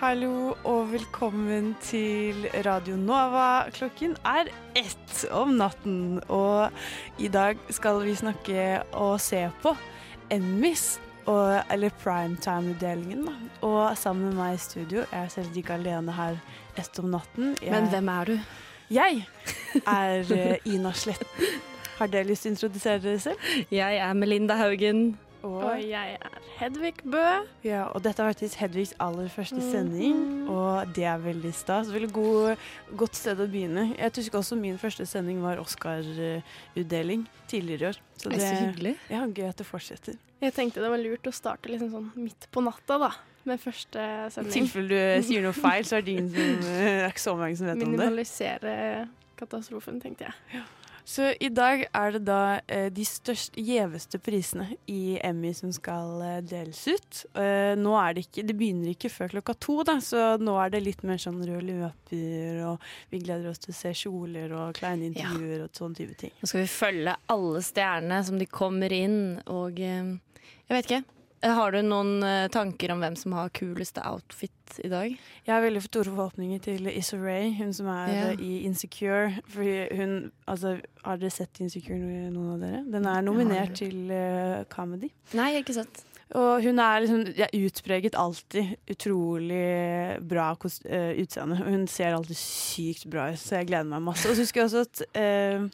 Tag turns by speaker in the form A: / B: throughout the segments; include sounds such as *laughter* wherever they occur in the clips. A: Hallo og velkommen til Radio Nova. Klokken er ett om natten, og i dag skal vi snakke og se på Emmys, og- eller primetime-utdelingen. da. Og sammen med meg i studio, jeg er selvsagt ikke alene her ett om natten. Jeg,
B: Men hvem er du?
A: Jeg er eh, Ina Sletten. Har dere lyst til å introdusere dere selv?
B: Jeg er Melinda Haugen.
A: Og
C: Og jeg er Hedvig Bø.
A: Ja, og dette har vært Hedvigs aller første sending, og det er veldig stas. Veldig god, godt sted å begynne. Jeg husker også min første sending var Oscar-utdeling tidligere i år. Så det
B: hyggelig.
A: ja, gøy at det fortsetter.
C: Jeg tenkte det var lurt å starte liksom sånn midt på natta, da. Med første
A: I
C: sending.
A: tilfelle du eh, sier noe feil, så er det ingen som, det er ikke så mange som vet om det.
C: Minimalisere katastrofen, tenkte jeg.
A: Så i dag er det da eh, de størst gjeveste prisene i Emmy som skal eh, deles ut. Eh, nå er det ikke, det begynner ikke før klokka to, da, så nå er det litt mer sånn rød løper, og vi gleder oss til å se kjoler og kleine
B: Ja.
A: intervjuer og sånne type ting.
B: Nå skal vi følge alle stjernene som de kommer inn, og eh, jeg vet ikke. Eh, Har du noen eh, tanker om hvem som har kuleste outfit i dag?
A: Jeg har veldig store forhåpninger til Issa Rae, hun som er
B: Ja.
A: eh, i Insecure. Fordi hun, altså, har dere sett Insecure, noen av dere? Den er nominert til eh, comedy.
B: Nei, ikke sant.
A: Og hun er liksom ja, utpreget alltid. Utrolig bra kos- eh, utseende. Hun ser alltid sykt bra ut, så jeg gleder meg masse. Og så husker jeg også at eh,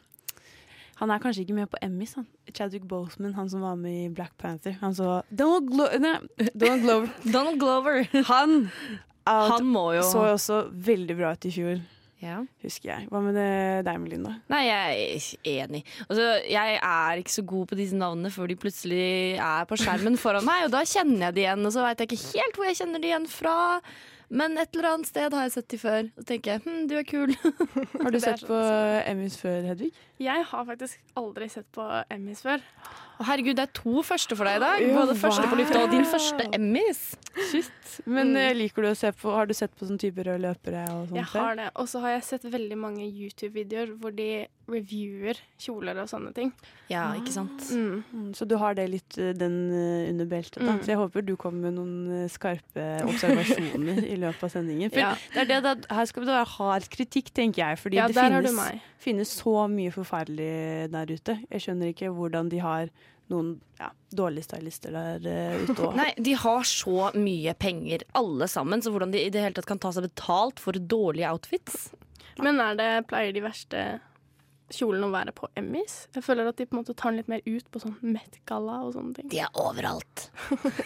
A: Han er kanskje ikke med på Emmys, han. Chadwick Boseman, han som var med i Black Panther. Han så Donald, Glo nei, Donald
C: *laughs*
A: Glover.
B: Donald Glover.
A: Han, out,
B: Han må jo
A: så også veldig bra ut i fjor,
B: ja.
A: husker jeg. Hva med det- deg, Melinda?
B: Nei, jeg er enig. Altså, jeg er ikke så god på disse navnene før de plutselig er på skjermen foran meg, og da kjenner jeg de igjen. Og så veit jeg ikke helt hvor jeg kjenner de igjen fra, men et eller annet sted har jeg sett de før. Og så tenker jeg hm, du er kul.
A: Har du
C: *laughs* Det er
A: sett
C: sånn
A: på Emmys før, Hedvig?
C: Jeg har faktisk aldri sett på Emmys før.
B: Å, herregud, det er to første for deg i dag.
A: Ja,
B: Både første på lufta og din
A: wow.
B: første Emmys.
A: Shit. Men eh, liker du å se på Har du sett på sånn type røde løpere og sånt?
C: Mm. Jeg
A: før?
C: har det. Og så har jeg sett veldig mange YouTube-videoer hvor de reviewer kjoler og sånne ting.
B: Ja, ikke sant.
C: Mm.
A: Mm, Så du har det litt eh, den eh, under beltet, da.
C: Mm.
A: Så jeg håper du kommer med noen eh, skarpe
C: *laughs*
A: observasjoner i løpet av sendingen. For
C: Ja.
A: det er det, da, her skal vi da ha et kritikk, tenker jeg. Fordi
C: ja,
A: det
C: der har du
A: finnes,
C: meg.
A: finnes så mye forferdelig der ute. Jeg skjønner ikke hvordan de har noen ja, dårlige stylister der eh, ute
C: *laughs*
A: òg.
B: Nei, de har så mye penger alle sammen, så hvordan de i det hele tatt kan ta seg betalt for dårlige outfits.
C: Men er det, pleier de verste kjolene å være på Emmys? Jeg føler at de på en måte tar den litt mer ut på sånn Met-galla og sånne ting.
B: De er overalt.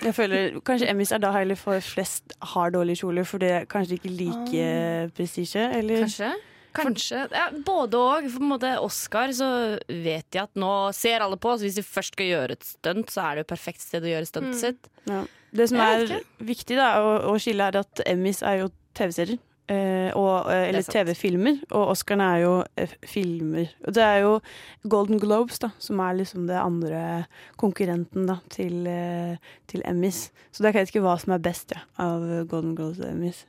A: Jeg føler Kanskje Emmys er da heller for flest har dårlige kjoler, for det er kanskje ikke like
C: Ah.
A: prestisje, eller?
B: Kanskje. Kanskje. Ja, både og. For på en måte Oscar så vet de at nå ser alle på, så hvis de først skal gjøre et stunt, så er det jo perfekt sted å gjøre stuntet sitt.
A: Ja. Det som
B: Jeg
A: er
B: vet
A: viktig da, å, å skille, er at Emmys er jo TV-serier. eh, og, eh, eller
B: sant.
A: TV-filmer, og Oscarene er jo eh, filmer. Og det er jo Golden Globes, da, som er liksom det andre konkurrenten da, til, eh, til Emmys. Så da kan jeg ikke hva som er best ja, av Golden Globes og Emmys.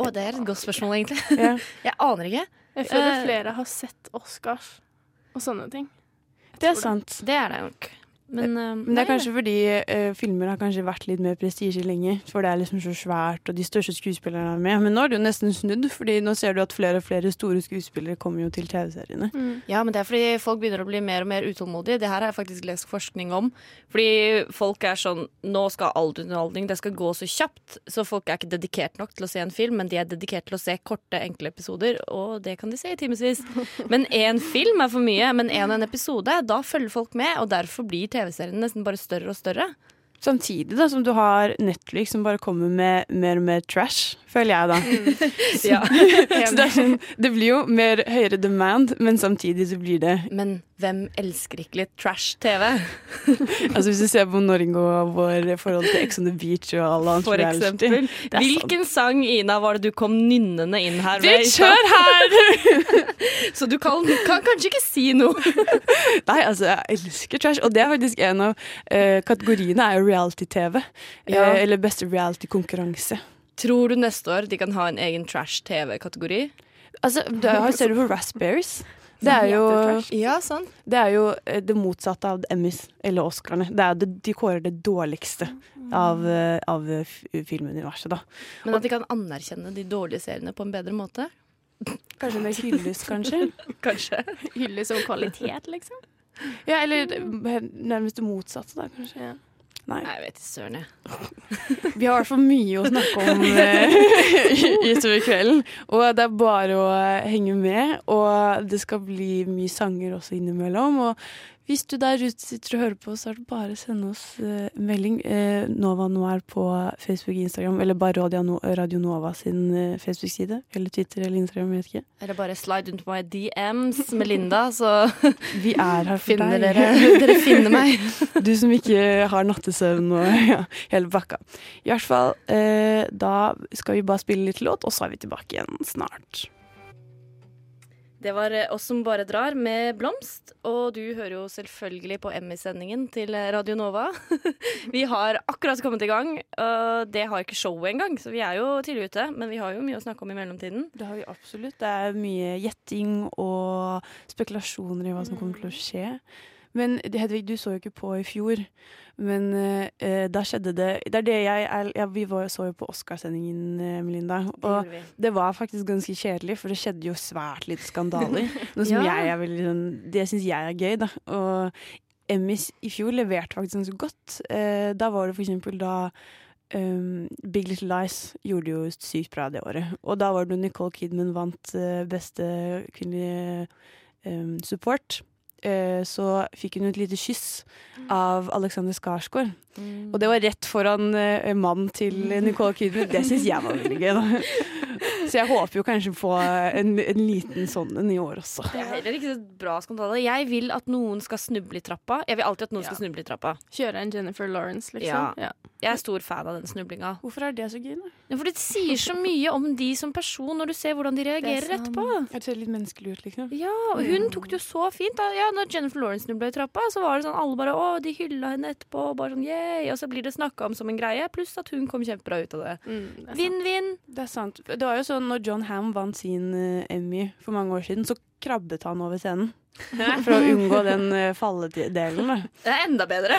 B: Å, det er et godt spørsmål, egentlig.
A: Ja.
B: *laughs* Jeg aner ikke.
C: Jeg føler
B: Eh,
C: flere har sett Oscars og sånne ting.
A: Det er sant.
B: Det er det nok. Men, eh,
A: Men det er
B: nei,
A: kanskje fordi eh, filmer har kanskje vært litt mer prestisje lenge. For det er liksom så svært, og de største skuespillerne er med. Men nå er det jo nesten snudd, Fordi nå ser du at flere og flere store skuespillere kommer jo til TV-seriene.
B: Ja, men det er fordi folk begynner å bli mer og mer utålmodige. Det her har jeg faktisk lest forskning om. Fordi folk er sånn Nå skal all underholdning, det skal gå så kjapt. Så folk er ikke dedikert nok til å se en film, men de er dedikert til å se korte, enkle episoder. Og det kan de se i timevis. Men én film er for mye. Men én og en episode, da følger folk med. Og derfor blir TV-seriene nesten bare større og større.
A: Samtidig da som du har Netflix som bare kommer med mer og mer trash, føler jeg da.
B: *laughs* Ja.
A: *laughs* Så det, er sånn, det blir jo mer høyere demand, men samtidig så blir det
B: Men hvem elsker ikke litt trash-TV,
A: Altså Hvis du ser på Norge og vår forhold til Ex on the Beach og alle andre
B: for
A: reality,
B: eksempel?
A: det er
B: Hvilken sang, Ina, var det du kom nynnende inn her
A: sant. Bitch, hør her!
B: Så du kan, kan kanskje ikke si noe.
A: Nei, altså, jeg elsker trash. Og det er faktisk en av eh, kategoriene er jo reality-TV.
B: Ja.
A: Eh, eller beste reality-konkurranse.
B: Tror du neste år de kan ha en egen trash-TV-kategori?
A: Altså, du har- ser du på Raspberries? *laughs* Det er jo,
B: Uh, Ja, sant.
A: det er jo eh, det motsatte av Emmys eller Oscarene. Det er det, de kårer det dårligste av, eh, av eh, f- filmuniverset, da.
B: Men at de kan anerkjenne de dårlige seriene på en bedre måte.
A: Kanskje *laughs* en hyllest, kanskje?
B: Kanskje.
C: Hylle som kvalitet,
A: *laughs*
C: liksom.
A: Ja, eller eh, nærmest det motsatte, da, kanskje.
C: Ja.
A: Nei.
B: Nei, jeg vet ikke søren, jeg.
A: Vi har i hvert fall mye å snakke *laughs* om *laughs* eh, utover kvelden. Og det er bare å eh, henge med. Og det skal bli mye sanger også innimellom. Og hvis du der ute sitter og hører på, så er det bare å sende oss eh, melding. Eh, Nova Noir på Facebook og Instagram, eller bare Radio, no Radio Nova sin eh, Facebook-side. Eller Twitter eller Instagram, jeg vet ikke.
B: *laughs* Eller bare slide into my DMs med Linda, så
A: Vi er her for
B: finner
A: deg.
B: dere, dere finner meg.
A: *laughs* Du som ikke har nattesøvn og *laughs* ja, hele bakka. I hvert fall, eh, da skal vi bare spille litt låt, og så er vi tilbake igjen snart.
B: *laughs* Det var eh, oss som bare drar med Blomst, og du hører jo selvfølgelig på Emmy-sendingen til eh, Radio Nova. *laughs* Vi har akkurat kommet i gang, og det har ikke showet engang, så vi er jo tidlig ute, men vi har jo mye å snakke om i mellomtiden.
A: Det har vi absolutt. Det er mye gjetting og spekulasjoner i hva som kommer til å skje. Men Hedvig, du så jo ikke på i fjor, men eh, da skjedde det Det er det jeg er ja, Vi var, så jo på Oscarsendingen, eh, Melinda. Og
B: gjorde vi.
A: det var faktisk ganske kjedelig, for det skjedde jo svært lite skandaler. Noe som
B: Ja.
A: jeg er veldig sånn Det syns jeg er gøy, da. Og Emmys i fjor leverte faktisk ganske godt. Eh, da var det for eksempel da um, Big Little Lies gjorde jo sykt bra det året. Og da var det når Nicole Kidman vant eh, beste kvinnelige um, support. eh, Så fikk hun et lite kyss av Alexander Skarsgård.
C: Mm.
A: Og det var rett foran eh, mannen til Nicole Kidman. Det syns jeg var veldig gøy, da. Så jeg håper jo kanskje på en, en liten sånn en i år også.
B: Det er heller ikke så bra skandale. Jeg vil at noen skal snuble i trappa. Jeg vil alltid at noen
C: Ja.
B: skal snuble i trappa.
C: Kjøre en Jennifer Lawrence,
B: Ja.
C: liksom. Ja.
B: Jeg er stor fan av den snublinga.
A: Hvorfor er det så gøy? da?
B: Ja, For det sier så mye om de som person når du ser hvordan de reagerer
C: sant.
B: etterpå.
A: Jeg ser litt menneskelig ut, liksom.
B: Ja, og hun tok det jo så fint. Da. Ja, når Jennifer Lawrence ble i trappa, så var det sånn alle bare å, de hylla henne etterpå. og Bare sånn, yay, Og så blir det snakka om som en greie, pluss at hun kom kjempebra ut av det.
C: Mm, det er sant.
B: Vinn-vinn.
A: Det er sant. Det var jo sånn når John Ham vant sin eh, Emmy for mange år siden, så krabbet han over scenen. *laughs* For å unngå den eh, falledelen. da.
B: Det er enda *laughs* bedre.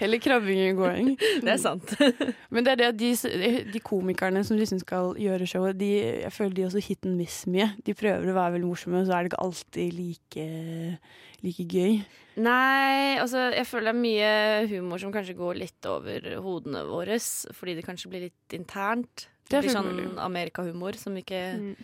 A: Heller krabbing enn gåing.
B: Det er sant.
A: Men det er det at de, s- de komikerne som liksom skal gjøre showet, de, jeg føler de også hit and miss mye. De prøver å være veldig morsomme, og så er det ikke alltid like, like gøy.
B: Nei, altså jeg føler det er mye humor som kanskje går litt over hodene våre, fordi det kanskje blir litt internt. Det
A: Det er
B: blir
A: fullt
B: sånn
A: mulig.
B: amerikahumor som ikke
C: Mm.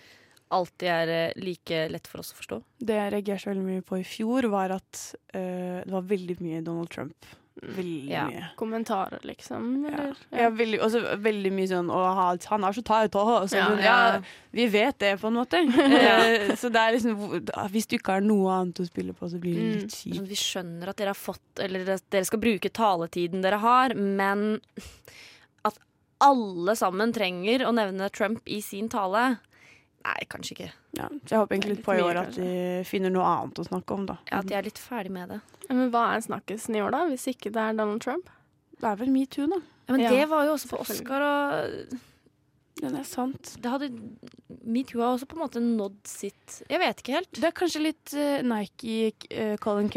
B: alltid er eh, like lett for oss å forstå.
A: Det jeg reagerte veldig mye på i fjor, var at eh, det var veldig mye Donald Trump. Veldig
B: Ja.
A: mye.
C: Kommentarer, liksom.
A: Ja.
C: Eller?
A: Ja, veldig, også veldig mye sånn Å, han han er så tight, å, så,
C: Ja,
A: men, ja,
B: ja.
A: Vi vet det, på en måte. Eh, så det er liksom hvor- da- Hvis du ikke har noe annet å spille på, så blir det litt
B: Sånn,
A: kjipt.
B: Vi skjønner at dere har fått Eller at dere skal bruke taletiden dere har, men *laughs* at alle sammen trenger å nevne Trump i sin tale Nei, kanskje ikke.
A: Ja. Så jeg håper egentlig litt
C: Litt
A: på i
C: mye,
A: år at vi finner noe annet å snakke om, da.
B: Ja, At jeg er litt ferdig med det.
C: Men hva er snakkisen i år, da? Hvis ikke det er Donald Trump?
A: Det er vel metoo, da.
B: Ja, men
C: Ja,
B: det var jo også på
C: selvfølgelig.
B: Oscar, og
A: Ja, det er sant.
B: det hadde Metoo har også på en måte nådd sitt Jeg vet ikke helt.
A: Det er kanskje litt eh, Nike, eh, Colin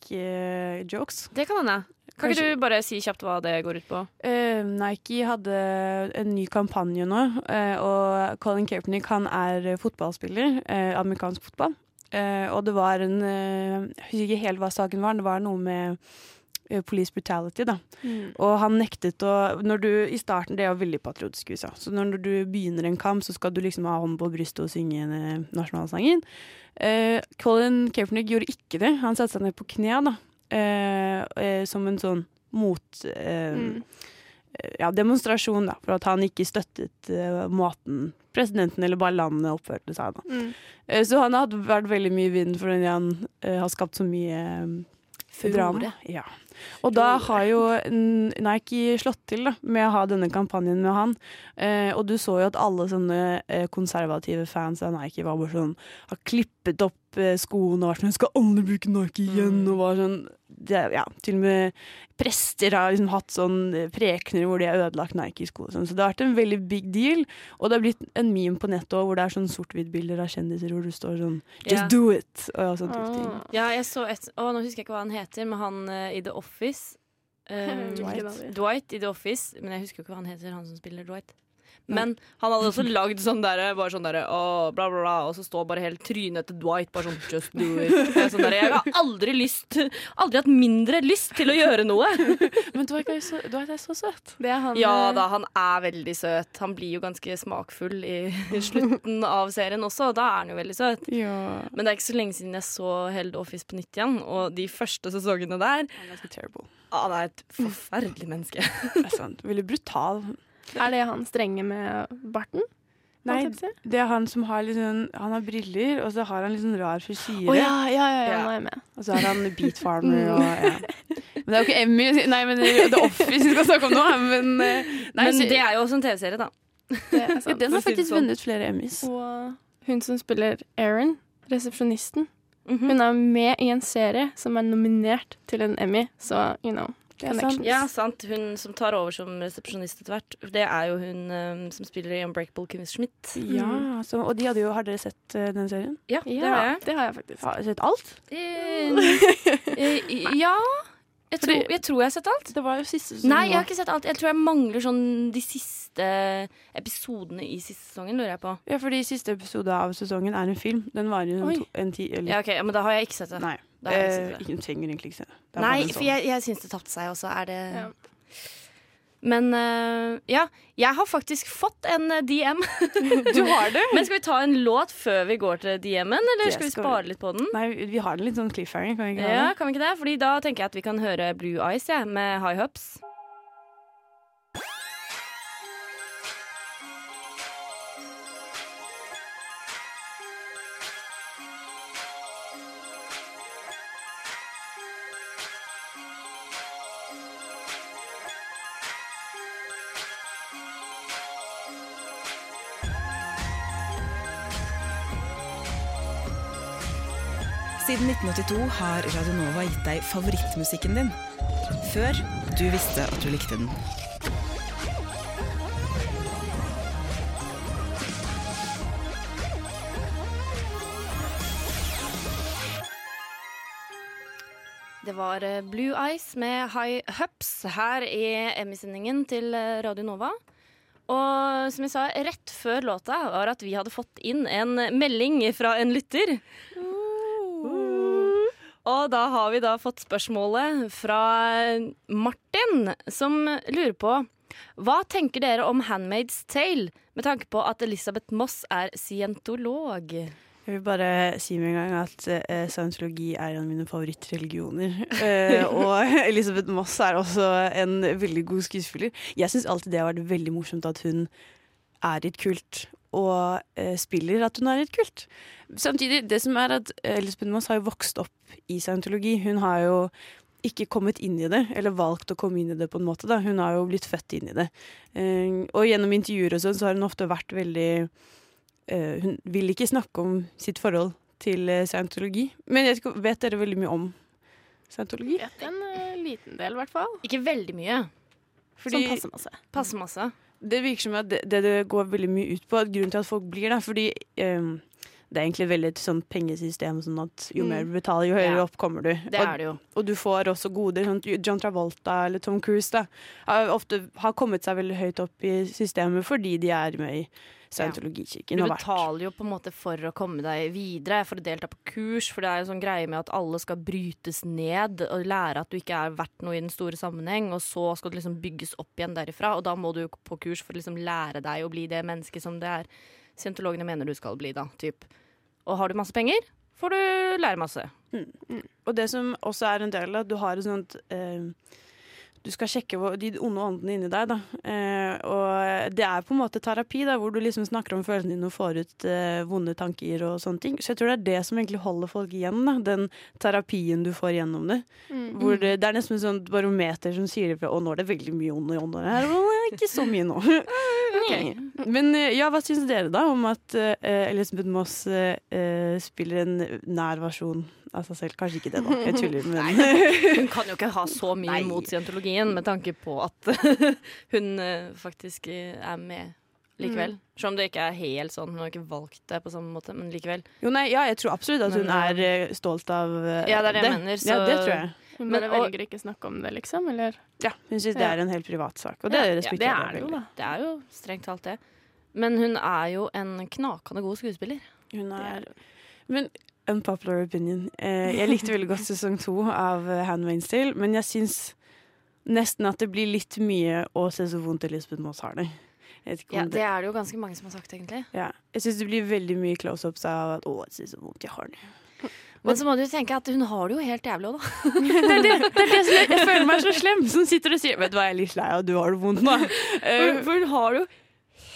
A: eh, Kaepernick-jokes.
B: Det kan hende. Kan
A: Kanskje-
B: ikke du bare si kjapt hva det går ut på?
A: Eh, Nike hadde en ny kampanje nå, eh, og Colin Kaepernick han er fotballspiller, eh, amerikansk fotball. Eh, og det var en eh, Jeg husker ikke helt hva saken var, det var noe med eh, police brutality, da. Og han nektet å når du, I starten det er jo veldig patriotisk i USA. Så når du begynner en kamp, så skal du liksom ha hånden på brystet og synge eh, nasjonalsangen. Eh, Colin Kaepernick gjorde ikke det. Han satte seg ned på kne, da. Eh, eh, som en sånn mot... Eh,
C: Mm.
A: ja, demonstrasjon da, for at han ikke støttet eh, måten presidenten eller bare landet oppførte seg da.
C: Mm.
A: Eh, så han har hatt- vært veldig mye i vinden fordi han eh, har skapt så mye eh, drama. Ja. Og da har jo n- Nike slått til da, med å ha denne kampanjen med han. Eh, og du så jo at alle sånne eh, konservative fans av Nike var bare sånn Har klippet opp eh, skoene og vært sånn 'Skal alle bruke Nike igjen?' Og var sånn det, Ja, til og med prester har liksom hatt sånn eh, prekener hvor de har ødelagt Nike-sko og sånn. Så det har vært en veldig big deal. Og det har blitt en meme på nettet også, hvor det er sånn sort-hvitt-bilder av kjendiser hvor du står sånn Just
B: Ja.
A: do it! Og sånn type ting.
C: *laughs* Ah.
B: *laughs* Ja, jeg så et Å, nå husker jeg ikke hva han heter, men han eh, i The Office eh,
A: Dwight.
B: Dwight i The Office, men jeg husker jo ikke hva han heter, han som spiller Dwight. Men han hadde også lagd sånn derre, bare sånn derre «Åh, bla, bla, bla, og så står bare hele trynet til Dwight bare sånn just do it. Jeg, er sånn derre, jeg har aldri lyst, aldri hatt mindre lyst til å gjøre noe.
A: Men Dwight er jo så, Dwight er så søt.
C: Det er han
B: Ja
C: eh,
B: da, han er veldig søt. Han blir jo ganske smakfull i, *laughs* i slutten av serien også, og da er han jo veldig søt.
A: Ja.
B: Men det er ikke så lenge siden jeg så hele The Office på nytt igjen, og de første sesongene der
A: Han er ganske terrible.
B: ah, Han er et forferdelig *laughs* menneske.
A: Det er sant. Veldig brutal.
C: Er det han strenge med barten?
A: Nei,
C: Hva skal jeg si?
A: det er han som har litt sånn Han har briller, og så har han litt sånn rar frisyre.
C: Å ja, ja, ja,
B: Ja.
C: ja,
B: Mm.
C: nå er jeg med.
A: Og så har han Beat Farmer og
B: *laughs*
A: ja. Men det er jo ikke Emmy Nei, men The Office vi skal snakke om nå, men eh, nei,
B: Men
A: så-
B: det er jo også en TV-serie, da.
C: Det er
A: *laughs* ja,
C: sant.
A: Den har
B: for å si det
A: faktisk
B: sånn.
A: vunnet flere Emmys.
C: Og hun som spiller Erin, resepsjonisten,
B: Mhm.
C: hun er med i en serie som er nominert til en Emmy, så you know.
A: er sant.
C: Connections.
B: Ja, sant. Hun som tar over som resepsjonist etter hvert. Det er jo hun eh, som spiller i Unbreakable Kimmy Schmidt.
A: Ja, så, og de hadde jo Har dere sett eh, den serien?
B: Ja, det har
C: Ja,
B: *laughs* jeg.
C: det har jeg faktisk.
A: Har sett alt?
B: Eh, eh, ja jeg tror, jeg tror jeg har sett alt.
A: Det var jo siste sesong
B: Nei, jeg har
A: nå.
B: ikke sett alt. Jeg tror jeg mangler sånn de siste episodene i siste sesongen, lurer jeg på.
A: Ja, fordi siste episode av sesongen er en film. Den varer jo
C: Oi.
A: sånn to, en ti eller
B: Ja, ok, Men da har jeg ikke sett det.
A: Nei.
B: Da har jeg ikke
A: eh,
B: sett det.
A: ikke, du trenger egentlig ikke se det. Det er
B: Nei,
A: bare en
B: for
A: sånn.
B: jeg, jeg syns det tapte seg også. Er det
C: Ja.
B: Men eh, ja, jeg har faktisk fått en eh, *laughs* DM.
A: Du har det?
B: Men skal vi ta en låt før vi går til DM-en, eller
A: Det
B: skal vi
A: skal
B: spare litt på den?
A: *laughs* Nei, vi har den litt sånn cliffhanger, kan vi ikke ha
B: Ja,
A: det?
B: kan vi ikke det? Fordi da tenker jeg at vi kan høre Blue Eyes jeg, med High Hopes.
D: Siden 1982 har Radionova gitt deg favorittmusikken din. Før du visste at du likte den.
B: Det var eh, Blue Eyes med High Hups her i Emmy-sendingen til eh, Radio Nova. Og som jeg sa rett før låta, var at vi hadde fått inn en melding fra en lytter. Og da har vi da fått spørsmålet fra Martin, som lurer på Hva tenker dere om Handmaid's Tale, med tanke på at Elisabeth Moss er scientolog?
A: Jeg vil bare si med en gang at eh, scientologi er en av mine favorittreligioner. Eh, og *laughs* Elisabeth Moss er også en veldig god skuespiller. Jeg syns alltid det har vært veldig morsomt at hun er i et kult, og eh, spiller at hun er i et kult. Samtidig, det som er at eh, Elisabeth Moss har jo vokst opp i scientologi. Hun har jo ikke kommet inn i det, eller valgt å komme inn i det på en måte. Da. Hun har jo blitt født inn i det. Eh, og gjennom intervjuer og sånn, så har hun ofte vært veldig eh, Hun vil ikke snakke om sitt forhold til eh, scientologi. Men jeg vet ikke- vet dere veldig mye om scientologi?
C: Vet en eh, liten del, i hvert fall.
B: Ikke veldig mye.
A: Fordi-
C: Som passer masse.
B: Passe masse.
A: Det virker som at det, det det går veldig mye ut på, at grunnen til at folk blir der, fordi ehm, det er egentlig veldig et sånt pengesystem, sånn at jo
C: Mm.
A: mer du betaler, jo høyere
B: Ja.
A: opp kommer du.
B: Det er det jo.
A: og, og du får også goder. Sånn, at John Travolta eller Tom Cruise da, har ofte har kommet seg veldig høyt opp i systemet fordi de er med i scientologikirken.
B: Du
A: og vært-
B: betaler jo på en måte for å komme deg videre, for å delta på kurs. For det er jo sånn greie med at alle skal brytes ned og lære at du ikke er verdt noe i den store sammenheng. Og så skal du liksom bygges opp igjen derifra, og da må du jo på kurs for å liksom lære deg å bli det mennesket som det er scientologene mener du skal bli, da. Typ. Og har du masse penger, får du lære masse.
A: Og det som også er en del av at du har et sånt eh, Du skal sjekke hvor, de onde åndene inni deg, da. Eh, og det er på en måte terapi, da, hvor du liksom snakker om følelsene dine og får ut eh, vonde tanker og sånne ting. Så jeg tror det er det som egentlig holder folk igjen, da. Den terapien du får gjennom det.
C: Mm.
A: Hvor
B: Mm.
A: det, det er nesten et sånt barometer som sier ifra 'Å, nå er det veldig mye onde ånder her', og «Å, ikke så
B: *laughs*
A: mye nå'.
B: Mm.
A: Men eh, ja, hva syns dere da om at eh, Elisabeth Moss eh, eh, spiller en nær versjon av seg selv? Kanskje ikke det, da. Jeg
B: *laughs*
A: tuller. *laughs* Men,
B: Hun kan jo ikke ha så mye
A: Nei.
B: mot scientologien med tanke på at *laughs* hun eh, faktisk eh, er med
C: Mm.
B: likevel. Selv om det ikke er helt sånn, hun har ikke valgt det på samme måte, men likevel.
A: jo, nei, ja, jeg tror absolutt at hun
B: Men,
A: er eh, stolt av eh,
B: Ja, det er det jeg mener,
A: Ja,
B: så-
A: det tror jeg.
C: Hun
B: Men-
C: bare
B: og-
C: velger ikke snakke om det, liksom? Eller?
A: Ja, hun syns det
C: Ja.
A: er en helt privat sak, og det
B: Ja,
A: respekterer
C: det
A: jeg
C: er det jo,
A: veldig.
C: da.
B: Det er jo strengt talt det. Men hun er jo en knakende god skuespiller.
A: Hun er Men unpopular opinion. Eh, jeg likte veldig *laughs* godt sesong to av eh, Handmaid's Tale, men jeg syns nesten at det blir litt mye å se så vondt til Lisbeth Moss har det. Jeg vet ikke om
B: Ja,
A: det
B: det er det jo ganske mange som har sagt, egentlig.
A: ja. Jeg syns det blir veldig mye close-ups av at 'Å, jeg syns så vondt jeg har det'.
B: Men så må du jo tenke at hun har det jo helt jævlig òg, da.
A: Det er det, det er det som *laughs* jeg, jeg føler meg så slem, som sitter og sier 'Vet du hva, jeg er litt lei av at du har det vondt nå'. *laughs* Eh,
B: For hun har det jo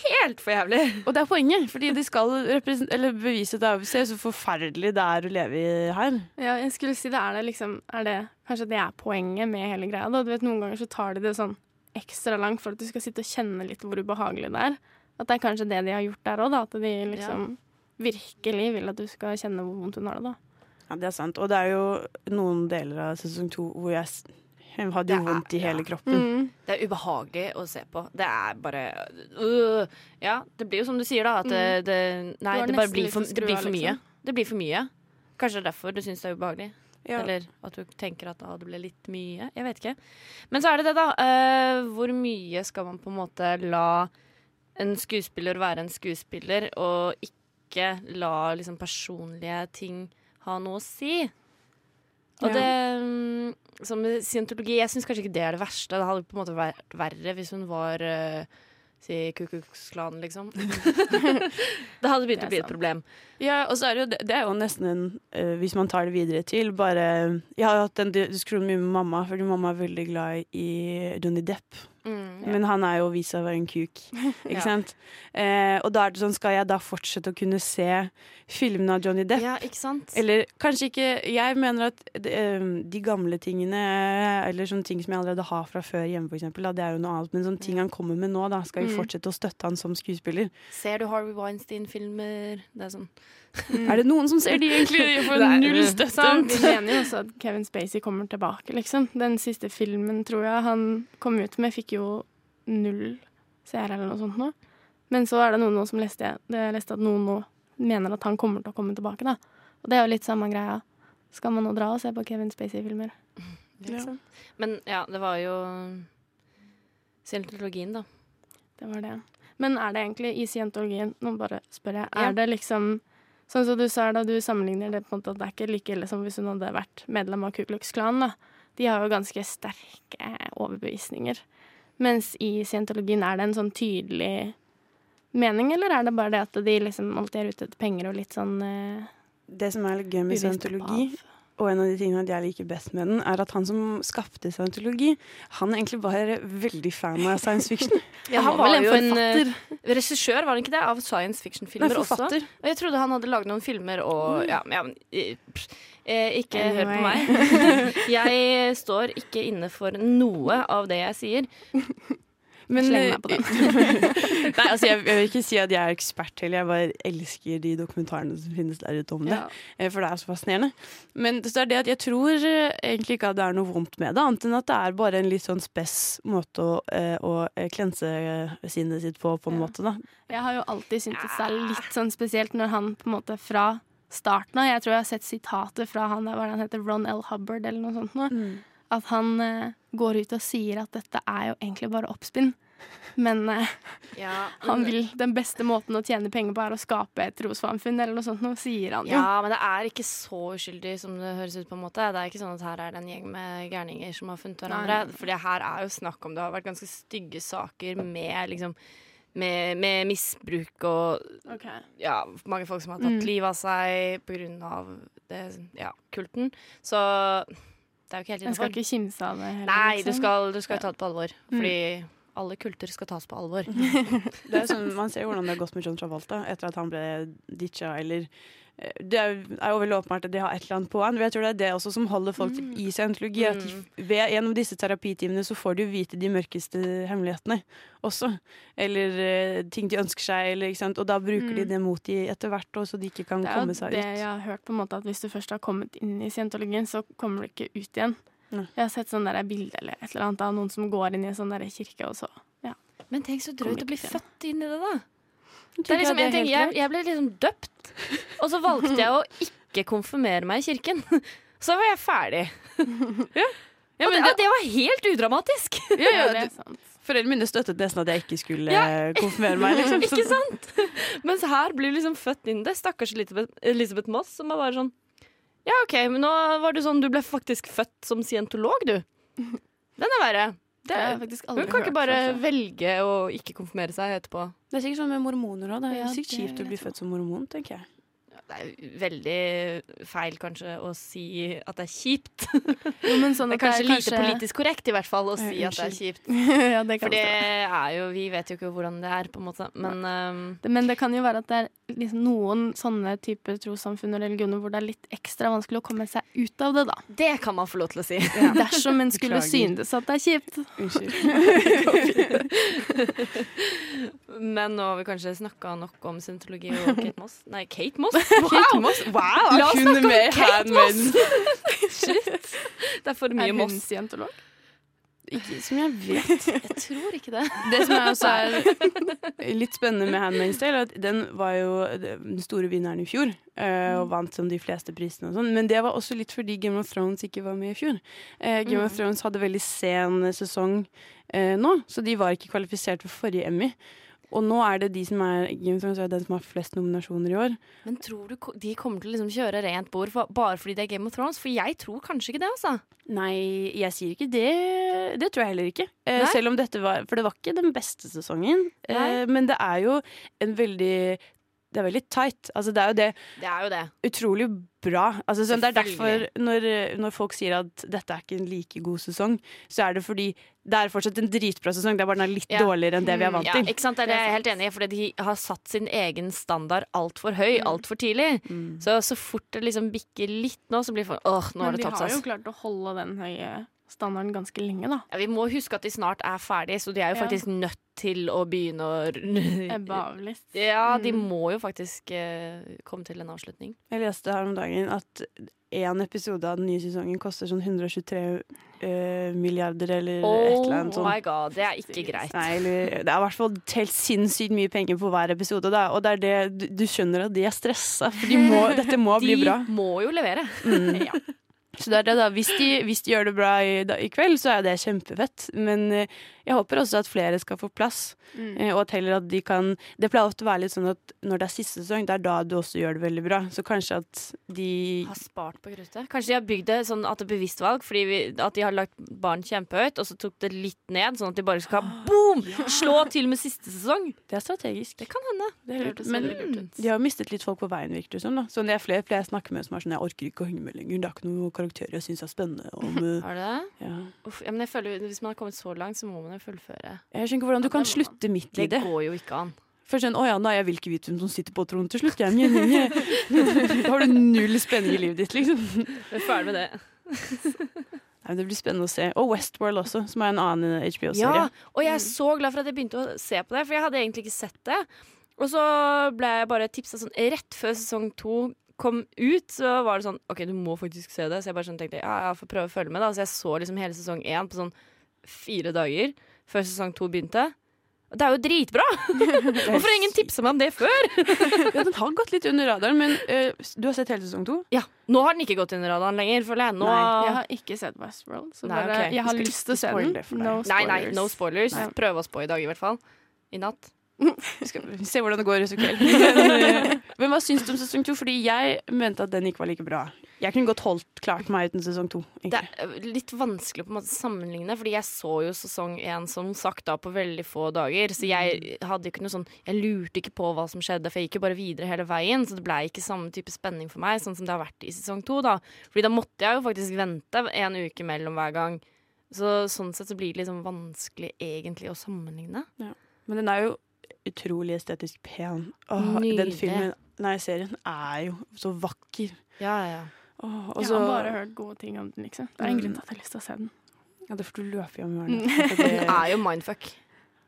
B: helt for jævlig.
A: og det er poenget, fordi de skal represen- eller bevise at det er så forferdelig det er å leve i her.
C: Ja, jeg skulle si det er det liksom er det, Kanskje det er poenget med hele greia. Da. Du vet, Noen ganger så tar de det sånn ekstra langt for at du skal sitte og kjenne litt hvor ubehagelig det er. At det er kanskje det de har gjort der òg, at de liksom virkelig vil at du skal kjenne hvor vondt hun har det. da.
A: Ja, det er sant. Og det er jo noen deler av sesong to hvor jeg s- jeg hadde jo
B: Det er-
A: vondt i hele
B: ja.
C: Mm.
B: Mm.
A: kroppen.
B: Det er ubehagelig å se på. Det er bare øh, Ja, det blir jo som du sier, da. At det, det, nei,
C: Du har
B: det bare
C: nesten
B: blir
C: lyst
B: for,
C: til å
B: det blir
C: skru
B: for
C: av,
B: mye.
C: liksom.
B: Det blir for mye. Kanskje det er derfor du syns det er ubehagelig.
A: Ja.
B: Eller at du tenker at ah, det ble litt mye. Jeg vet ikke. Men så er det det, da. eh, hvor mye skal man på en måte la en skuespiller være en skuespiller, og ikke la liksom, personlige ting ha noe å si? Og
C: Ja.
B: det mm, Som med scientologi Jeg syns kanskje ikke det er det verste. Det hadde på en måte vært verre hvis hun var eh, Si Ku Klux Klan, liksom. *laughs* det hadde begynt
C: Det er
B: å bli et
C: sant.
B: problem.
A: Ja, og så er det jo det, det er jo nesten en eh, Hvis man tar det videre til bare Jeg har jo hatt en di- diskusjon mye med mamma, fordi mamma er veldig glad i Johnny Depp.
C: Mm.
A: Men han er jo vist seg å være en kuk,
B: *laughs*
A: ikke
B: Ja.
A: sant. Eh, og da er det sånn, skal jeg da fortsette å kunne se filmene av Johnny Depp?
B: Ja, ikke sant?
A: Eller kanskje ikke Jeg mener at eh, de gamle tingene, eller sånne ting som jeg allerede har fra før hjemme, for eksempel, da, det er jo noe annet. Men sånne ting han kommer med nå, da, skal vi
C: Mm.
A: fortsette å støtte han som skuespiller?
B: Ser du Harvey Weinstein-filmer? Det er sånn.
A: Er *laughs* det noen som ser de egentlig? *laughs* Jeg får
B: Nei, *laughs*
A: null
B: det-
A: støtte.
C: Sant? Vi mener jo også at Kevin Spacey kommer tilbake, liksom. Den siste filmen, tror jeg, han kom ut med, fikk jo null seere eller noe sånt nå. Men så er det noen nå som leste, det leste at noen nå mener at han kommer til å komme tilbake, da. Og det er jo litt samme greia. Skal man nå dra og se på Kevin Spacey-filmer? Liksom.
B: Men ja, det var jo Scientologien, da.
C: Det var det. Men er det egentlig i scientologien Nå bare spør jeg.
B: Ja.
C: Er det liksom Sånn som du sa da, du sammenligner det på en måte at det er ikke like ille som hvis hun hadde vært medlem av Ku Klux Klan, da. De har jo ganske sterke overbevisninger. Mens i scientologien er det en sånn tydelig mening, eller er det bare det at de liksom alltid er ute etter penger og litt sånn uh,
A: Det som er litt gøy med scientologi, og en av de tingene at jeg liker best med den, er at han som skapte scientologi, han er egentlig bare veldig fan av science *laughs* fiction.
B: han var jo en eh, regissør, var han ikke det? Av
A: Han
B: science
A: er
B: fiction-filmer også.
A: forfatter.
B: Og jeg trodde han hadde lagd noen filmer og ja, men- ja, men, eh, pff, eh, Ikke hør på
C: Anyway.
B: *laughs* meg. Jeg står ikke inne for noe av det jeg sier.
A: Men,
C: Sleng meg på den.
A: *laughs* Nei, altså jeg, jeg vil ikke si at jeg er ekspert heller, jeg bare elsker de dokumentarene som finnes der ute om det.
C: Ja.
A: Eh, For det er så fascinerende. Men det så er det at jeg tror eh, egentlig ikke at det er noe vondt med det, annet enn at det er bare en litt sånn spess måte å, eh, å eh, klense eh, sinnet sitt på, på en
C: Ja.
A: måte, da.
C: Jeg har jo alltid syntes det er litt sånn spesielt når han på en måte fra starten av Jeg tror jeg har sett sitater fra han der, hva er det han heter, Ron L. Hubbard eller noe sånt. Nå, At han eh, går ut og sier at dette er jo egentlig bare oppspinn. Men eh, han vil den beste måten å tjene penger på er å skape et trossamfunn eller noe sånt. Nå sier han jo.
B: Ja, men det er ikke så uskyldig som det høres ut. på en måte Det er ikke sånn at her er det en gjeng med gærninger som har funnet
C: Nei,
B: hverandre. For det her er jo snakk om det har vært ganske stygge saker med liksom med, med misbruk og ja, mange folk som har tatt
C: Mm.
B: livet av seg pga. Ja, kulten. Så det er jo ikke helt
C: Jeg skal
B: innafor.
C: ikke kimse av det heller.
B: Nei, du
C: liksom. Mm.
B: skal, du skal jo ta det på alvor. Fordi alle kulter skal tas på alvor.
C: *laughs*
A: Det er sånn, man ser jo hvordan det har gått med John Travolta etter at han ble ditcha, eller eh, det er jo- er jo veldig åpenbart at de har et eller annet på han. men Jeg tror det er det også som holder folk
B: Mm.
A: i scientologi. At de, f- ved, gjennom disse terapitimene så får de jo vite de mørkeste hemmelighetene også. Eller eh, ting de ønsker seg, eller, ikke sant? og da bruker
B: Mm.
A: de det mot de etter hvert, og så de ikke kan
C: Det er
A: komme
C: jo
A: seg
C: det
A: ut.
C: jeg har hørt, på en måte at hvis du først har kommet inn i scientologien, så kommer du ikke ut igjen.
A: Nei.
C: Jeg har sett sånn der bilde eller et eller annet av noen som går inn i en sånn der kirke, og så
B: Men tenk så drøyt å bli
C: Kommer ikke
B: født inn i det, da.
A: Jeg
B: Det
A: tenker
B: er liksom
A: at
B: en ting,
A: helt
B: jeg, jeg ble liksom døpt, og så valgte jeg å ikke konfirmere meg i kirken. *laughs* Så var jeg ferdig.
A: Ja,
B: Og det,
A: men
B: og det var helt udramatisk! *laughs*
A: det, ja,
C: Ja,
A: ja,
C: det er
A: du-
C: sant.
A: foreldrene mine støttet nesten at jeg ikke skulle
B: Ja.
A: eh, *laughs* konfirmere meg. Liksom. *laughs*
B: *laughs* Ikke sant? Mens her blir liksom født inn det stakkars Elisabeth, Elisabeth Moss, som var bare sånn Ja, OK, men nå var det sånn du ble faktisk født som scientolog, du. Den er verre. Det,
C: Det har jeg faktisk aldri
B: hun kan ikke
C: hørt
B: bare
C: før, så.
B: velge å ikke konfirmere seg etterpå.
A: Det er sikkert sånn med mormoner òg. Det er liksom.
C: Ja,
A: jo sykt
C: det
A: kjipt å
C: vil
A: bli
C: jeg
A: født som mormon, tenker jeg.
B: Det er veldig feil kanskje å si at det er kjipt.
C: Jo, men sånn
B: Det
C: at
B: er kanskje
C: det er
B: lite politisk korrekt i hvert fall å
A: Eh,
B: si at det er kjipt.
C: ja, det kan
B: For det
C: stå.
B: er jo Vi vet jo ikke hvordan det er, på en måte. Men ehm,
C: Det- Men det kan jo være at det er liksom noen sånne typer trossamfunn og religioner hvor det er litt ekstra vanskelig å komme seg ut av det, da.
B: det kan man få lov til *laughs* å si.
C: *laughs* Dersom en skulle
A: Beklager.
C: synes at det er kjipt.
A: Unnskyld.
B: Men nå har vi kanskje snakka nok om syntologi *laughs* og Kate Moss. Nei, Kate Moss!
A: Kate
B: Wow!
A: Moss, wow!
B: La oss
A: kun
B: snakke om
A: med
B: Kate
A: handmaiden.
B: *laughs* Det er for mye
C: Er hun
B: Moss.
C: *laughs* scientolog?
A: *laughs* Ikke som jeg vet.
B: Jeg tror ikke det.
A: Det som er også
B: *laughs*
A: er *laughs* litt spennende med Handmaid's Tale, er at den var jo den store vinneren i fjor. eh, Og vant som de fleste prisene og sånn. Men det var også litt fordi Game of Thrones ikke var med i fjor. Eh, Game of Thrones hadde veldig sen sesong eh, nå, så de var ikke kvalifisert for forrige Emmy. Og nå er det de som er Game of Thrones er den som har flest nominasjoner i år.
B: Men tror du ko- de kommer til å liksom kjøre rent bord for, bare fordi det er Game of Thrones? For jeg tror kanskje ikke det, altså.
A: Nei, jeg sier ikke det. Det tror jeg heller ikke. Eh,
B: Nei?
A: selv om dette var For det var ikke den beste sesongen.
B: Nei.
A: Eh, men det er jo en veldig Det er veldig tight. Altså, det er jo det
B: Det er jo det.
A: utrolig bra. Altså, sånn, det er derfor
B: Selvfølgelig.
A: når, når folk sier at dette er ikke en like god sesong, så er det fordi det er fortsatt en dritbra sesong, det er bare den er litt
B: Ja.
A: dårligere enn det vi er vant
B: Mm, Ja,
A: til.
B: ikke sant? Det er det
C: Det er
B: jeg er helt enig i, fordi de har satt sin egen standard altfor høy
A: Mm.
B: altfor tidlig. Så, så fort det liksom bikker litt nå, så blir det for Åh, nå
C: Men
B: har det
C: de
B: tatt
C: har
B: seg.
C: jo
B: ass.
C: klart å holde den høye standarden ganske lenge, da.
B: Ja, vi må huske at de snart er ferdig, så de er jo
C: Ja.
B: faktisk nødt til å begynne *laughs* å
C: Ebbe avlyst.
B: Ja, de
C: Mm.
B: må jo faktisk eh, komme til en avslutning.
A: Jeg leste her om dagen at én episode av den nye sesongen koster sånn 123 eh, milliarder eller et eller annet sånt.
B: Oh my god, det er ikke greit.
A: Nei, eller, det er i hvert fall helt sinnssykt mye penger på hver episode. Da. Og det er det, du, du skjønner at de er stressa, for de må,
B: *laughs*
A: dette må bli
B: De
A: bra.
B: må jo levere.
A: Mm. Så det er det da. Hvis de, hvis de gjør det bra i, da, i kveld, så er det kjempefett. Men eh, jeg håper også at flere skal få plass.
C: Mm.
A: eh, og at heller at de kan Det pleier ofte å være litt sånn at når det er siste sesong, det er da du også gjør det veldig bra. Så kanskje at de
B: Har spart på kruttet. Kanskje de har bygd det sånn at det er bevisst valg, fordi vi, at de har lagt barn kjempehøyt, og så tok det litt ned, sånn at de bare skal boom! Slå til med siste sesong.
A: Det er strategisk.
B: Det kan hende.
A: Det er lurt.
C: hørtes
A: Men
C: veldig lurt ut.
A: de har mistet litt folk på veien, virker det som. da. Så det er flere, flere jeg snakker med som er sånn Jeg orker ikke å henge med lenger. Det er ikke noen karakterer jeg syns er spennende. Om, eh,
B: Har du det?
A: ja.
B: Uff, ja, men jeg føler, hvis man har kommet så langt, så må man jo fullføre.
A: Jeg skjønner ikke hvordan du kan slutte midt i
B: Det
A: det.
B: går jo ikke an.
A: For sånn, å ja, nei, jeg vil ikke vite hvem som sitter på tronen til slutt. Jeg, men, jeg, *laughs* Da har du null spenning i livet ditt, liksom.
B: Vi er ferdig med det.
A: Nei, men det blir spennende å se. Og Westworld også, som er en annen HBO-serie.
B: Ja, og jeg er så glad for at jeg begynte å se på det, for jeg hadde egentlig ikke sett det. Og så ble jeg bare tipsa sånn rett før sesong to kom ut, så var det sånn OK, du må faktisk se det. Så jeg bare sånn tenkte ja, jeg får prøve å følge med, da. Så jeg så liksom hele sesong én på sånn fire dager før sesong to begynte. Og det er jo dritbra! Hvorfor har ingen tipsa meg om det før?
A: Ja, den har gått litt under radaren, men eh, du har sett hele sesong to?
B: Ja, Nå har den ikke gått under radaren lenger, føler jeg. Nå
A: Nei,
C: Jeg har ikke sett Westworld, så
B: Nei,
C: bare,
B: ok.
C: jeg har
A: Vi skal
C: lyst til å
A: ikke
C: se
A: spoile
C: den.
A: det for deg.
B: nei, nei, no spoilers.
C: Nei.
B: Prøve oss på i dag, i hvert fall. I natt.
A: Vi skal se hvordan det går i så kveld.
B: *laughs*
A: Men, eh, men hva syns du om sesong to? Fordi jeg mente at den ikke var like bra. Jeg kunne godt holdt klart meg uten sesong to.
B: Det
A: egentlig.
B: er eh, litt vanskelig å på en måte sammenligne, fordi jeg så jo sesong én som sagt da på veldig få dager. Så jeg hadde ikke noe sånn Jeg lurte ikke på hva som skjedde, for jeg gikk jo bare videre hele veien. Så det blei ikke samme type spenning for meg, sånn som det har vært i sesong to. da Fordi da måtte jeg jo faktisk vente en uke mellom hver gang. Så sånn sett så blir det liksom vanskelig egentlig å sammenligne.
A: Men den er jo utrolig estetisk pen. Åh, den
B: Nydelig.
A: filmen, nei, serien er jo så vakker.
B: Ja, ja, ja.
A: Åh, og
C: Jeg
A: så-
C: har bare hørt gode ting om den, liksom. Det er en grunn til at jeg har lyst til å se den.
A: Ja, det får du løpe hjem i
C: Mm.
B: *laughs* Det
A: morgen.
B: er jo mindfuck.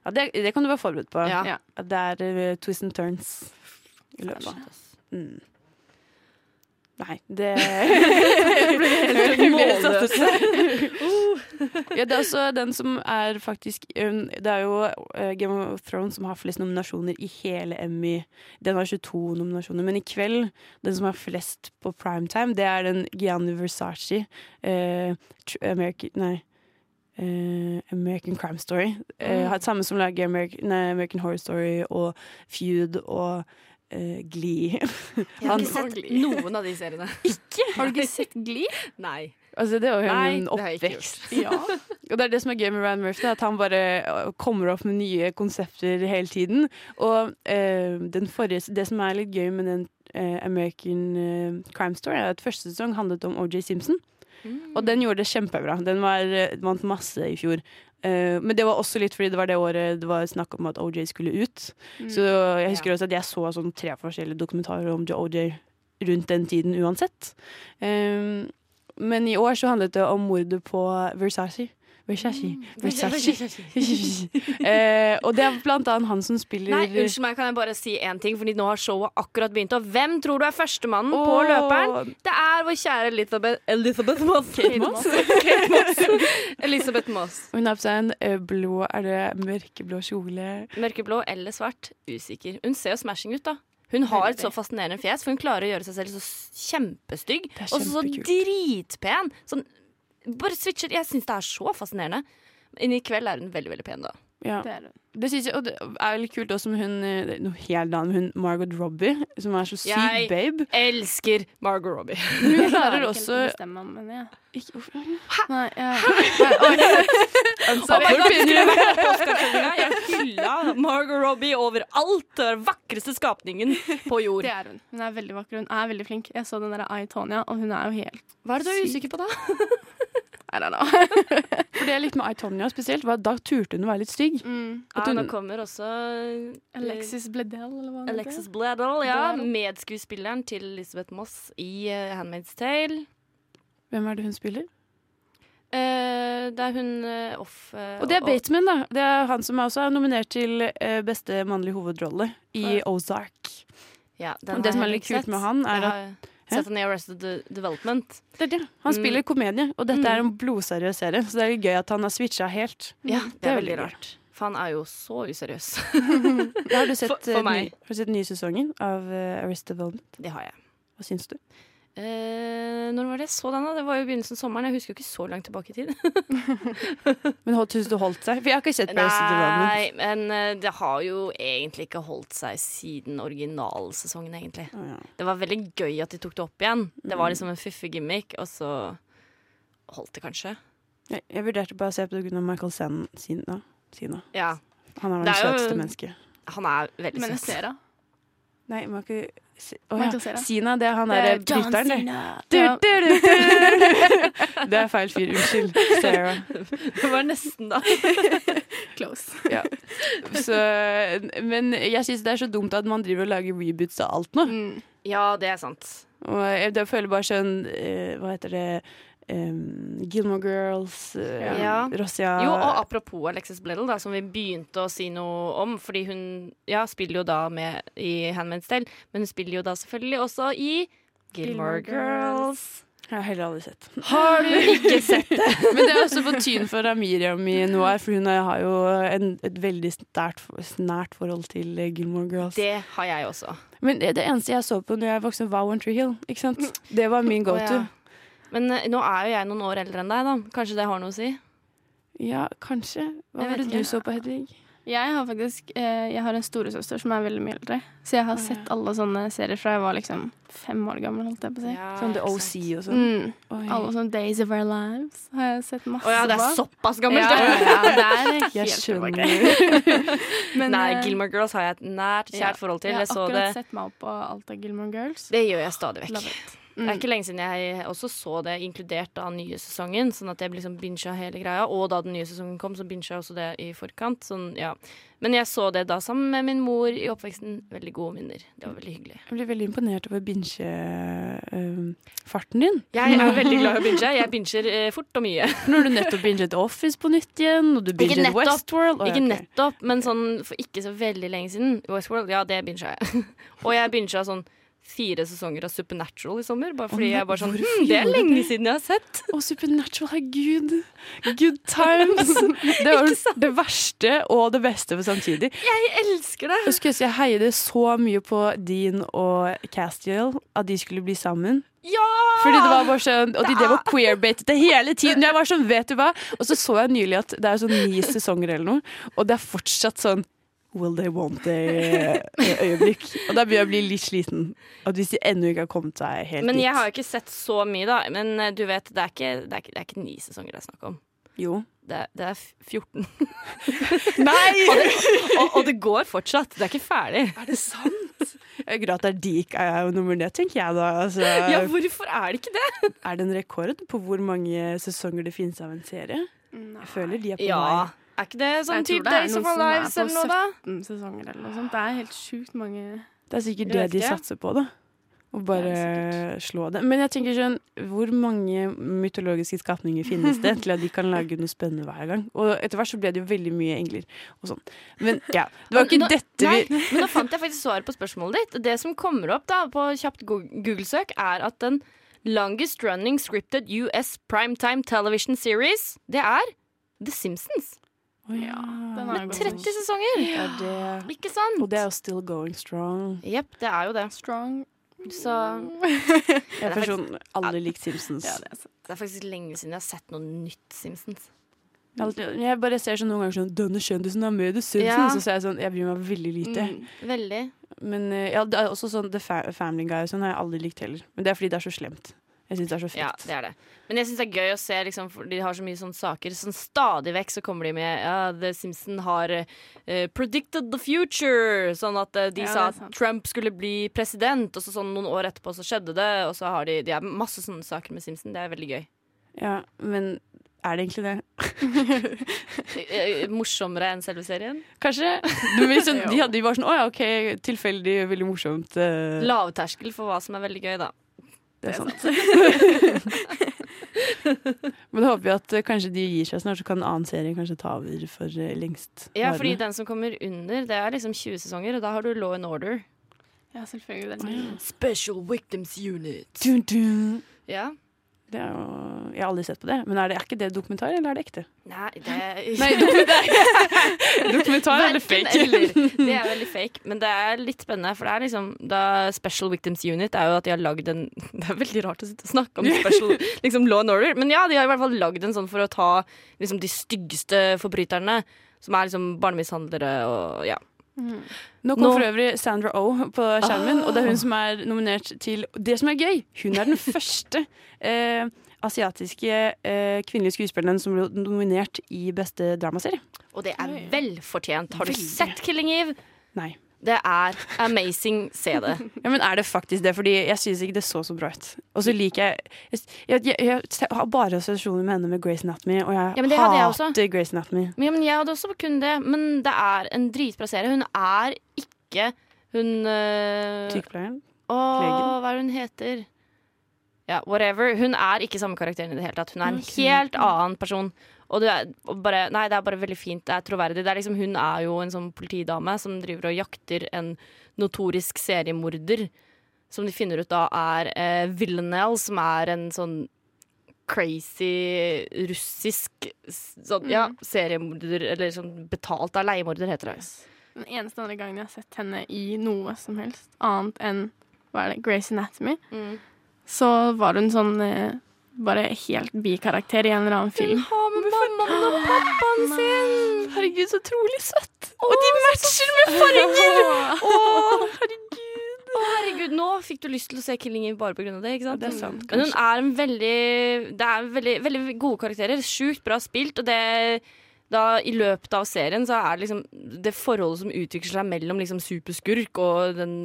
A: Ja, det, det kan du være forberedt på.
B: Ja.
C: Ja.
A: At det er eh, twists and turns i løpet av mm. Nei, *laughs* det
B: Målløs.
A: Ja, det er også den som er faktisk um, Det er jo eh, Game of Thrones som har flest nominasjoner i hele Emmy. Den har 22 nominasjoner, men i kveld, den som har flest på primetime, det er den Gianni Versace. eh, tr- American Nei. eh, American Crime Story. Eh, har- samme som lager American, nei, American Horror Story og Feud og eh, Glee.
B: Jeg har
A: Han-
B: ikke sett *laughs* noen av de seriene.
C: Har du ikke sett Glee?
B: Nei.
A: Altså, det var jo
B: Nei,
A: en
B: det har jeg ikke
A: oppvekst. *laughs* Og det er det som er gøy med Ryan Murphy, da, at han bare øh, kommer opp med nye konsepter hele tiden. Og øh, den forrige, det som er litt gøy med den øh, American øh, Crime Story, er at første sesong handlet om O.J. Simpson.
B: Mm.
A: Og den gjorde det kjempebra. Den var, øh, vant masse i fjor. Eh, men det var også litt fordi det var det året det var snakk om at OJ skulle ut.
C: Mm.
A: Så jeg husker også at jeg så sånn tre forskjellige dokumentarer om OJ rundt den tiden uansett. Eh, men i år så handlet det om mordet på Versace. Versace.
B: Mm.
A: Versace. *laughs* Eh, og det er blant annet han som spiller
B: Nei, unnskyld meg, kan jeg bare si én ting? Fordi nå har showet akkurat begynt. Og hvem tror du er førstemannen på
A: Åh.
B: løperen? Det er vår kjære Elizabeth Elizabeth Moss. *laughs* Kate
A: Moss.
B: Kate Moss. Elizabeth Moss.
A: Hun har på seg en eh, blå Er det mørkeblå kjole?
B: Mørkeblå eller svart? Usikker. Hun ser jo smashing ut, da. Hun har et så fascinerende fjes, for hun klarer å gjøre seg selv så s- kjempestygg.
A: Det er
B: Og så
A: kjempekult.
B: dritpen! Sånn, bare switcher. Jeg syns det er så fascinerende. Men i kveld er hun veldig, veldig pen, da.
A: Ja.
C: Det er det.
A: Det synes jeg, og det er litt kult også med hun eh, det er Noe helt annet med hun Margot Robbie, som er så syk
B: Jeg-
A: babe.
B: Elsker Margot Robbie.
A: *laughs* Hun klarer
C: klarer ikke helt å
A: også
C: bestemme meg, men jeg.
A: ikke, hvorfor-
C: Nei, jeg
B: Oh my God, skulle jeg vært på Oscarsendinga. Jeg hylla Margot Robbie overalt. Det var den vakreste skapningen på jord.
C: Det er hun. Hun er veldig vakker. Hun er veldig flink. Jeg så den der I, Tonya, og hun er jo helt
B: Hva er det du er usikker på, da?
C: I don't know.
A: For det er litt med Aitonia spesielt, var at da turte hun å være litt stygg.
B: Ja,
A: At hun-
B: nå kommer også eh,
C: Mm. Alexis Bledel, eller hva hun
B: Alexis Bledel, ja.
C: Bledel.
B: Medskuespilleren til Elisabeth Moss i eh, Handmaid's Tale.
A: Hvem er det hun spiller?
B: Eh, det er hun eh, off eh,
A: Og det er Bateman, da. Det er han som er også er nominert til eh, beste mannlige hovedrolle i Ozark.
B: ja, den
A: Og
B: har
A: det som
B: jeg
A: er litt
B: ikke
A: kult
B: sett.
A: med han, er
B: Jeg
A: at
B: har Sett han i Arrested De- Development.
A: det er det. han
B: Mm.
A: spiller komedie, og dette
B: Mm.
A: er en blodseriøs serie, så det er litt gøy at han har switcha helt.
B: Ja, Mm. det, er veldig
A: veldig gøy.
B: rart. For han er jo så useriøs. *laughs*
A: Da har du sett,
B: For- for
A: eh, ny,
B: meg.
A: har du sett nye sesongen av eh, Arrested Development?
B: det har jeg.
A: Hva syns du?
B: Eh, når var det jeg så den, da? Det var jo i begynnelsen av sommeren. Jeg husker jo ikke så langt tilbake
C: *laughs*
B: i tid.
A: Men hold- syns du holdt seg? For jeg har ikke sett Arrested Development.
B: Nei, men eh, det har jo egentlig ikke holdt seg siden originalsesongen, egentlig.
A: Å, ja.
B: Det var veldig gøy at de tok det opp igjen. Det
C: Mm.
B: var liksom en fiffegimmick, og så holdt det kanskje.
A: Jeg, jeg vurderte bare å se på det grunn av Michael Sen Sina. Sina.
B: Ja.
A: Han er vel
B: Det
A: det
B: er jo-
A: søteste mennesket.
B: Han er veldig
C: Men jeg
B: søt.
C: ser da.
A: Nei, man kan ikke si- Å,
C: Michael
A: ja.
C: Cera.
A: Sina, det er han
C: Det
A: derre
C: er John
A: bryteren, det. Du,
C: Ja.
A: du, du, du. Det er feil fyr. Unnskyld, Sarah.
B: Det var nesten, da.
C: Close.
A: Ja. Så, men jeg syns det er så dumt at man driver og lager reboots av alt nå.
C: Mm.
B: *laughs* Ja, det er sant.
A: Og jeg, jeg føler bare sånn eh, Hva heter det Em, Gilmore Girls, eh,
B: Ja.
A: Rosia
B: Jo,
C: Ah.
B: og apropos Alexis Bleddle, da, som vi begynte å si noe om, fordi hun ja, spiller jo da med i Handmaid's Tale, men hun spiller jo da selvfølgelig også i Gilmore
C: Gilmore
B: Girls.
A: Jeg har heller aldri sett.
B: Har du ikke sett det?
A: Men det er også på tyn for Miriam i Noir, for hun har jo en, et veldig nært, nært forhold til eh, Gilmore Girls.
B: Det har jeg også.
A: Men det, det eneste jeg så på når jeg vokste opp, var One Tree Hill. Ikke sant? Det var min go
B: Å,
A: to.
B: ja. Men eh, nå er jo jeg noen år eldre enn deg, da. Kanskje det har noe å si?
A: Ja, kanskje. Hva
B: Jeg
A: var
B: vet
A: det du
B: ikke.
A: så på, Hedvig?
C: Jeg har faktisk eh, Jeg har en storesøster som er veldig mye eldre, så jeg har sett alle sånne serier fra jeg var liksom fem år gammel, holdt jeg på å si.
A: Sånn The OC og sånn.
C: Mm.
A: Oi.
C: Alle sånne Days of Our Lives har jeg sett masse
B: Å ja, det er
C: på.
B: såpass
C: Ja,
B: gammelt!
C: altså, ja,
B: Ja. *laughs*
C: ja, det er helt
A: Jeg
C: tilbake.
A: skjønner.
C: *laughs* Men,
B: Nei,
C: eh,
B: Gilmore Girls har jeg et nært,
C: ja,
B: kjært forhold til.
C: Jeg
B: Jeg
C: har
B: så
C: akkurat
B: det.
C: sett meg opp på alt av Gilmore Girls.
B: Det gjør jeg stadig vekk.
C: Love it.
B: Det er ikke lenge siden jeg også så det, inkludert da nye sesongen. Sånn at jeg liksom binga hele greia. Og da den nye sesongen kom, så binga jeg også det i forkant. Sånn, ja. Men jeg så det da sammen med min mor i oppveksten. Veldig gode minner. Det var veldig hyggelig.
A: Jeg blir veldig imponert over binge-farten din.
B: Jeg er veldig glad i å binge. *laughs* Jeg binger eh, fort og mye.
A: Når du nettopp binget Office på nytt igjen, og du binget
B: nettopp.
A: Westworld. Å, ja,
B: Ikke
A: ok.
B: *laughs* nettopp, men sånn for ikke så veldig lenge siden. Westworld, ja, det binga jeg. og jeg binga sånn fire sesonger av Supernatural i sommer. Bare fordi jeg bare sånn hm, Det er lenge siden jeg har sett!
A: Og Supernatural, herregud. Good
B: *laughs*
A: times. Det var det verste og det beste for samtidig.
B: Jeg elsker det!
A: Jeg skulle ønske jeg heide så mye på Dean og Castiel, at de skulle bli sammen.
B: Ja!
A: Fordi det var
B: Ah.
A: bare sånn, Og de drev og queerbatet det hele tiden. Jeg var sånn, vet du hva? Og så så jeg nylig at det er sånn ni sesonger eller noe, og det er fortsatt sånn Will they want they-øyeblikk. Og da begynner jeg å bli litt sliten. At hvis de ennå ikke har kommet seg helt
B: Men
A: dit.
B: jeg har jo ikke sett så mye, da. Men eh, du vet, det er ikke, det er ikke, det er ikke ni sesonger det er snakk om. *laughs*
A: Jo.
B: Det, er- det er f- 14.
A: Nei!
B: Og, og det går fortsatt. Det er ikke ferdig.
A: Er det sant? Jeg gråter dik er jo nummer det, tenker jeg da. Altså,
B: Ja, hvorfor er det ikke det?
A: Er det en rekord på hvor mange sesonger det finnes av en serie? Jeg føler de er på
B: Ja.
A: vei.
B: Er ikke det sånn
C: Jeg tror
B: type
C: det er
B: Days of
C: noen
B: Our
C: som er
B: Lives
C: på
B: eller noe, da?
C: 17 sesonger eller noe sånt. Det er helt sjukt mange
A: Det er sikkert det
B: Jeg vet
A: de
B: ikke.
A: satser på, da. Og
C: Det
A: bare
C: er
A: slå det. Men jeg tenker sånn, hvor mange mytologiske skapninger finnes det til at de kan lage noe spennende hver gang? Og etter hvert så ble det jo veldig mye engler og sånn. Men ja, det var
B: Og
A: ikke
B: nå-
A: dette vi
B: Nei, men nå fant jeg faktisk svaret på spørsmålet ditt. Det som kommer opp da på kjapt go- Google-søk, er at den longest running scripted US primetime television series, det er The Simpsons.
A: Å
C: Ja, den
A: ja.
C: er jo
B: 30 sesonger!
A: Det er det.
B: Ikke sant?
A: Og det er jo still going strong.
B: Jepp, det er jo det.
C: strong.
B: Så
C: *laughs*
A: Jeg er
B: det er
A: sånn, alle liker Simpsons.
C: Ja, det er sant.
B: det er faktisk lenge siden jeg har sett noe nytt Simpsons.
A: Jeg har alltid- Jeg bare ser sånn noen ganger sånn 'Denne kjendisen er med i The
B: Ja.
A: Simpsons', så ser jeg sånn Jeg bryr meg veldig lite.
C: Mm.
B: Veldig.
A: Men eh, ja, det er også sånn The Fa Family Guy og sånn har jeg aldri likt heller. Men det er fordi det er så slemt. Jeg syns det er så
B: Ja,
A: frekt.
B: det er det. Men jeg syns det er gøy å se, liksom, for de har så mye sånne saker. Sånn stadig vekk så kommer de med ja, The Simpson har eh, predicted the future. Sånn at eh, de
C: Ja, det
B: sa
C: er
B: at
C: sant.
B: Trump skulle bli president, og så sånn noen år etterpå så skjedde det. Og så har de, de har masse sånne saker med Simpson. Det er veldig gøy.
A: Ja, men er det egentlig det?
B: Eh, Morsommere enn selve serien.
A: Kanskje. *laughs* Du, men sånn, de, hadde, de var sånn 'Å ja, OK, tilfeldig, veldig morsomt'. eh,
B: Lavterskel for hva som er veldig gøy, da.
A: det sånn. er sant. *laughs* men da håper vi at eh, kanskje de gir seg snart, så kan en annen serie kanskje ta over for eh, lengst.
B: Ja,
A: varende.
B: fordi den som kommer under, det er liksom 20 sesonger, og da har du Law and Order.
C: Ja, selvfølgelig. Det er sant.
B: Special Victims Unit.
A: Dun, dun.
B: Ja.
A: Det er jo, jeg har aldri sett på det. Men er det, er ikke det dokumentar, eller er det ekte?
B: Nei, det
A: Nei, dokumentar,
B: *laughs*
A: dokumentar eller
B: Verken
A: fake?
B: eller. Det er veldig fake, men det er litt spennende. For det er liksom da Special Victims Unit er jo at de har lagd en *laughs* Det er veldig rart å sitte og snakke om
A: *laughs*
B: special liksom law and order, men ja, de har i hvert fall lagd en sånn for å ta liksom de styggeste forbryterne. Som er liksom barnemishandlere og ja.
C: Mm.
A: Nå kom
B: Nå- Ah.
A: for øvrig Sandra Oh på skjermen min, og det er hun som er nominert til Det som er gøy, hun
B: *laughs*
A: er den første eh, asiatiske eh, kvinnelige skuespilleren som ble nominert i beste dramaserie.
B: Og det er velfortjent. Har du sett Killing Eve?
A: Nei.
B: Det er amazing. Se det.
A: Ja, men er det faktisk det? Fordi jeg syns ikke det så så bra ut. Og så liker jeg jeg, jeg, jeg, jeg har bare assosiasjoner med henne med Grace Anatomy, og jeg
B: Ja, men det hadde jeg også.
A: hater Grace Anatomy.
B: Men, ja, men jeg hadde også kun det. Men det er en dritbra serie. Hun er ikke hun øh,
A: Sykepleieren.
B: Åh,
A: Legen.
B: hva er det hun heter? Ja, whatever. Hun er ikke samme karakteren i det hele tatt. Hun er en helt annen person. Og det er, og bare, nei, det er bare veldig fint. Det er troverdig. Det er liksom, hun er jo en sånn politidame som driver og jakter en notorisk seriemorder. Som de finner ut da er eh, Villanelle, som er en sånn crazy russisk s- sånn, ja, seriemorder, eller sånn betalt av leiemorder, heter det.
C: Den eneste andre gangen jeg har sett henne i noe som helst annet enn hva er det, Grace Anatomy, så var hun sånn eh, bare helt bikarakter i en eller annen film.
B: *laughs* Ha med mammaen og pappaen sin!
A: Herregud, så utrolig søtt! Og de matcher med
B: *laughs*
A: farger! Åh,
B: Å, herregud, nå fikk du lyst til å se Killing Eve bare pga. det. ikke sant? Mm.
A: Det er sant,
B: Men hun er en veldig Det er veldig, veldig gode karakterer. Sjukt bra spilt. Og det da, I løpet av serien så er det liksom det forholdet som utvikler seg mellom liksom superskurk og, den,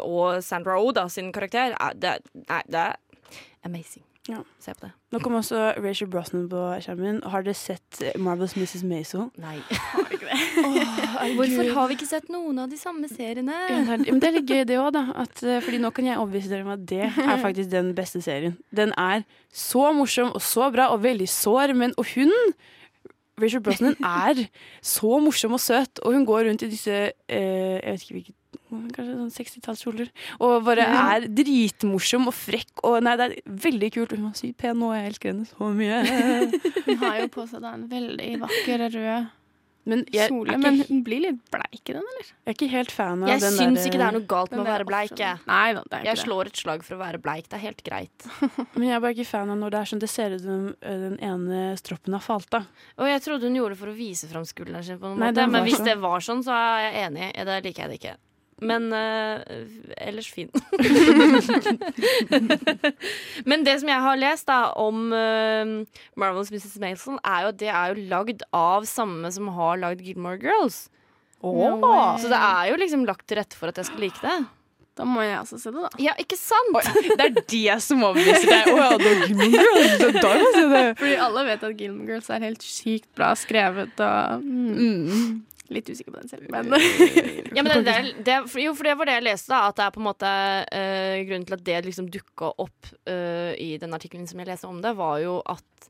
B: og Sandra Oh da, sin karakter, er, det, er- nei, det er amazing.
A: Ja.
B: Se på det.
A: Nå kom også Rachel Brosnan på skjermen. Har dere sett Marvels Mrs. Maisel?
B: Nei. *laughs* Hvorfor har vi ikke sett noen av de samme seriene?
A: Ja, det er- Men det er litt gøy det òg, da. At, eh, fordi nå kan jeg overbevise dere om at det
B: *laughs*
A: er faktisk den beste serien. Den er så morsom og så bra og veldig sår, men og hun
B: *laughs*
A: Rachel Brosnan er så morsom og søt, og hun går rundt i disse eh, Jeg vet ikke hvilket Kanskje sånn 60-tallskjoler. Og bare er dritmorsom og frekk. Og nei, det er veldig kult. Hun var sykt pen nå, jeg elsker henne så
B: *laughs*
A: mye.
C: Hun har jo på seg da en veldig vakker rød
A: Men jeg, er
C: kjole,
A: ikke-
C: men hun blir litt bleik i den, eller?
A: jeg er ikke helt fan av
B: Jeg
A: den
B: syns
A: der-
B: ikke det er noe galt med å
C: Den der
B: være bleik.
C: offshoren.
B: Jeg.
C: Nei da, det er ikke
B: jeg slår et slag for å være bleik. Det er helt greit.
A: Men jeg er bare ikke fan av når det er sånn det ser ut som ø, den ene stroppen har falt av.
B: Og jeg trodde hun gjorde det for å vise fram skulderen sin, på noen
A: Nei,
B: måte.
A: den var
B: Men hvis
A: sånn.
B: det var sånn, så er jeg enig. Ja, Det liker jeg det ikke. Men eh, ellers fin. *laughs* Men det som jeg har lest da om eh, Marvels Mrs. Mason, er jo at det er jo lagd av samme som har lagd Gilmore Girls.
A: Åh.
B: Så det er jo liksom lagt til rette for at jeg skal like det.
C: det. Da må jeg også se det, da.
B: Ja, ikke sant?
A: Det er de som overbeviser deg. Å ja, det er Gilmore Girls, det er da jeg må se det.
C: Fordi alle vet at Gilmore Girls er helt sykt bra skrevet og mm,
A: Mm.
C: Litt usikker på den selv, men
B: Ja, men det, det, det, for- jo, for det var det jeg leste, da. At det er på en måte eh, Grunnen til at det liksom dukka opp eh, i den artikkelen som jeg leste om det, var jo at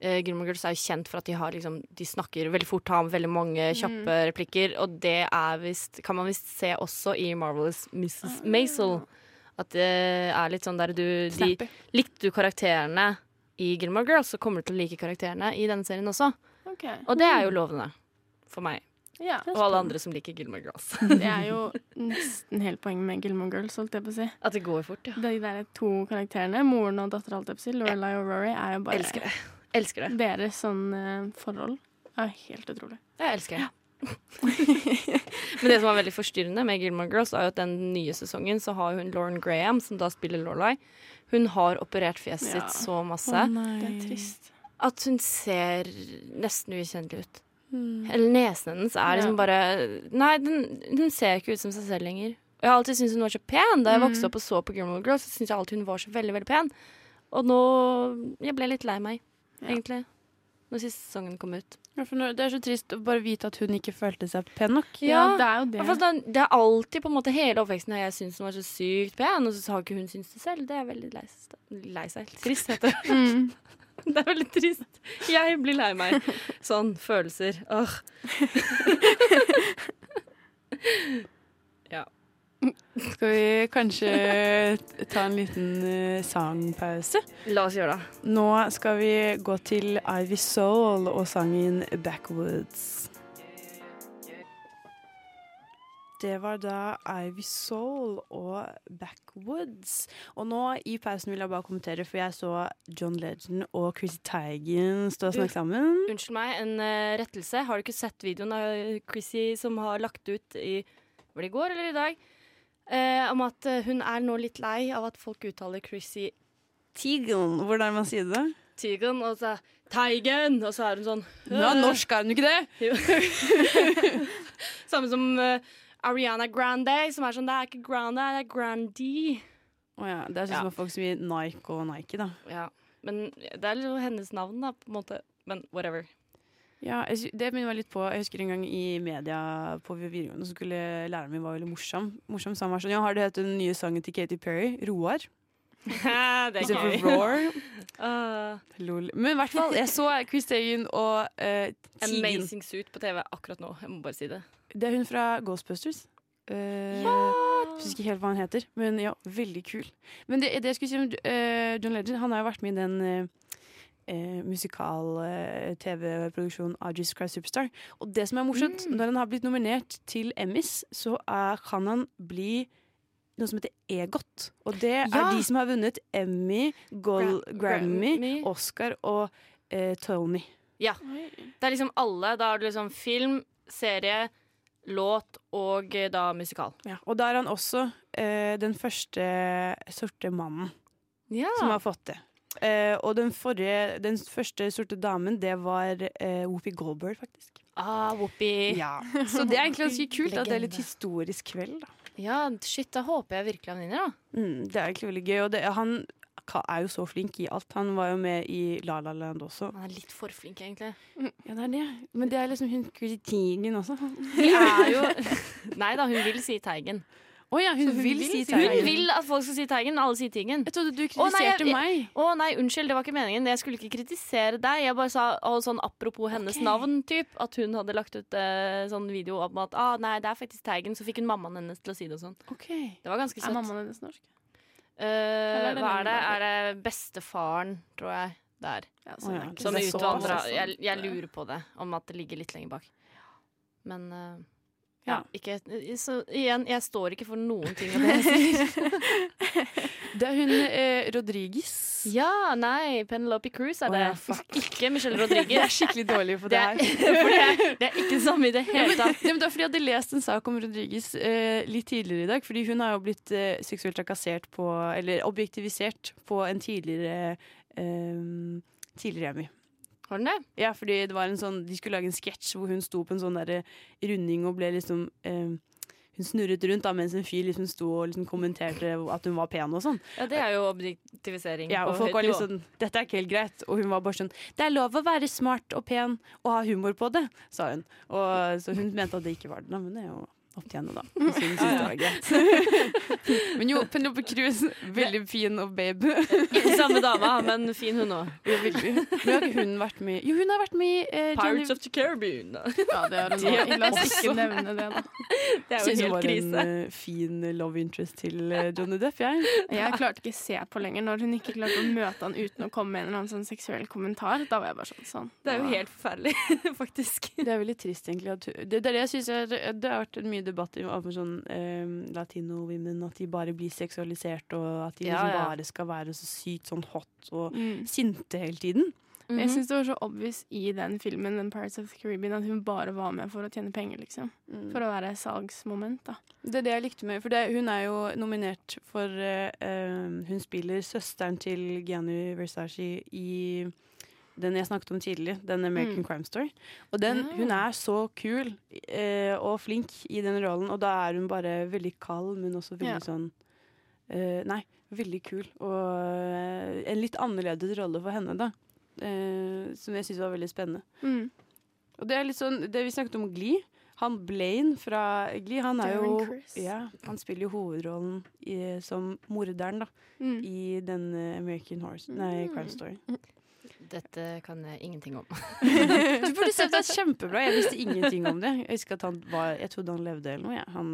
B: uh, Gilmore Girls er jo kjent for at de har liksom De snakker veldig fort, har veldig mange kjappe replikker, og det er visst Kan man visst se også i Marvelous
C: Ah.
B: Mrs. Maisel. At det er litt sånn der du de,
A: Snappy.
B: Likte du karakterene i Gilmore Girls, så kommer du til å like karakterene i denne serien også.
C: OK.
B: Og det er jo lovende for meg
C: Ja.
B: og alle andre som liker Gilmore Girls. *laughs*
C: Det er jo nesten hele poenget med Gilmore Girls, holdt jeg på å si.
B: At det går fort, ja.
C: De der to karakterene, moren og dattera, holdt jeg på å si, Lorelai og Rory, er jo bare
B: Elsker det. Elsker det.
C: Deres sånn eh, forhold er helt utrolig.
B: Jeg elsker det. *laughs* Men det som var veldig forstyrrende med Gilmore Girls, er jo at den nye sesongen så har hun Lauren Graham, som da spiller Lorelai. Hun har operert fjeset
C: Ja.
B: sitt så masse
A: Å, nei.
C: Det er trist.
B: at hun ser nesten ukjennelig ut.
A: Mm.
B: Eller nesen hennes er liksom
C: Ja.
B: bare Nei, den, hun ser ikke ut som seg selv lenger. Og jeg har alltid syntes hun var så pen. Da jeg vokste opp og så på Gilmore Girls, så syntes jeg alltid hun var så veldig, veldig pen. Og nå Jeg ble litt lei meg, egentlig. Når siste sesongen kom ut.
A: Ja, for nå- Det er så trist å bare vite at hun ikke følte seg pen nok.
C: Ja, det er jo
B: Ja, for
C: det.
B: sånn, det er alltid på en måte hele oppveksten her jeg syns hun var så sykt pen, og så har ikke hun syntes det selv. Det er veldig lei s- lei seg. Trist, heter det. *laughs*
C: Mm.
B: Det er veldig trist. Jeg blir lei meg. Sånn følelser. Åh.
A: Skal vi kanskje ta en liten eh, sangpause?
B: La oss gjøre det.
A: Nå skal vi gå til Ivy Soul og sangen 'Backwoods'. Det var da Ivy Soul og 'Backwoods'. Og nå i pausen vil jeg bare kommentere, for jeg så John Legend og Chrissy Teigen stå og snakke sammen.
B: Unnskyld meg, en eh, rettelse. Har du ikke sett videoen av Chrissy som har lagt ut i Var det i går eller i dag? Eh, om at eh, hun er nå litt lei av at folk uttaler Chrissy
A: Teigen, hvordan man sier det?
B: Teigen, og så Teigen! Og så er hun sånn
A: Nå, norsk er hun ikke det!
B: *laughs* Jo. Samme som eh, Ariana Grande, som er sånn Det er ikke Grande, det er Grandee.
A: Å ja, det er sånn
B: Ja.
A: som at folk som gir Nike og Nike, da.
B: Ja. Men det er jo hennes navn, da, på en måte. Men whatever.
A: Ja, jeg, sy- det minner meg litt på Jeg husker en gang i media på videregående Så skulle læreren min var veldig morsom, morsom Så han var sånn, ja, har du hørt den nye sangen til Katy Perry? Roar
B: *laughs* det er
A: Istedenfor
B: gøy.
A: Roar
B: Ah,
A: Lol. Men i hvert fall, jeg så Chris Dagen og uh, Tigen
B: amazing suit på TV akkurat nå. Jeg må bare si det.
A: Det er hun fra Ghostbusters Eh, Jeg husker ikke helt hva han heter Men ja, veldig kul Men det, det jeg skulle si om eh, John Legend Han har jo vært med i den eh, eh, musikal eh, TV-produksjonen av Jesus Christ Superstar. Og det som er morsomt,
B: Mm.
A: når han har blitt nominert til Emmys, så er, kan han bli noe som heter EGOT. Og det er
B: Ja.
A: de som har vunnet Emmy, Gol
B: Gra-
A: Grammy,
B: Grammy.
A: Oscar og eh, Tony.
B: Det er liksom alle. Da er det liksom film, serie, låt og eh, da musikal.
A: Og da er han også eh, den første sorte mannen.
B: Ja.
A: som har fått det. Eh, og den, forrige, den første sorte damen, det var eh, Whoopi Goldberg, faktisk.
B: Ah, Whoopi. Ja.
A: Så det er egentlig ganske kult at det er
B: Legende.
A: litt historisk kveld. Da.
B: shit, da håper jeg virkelig han vinner, da.
A: Mm, det er egentlig veldig gøy. Og det, han ka- er jo så flink i alt. Han var jo med i La La Land også.
B: Han er litt for flink, egentlig.
A: Ja, det er det. Men det er liksom hun Christine også.
B: Vi er jo Nei da, hun vil si Teigen.
A: Å ja, hun, vil si
B: Hun
A: teigen.
B: vil at folk skal si Teigen. Alle sier Tingen.
A: Jeg trodde du
B: Å, nei, jeg-
A: kritiserte meg.
B: Å nei, unnskyld, det var ikke meningen. Jeg skulle ikke kritisere deg. Jeg bare sa å, sånn apropos hennes
A: Ok.
B: navn, typ, at hun hadde lagt ut eh, sånn video om at ah, nei, det er faktisk Teigen. Så fikk hun mammaen hennes til å si det og sånn.
A: Ok.
B: Det var ganske
C: Er
B: søtt.
C: mammaen hennes norsk?
B: Eh,
C: er det
B: hva
C: noen
B: er det? Er det bestefaren, tror jeg, der?
C: Ja,
A: Å ja,
C: det er ikke
B: Som
A: Det er
C: så- altså.
A: så-
B: utvandra.
C: så-
B: Jeg, jeg lurer på det, om at det ligger litt lenger bak. Men eh, ja,
A: Ja.
B: ikke Så igjen, jeg står ikke for noen ting av det jeg sier.
A: Det er hun eh, Rodriguez.
B: Ja, nei, Penelope Cruz er
A: Å
B: det.
A: ja, fuck.
B: *laughs* ikke Michelle
A: Jeg er
B: Rodriguez.
A: skikkelig dårlig på
B: Det
A: det
B: er,
A: her.
B: *laughs* for det, er, det er ikke det samme i det hele tatt.
A: Nei, men det er fordi Jeg hadde lest en sak om Rodriguez eh, litt tidligere i dag. Fordi hun har jo blitt eh, seksuelt trakassert på Eller objektivisert på en tidligere eh, Tidligere Emmy.
B: Har den det?
A: Ja, fordi det var en sånn De skulle lage en sketsj hvor hun sto på en sånn der runding og ble liksom eh, Hun snurret rundt da mens en fyr liksom sto og liksom kommenterte at hun var pen og sånn.
B: Ja, det er jo objektivisering
A: Ja, og
B: på
A: folk var
B: høyt
A: litt
B: nivå.
A: sånn Dette er ikke helt greit. Og hun var bare sånn Det er lov å være smart og pen og ha humor på det, sa hun. Og, så hun mente at det ikke var det, da, men det er jo opp til henne, da. Hvis hun synes det var greit. *laughs* men jo, Penelope Cruz, veldig fin og babe.
B: Ikke *laughs* samme dama, men fin hun òg.
A: Ja, veldig. Men har ikke hun vært med Jo, hun har vært med i eh, Johnny-
B: Pirates of the *laughs* Caribbean.
C: Ja, det *laughs* har hun
A: Det er
C: nå. La oss
A: også-
C: ikke nevne det, da.
B: Det er
A: Synes
B: jo
A: hun
B: helt
A: var
B: krise.
A: en eh, fin love interest til eh, Johnny Depp, jeg.
C: *laughs* Jeg klarte ikke se på lenger når hun ikke klarte å møte han uten å komme med en eller annen sånn seksuell kommentar. Da var jeg bare sånn. sånn.
B: Det er jo
C: Ja.
B: helt forferdelig, *laughs* faktisk.
A: Det er veldig trist, egentlig. At, hun- det, det er det jeg synes er, det har vært en mye debatt i- om sånn eh, latino women, at de bare blir seksualisert, og at de
B: Ja,
A: liksom
B: ja.
A: bare skal være så sykt sånn hot og
C: Mm.
A: sinte hele tiden.
B: Mhm.
C: Jeg syns det var så obvious i den filmen den Pirates of the Caribbean, at hun bare var med for å tjene penger, liksom.
B: Mm.
A: Mm.
C: For å være salgsmoment, da.
A: Det er det jeg likte med For det, hun er jo nominert for eh, eh, Hun spiller søsteren til Gianni Versace i den jeg snakket om tidlig, den American
C: Mm.
A: Crime Story. Og den,
B: Ja.
A: hun er så kul eh, og flink i den rollen, og da er hun bare veldig kald, men også veldig
C: Ja.
A: sånn eh, Nei, veldig kul. Og eh, en litt annerledes rolle for henne, da. eh, som jeg syntes var veldig spennende.
C: Mm.
A: Og det er litt sånn, det vi snakket om Glee. Han Blaine fra Glee, han er
C: Darren
A: jo
C: Criss.
A: ja, Han spiller jo hovedrollen i, som morderen da,
C: Mm.
A: i den eh, American Horse Nei, Crime Story.
B: Dette kan jeg *laughs* ingenting om.
A: *laughs* Du burde sett *laughs* det er kjempebra! Jeg visste ingenting om det. Jeg husker at han var, jeg trodde han levde eller noe, jeg. Han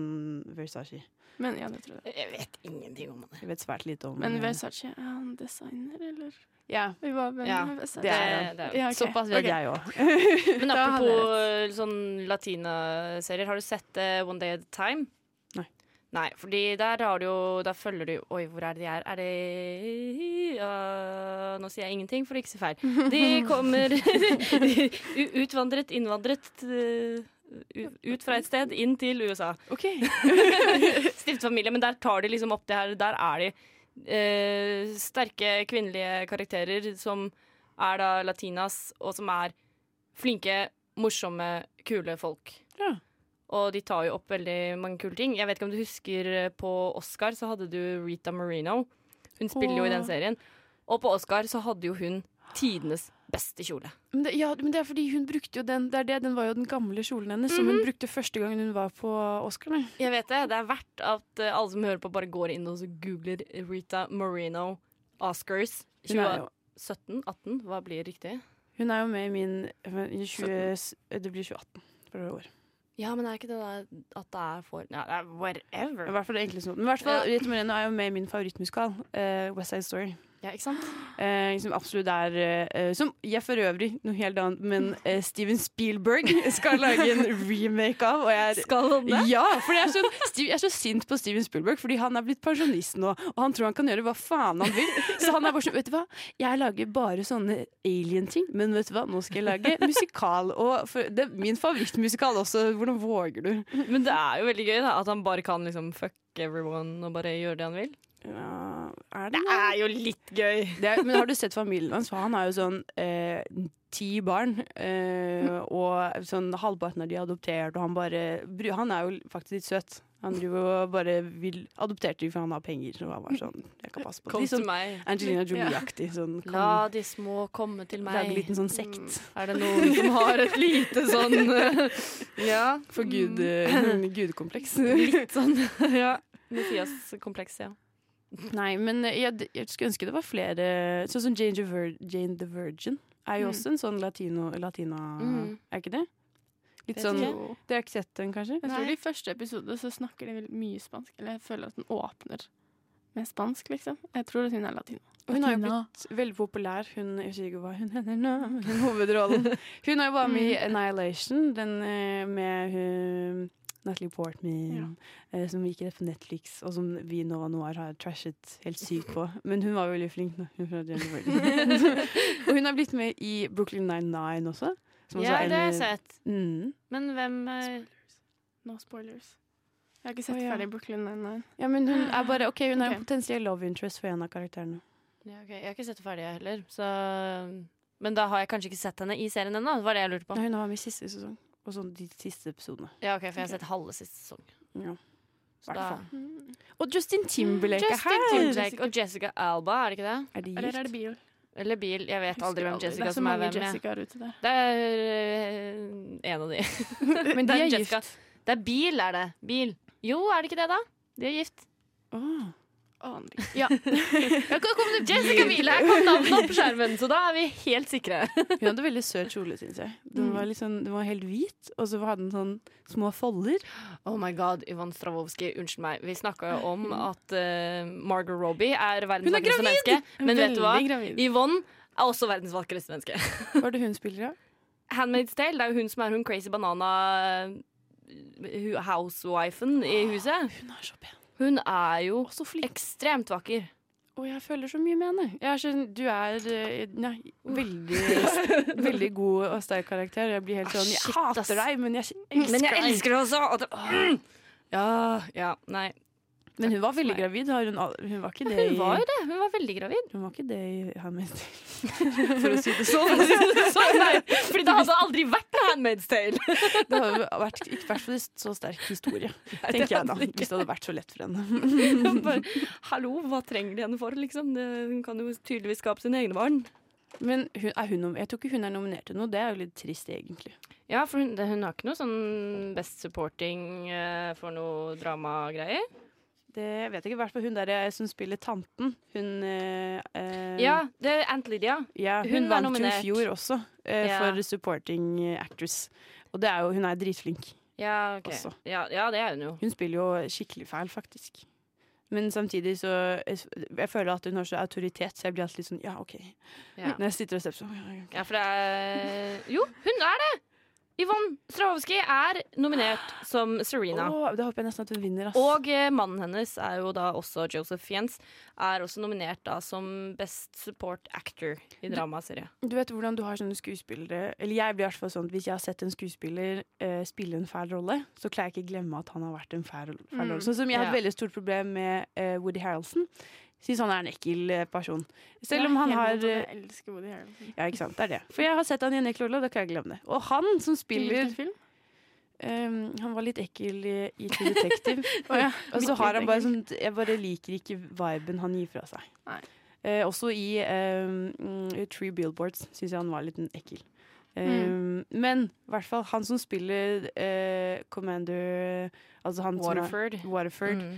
A: Versace.
C: Men ja, det tror jeg.
B: Jeg vet ingenting om det.
A: Jeg vet svært lite om
C: Men
A: eh,
C: Versace, er han designer, eller?
A: Ja,
C: Vi var venner
B: Ja,
C: med Versace.
A: det er
B: Det- det er-
C: Ja, ok.
A: Såpass vet
C: Ok.
A: jeg òg.
B: Men
C: Da hadde jeg
B: apropos eh, sånn latinaserier, har du sett eh, One Day at a Time?
A: Nei.
B: Nei, fordi der har du jo Der følger du Oi, hvor er det de er? Er det øh, Nå sier jeg ingenting for å ikke si feil. De kommer *laughs* u- utvandret, innvandret øh, u- ut fra et sted, inn til USA.
A: *laughs*
B: Stiftet familie, men der tar de liksom opp det her. Der er de eh, sterke kvinnelige karakterer som er da latinas, og som er flinke, morsomme, kule folk.
A: Ja.
B: Og de tar jo opp veldig mange kule ting. Jeg vet ikke om du husker eh, på Oscar så hadde du Rita Marino. Hun spiller jo i den
A: Åh.
B: serien. Og på Oscar så hadde jo hun tidenes beste kjole.
A: Men det, ja, men det er fordi hun brukte jo den Det er det, den var jo den gamle kjolen hennes som hun brukte første gangen hun var på Oscar. Nei.
B: Jeg vet det. Det er verdt at eh, alle som hører på, bare går inn og så googler Rita Marino Oscars
A: Hun er jo
B: 17? 18? Hva blir riktig?
A: Hun er jo med i min i 20, Det blir 2018 for det år.
B: Ja, men er ikke det der at det er for ja, det er
A: I
B: Whatever.
A: hvert fall det enkleste noten. Men i hvert fall, Rita Moreno er jo med i min favorittmusikal, eh, West Side Story.
B: Ja, ikke sant?
A: Eh, som absolutt er eh, Som jeg for øvrig, noe helt annet, men eh, Steven Spielberg *laughs* skal lage en remake av, og jeg er
B: Skal han det?
A: ja, for jeg er, så, Steve- jeg er så sint på Steven Spielberg, fordi han er blitt pensjonist nå. Og han tror han kan gjøre hva faen han vil. Så han er bare sånn, vet du hva, jeg lager bare sånne alien-ting, men vet du hva, nå skal jeg lage musikal. Og for, det er min favorittmusikal også. Hvordan våger du?
B: *laughs* Men det er jo veldig gøy da, at han bare kan liksom fuck everyone og bare gjøre det han vil.
A: Ja, er det
B: Det
A: noe?
B: er jo litt gøy.
A: Det er, men har du sett familien hans? For han har jo sånn eh, ti barn, eh,
B: Mm.
A: og sånn halvparten av de er adoptert, og han bare bru- Han er jo faktisk litt søt. Han driver og bare vil adopterte de for han har penger. Og han var sånn, jeg kan passe på det.
B: Kom
A: Litt
B: til
A: sånn
B: meg.
A: Angelina Jolie-aktig. Sånn,
B: La
A: kan
B: de små komme til
A: lage en
B: meg.
A: liten sånn sekt.
B: Er det noen som har et lite sånn Mm. Ja. *laughs*
A: For gud, eh, *laughs* gudekompleks.
B: Litt sånn, *laughs* ja. Messias-komplekset, ja.
A: Nei, men jeg, jeg skulle ønske det var flere Sånn som Jane, the Vir- Jane the Virgin er jo
C: Mm.
A: også en sånn latino, latina
B: Mm.
A: Er ikke det? Litt
B: Vet
A: sånn
B: ikke.
C: Jo.
A: Dere har ikke sett den, kanskje?
C: Jeg tror
B: Nei.
C: i første episode så snakker de vel mye spansk. Eller jeg føler at den åpner med spansk, liksom. Jeg tror at hun er latin.
A: Hun har jo
B: Latina.
A: blitt veldig populær. Hun jeg husker ikke hva hun heter nå, men
B: *laughs*
A: hovedrollen. Hun har jo vært med i
B: Mm.
A: Annihilation, den eh, med hun, Natalie Portman, eh, som gikk rett på Netflix, og som vi nå og Noir har trashet helt sykt på. Men hun var veldig flink nå. Hun fra Jenny
B: *laughs*
A: Burton. og hun har blitt med i Brooklyn Nine-Nine også. som også
B: Ja,
A: er en-
B: det har jeg sett.
A: Mm.
B: Men hvem eh,
C: No spoilers. Jeg har ikke sett
A: Å, ja.
C: ferdig Brooklyn Nine-Nine.
A: Ja, men hun
B: *gasps*
A: er bare OK, hun er
C: Ok.
A: en potensiell love interest for en av karakterene.
B: ja, ok, Jeg har ikke sett det ferdig, jeg heller. Så, men da har jeg kanskje ikke sett henne i serien ennå. Det var det jeg lurte på.
A: Nei, hun var med i siste sesong, og sånn de siste episodene.
B: Ja, ok, For jeg har sett halve siste sesong.
A: Ja.
B: Så da,
A: Hvertfall.
B: Mm.
A: Og Mm, Justin Timberlake er
B: Justin
A: her!
B: Timberlake og Jessica Alba, er det ikke det?
A: Er de
C: Eller er det Beale?
B: Eller Bil. Jeg vet aldri hvem Jessica som er
C: Det er
B: hvem.
C: så
B: jeg.
C: mange Jessicaer ute der.
B: Det er eh, en av de.
A: *laughs* Men
B: Det
A: de
B: er
A: er
B: Jessica.
A: gift.
B: Det er Bil, er det. Bil. Jo, er det ikke det, da? De er *laughs* gift.
A: Åh.
C: Aner ikke.
B: Ja, kom, kom, Jessica Biel her kom navnet opp på skjermen, så da er vi helt sikre.
A: Hun hadde veldig søt kjole, syns jeg. Den var, litt sånn- den var helt hvit, og så hadde den sånn små folder.
B: *laughs* Oh my god, Yvonne Stravovskij, unnskyld meg. Vi snakka jo om at eh, Margot Robbie er verdens
A: Hun er
B: vakreste
A: gravid!
B: menneske. Men vet du hva?
C: Veldig gravid.
B: Yvonne er også verdens vakreste menneske.
A: Hva er det hun spiller av?
B: Handmaid's Tale, det er jo hun som er hun crazy banana eh, housewifen i huset.
A: Hun er så pen.
B: Hun er jo
A: Og så flink.
B: ekstremt vakker.
A: Og jeg føler så mye med henne. Jeg er sånn, du er eh, nei, veldig, veldig god og sterk karakter. Jeg blir helt
B: Ah,
A: sånn Jeg
B: shit, ass.
A: hater deg, men jeg elsker
B: Men jeg
A: deg.
B: elsker det også! Og det, Mm. ja, ja, nei.
A: Men hun var veldig gravid. Har hun, al- hun var ikke det
B: Hun var
A: i
B: jo det. Hun var veldig gravid.
A: Hun var ikke det i Handmaid's Tale. For å si det
B: *laughs*
A: sånn. *laughs*
B: Så, nei, fordi det hadde aldri vært noe Handmaid's Tale.
A: Det hadde vært, ikke vært for en så sterk historie, tenker jeg da.
B: hadde *laughs* det ikke.
A: Hvis det hadde vært så lett for henne.
B: Bare, Hallo, hva trenger de henne for, liksom? Det, hun kan jo tydeligvis skape sine egne barn.
A: Men hun, er hun, nom- jeg tror ikke hun er nominert til noe. Det er jo litt trist, egentlig.
B: Ja, for hun, det- hun har ikke noe sånn best supporting eh, for noe dramagreier.
A: Det jeg vet ikke. I hvert fall hun der eh, som spiller tanten. Hun eh, eh,
B: Ja, det er Aunt Lydia.
A: ja, hun,
B: hun er
A: vant jo i
B: nominert.
A: fjor også eh,
B: Ja.
A: for supporting eh, actress. Og det er jo, hun er dritflink.
B: Ja, ok.
A: Også.
B: Ja, ja, det er hun jo.
A: Hun spiller jo skikkelig feil, faktisk. Men samtidig så Jeg, jeg føler at hun har så autoritet, så jeg blir alltid litt sånn ja, OK.
B: Ja.
A: Når jeg sitter og ser på sånn. ja, ja, ok.
B: Ja, for det er Jo, hun er det! Yvonne Stravovskij er nominert som Serena.
A: Åh, da håper jeg nesten at hun vinner, ass.
B: Og eh, mannen hennes er jo da også Joseph Jens. Er også nominert da som Best Support Actor i dramaserie.
A: Du vet hvordan du har sånne skuespillere Eller jeg blir i hvert fall sånn at Hvis jeg har sett en skuespiller eh, spille en fæl rolle, så klarer jeg ikke glemme at han har vært en fæl, fæl
C: Mm.
A: rolle. Sånn som jeg hadde
B: Ja.
A: veldig stort problem med eh, Woody Harrelson. Syns han er en ekkel eh, person. Selv om han
C: Jeg er helt
A: har
C: imot
A: eh,
C: det. Jeg elsker Woody Harrelson.
A: Ja, ikke sant. Det er det. For jeg har sett han i en ekkel rolle, og da kan jeg glemme det. Og han som spiller
C: Hvilken film?
A: ehm, Han var litt ekkel i, i True Detective.
C: Å *laughs* ja.
A: og så har han bare sånn Jeg bare liker ikke viben han gir fra seg.
C: Nei.
A: Eh, også i ehm, mm, Tree Billboards syns jeg han var litt ekkel. Ehm, Men i hvert fall han som spiller eh, Commander Altså han
B: Waterford.
A: som er Waterford.
B: Mm.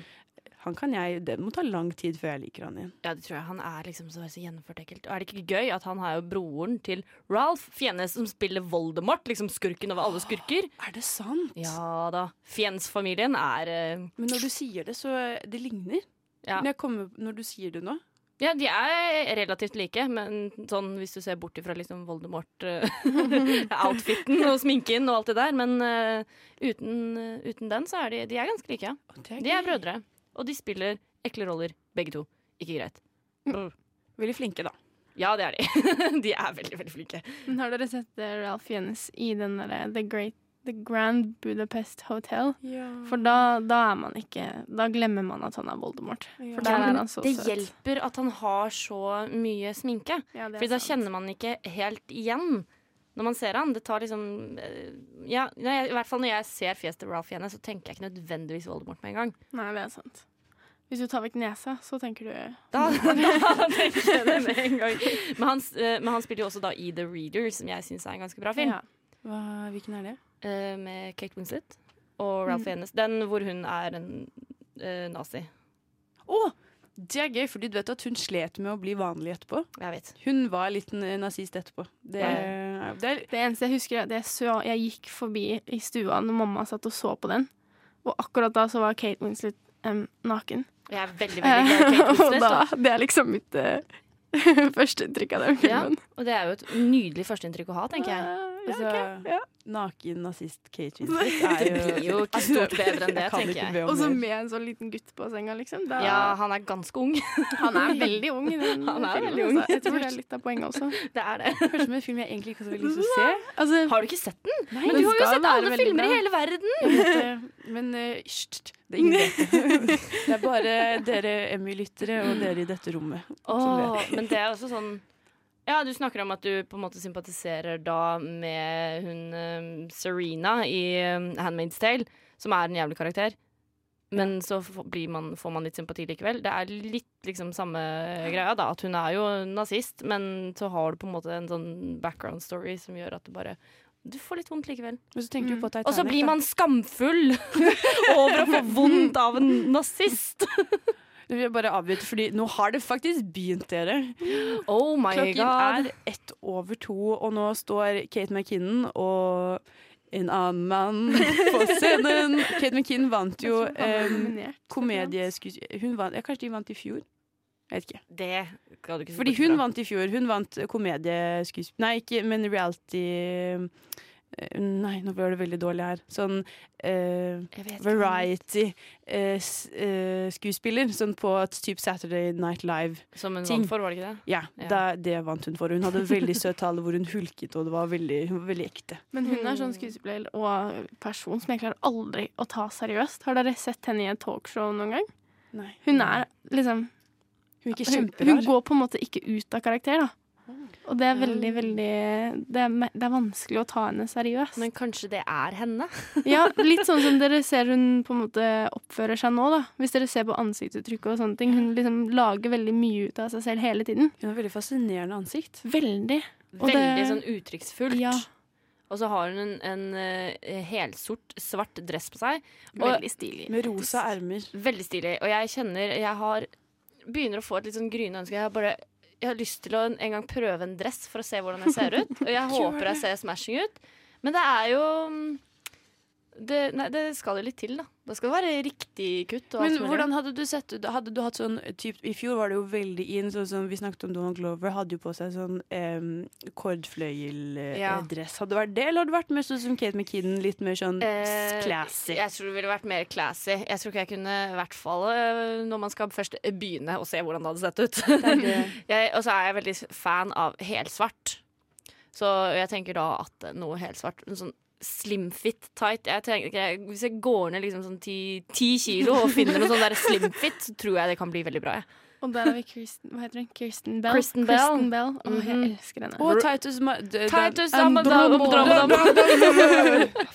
A: Han kan jeg Det må ta lang tid før jeg liker han igjen.
B: Ja, det tror jeg. Han er liksom så, så gjennomført ekkelt. Og er det ikke gøy at han er jo broren til Ralph Fiennes, som spiller Voldemort, liksom skurken over alle skurker?
A: Er det sant?
B: Ja da. Fiennes-familien er eh,
A: Men når du sier det, så eh, Det ligner.
B: Ja.
A: Når, jeg kommer, når du sier det nå
B: Ja, de er relativt like, men sånn hvis du ser bort ifra liksom *laughs* Voldemort-outfiten og sminken og alt det der. Men eh, uten, eh, uten den, så er de, de er ganske like. ja. De er brødre, og de spiller ekle roller, begge to. Ikke greit. Brr.
A: Veldig flinke, da.
B: Ja, det er de. *laughs* de er veldig, veldig flinke.
A: sånn-
C: Men har dere sett eh, Ralph Fiennes i den derre The Great The Grand Budapest Hotel? For da, da er man ikke Da glemmer man at han er Voldemort. For
B: Ja, men
C: der er altså han så
B: Det
C: søt.
B: hjelper at han har så mye sminke.
C: Ja, det er
B: Fordi da
C: sant.
B: kjenner man ikke helt igjen når man ser han. Det tar liksom eh, ja, nei, I hvert fall når jeg ser fjeset til Ralph igjen, så tenker jeg ikke nødvendigvis Voldemort med en gang.
C: Nei, det er sant. Hvis du tar vekk nesa, så tenker du
B: Da, *laughs* da tenker jeg det med en gang. Men han, s- eh, men han spiller jo også da i The Reader, som jeg syns er en ganske bra film.
C: Ja.
A: Hva, hvilken er det?
B: Eh, med Kate Winslet og Ralph Fiennes. Den hvor hun er en eh, nazi.
A: Å, det er gøy, fordi du vet at hun slet med å bli vanlig etterpå.
B: Jeg vet.
A: Hun var litt n- nazist etterpå. Det, det er
C: Det eneste jeg husker, er at jeg, så, jeg gikk forbi i stua når mamma satt og så på den. Og akkurat da så var Kate Winslet em, naken.
B: Jeg er veldig, veldig glad i
C: Eh, *laughs*
B: Kate
C: og
B: Winslet.
C: da,
B: da.
C: det er liksom mitt eh, *laughs* første inntrykk av den
B: Ja,
C: filmen. Ah,
B: og det er jo et nydelig førsteinntrykk å ha, tenker jeg.
A: altså,
C: ja.
A: Naken nazist
B: *laughs*
A: Kate Winslet
B: Det
A: er jo Altså,
B: blir jo ikke stort bedre enn det,
A: kan
B: tenker
A: ikke
B: jeg.
A: be om
C: Og så
A: mer.
C: med en sånn liten gutt på senga, liksom. Da,
B: Ja, han er ganske ung.
C: *laughs*
B: *laughs*
C: Han er veldig ung i den
B: Han er
C: filmen.
B: veldig ung.
C: så Jeg tror det er litt av poenget også.
B: Det er det.
A: Kanskje med en film jeg egentlig ikke har så veldig lyst til å se. Altså,
B: Har du ikke sett den?
A: nei,
B: Men
A: den
B: du har jo
A: skal
B: sett
A: være
B: alle
A: veldig bra.
B: filmer i hele verden!
A: Jeg vet det, Men eh, hysj, hysj, det er ingen vet
B: *laughs*
A: det. Det er bare dere Emmy-lyttere og dere i dette rommet. som
B: Åh,
A: vet.
B: *laughs* men det er også sånn Ja, du snakker om at du på en måte sympatiserer da med hun eh, Serena i eh, Handmaid's Tale, som er en jævlig karakter. Men så f- blir man, får man litt sympati likevel. Det er litt liksom samme greia, da. At hun er jo nazist, men så har du på en måte en sånn background story som gjør at du bare Du får litt vondt likevel.
A: Men så tenker du på Titanic.
B: Og så blir
A: da.
B: man skamfull *laughs* over å få vondt av en nazist.
A: Nå vil jeg bare avbryte, fordi nå har det faktisk begynt, dere.
B: Oh my
A: Klokken er ett over to, og nå står Kate McKinnon og en annen mann
C: *laughs*
A: på scenen. Kate McKinnon vant jo
C: Jeg tror han var
A: um,
C: nominert.
A: komedieskuespiller... Hun vant, ja, kanskje de vant i fjor? Jeg vet ikke.
B: Det skal du ikke se
A: Fordi
B: bort
A: hun
B: fra.
A: vant i fjor. Hun vant komedieskuespiller... Nei, ikke, men reality eh, Nei, nå ble det veldig dårlig her. Sånn eh,
B: Jeg vet ikke hva hun
A: variety-skuespiller. sånn på typ Saturday Night Live.
B: het. Som hun
A: ting.
B: vant for, var det ikke det?
A: Ja,
B: Ja.
A: Da, det vant hun for. Hun hadde en veldig søt tale hvor hun hulket, og det var veldig, hun var veldig ekte.
C: Men hun er sånn skuespiller og person som jeg klarer aldri å ta seriøst. Har dere sett henne i et talkshow noen gang?
A: Nei.
C: Hun er liksom
A: Hun er ikke
C: hun, hun
A: kjemperar.
C: går på en måte ikke ut av karakter, da. Og det er veldig, veldig Det er, me- det er vanskelig å ta henne seriøst.
B: Men kanskje det er henne?
C: Ja, litt sånn som dere ser hun på en måte oppfører seg nå, da. Hvis dere ser på ansiktsuttrykket og sånne ting. Hun liksom lager veldig mye ut av seg selv hele tiden.
A: Hun har veldig fascinerende ansikt.
C: Veldig. Og det-
B: Veldig sånn uttrykksfullt.
C: Ja.
B: Og så har hun en, en eh, helsort, svart dress på seg. Og
C: Veldig stilig.
A: Med rosa ermer.
B: Veldig stilig. Og jeg kjenner Jeg har, begynner å få et litt sånn gryende ønske. Jeg har, bare, jeg har lyst til å en gang prøve en dress for å se hvordan jeg ser ut. Og
C: *laughs*
B: jeg håper jeg ser smashing ut. Men det er jo mm, det, nei, det skal jo litt til, da. Det skal være riktig kutt. Og alt
A: Men
B: mulig.
A: hvordan hadde du sett ut? Hadde du hatt sånn typ, I fjor var det jo veldig in, sånn som vi snakket om Donald Glover, hadde jo på seg sånn em, kordfløyeldress.
B: Ja.
A: Hadde det vært det, eller hadde det vært mer sånn som Kate McKinnon, litt mer sånn
B: Eh,
A: classy?
B: Jeg tror det ville vært mer classy. Jeg tror ikke jeg kunne, i hvert fall eh, når man skal først begynne å se hvordan det hadde sett ut. *laughs* Jeg- Og så er jeg veldig fan av helsvart. Så jeg tenker da at noe helsvart en Sånn slimfit tight jeg tenker, jeg, Hvis jeg går ned liksom sånn ti, ti kilo og finner noe sånn der slimfit, så tror jeg det kan bli veldig bra. jeg.
C: Og der har vi Kirsten Hva heter hun? Kirsten Bell.
B: Kristen Bell.
C: Å,
B: Mhm.
C: jeg elsker henne.
A: Og Titus Ma- d-
B: Titus
A: da-
B: Amanda-
A: Andromeda-
B: Andromeda-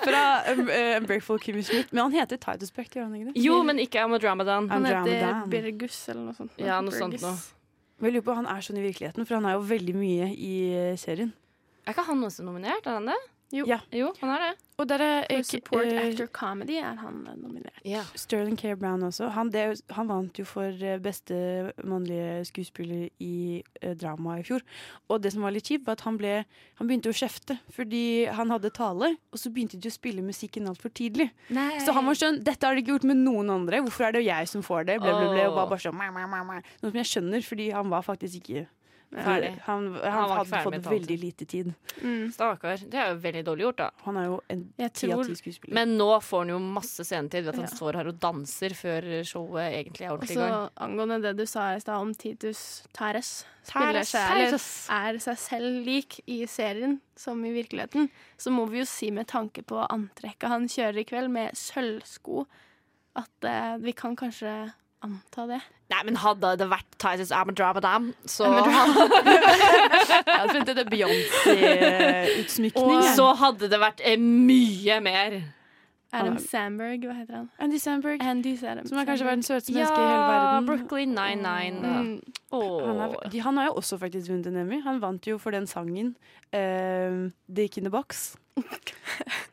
A: Fra um, eh, Unbreakable Kimmy Smith. Men han heter Titus Beck, gjør han ikke det?
B: Jo, men ikke Amadramadan.
C: han
A: Andromeda.
C: heter Birgus eller noe sånt.
B: Ja, noe sånt
C: Birgus.
B: noe.
A: Men Jeg lurer på, han er sånn i virkeligheten, for han er jo veldig mye i eh, serien.
B: Er ikke han også nominert? Er han det?
C: Jo.
A: Ja.
B: Jo, han er det.
A: Og der er eh,
C: For support
A: eh,
C: actor comedy er han eh, nominert.
A: Sterling K. Brown også. Han, det, er jo- han vant jo for eh, beste mannlige skuespiller i eh, drama i fjor. Og det som var litt kjipt, var at han, ble, han begynte å kjefte fordi han hadde tale, og så begynte de å spille musikken altfor tidlig. Så han var sånn Dette har de ikke gjort med noen andre. Hvorfor er det jeg som får det? Ble, ble, ble, og
B: Åh.
A: bare, bare sånn, mæ, mæ, mæ, mæ. Noe som jeg skjønner, fordi han var faktisk ikke ferdig.
B: Ferdig.
A: Han, han,
B: Han var ikke
A: hadde
B: ferdig med
A: fått
B: talen
A: veldig lite tid.
C: Mm.
B: Stakkar. Det er jo veldig dårlig gjort, da.
A: Han er jo en
C: Jeg
A: ti av
C: tror
A: ti skuespiller. *laughs*
B: Men nå får han jo masse scenetid ved at han
C: Ja.
B: står her og danser før showet egentlig er
C: Og
B: ordentlig i
C: så
B: gang.
C: angående det du sa i stad om Titus Tares, spiller seg, eller er seg selv lik i serien som i virkeligheten, så må vi jo si med tanke på antrekket han kjører i kveld, med sølvsko, at eh, vi kan kanskje anta det.
B: Nei, men hadde det vært Titus Amadramadam, så, *laughs*
A: Jeg hadde funnet det Eh, Beyoncé-utsmykning.
C: Og-
A: jeg.
B: så hadde det vært eh, mye mer.
A: Han
C: Adam
A: er-
C: Sandberg, hva heter han?
A: Andy Sandberg,
C: Andy Sandberg.
A: som er kanskje verdens søteste menneske i hele
B: Ja,
A: verden.
B: Brooklyn Nine-Nine.
C: Mm.
A: Han, er, de, han har jo også faktisk vunnet en Emmy. Han vant jo for den sangen eh, Dick in the Box.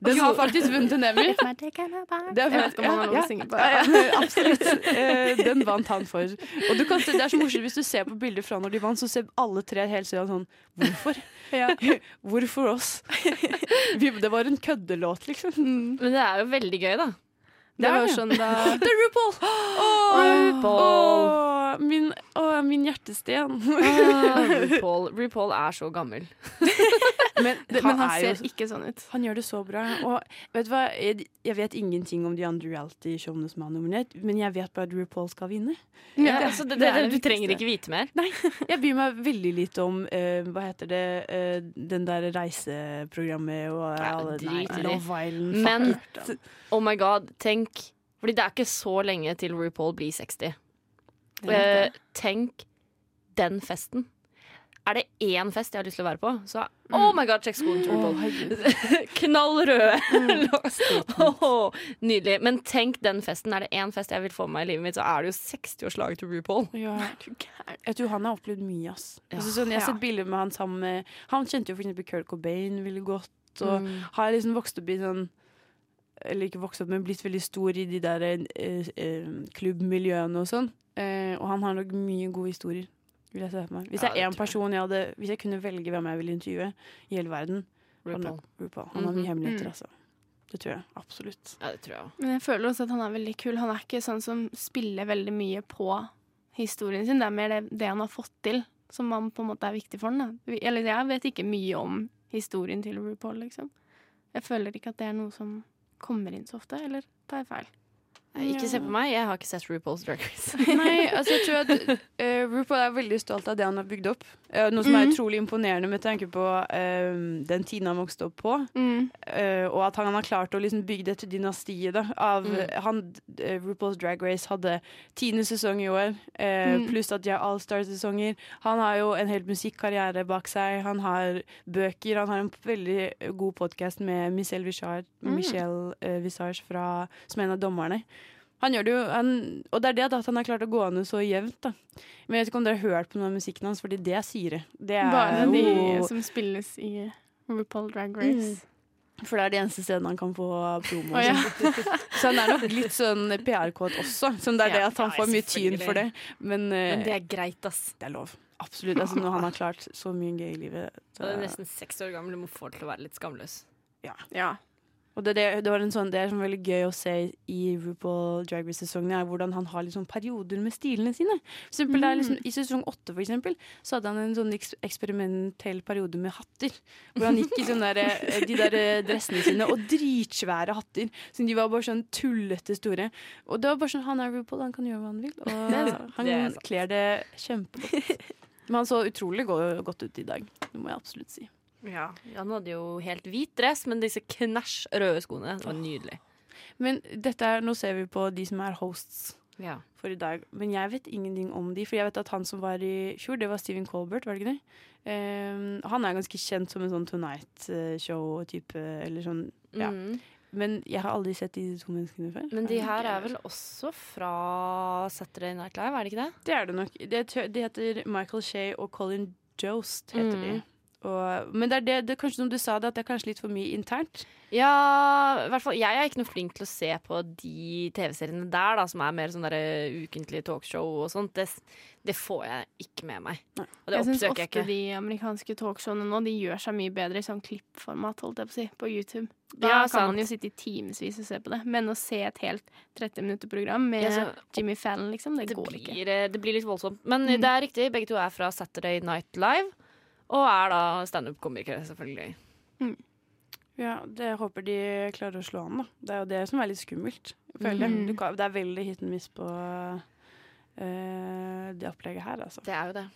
A: Den har faktisk vunnet en Emmy. Det er
C: Jeg vet ikke om han har noe
A: ja,
C: å synge på.
A: ja, ja, absolutt. Eh, den vant han for. Og du kan se, det er så morsomt hvis du ser på bilder fra når de vant, så ser alle tre helt sånn sånn Hvorfor? *laughs* Hvorfor oss? Vi, det var en køddelåt, liksom.
C: Mm.
B: Men det er jo veldig gøy, da.
A: Det
C: Det
A: er
C: var
A: det.
C: sånn da
B: *laughs*
A: Det er
C: *gasps*
A: RuPaul!
B: RuPaul.
A: Åh, min, åh, min hjertesten.
B: Ah, RuPaul. RuPaul er så gammel.
A: Men, *laughs* det,
C: Men han
A: er jo
C: ser ikke sånn ut.
A: Han gjør det så bra. Og vet du hva? Jeg, jeg vet ingenting om de andre reality-showene som er nominert, men jeg vet bare at RuPaul skal vinne.
B: Ja, altså, det, det,
C: er det
B: du trenger
C: viktigste.
B: ikke vite mer.
A: Jeg bryr meg veldig lite om eh, hva heter det eh, den der reiseprogrammet og
B: Nei,
A: alle
B: drit i det.
A: Love Island.
B: Men-
A: fuck it.
B: Oh my god, tenk Fordi det er ikke så lenge til RuPaul blir 60.
C: Det er
B: Eh, tenk den festen. Er det én fest jeg har lyst til å være på, så Oh my god, sjekk skolen til
A: Åh,
B: RuPaul.
A: herregud.
B: Knall røde. *laughs* Åh, nydelig. Men tenk den festen. Er det én fest jeg vil få med meg i livet mitt, så er det jo 60-årslaget til RuPaul.
A: ja.
C: Eh,
A: Jeg tror han har opplevd mye, ass.
B: Ja.
A: Altså, sånn, jeg har
C: Ja.
A: sett bilder med han sammen med Han kjente jo for eksempel Kurt Cobain veldig godt,
B: Mm.
A: og har liksom vokst opp i sånn Eller ikke vokst opp, men blitt veldig stor i de der eh, eh, klubbmiljøene og sånn. Eh, og han har nok mye gode historier, vil jeg se for meg. Hvis
B: Ja,
A: det
B: det
A: er én
B: tror jeg.
A: person jeg hadde Hvis jeg kunne velge hvem jeg ville intervjue i hele verden, hadde
B: RuPaul.
A: nok RuPaul. Han har mye
B: Mhm.
A: hemmeligheter,
C: Mm.
A: altså. Det tror jeg absolutt.
B: Ja, det tror jeg også.
C: Men jeg føler også at han er veldig kul. Han er ikke sånn som spiller veldig mye på historien sin. Det er mer det, det han har fått til, som han på en måte er viktig for han. Da. Vi- Eller jeg vet ikke mye om historien til RuPaul, liksom. Jeg føler ikke at det er noe som kommer inn så ofte, eller tar jeg feil?
B: Nei, Ikke se på meg, jeg har ikke sett RuPaul's Drag *laughs* Race.
A: *laughs* Nei, altså jeg tror at eh, RuPaul er veldig stolt av det han har bygd opp. Eh, noe som er
C: Mhm.
A: utrolig imponerende med tanke på eh, den tiden han vokste opp på. Eh, og at han har klart å liksom bygge dette dynastiet. Da, av,
B: Mm.
A: han, eh, RuPaul's Drag Race hadde tiende sesong i år, eh,
C: Mm.
A: pluss at de har Allstar-sesonger. Han har jo en hel musikkarriere bak seg. Han har bøker. Han har en veldig god podkast med Michelle Visage,
C: Mm.
A: Michelle, eh, Visage fra, som er en av dommerne. Han gjør det jo, han, og det er det da, at han har klart å gå an så jevnt. Da. Men jeg vet ikke om dere har hørt på noe av musikken hans, fordi det er syre. Det er
C: Bare de
A: jo-
C: som spilles i RuPaul Drag
A: Mm.
C: Race.
A: for det er de eneste stedene han kan få promo.
C: Å,
A: og
C: ja.
A: sånn. *laughs* Så han er nok litt sånn PR-kåt også. Så det er det
B: Ja,
A: at han
B: ja,
A: får mye tyn
B: selvfølgelig.
A: for det. Men, eh, det,
B: Men det er greit, ass.
A: er lov. Absolutt. Altså, når han har klart så mye gøy i livet.
B: Du
A: så-
B: er nesten seks år gammel, du må få til å være litt skamløs.
C: Ja.
A: og det, det, det, var en sånn, det er sånn veldig gøy å se i RuPaul Drag Race-sesongene, er hvordan han har liksom perioder med stilene sine. For eksempel, det er
B: Mm.
A: liksom, I sesong åtte, for eksempel, så hadde han en sånn eks eksperimentell periode med hatter. Hvor han gikk i sånne der, eh, de der eh, dressene sine, og dritsvære hatter. Så de var bare sånn tullete store. Og det var bare sånn, han er RuPaul, han kan gjøre hva han vil. Og
B: Det er sant.
A: han
B: Det er sant.
A: kler det kjempegodt.
B: *laughs*
A: Men han så utrolig go- godt ut i dag. Det må jeg absolutt si.
B: Ja. Han hadde jo helt hvit dress, men disse knæsj røde skoene det var nydelig.
A: Men dette er, nå ser vi på de som er hosts.
B: Ja.
A: for i dag. Men jeg vet ingenting om de, for jeg vet at han som var i fjor, det var Steven Colbert, var det ikke det? Ehm, han er ganske kjent som en sånn Tonight-show-type, eller sånn. Ja.
B: Mm.
A: Men jeg har aldri sett de to menneskene før.
B: Men de her er vel også fra Saturday Night Live, er det ikke det?
A: Det er det nok. Det, tø- de heter Michael Shea og Colin Jost, heter
B: Mm.
A: de. Og, men det er det, det er kanskje som du sa det, at det er kanskje litt for mye internt.
B: Ja, i hvert fall Jeg er ikke noe flink til å se på de TV-seriene der, da, som er mer sånn derre ukentlige talkshow og sånt. Det, det får jeg ikke med meg.
A: Nei.
B: Og det
C: jeg syns
B: oppsøker
C: ofte
B: jeg ikke.
C: de amerikanske talkshowene nå De gjør seg mye bedre i sånn klippformat holdt jeg på, å si, på YouTube. Da
B: Ja,
C: kan
B: sant.
C: man jo sitte i timevis og se på det. Men å se et helt 30 minutter-program med
B: Ja, så-
C: Jimmy Fallon, liksom, det,
B: det,
C: går
B: blir, eh,
C: ikke.
B: det blir litt voldsomt. Men det er riktig, begge to er fra Saturday Night Live. Og er da standup-komikere, selvfølgelig.
A: Ja, det jeg håper de klarer å slå an, da. Det er jo det som er litt skummelt, føler jeg.
C: Mm.
A: Du kan, det er veldig hit and miss på eh, det opplegget her, altså.
B: Det er jo det.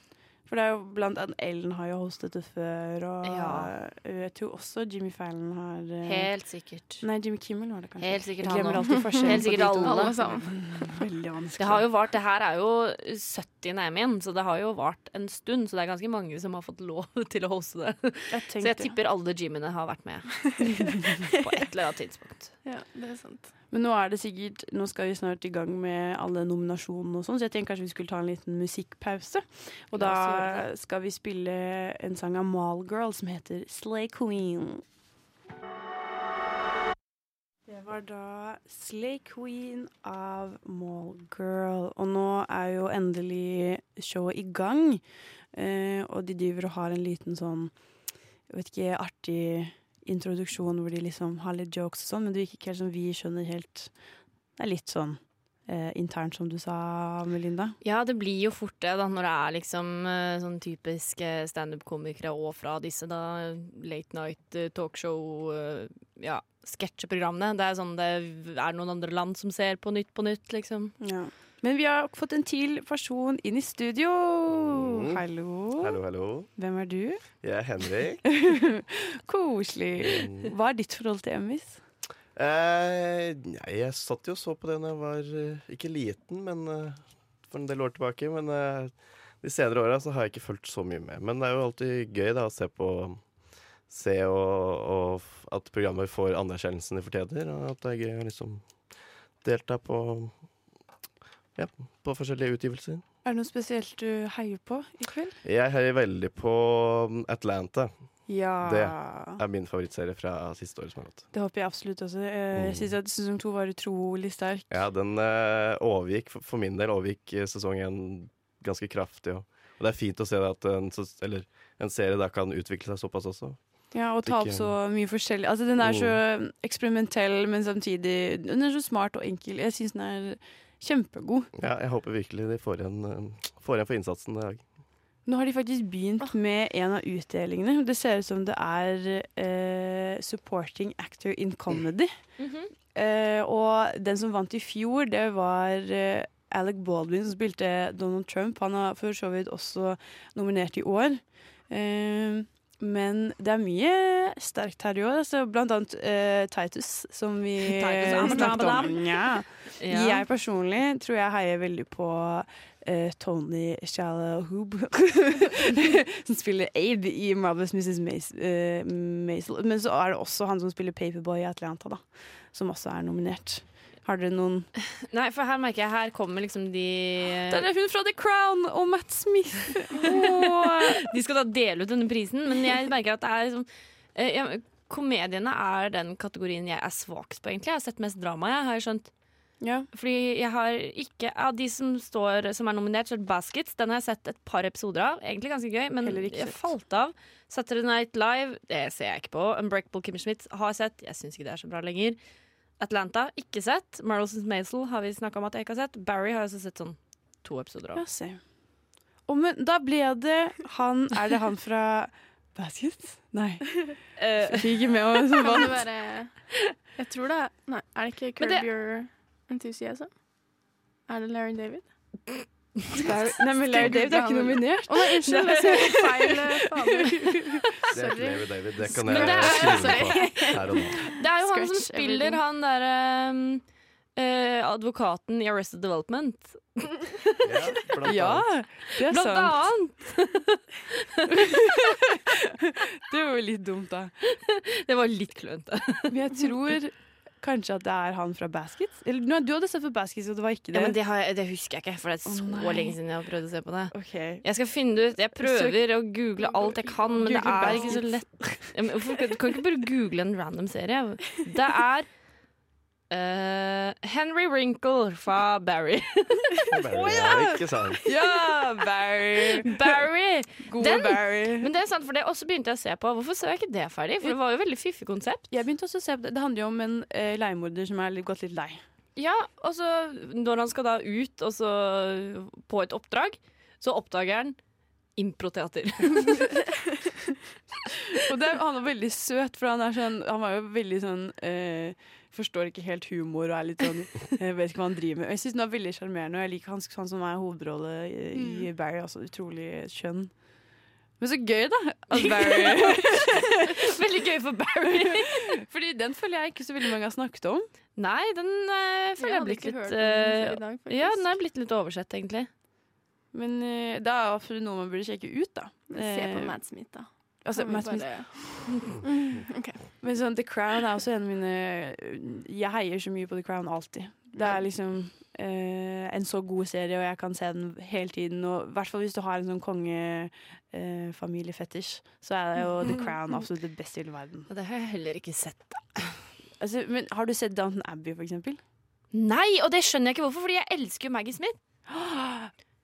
A: For det er jo blant annet Ellen har jo hostet det før, og
B: Ja.
A: eh, jeg tror også Jimmy Fallon har eh,
B: Helt sikkert.
A: Nei, Jimmy Kimmel var det kanskje.
B: Helt sikkert
A: Jeg glemmer
B: han *laughs*
A: alltid forskjellen
B: Helt
A: på de
B: sikkert
A: to.
C: Alle sammen.
A: Veldig vanskelig.
B: Det har jo vart, det her er jo 70. Emien, så det har jo vart en stund. Så det er ganske mange som har fått lov *laughs* til å hoste det.
A: jeg
B: Så jeg
A: tenkte-
B: *laughs* tipper alle Jimmyene har vært med på et eller annet tidspunkt.
C: Ja, det er sant.
A: Men nå er det sikkert Nå skal vi snart i gang med alle nominasjonene og sånn, så jeg tenker kanskje vi skulle ta en liten musikkpause. Og
B: La
A: da
B: oss
A: skal vi spille en sang av Malgirl som heter Slay Queen. Det var da Slay Queen av Mallgirl. Og nå er jo endelig showet i gang. Eh, og de driver og har en liten sånn jeg vet ikke, artig introduksjon hvor de liksom har litt jokes og sånn, men det virker ikke helt som vi skjønner helt Det er litt sånn eh, internt, som du sa, Melinda.
B: Ja, det blir jo fort det, da, når det er liksom eh, sånn typisk eh, standup-komikere og fra disse da late night eh, talkshow eh, ja, sketsjeprogrammene. Det er sånn det er noen andre land som ser på Nytt på Nytt, liksom.
A: Men vi har fått en til person inn i studio.
E: Mm.
A: Hallo.
E: Hallo, hallo.
A: Hvem er du?
E: Jeg er *laughs* Henrik.
A: Koselig.
E: Mm.
A: Hva er ditt forhold til Emmys?
E: Eh, nei, jeg satt jo og så på det da jeg var eh, ikke liten, men eh, for en del år tilbake. Men eh, de senere åra så har jeg ikke fulgt så mye med. Men det er jo alltid gøy da å se på Se og, og f- at programmer får anerkjennelsen de fortjener, og at det er gøy å liksom delta på ja, på forskjellige utgivelser.
A: Er det noe spesielt du heier på i kveld?
E: Jeg heier veldig på mm, Atlanta.
A: Ja.
E: Det er min favorittserie fra siste året som har gått.
A: Det håper jeg absolutt også. Eh,
E: Mm.
A: Jeg syns at sesong to var utrolig sterk.
E: Ja, den eh, overgikk, for- for min del overgikk eh, sesong én ganske kraftig. Og, og det er fint å se at en, ses- eller, en serie da kan utvikle seg såpass også.
A: Ja, og ta opp
E: Ikke-
A: så mye forskjellig. Altså, den er så eksperimentell, men samtidig Den er så smart og enkel. Jeg syns den er kjempegod.
E: Ja, jeg håper virkelig de får igjen, eh, får igjen for innsatsen i dag.
A: Nå har de faktisk begynt med en av utdelingene. Det ser ut som det er eh, Supporting Actor in Comedy. Eh, og den som vant i fjor, det var eh, Alec Baldwin, som spilte Donald Trump. Han er for så vidt også nominert i år. Eh, men det er mye sterkt her i år. Altså, blant annet eh, Titus, som vi
B: Titus Amsterdam.
A: snakket om. Ja.
B: Ja.
A: Jeg personlig tror jeg heier veldig på eh, Tony Shalahoob, *laughs* som spiller Abe i Marvelous Mrs. Maisel. Men så er det også han som spiller Paperboy i Atlanta, da, som også er nominert. Har dere noen
B: Nei, for her merker jeg, her kommer liksom de
A: er hun fra The Crown og Matt Smith!
B: *laughs* De skal da dele ut denne prisen, men jeg merker at det er liksom eh, ja, Komediene er den kategorien jeg er svakest på, egentlig. Jeg har sett mest drama, jeg, har jeg skjønt.
A: *laughs* ja.
B: Fordi jeg har ikke Av de som, står, som er nominert, så er det Baskets. Den har jeg sett et par episoder av. Egentlig ganske gøy, men
A: Heller ikke
B: jeg
A: sett.
B: falt av. Saturday Night Live, det ser jeg ikke på. Unbreakable Kim Schmidt har jeg sett. Jeg syns ikke det er så bra lenger. Atlanta, ikke sett. Marlsons Maisel har vi snakka om at jeg ikke har sett. Barry har jeg også sett sånn to episoder av.
A: Ja, se. Å, men da ble det han Er det han fra Basket? Nei.
B: Eh,
A: Jeg fikk ikke med meg som
C: Kan
A: vant.
C: det være Jeg tror det er Nei, er det ikke
B: Men
C: Curb
B: det-
C: Your Enthusiasm? Er det Larry David?
A: Larry- Nei, men Larry David er ikke nominert.
C: Å nei, unnskyld! Jeg ser helt feil *laughs* eh, fader.
A: Ah,
E: Det er ikke
C: Sorry.
E: David, David. Det kan
B: Men
E: jeg
B: det er-
E: skrive på her og nå.
B: det er jo han som
C: Scratch
B: spiller
C: everything.
B: han derre advokaten i Arrested Development.
E: Ja, blant
A: *laughs* Ja,
E: annet.
A: det er
B: Blant
A: sant.
B: annet!
A: Det var jo litt dumt, da.
B: Det var litt klønete.
A: Men jeg tror kanskje at det er han fra Baskets. Eller nei, du hadde sett for Baskets, og det var ikke
B: Ja,
A: det.
B: men det, har jeg, det husker jeg ikke, for det er
A: Å,
B: så
A: nei.
B: lenge siden jeg har prøvd å se på det.
A: Ok.
B: Jeg skal finne det ut. Jeg prøver å google alt jeg kan, men det
A: Google
B: er ikke så
A: Bastards.
B: lett. Ja, men hvorfor kan- kan ikke bare google en random serie. Det er eh, Henry Wrinkle fra Barry.
E: Barry, ja, ikke sant.
A: Ja, Barry.
B: *laughs* Barry!
A: Gode
B: Den-
A: Barry.
B: Men det er sant, for det også begynte jeg å se på. Hvorfor så jeg ikke det ferdig? For det var jo veldig fiffig konsept.
A: Jeg begynte også å se på det. Det handler jo om en eh, leiemorder som er litt, gått litt lei.
B: Ja, og så når han skal da ut og så på et oppdrag, så oppdager han improteater. *laughs*
A: Og det, er- han var veldig søt, for han, er sånn, han var jo veldig sånn eh, Forstår ikke helt humor og er litt sånn eh, Vet ikke hva han driver med. Og Jeg syns den var veldig sjarmerende, og jeg liker han, han som er hovedrolle i, i Barry. Altså utrolig skjønn. Men så gøy, da! *laughs* At Barry
B: Veldig gøy for Barry.
A: Fordi den føler jeg ikke så veldig mange har snakket om.
B: Nei, den eh, føler jeg
C: hadde
B: er blitt
C: ikke hørt
B: litt
C: om den før
B: eh,
C: i dag,
B: Ja, den
C: faktisk.
B: er blitt litt oversett, egentlig.
A: Men eh, det er jo absolutt noe man burde sjekke ut, da.
C: Se på
A: Eh,
C: Mad Smith, da.
A: Altså, Matt Smith.
C: Mm, ok.
A: Men sånn, The Crown er også en av mine eh, Jeg heier så mye på The Crown alltid. Det er liksom eh, en så god serie, og jeg kan se den hele tiden. Og i hvert fall hvis du har en sånn kongefamiliefetisj, så er jo The *laughs* Crown absolutt det beste i hele verden.
B: Og det har jeg heller ikke sett.
A: Altså, men har du sett Downton Abbey, for eksempel?
B: Nei, og det skjønner jeg ikke hvorfor, fordi jeg elsker jo Maggie Smith.
A: *gasps*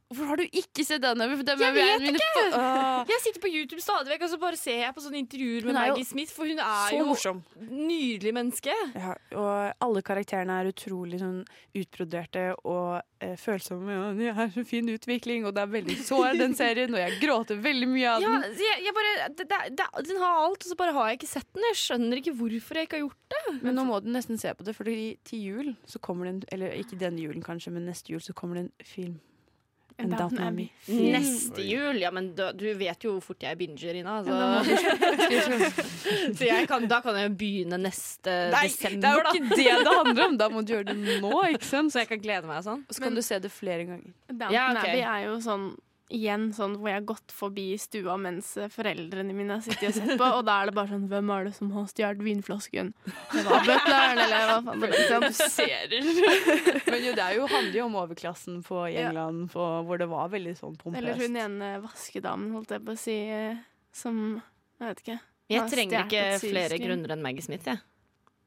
A: Hvorfor har du ikke sett Downton Abbey? For den
B: Jeg
A: er jo en av
B: vet
A: mine
B: ikke!
A: fa- Åh.
B: Jeg sitter på YouTube stadig vekk og så bare ser jeg på sånne intervjuer med
A: Hun er jo
B: Maggie Smith, for hun er
A: Så
B: jo
A: morsom.
B: nydelig menneske.
A: Ja, og alle karakterene er utrolig sånn utbroderte og eh, følsomme. Og de har så fin utvikling, og det er veldig sår, den serien, og jeg gråter veldig mye av
B: Ja,
A: den.
B: så jeg, jeg bare, det, det, det, den har alt, og så bare har jeg ikke sett den. Jeg skjønner ikke hvorfor jeg ikke har gjort det.
A: Men nå må du nesten se på det, for til jul så kommer det en Eller ikke denne julen, kanskje, men neste jul så kommer det en film. En Downton Abbey.
B: Neste jul, ja, men da, du vet jo hvor fort jeg binger, Ina. Så, *laughs* så jeg kan, da kan jeg jo begynne neste
A: Eh, det er
B: desember,
A: jo
B: da.
A: ikke det det handler om! Da må du gjøre det nå, ikke sant?
B: Så jeg kan glede meg og sånn.
A: Og så kan du se det flere ganger.
C: Downton
B: Ja, ok.
C: Abbey er jo sånn igjen sånn hvor jeg har gått forbi stua mens eh, foreldrene mine har sittet og sett på, og da er det bare sånn Hvem er det som har stjålet vinflasken? Det var butleren, eller hva faen. det er, Ikke
A: *laughs*
C: sant?
A: Men jo, det er jo, handler jo om overklassen på i
C: Ja.
A: England, på, hvor det var veldig sånn pompøst.
C: Eller hun ene vaskedamen, holdt jeg på å si, eh, som Jeg vet
A: *laughs*
C: ikke.
B: Jeg
C: har
B: trenger ikke
C: stjålet et
B: flere
C: sylskrin.
B: grunner enn Maggie Smith, jeg.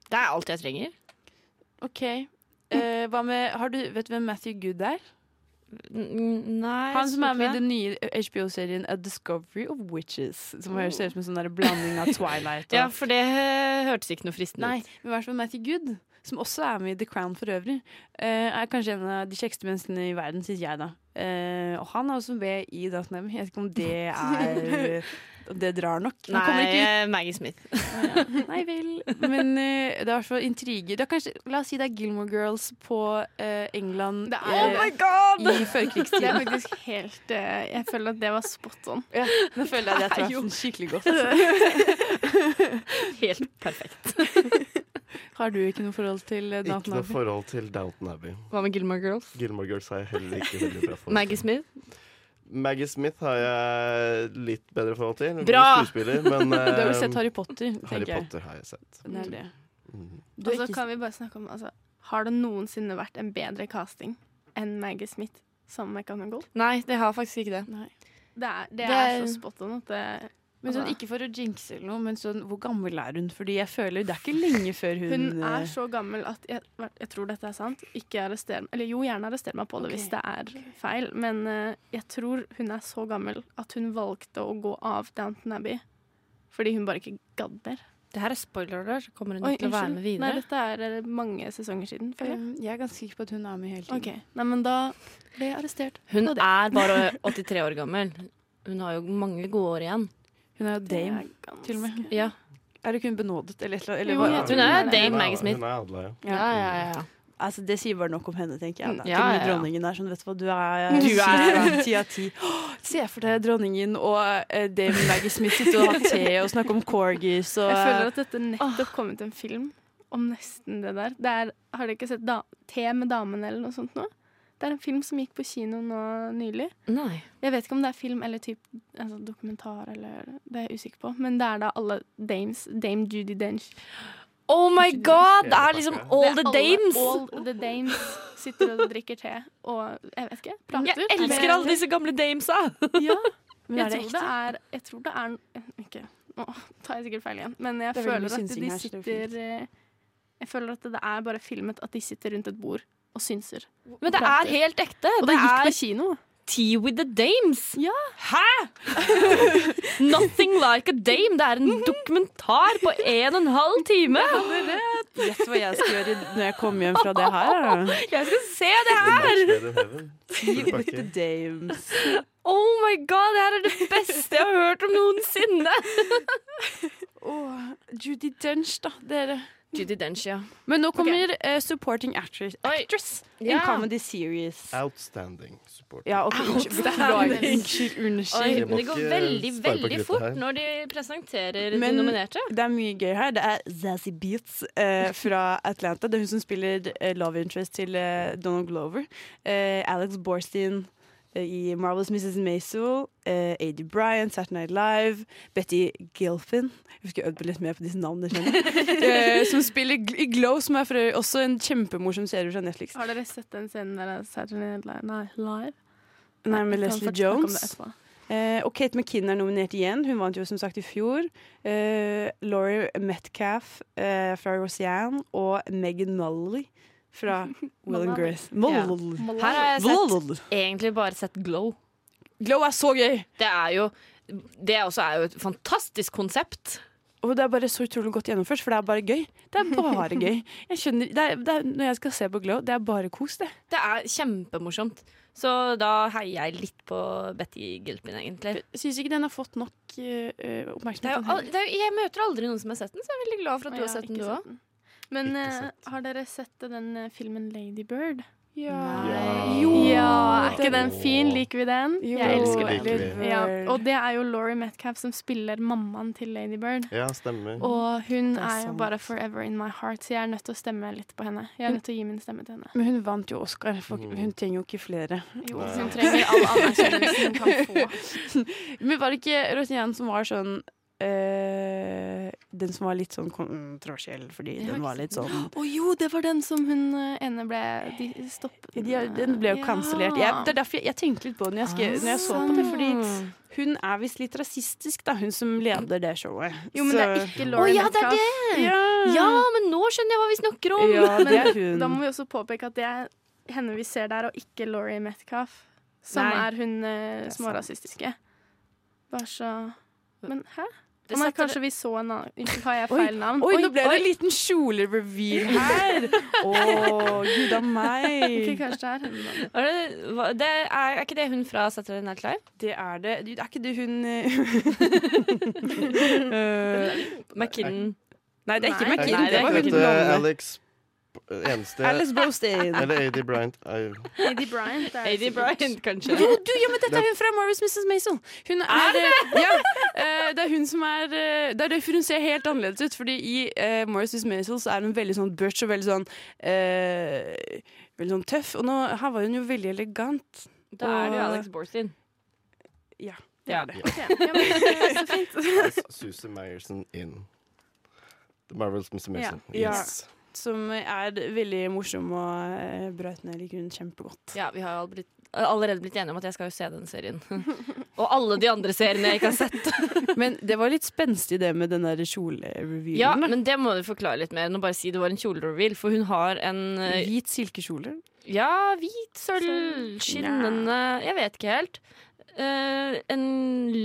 B: Det er alt jeg trenger.
A: OK. Eh, hva med, har du, vet du hvem Matthew Good er?
B: N- Nei,
A: Han som er med i
B: det.
A: den nye HBO-serien A Discovery of Witches. Som høres ut som en sånn der blanding *laughs* av Twilight og
B: Ja, for det eh, hørtes ikke noe fristende
A: Nei,
B: ut.
A: men i hvert fall Matthew Good, som også er med i The Crown for øvrig, eh, er kanskje en av de kjekkeste menneskene i verden, syns jeg, da. Eh, og han er også med i Downton Abbey. Jeg vet ikke om det er om Det drar nok. Han kommer
B: Nei,
A: ikke ut.
B: eh, Maggie Smith.
A: Nei vel. Men eh, det er i hvert fall intriger. Det er kanskje, la oss si det er Gilmore Girls på eh, England
C: Det er-
A: eh,
C: Oh my
B: god!
A: i *laughs*
C: Det
A: førkrigstiden.
C: er faktisk helt eh, Jeg føler at det var spot on.
A: Ja, nå føler *laughs* jeg at jeg traff den skikkelig godt.
B: *laughs*
A: altså.
B: Helt perfekt.
A: Har du ikke noe forhold til eh,
E: Ikke
A: Downton
E: noe
A: Abbey?
E: forhold til Downton Abbey.
B: Hva med Gilmore Girls?
E: Gilmore Girls har jeg heller ikke veldig bra forhold
B: Maggie Smith?
E: til. Maggie Smith har jeg litt bedre forhold til. Hun er
B: Bra!
E: en Skuespiller,
A: *laughs*
E: men
A: Du har vel sett
E: eh,
A: Harry Potter,
E: Harry
A: tenker jeg.
E: Potter har jeg sett.
A: Det er det.
E: Mm.
A: Du
C: Og
A: har
C: så
A: ikke
C: kan vi bare snakke om altså, Har det noensinne vært en bedre casting enn Maggie Smith som McGonagall?
B: Nei, det har faktisk ikke det.
C: Det er, det
B: Det
C: er
B: er-
C: så spot on at det
A: Men sånn,
C: Altså-
A: Ikke for å jinxe eller noe, men sånn, hvor gammel er hun? Fordi jeg føler det er ikke lenge før hun,
C: Hun er
A: eh,
C: så gammel at jeg, jeg tror dette er sant. Ikke arrester meg Eller jo, gjerne arrester meg på det hvis det er feil, men eh, jeg tror hun er så gammel at hun valgte å gå av Downton Abbey. Fordi hun bare ikke gadd mer.
B: Det her er spoiler alert. så Kommer hun ikke til å være med
C: Nei,
B: videre?
C: dette er eh, mange sesonger siden,
A: eh,
C: føler jeg.
A: Jeg er ganske sikker på at hun er med hele tiden.
C: OK. Nei, men da ble jeg arrestert.
B: Hun
C: Og det-
B: er *laughs* bare 83 år gammel. Hun har jo mange gode år igjen.
A: Hun er jo
C: det
A: dame,
C: er ganske-
A: til og med.
B: Ja,
A: Er det ikke hun benådet, eller et eller annet? Eller
C: Jo,
A: hva-
C: jeg tror
B: Hun er
C: hun er
B: dame
E: Hun er-
B: Maggie Smith.
E: Hun er Adela, ja.
B: ja, ja. ja.
A: Altså, det sier bare nok om henne, tenker jeg. Da.
B: Mm, ja,
A: til og med
B: ja, ja.
A: dronningen er sånn, vet du hva, du er
B: Du er-
A: ti av ti. Åh, Se for deg dronningen og eh, David Maggie Smith sitte og ha te og snakke om corgis og
C: Jeg føler at dette nettopp kom ut en film om nesten det der. Det er, har dere ikke sett da Te med damene eller noe sånt nå? Det er en film som gikk på kino nå nylig.
B: Nei.
C: Jeg vet ikke om det er film eller typ, altså dokumentar, eller, det er jeg usikker på. Men det er da alle dames. Dame Judy Dench.
B: Oh my god! Det er liksom all
C: Det
B: the
C: er alle-
B: dames!
C: All the dames sitter og drikker te og jeg vet ikke, prater.
B: Jeg elsker alle disse gamle damesa!
C: Ja,
A: Men
C: jeg,
A: er det
C: tror
A: ekte?
C: det er, jeg tror det er Ikke, nå tar jeg sikkert feil igjen. Men jeg
A: Det er veldig mye
C: føler at
A: synsing
C: de
A: her, så det er
C: sitter eh, Jeg føler at det er bare filmet at de sitter rundt et bord og synser.
B: *laughs* Men det er helt ekte.
C: Og det,
B: Det
C: gikk
B: er
C: på kino.
B: Tea with the dames.
C: Ja.
B: Hæ?! *laughs* Nothing like a dame. Det er en dokumentar på en og en halv time.
A: Gjett hva jeg skal gjøre når jeg kommer hjem fra det her. da.
B: Jeg skal se det her!
E: Much better heaven.
A: Tea
E: Full
A: with
E: pakke.
A: the dames.
B: Oh my god, det her er det beste jeg har hørt om noensinne!
A: Åh, Judy Dench, da, dere.
B: Judy Dench, ja.
A: Men nå kommer eh, supporting actress, actress in
B: Ja.
A: comedy series.
E: Outstanding support.
A: Ja, ok, unnskyld. Beklager. Unnskyld, unnskyld.
E: Jeg må
B: men det går
E: ikke
B: veldig,
E: spare på
B: veldig
E: kruttet
B: fort
E: her.
B: når de presenterer
A: Men-
B: de nominerte.
A: Det er mye gøy her. Det er Zazzy Beats eh, fra Atlanta. Det er hun som spiller eh, love interest til eh, Donald Glover. Eh, Alex Borstein eh, i Marvelous Mrs. Maisel, eh, A.D. Bryant, Saturday Night Live, Betty Gilpin Jeg husker jeg øvde litt mer på disse navnene. skjønner du? Eh, som spiller gl- i Glow, som er for øvrig også en kjempemorsom serie fra Netflix.
C: Har dere sett den scenen der av Saturday Night Live? Nei, live?
A: Nei,
C: Vi
A: med
C: kan
A: Leslie
C: fort snakke om det
A: Jones.
C: etterpå.
A: Eh, og Kate McKinnon er nominert igjen. Hun vant jo som sagt i fjor. Eh, Laurie Metcalf eh, fra Roseanne og Megan Mullally *laughs* fra Will and Grace. Mull.
B: Her har jeg sett,
A: Mull.
B: egentlig bare sett Glow.
A: Glow er så gøy!
B: Det er jo det også er jo et fantastisk konsept.
A: Og det er bare så utrolig godt gjennomført, for det er bare gøy. Det er bare gøy. Jeg skjønner, det er, det er, når jeg skal se på Glow, det er bare kos, det.
B: Det er kjempemorsomt. Så da heier jeg litt på Betty Gilpin, egentlig.
A: Jeg syns ikke den har fått nok eh, eh,
B: Det er jo,
A: oppmerksomhet.
B: al- det er, jo- jeg møter aldri noen som har sett den, så jeg er veldig glad for at du
C: Jeg
B: har sett den,
C: ikke
B: du òg.
C: den. Men
E: Ikke
C: eh,
E: sett.
C: har dere sett den eh, filmen Lady Bird?
E: Ja.
A: Jo.
C: Ja, er ikke
E: Den-
C: den fin? Liker vi den? Jeg elsker
E: den.
C: den.
E: Liker
C: Ja,
A: Eh,
C: og det er jo Laurie Metcalf som spiller mammaen til Lady Bird.
E: Ja, stemmer.
C: Og hun
A: Mm. Det er
C: er, jo
A: sant.
C: bare forever in my heart, så jeg er nødt til å stemme litt på henne.
A: Mm.
C: Jeg er nødt til å gi min stemme til henne.
A: Men hun vant jo Oscar. for
E: Mm.
A: Hun trenger jo ikke flere.
C: Jo,
E: Nei.
C: hun trenger all anerkjennelsen hun kan få.
A: *laughs* Men var det ikke Roseanne som var sånn eh, Den som var litt sånn kontroversiell, fordi
C: Ja,
A: den var
C: ikke
A: litt sånn
C: *laughs* Å jo, det var den som hun eh, ene ble de stoppet
A: de, Den ble jo kansellert. Jeg, det er derfor jeg, jeg tenkte litt på det når jeg,
B: Ah,
C: Ah,
A: skrev, når jeg så på det, fordi hun er visst litt rasistisk, da, hun som leder det showet.
C: Jo, men det er ikke Laurie
B: Å, ja, det er
C: Metcalf.
A: ja.
B: Ja, men nå skjønner jeg hva vi snakker om!
A: Ja, det er
C: Da må
A: hun.
C: vi også påpeke at det er henne vi ser der, og ikke Laurie Metcalf, som
B: Nei.
C: er hun eh,
A: er
C: som var rasistiske. Bare så Men hæ?
B: Det
C: Å nei,
B: setter-
C: kanskje vi så en annen Unnskyld, har jeg feil navn?
A: Oi, nå ble det en liten kjolereveal
C: *laughs*
A: her! Å, gud a
C: Ok,
A: meg.
C: kanskje det er henne. *laughs* da.
B: Er det, hva- det er, er ikke det hun fra Saturday Night Live?
A: Det er det. Du, Er ikke det hun eh,
C: *laughs*
A: *laughs* eh,
B: McKinnon.
A: Nei, det er ikke
C: Nei.
A: McKinney.
B: Nei, det
A: det
B: er
A: var
E: Vet
A: hun
E: du,
A: blonde.
E: Eh, Alex Eneste
A: Alice Brostein.
E: Eller A.D. Bryant er
C: Lady Bryant. er
B: Lady
C: sikkert-
B: Bryant, kanskje.
A: Jo, du, ja, men dette er hun fra Marvelous Mrs. Maisel. Hun er, eh, ja, eh, det er hun som er eh, Det er derfor hun ser helt annerledes ut. Fordi i uh, Marvelous Mrs. Maisel så er hun veldig sånn butch og veldig sånn eh, Veldig sånn tøff. Og nå, her var hun jo veldig elegant.
B: *laughs* Da er det jo Alex Borstein.
A: Ja,
B: det er det.
C: Ok, ja, men, eh, så fint.
E: Susie Meyerson in The Marvels Mr. Mason.
A: Ja.
E: Yes.
A: Som er veldig morsom og uh, brøt ned i grunnen kjempegodt.
B: Ja, vi har jo all blitt, allerede blitt enige om at jeg skal jo se den serien. *laughs* Og alle de andre seriene jeg ikke har sett.
A: Men det var litt spenstig, det med den der kjolerevyen.
B: Ja,
A: da.
B: Men det må du forklare litt mer enn å bare si det var en kjolereveal. For hun har en eh,
A: Hvit silkekjole.
B: ja, hvit sølv, skinnende Jeg vet ikke helt. Eh, en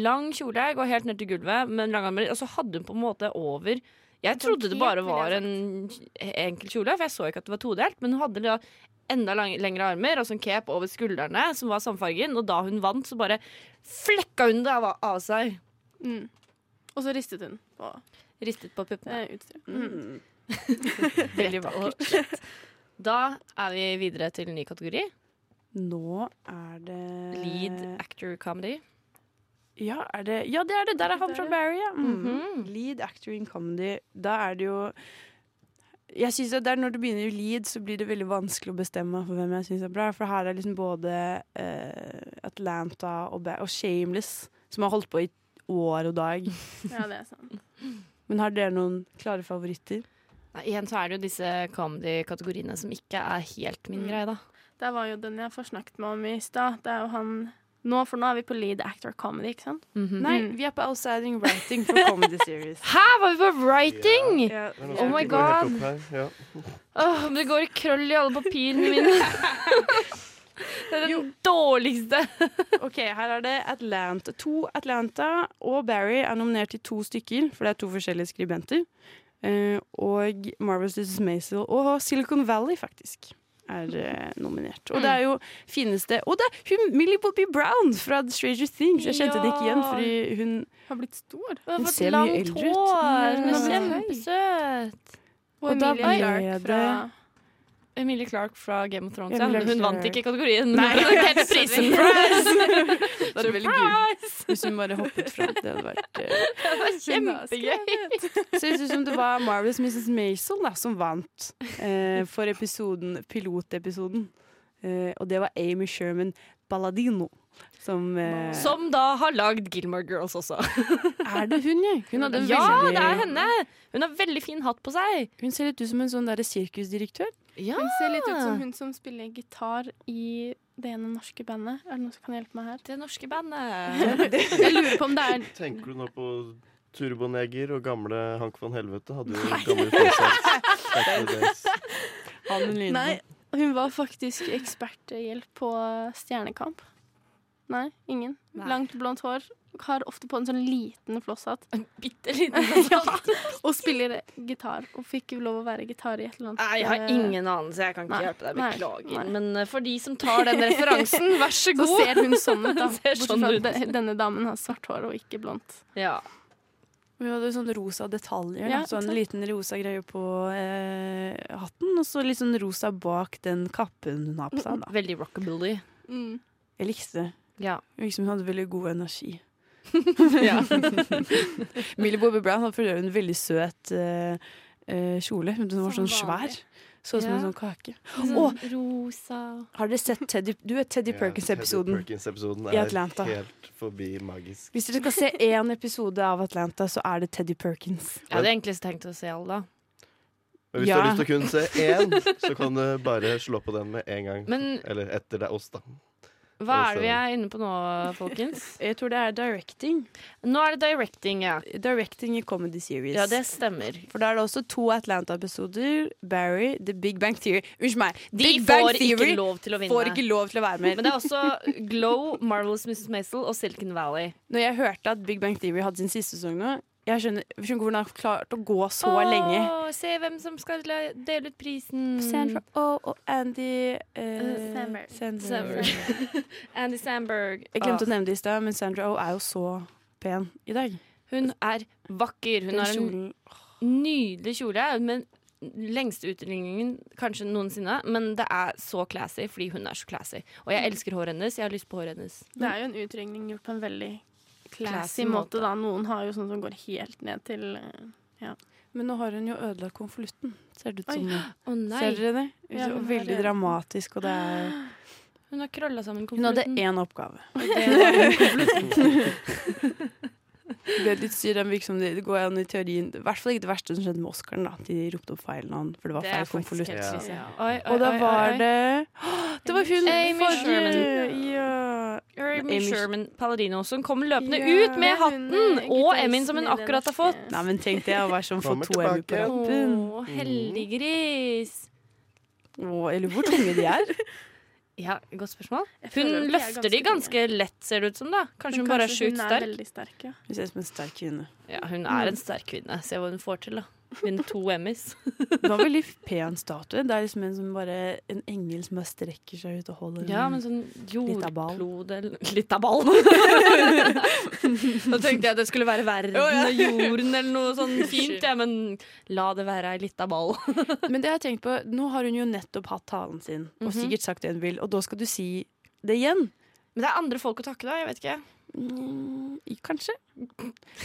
B: lang kjole går helt ned til gulvet, men langarmer. Og så hadde hun på en måte over Jeg
C: sånn
B: trodde det
C: cape,
B: bare
C: ville
B: var
C: jeg
B: en enkel kjole, for jeg så ikke at det var todelt. Men hun hadde da enda lang, lengre armer og sånn cape over skuldrene, som var samfargen. Og da hun vant, så bare flekka hun det av, av seg.
C: *laughs* Mm. Og så ristet hun på
B: Ristet på puppene.
C: eh, utstyret. Mm.
B: Eh, Veldig vakkert. Da er vi videre til en ny kategori.
A: Nå er det
B: Lead actor comedy.
A: Ja, er det, ja, det er det. Der er han
C: Der,
A: fra
C: ja.
A: Barry, ja. Mm.
B: Mhm.
A: Lead actor in comedy. Da er det jo Jeg synes at det er Når du begynner i lead, så blir det veldig vanskelig å bestemme for hvem jeg syns er bra. For her er liksom både eh, Atlanta og, Ba- og Shameless, som har holdt på i år og *laughs* dag.
C: Ja, det er sant.
A: Men har dere noen klare favoritter?
B: Nei, igjen så er det jo disse comedy-kategoriene som ikke er helt min
C: Mm.
B: greie, da.
C: Det var jo den jeg forsnakket meg om i stad. Det er jo han nå, For nå er vi på lead actor comedy, ikke sant?
A: Nei,
C: Mm.
A: vi er på Outsiding Writing for Comedy Series. *laughs*
B: Hæ, var vi på writing?!
A: Ja.
E: Det er noe
B: Oh
E: som
B: my
E: ikke altså, går helt
B: god.
E: opp her. Ja.
B: Åh, men det går i krøll i alle papirene mine. *laughs* det er den dårligste.
A: Ok, her er det Atlanta. To Atlanta og Barry er nominert til to stykker, for det er to forskjellige skribenter. Eh, og Marvelous Mrs. Maisel og Silicon Valley, faktisk, er eh, nominert. Og det er jo fineste Og det er hun Millie Bobby Brown fra The Stranger Things! Jeg kjente det ikke igjen,
B: Ja.
A: fordi hun
C: Har blitt stor.
B: Hun har
A: Hun
B: fått
A: ser mye
B: langt
A: eldre ut. Mm.
B: hår. Hun er
C: Ja.
B: kjempesøt.
C: Og,
A: Og da
C: Emilie
A: ble det-
C: Clarke fra
B: Emilie Clark fra Game of Thrones. Ja.
A: Emilie
B: Hun
A: Clarke.
B: vant ikke kategorien, men hun
A: *laughs*
B: presenterte prisen. *laughs*
A: Det hadde vært veldig gøy hvis hun bare hoppet fram. Det hadde vært eh.
B: *laughs* Det var kjempegøy.
A: Ser ut som det var Marvelous Mrs. Maisel da, som vant eh, for episoden, pilotepisoden. Eh, og det var Amy Sherman Balladino. Som, eh,
B: Som da har lagd Gilmore Girls også.
A: Er det hun, ja? Hun, hadde
B: Ja,
A: veldig-
B: det er henne! Hun har veldig fin hatt på seg.
A: hun ser litt ut som en sånn derre sirkusdirektør.
B: Ja.
C: Hun ser litt ut
A: Ah.
C: som hun som spiller gitar i det ene norske bandet. Er det noen som kan hjelpe meg her?
B: Det norske bandet. *laughs*
C: Jeg lurer på om det er
E: Tenker du nå på Turboneger og gamle Hank von Helvete? Hadde jo gamle fjes.
A: Han lyden.
C: Nei, hun var faktisk eksperthjelp på Stjernekamp. Nei, ingen.
B: Nei.
C: Langt, blondt hår. Har ofte på en sånn liten flosshatt.
B: Bitte *laughs* liten.
C: Ja, og spiller gitar. Og fikk jo lov å være gitar i et eller annet. eh,
B: Nei, jeg har ingen anelse. Jeg kan ikke
C: Nei.
B: hjelpe deg.
C: Nei.
B: Beklager.
C: Nei.
B: Men eh, for de som tar *laughs* den referansen, vær så
C: Så
B: god.
C: ser hun sånn ut, *laughs* da.
B: Hun ser
C: Bortsett
B: sånn
C: fra
B: ut.
C: at de- denne damen har svart hår og ikke blondt.
B: Ja.
A: Hun hadde sånn rosa detaljer.
C: Ja,
A: da. sånn
C: sant.
A: liten rosa greie på eh, hatten, og så litt sånn rosa bak den kappen hun har på seg. da.
B: Veldig rockabilly.
C: Mm.
A: Jeg likte det.
B: Ja.
A: Hun liksom hadde veldig god *laughs* energi.
B: ja.
A: *laughs* Millie Bobby Brown hadde for øvrig en veldig søt eh, eh, kjole. Hun var
C: Som
A: sånn svær.
C: vanlig.
A: Så ut som en
B: Ja.
A: sånn kake.
B: Sånn rosa
A: Har dere sett Teddy, du vet Teddy Perkins-episoden?
E: Perkins-episoden
A: I Atlanta.
E: er helt forbi magisk.
A: Hvis dere skal se én episode av Atlanta, så er det Teddy Perkins.
B: Jeg hadde egentlig tenkt å se alle, da.
E: Men hvis
A: Ja.
E: du har lyst til å kun se
A: *laughs*
E: én, så kan du bare slå på den med en gang.
B: Men
E: Eller etter det er oss, da.
B: hva er sånn.
E: Og så-
B: det vi er inne på nå, folkens?
A: Jeg tror det er directing.
B: *laughs* Nå er det directing, ja.
A: Directing i comedy series.
B: Ja, det stemmer.
A: For da er det også to Atlanta-episoder. Barry, The Big Bang Theory Unnskyld meg.
B: De
A: Big Bang
B: får ikke
A: Theory
B: lov til å vinne.
A: får ikke lov til å være med.
B: Men det er også Glow, Marvelous Mrs. Maisel og Silicon Valley.
A: Når jeg hørte at Big Bang Theory hadde sin siste sesong nå, jeg skjønner, jeg skjønner ikke hvordan han har klart å gå så lenge.
B: Åh, se hvem som skal la- dele ut prisen.
A: Sandra oh, og Andy
B: Eh,
C: Samberg.
A: Sandberg.
B: Sandberg. *laughs* Andy Sandberg. Ah.
A: Jeg glemte å nevne det i stad, men Sandra Oh er jo så pen i dag.
B: Hun er vakker. Hun
A: Den
B: har en
A: kjolen-
B: nydelig kjole. Men lengste utringningen kanskje noensinne. Men det er så classy fordi hun er så classy. Og jeg elsker håret hennes. Jeg har lyst på håret hennes.
C: Det er jo en utrygning gjort på en veldig
B: Classy
C: classy måte, da. Noen har jo sånn som går helt ned til eh,
A: Men nå har hun jo ødelagt konvolutten, ser det ut som.
B: Å nei!
A: Ser dere det?
C: Ja, hun har
A: Veldig
C: det.
A: dramatisk, og det er
B: Hun har krølla sammen
A: Hun hadde
B: *laughs* konvolutten.
A: én oppgave.
B: Det-
A: Det ble litt styr, den virket som det, det går an i teorien I hvert fall ikke det verste som skjedde med Oscaren. da. De ropte opp feil navn, for det var
B: Det
A: feil
B: er faktisk
A: konvolutt.
B: helt
E: Ja.
B: trist. Oi, oi,
A: Og da
B: oi, oi,
A: var
B: oi.
A: det Åh, Det var hun
B: Amy Sherman.
A: Ja.
B: Amy
A: Amy-
B: Sherman Paladino som kom løpende
A: Ja.
B: ut med hatten og Emmyen som hun akkurat har fått.
A: Nei, men tenk det, å være sånn for
E: Kommer
A: to Emmy på
E: tilbake.
A: rappen.
B: Å, heldiggris.
A: Åh, jeg lurer hvor tunge de er.
B: Ja, godt spørsmål. Hun løfter de ganske lett, ser det ut som. da Kanskje hun bare er sjukt
C: Hun er
B: sterk.
C: veldig sterk, ja. *laughs*
A: Hun ser ut som en sterk kvinne.
B: Ja, hun er en sterk kvinne. Se hva hun får til, da. Vinne to Emmys.
A: Hun har veldig pen statue. Det er liksom en som bare En engel som bare strekker seg ut og holder
B: *laughs* Ja, men sånn
A: av ball.
B: jordklode *laughs* Litt av ball! Nå tenkte jeg det skulle være verden og jorden eller noe sånn *laughs* fint, ja, men la det være ei lita ball.
A: Men det har jeg tenkt på, nå har hun jo nettopp hatt talen sin, og
B: Mhm.
A: sikkert sagt det hun vil, og da skal du si det igjen.
B: *laughs* Men det er andre folk å takke, da. Jeg vet ikke.
A: Mm, kanskje.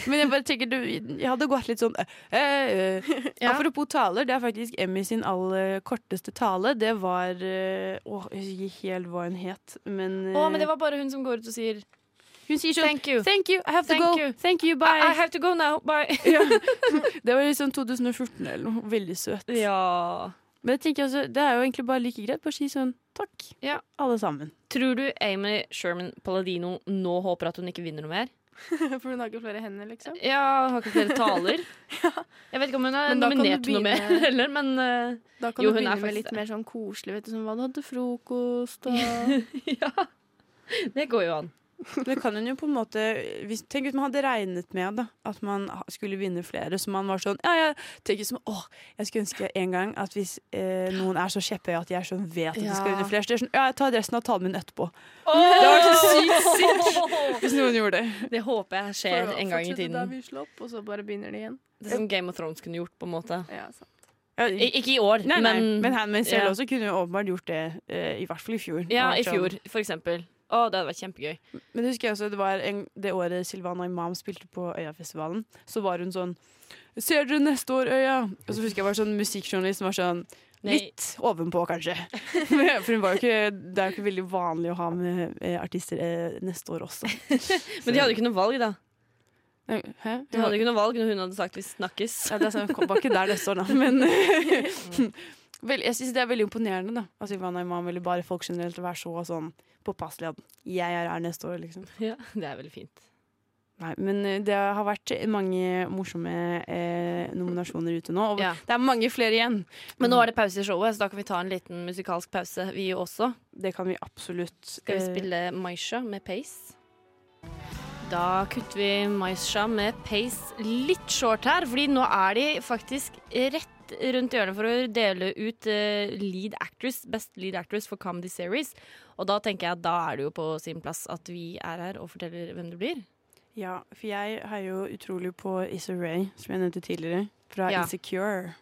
A: Men jeg bare tenker, du, jeg hadde gått litt sånn eh, eh, eh.
B: *laughs* Ja.
A: Apropos taler, det er faktisk Emmy sin aller korteste tale. Det var eh, Åh, jeg husker ikke helt hva hun het, men, eh,
B: Å, men det var bare hun som går ut og sier
A: Hun sier sånn
B: thank you.
A: Thank you, I have
B: Thank
A: to go.
B: you.
A: Thank you,
B: I, I
A: bye.
B: have to go now. Bye.
A: Det var liksom 2014 eller noe. Veldig søt.
B: *laughs* Ja.
A: Men jeg tenker altså, det er jo egentlig bare like greit. Bare si sånn takk,
B: Ja.
A: alle sammen.
B: Tror du Amy Sherman Paladino nå håper at hun ikke vinner noe mer?
C: For hun har ikke flere hender, liksom.
B: Ja, har ikke flere *laughs* taler? Jeg vet ikke om hun er
C: Men da kan du
B: nominert til noe mer
C: begynne-
B: heller, men eh,
C: Da kan
B: Jo, hun er
C: du begynne med
B: faktisk
C: litt
B: det.
C: mer sånn koselig, vet du, som hva du hadde frokost
B: *laughs*
C: og
B: *laughs* ja. Det går jo an.
A: Det kan hun jo på en måte hvis, Tenk hvis man hadde regnet med da, at man ha- skulle vinne flere, så man var sånn Ja, jeg tenker som Åh, jeg skulle ønske en gang at hvis eh, noen er så kjepphøye at jeg sånn vet at de skal
B: Ja.
A: vinne flere, så det er sånn Ja, jeg tar resten av talen min etterpå.
B: Oh!
A: Det hadde vært
B: *laughs*
A: så sykt Hvis noen gjorde det.
B: Det håper jeg skjer en gang i tiden.
C: vi slapp, og så bare begynner de igjen.
B: Det som Game of Thrones kunne gjort, på en måte.
C: Ja, altså. sant.
B: I, ikke i år,
A: nei, nei, men,
B: men
A: Handmaid's Tale
B: ja.
A: også kunne jo åpenbart gjort det, eh, i hvert fall i fjor.
B: ja, i
A: Det var sånn-
B: fjor, for eksempel. Å, det hadde vært kjempegøy.
A: Men husker jeg også, det var en, det året Silvana Imam spilte på Øyafestivalen, så var hun sånn Ser dere neste år, Øya? Og så husker jeg var sånn musikkjournalist som var sånn
B: Nei.
A: Litt ovenpå,
B: *laughs*
A: kanskje. For hun var jo ikke, det er jo ikke veldig vanlig å ha med eh, artister eh, neste år også.
B: Men de hadde jo ikke noe valg, da.
A: Hæ?
B: De hadde jo ikke noe valg når hun hadde sagt 'vi snakkes'.
A: Ja, det er sant. Kom- var ikke der neste år, da. Men *laughs* vel, jeg syns det er veldig imponerende da at Ivana Imam eller bare folk generelt å være så sånn påpasselig at 'jeg er her neste år', liksom.
B: Ja, *laughs* det er veldig fint.
A: Nei, men eh, det har vært mange morsomme eh, nominasjoner ute nå. Og
B: Ja.
A: det er mange flere igjen.
B: Men nå er det pause i showet, så da kan vi ta en liten musikalsk pause, vi også.
A: Det kan vi absolutt.
B: Skal vi
A: eh,
B: spille Maisha med Pace? Da kutter vi Maisha med Pace litt short her, fordi nå er de faktisk rett rundt hjørnet for å dele ut eh, lead actress, best lead actress for Comedy Series. Og da tenker jeg at da er det jo på sin plass at vi er her og forteller hvem det
A: *laughs*
B: blir. *laughs*
A: Ja, for jeg heier jo utrolig på Issa Rae, som jeg nevnte tidligere, fra
B: Ja.
A: Insecure.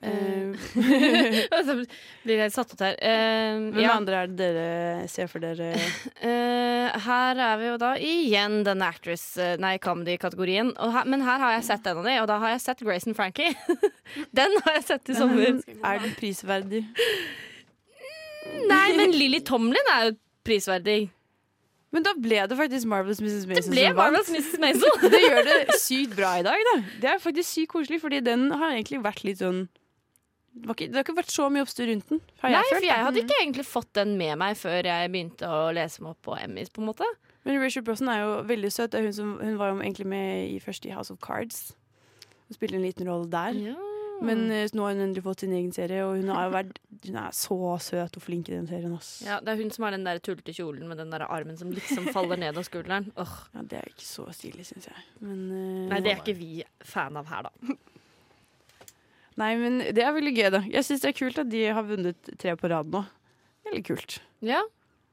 A: Eh,
B: *laughs* Så blir jeg satt ut her. Eh,
A: hvem
B: ja.
A: andre er det dere ser for dere?
B: *laughs* Eh, her er vi jo da igjen denne actress, eh, nei, comedy-kategorien. Og her- Men her har jeg sett en av de, og da har jeg sett Grayson Frankie. *laughs* Den har jeg sett
A: *laughs*
B: i sommer.
A: Er den prisverdig?
B: Nei, men Lilly Tomlin er jo prisverdig.
A: Men da ble det faktisk Marvelous Mrs.
B: Det
A: Mason
B: ble
A: som vant.
B: Marvelous Mrs. Maisel.
A: *laughs* Det gjør det sykt bra i dag, da. Det er faktisk sykt koselig, fordi den har egentlig vært litt sånn det, var ikke, det har ikke vært så mye oppstyr rundt den, har
B: Nei,
A: jeg
B: for
A: følt.
B: jeg hadde ikke egentlig fått den med meg før jeg begynte å lese meg opp på Emmys, på en måte.
A: Men Rachel Brosnan er jo veldig søt. Det er hun, som, hun var jo egentlig med i først i House of Cards. Hun spilte en liten rolle der. Men eh, nå har hun endelig fått sin egen serie, og hun, har jo vært, hun er så søt og flink i den serien. Ass.
B: Ja, det er hun som har den der tullete kjolen med den der armen som
A: *laughs*
B: liksom faller ned av skulderen. Åh.
A: Ja, det er ikke så stilig, syns jeg. Men, eh,
B: Nei, det er ikke vi fan av her, da.
A: nei, men det er veldig gøy, da. Jeg syns det er kult at de har vunnet tre på rad nå. Veldig kult.
B: Ja,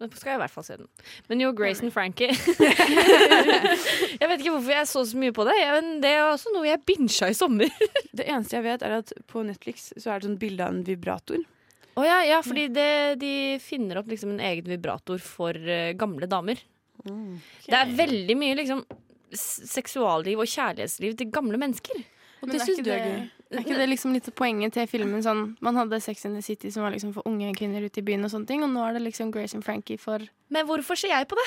B: da skal jeg i hvert fall se den. Men jo, Grayson Frankie *laughs* Jeg vet ikke hvorfor jeg så så mye på det, men det er også noe jeg bincha i sommer.
A: Det eneste jeg vet, er at på Netflix så er det sånn bilde av en vibrator.
B: Å ja, ja, fordi det, de finner opp liksom en egen vibrator for eh, gamle damer. Det er veldig mye liksom s- seksualliv og kjærlighetsliv til gamle mennesker.
A: Og
C: Men
A: det
C: er
A: syns
C: ikke
A: du er
C: det-
A: gøy.
C: Er ikke det liksom litt poenget til filmen? Sånn, man hadde Sex in the City som var liksom for unge kvinner ute i byen, og sånne ting, og nå er det liksom Grace and Frankie
B: *laughs*
C: for
B: Men hvorfor ser jeg på det?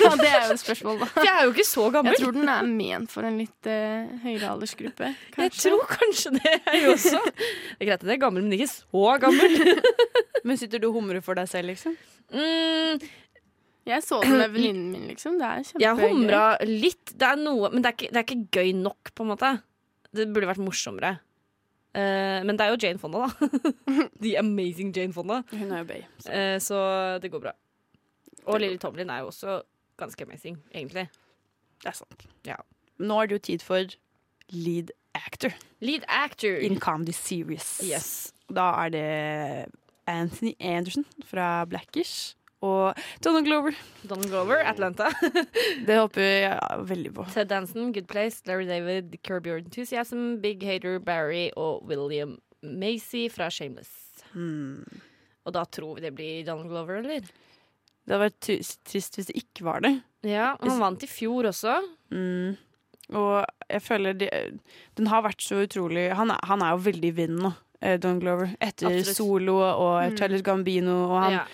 C: Ja, det er jo et spørsmål, da.
B: For jeg er jo ikke så gammel.
C: Jeg tror den er ment for en litt eh, høyere aldersgruppe,
B: Jeg
C: kanskje.
B: tror kanskje det, jeg også. *laughs* Det er greit at jeg er gammel, men ikke så gammel.
A: Men sitter du og humrer for deg selv, liksom?
B: Mm,
C: Jeg så
A: *clears throat*
C: den med venninnen min, liksom. Det er kjempegøy.
B: Jeg humra litt. Det er noe, men det er, ikke, det er ikke gøy nok, på en måte. Det burde vært morsommere. Eh, men det er jo Jane Fonda, da. *laughs* The amazing Jane Fonda.
A: Hun er jo bay.
B: Eh, så det går bra. Og Lilly Tomlin er jo også ganske amazing, egentlig.
A: Det er sant.
B: Ja.
A: Nå er det jo tid for lead actor
B: Lead actor.
A: in comedy series.
B: Yes.
A: Da er det Anthony Anderson fra Blackish og Donald Glover.
B: Donald Glover, Atlanta. *laughs*
A: Det håper jeg veldig på.
B: Ted Danson, Good Place. Larry David, Curb Your Enthusiasm. Big Hater, Barry og William Macy fra Shameless.
A: Hmm.
B: Og da tror vi det blir Donald Glover, eller?
A: Det hadde vært tris- trist hvis det ikke var det.
B: Ja, Han vant i fjor også.
A: Mm. Og jeg føler de, Den har vært så utrolig Han er, han er jo veldig i vinden nå, eh, Don Glover. Etter
B: Absolutt.
A: solo og Charles Gambino, og han
B: ja.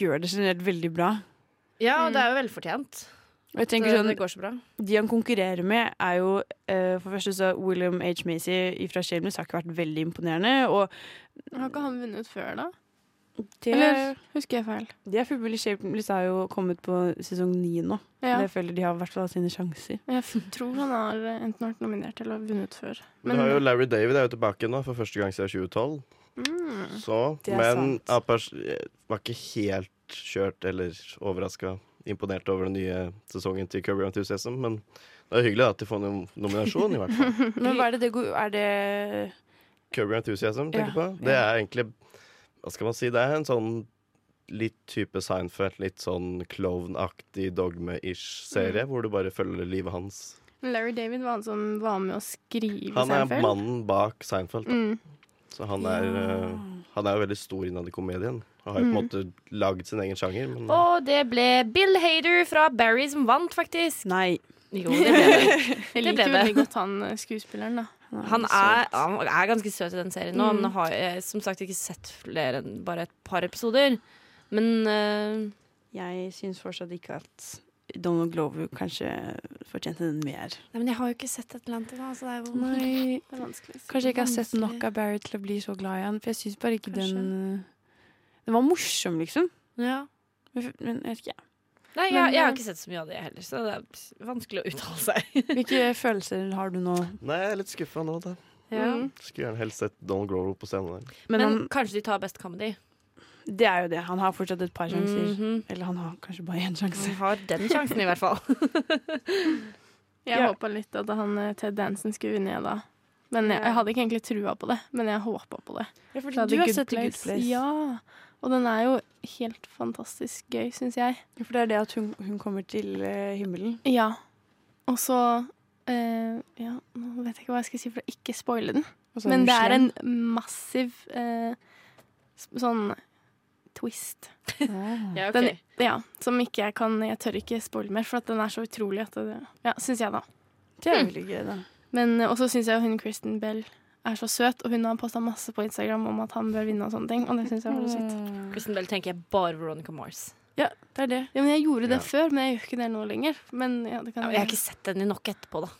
A: gjør det generelt veldig bra.
B: Ja, og det er jo velfortjent.
A: Og jeg
B: Så
A: tenker sånn,
B: det går så bra.
A: De han konkurrerer med, er jo eh, For det første så William H. Macy fra Shameless har ikke vært veldig imponerende. Og
C: Har ikke han vunnet før, da?
A: det,
C: Eller husker jeg feil?
A: de er fullbillig Shameless har jo kommet på sesong ni nå.
C: Ja.
A: Jeg føler de har i hvert fall sine sjanser.
C: Jeg f- tror han har eh, enten vært nominert eller vunnet før.
E: Men du har jo Larry David er jo tilbake nå for første gang siden 2012.
C: mm,
E: Så,
A: Det er
E: men
A: sant.
E: Apers eh, var ikke helt kjørt eller overraska. Imponert over den nye sesongen til Curb Your Enthusiasm. Men det er hyggelig da, at de får en nominasjon, i hvert fall.
A: Mhm. Men hva er det det go- Er det
E: Curb Your Enthusiasm,
A: Ja,
E: tenker jeg på. Det er egentlig Hva skal man si? Det er en sånn litt type Seinfeld, litt sånn klovnaktig dogme-ish
A: Mm.
E: serie, hvor du bare følger livet hans.
C: Larry David var han som var med å skrive
E: Han er
C: Seinfeld.
E: mannen bak Seinfeld. da.
C: Mm.
E: Så han er, eh, han er jo veldig stor innad i komedien. Og har jo på en
A: Mm.
E: måte lagd sin egen sjanger. Men,
B: Og det ble Bill Hader fra Barry som vant, faktisk.
A: Nei.
B: Jo, det ble det. *laughs*
C: Jeg
B: Det ble
C: liker jo
B: det.
C: veldig godt han eh, skuespilleren, da.
B: Han er, han er ganske søt i den serien nå,
C: Mm.
B: men har jeg som sagt ikke sett flere enn bare et par episoder. Men eh,
A: Jeg syns fortsatt ikke at Donald Glover kanskje fortjente den mer.
B: Nei, men jeg har jo ikke sett Atlantica. Altså det er jo *laughs*
A: Nei,
C: Det er vanskelig. å si.
A: kanskje jeg ikke har sett
B: Vanskelig.
A: nok av Barry til å bli så glad i han. For jeg syns bare ikke
B: Kanskje.
A: den eh, Den var morsom, liksom.
B: ja.
A: Men, men jeg vet ikke.
B: Nei, jeg,
C: Men,
B: jeg har
C: eh,
B: ikke sett så mye av det heller, så det er vanskelig å uttale seg. *laughs*
A: Hvilke følelser har du nå?
E: Nei, jeg er litt skuffa nå. da
C: Mm.
E: Skulle gjerne helst sett Donald Grover på scenen. der.
A: Men,
B: Men
A: han,
B: kanskje de tar best comedy.
A: det er jo det. Han har fortsatt et par sjanser.
C: Mm.
B: Mhm.
A: Eller han har kanskje bare én sjanse.
B: Han har den sjansen, i hvert fall.
C: Jeg
A: Ja.
C: håpa litt at han eh, Ted Danson skulle vinne jeg, da. Men jeg, jeg hadde ikke egentlig trua på det, men jeg håpa på det. Fra The
A: du har
C: Good
A: sett The Good Place.
C: Ja. Og den er jo helt fantastisk gøy, syns jeg.
A: For det er det at hun, hun kommer til eh, himmelen.
C: Ja. Og så eh, Ja, nå vet jeg ikke hva jeg skal si for å ikke spoile den.
A: og så
C: Men
A: hun
C: det er
A: slem.
C: en massiv eh, s- sånn twist.
A: Ah.
B: *laughs* Ja, ok.
C: Den, ja, som ikke jeg kan Jeg tør ikke spoile mer, for at den er så utrolig at det Ja, syns jeg, da.
A: Det er veldig gøy, da.
C: Men eh, også syns jeg hun Kristen Bell er så søt, og hun har posta masse på Instagram om at han bør vinne og sånne ting, og det syns jeg var så
A: Mm.
C: søtt.
B: Kristen Bell tenker jeg bare Veronica Mars.
A: Ja, det er det.
C: Ja, men jeg gjorde det
E: Ja.
C: før, men jeg gjør ikke det nå lenger. Men ja, det kan
B: Jeg har ikke sett henne nok etterpå, da.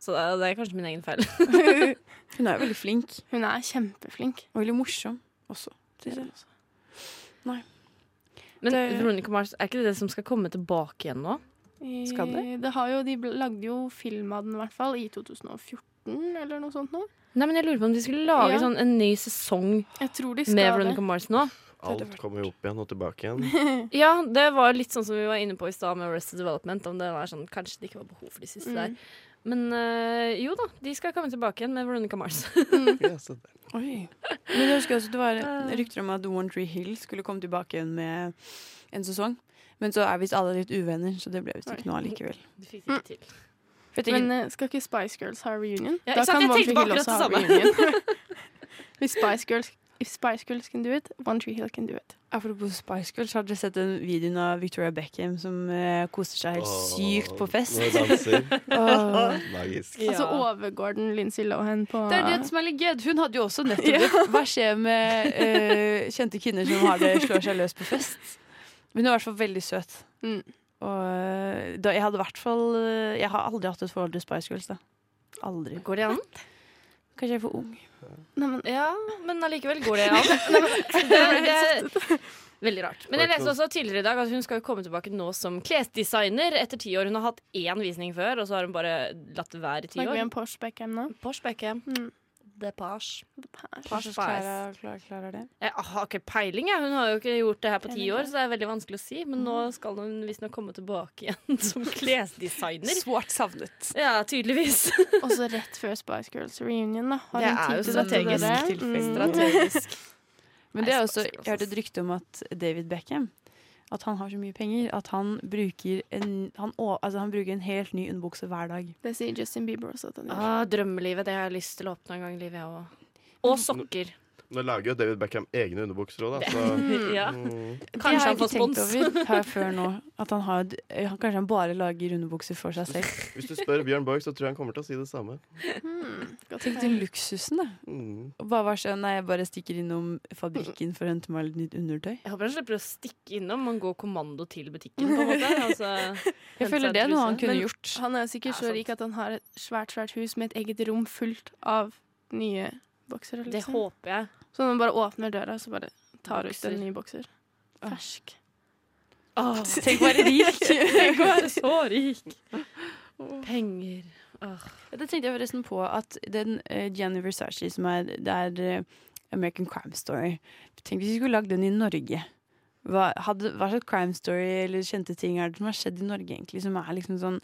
B: Så det er, det er kanskje min egen feil.
A: *laughs*
B: *laughs*
A: Hun er jo veldig flink.
C: Hun er kjempeflink.
A: Og veldig morsom også. synes jeg.
B: Men
A: Det-
B: Veronica Mars, er ikke det det som skal komme tilbake igjen nå? Skal det?
C: Eh, har jo, de bl- lagde jo film av den i hvert fall i 2014 eller noe sånt. Nå.
B: Nei, men jeg lurer på om de skulle lage
C: Ja.
B: sånn en ny sesong
C: Jeg tror de
B: med
C: skal
B: Veronica
C: det.
B: Mars *laughs* nå.
A: Det
E: Alt
A: hadde
E: kommer jo opp igjen og tilbake
A: *laughs*
E: igjen.
B: Ja, det var litt sånn som vi var inne på i stad med Arrested Development. Om det var sånn, Kanskje det ikke var behov for de siste der.
C: Mm.
B: Men øh, jo da, de skal komme tilbake igjen med Veronica Mars.
E: Ja, så det-
A: Oi. Men jeg husker også at det
C: Ah.
A: var rykter om at One Tree Hill skulle komme tilbake igjen med en sesong. Men så er visst alle litt uvenner, så det ble visst ikke noe allikevel.
B: *laughs* De fikk det ikke til.
A: For jeg
C: Men
A: tenker,
C: eh, skal ikke Spice Girls ha reunion?
B: Ja, ikke sant? Jeg
C: One
B: tenkte
C: Tree
B: på
C: Hill
B: akkurat
C: også
B: det
C: ha reunion. *laughs* Hvis Spice Girls If Spice Girls can do it, One Tree Hill can do it.
A: apropos Spice Girls, har dere sett den videoen av Victoria Beckham som eh, koser seg helt
E: Åh,
A: sykt på fest?
E: Når jeg danser.
A: Åh.
E: Magisk.
B: *laughs* Ja.
C: Altså overgår den Lindsay Lohan på
A: *laughs* Det er det som er litt gøy. Hun hadde jo også nettopp det. Hva skjer med eh, kjente kvinner som har det, slår seg løs på fest? Men hun er i hvert fall veldig søt.
C: Mm.
A: Og eh, da, jeg hadde i hvert fall eh, Jeg har aldri hatt et forhold til Spice Girls, da. Aldri.
B: Går det an?
A: Kanskje jeg er for ung.
C: Nei, men,
B: Ja, men allikevel går det *laughs* an. Det, det er veldig rart. Men jeg leste også tidligere i dag at hun skal jo komme tilbake nå som klesdesigner etter ti år. Hun har hatt én visning før, og så har hun bare latt det være i ti
C: Snakker vi
B: år.
C: om Porsche Beckham
B: *laughs*
C: nå?
B: Porsche Beckham.
C: Mm.
B: Depage.
A: Kanskje Clara klarer, klarer det.
B: Jeg har ikke peiling, jeg. Hun har jo ikke gjort det her på ti
C: Peiling,
B: år,
C: ja.
B: så det er veldig vanskelig å si. Men nå
A: Mm.
B: skal hun visstnok komme tilbake igjen *laughs* som klesdesigner.
A: Svårt savnet.
B: Ja, tydeligvis.
C: Og så rett før Spice Girls reunion, da. Har
B: Det
C: hun
B: er
C: tid
B: jo
C: til
B: strategisk
C: dette?
A: tilfelle.
C: Mm.
B: Strategisk.
A: *laughs* Men det er
B: Nei,
A: også,
B: Spice
A: jeg
B: Girls,
A: hørte
B: ass.
A: et rykte om at David Beckham At han har så mye penger at han bruker en, han, å- altså han bruker en helt ny underbukse hver dag.
C: Det sier Justin Bieber også at han gjør.
B: *laughs* Ah, drømmelivet, det har jeg lyst til å åpne en gang i livet, jeg Mm. òg. Og sokker.
E: Nå lager jo David Beckham egne underbukser
A: *laughs*
E: òg, da. Så,
B: *laughs* Ja.
E: mm,
A: Det har
B: Kanskje
A: jeg
B: han får
A: ikke tenkt
B: spons.
A: over her før nå. At han har, eh, han, kanskje han bare lager underbukser for seg selv.
E: hvis du spør Bjørn Borg, så tror jeg han kommer til å si det samme.
C: Hmm, godt
A: Tenk
C: poeng.
A: den luksusen, da.
E: Mm.
A: Og Bare vær sånn, nei, jeg bare stikker innom fabrikken for å hente meg litt nytt undertøy.
B: Jeg håper han slipper å stikke innom. Man går kommando til butikken, på en *laughs* måte. Altså,
A: Jeg føler det er noe han kunne
C: Men-
A: gjort.
C: Han er jo sikkert
B: Ja,
C: så
B: sant.
C: rik at han har et svært svært hus med et eget rom fullt av nye boksere.
B: Det
C: Liksom.
B: håper jeg.
C: Så når man bare åpner døra, så bare tar ut
B: Bokser.
C: en ny bokser.
A: Ah.
C: Fersk.
A: Tenk å være rik!
B: Tenk å være så rik! Penger. Åh.
A: Det tenkte jeg forresten på at den eh, Gianni Versace som er Det er eh, American Crime Story. Tenk hvis vi skulle lagd den i Norge. Hva, hadde, hva slags crime story eller kjente ting er det som har skjedd i Norge, egentlig, som er liksom sånn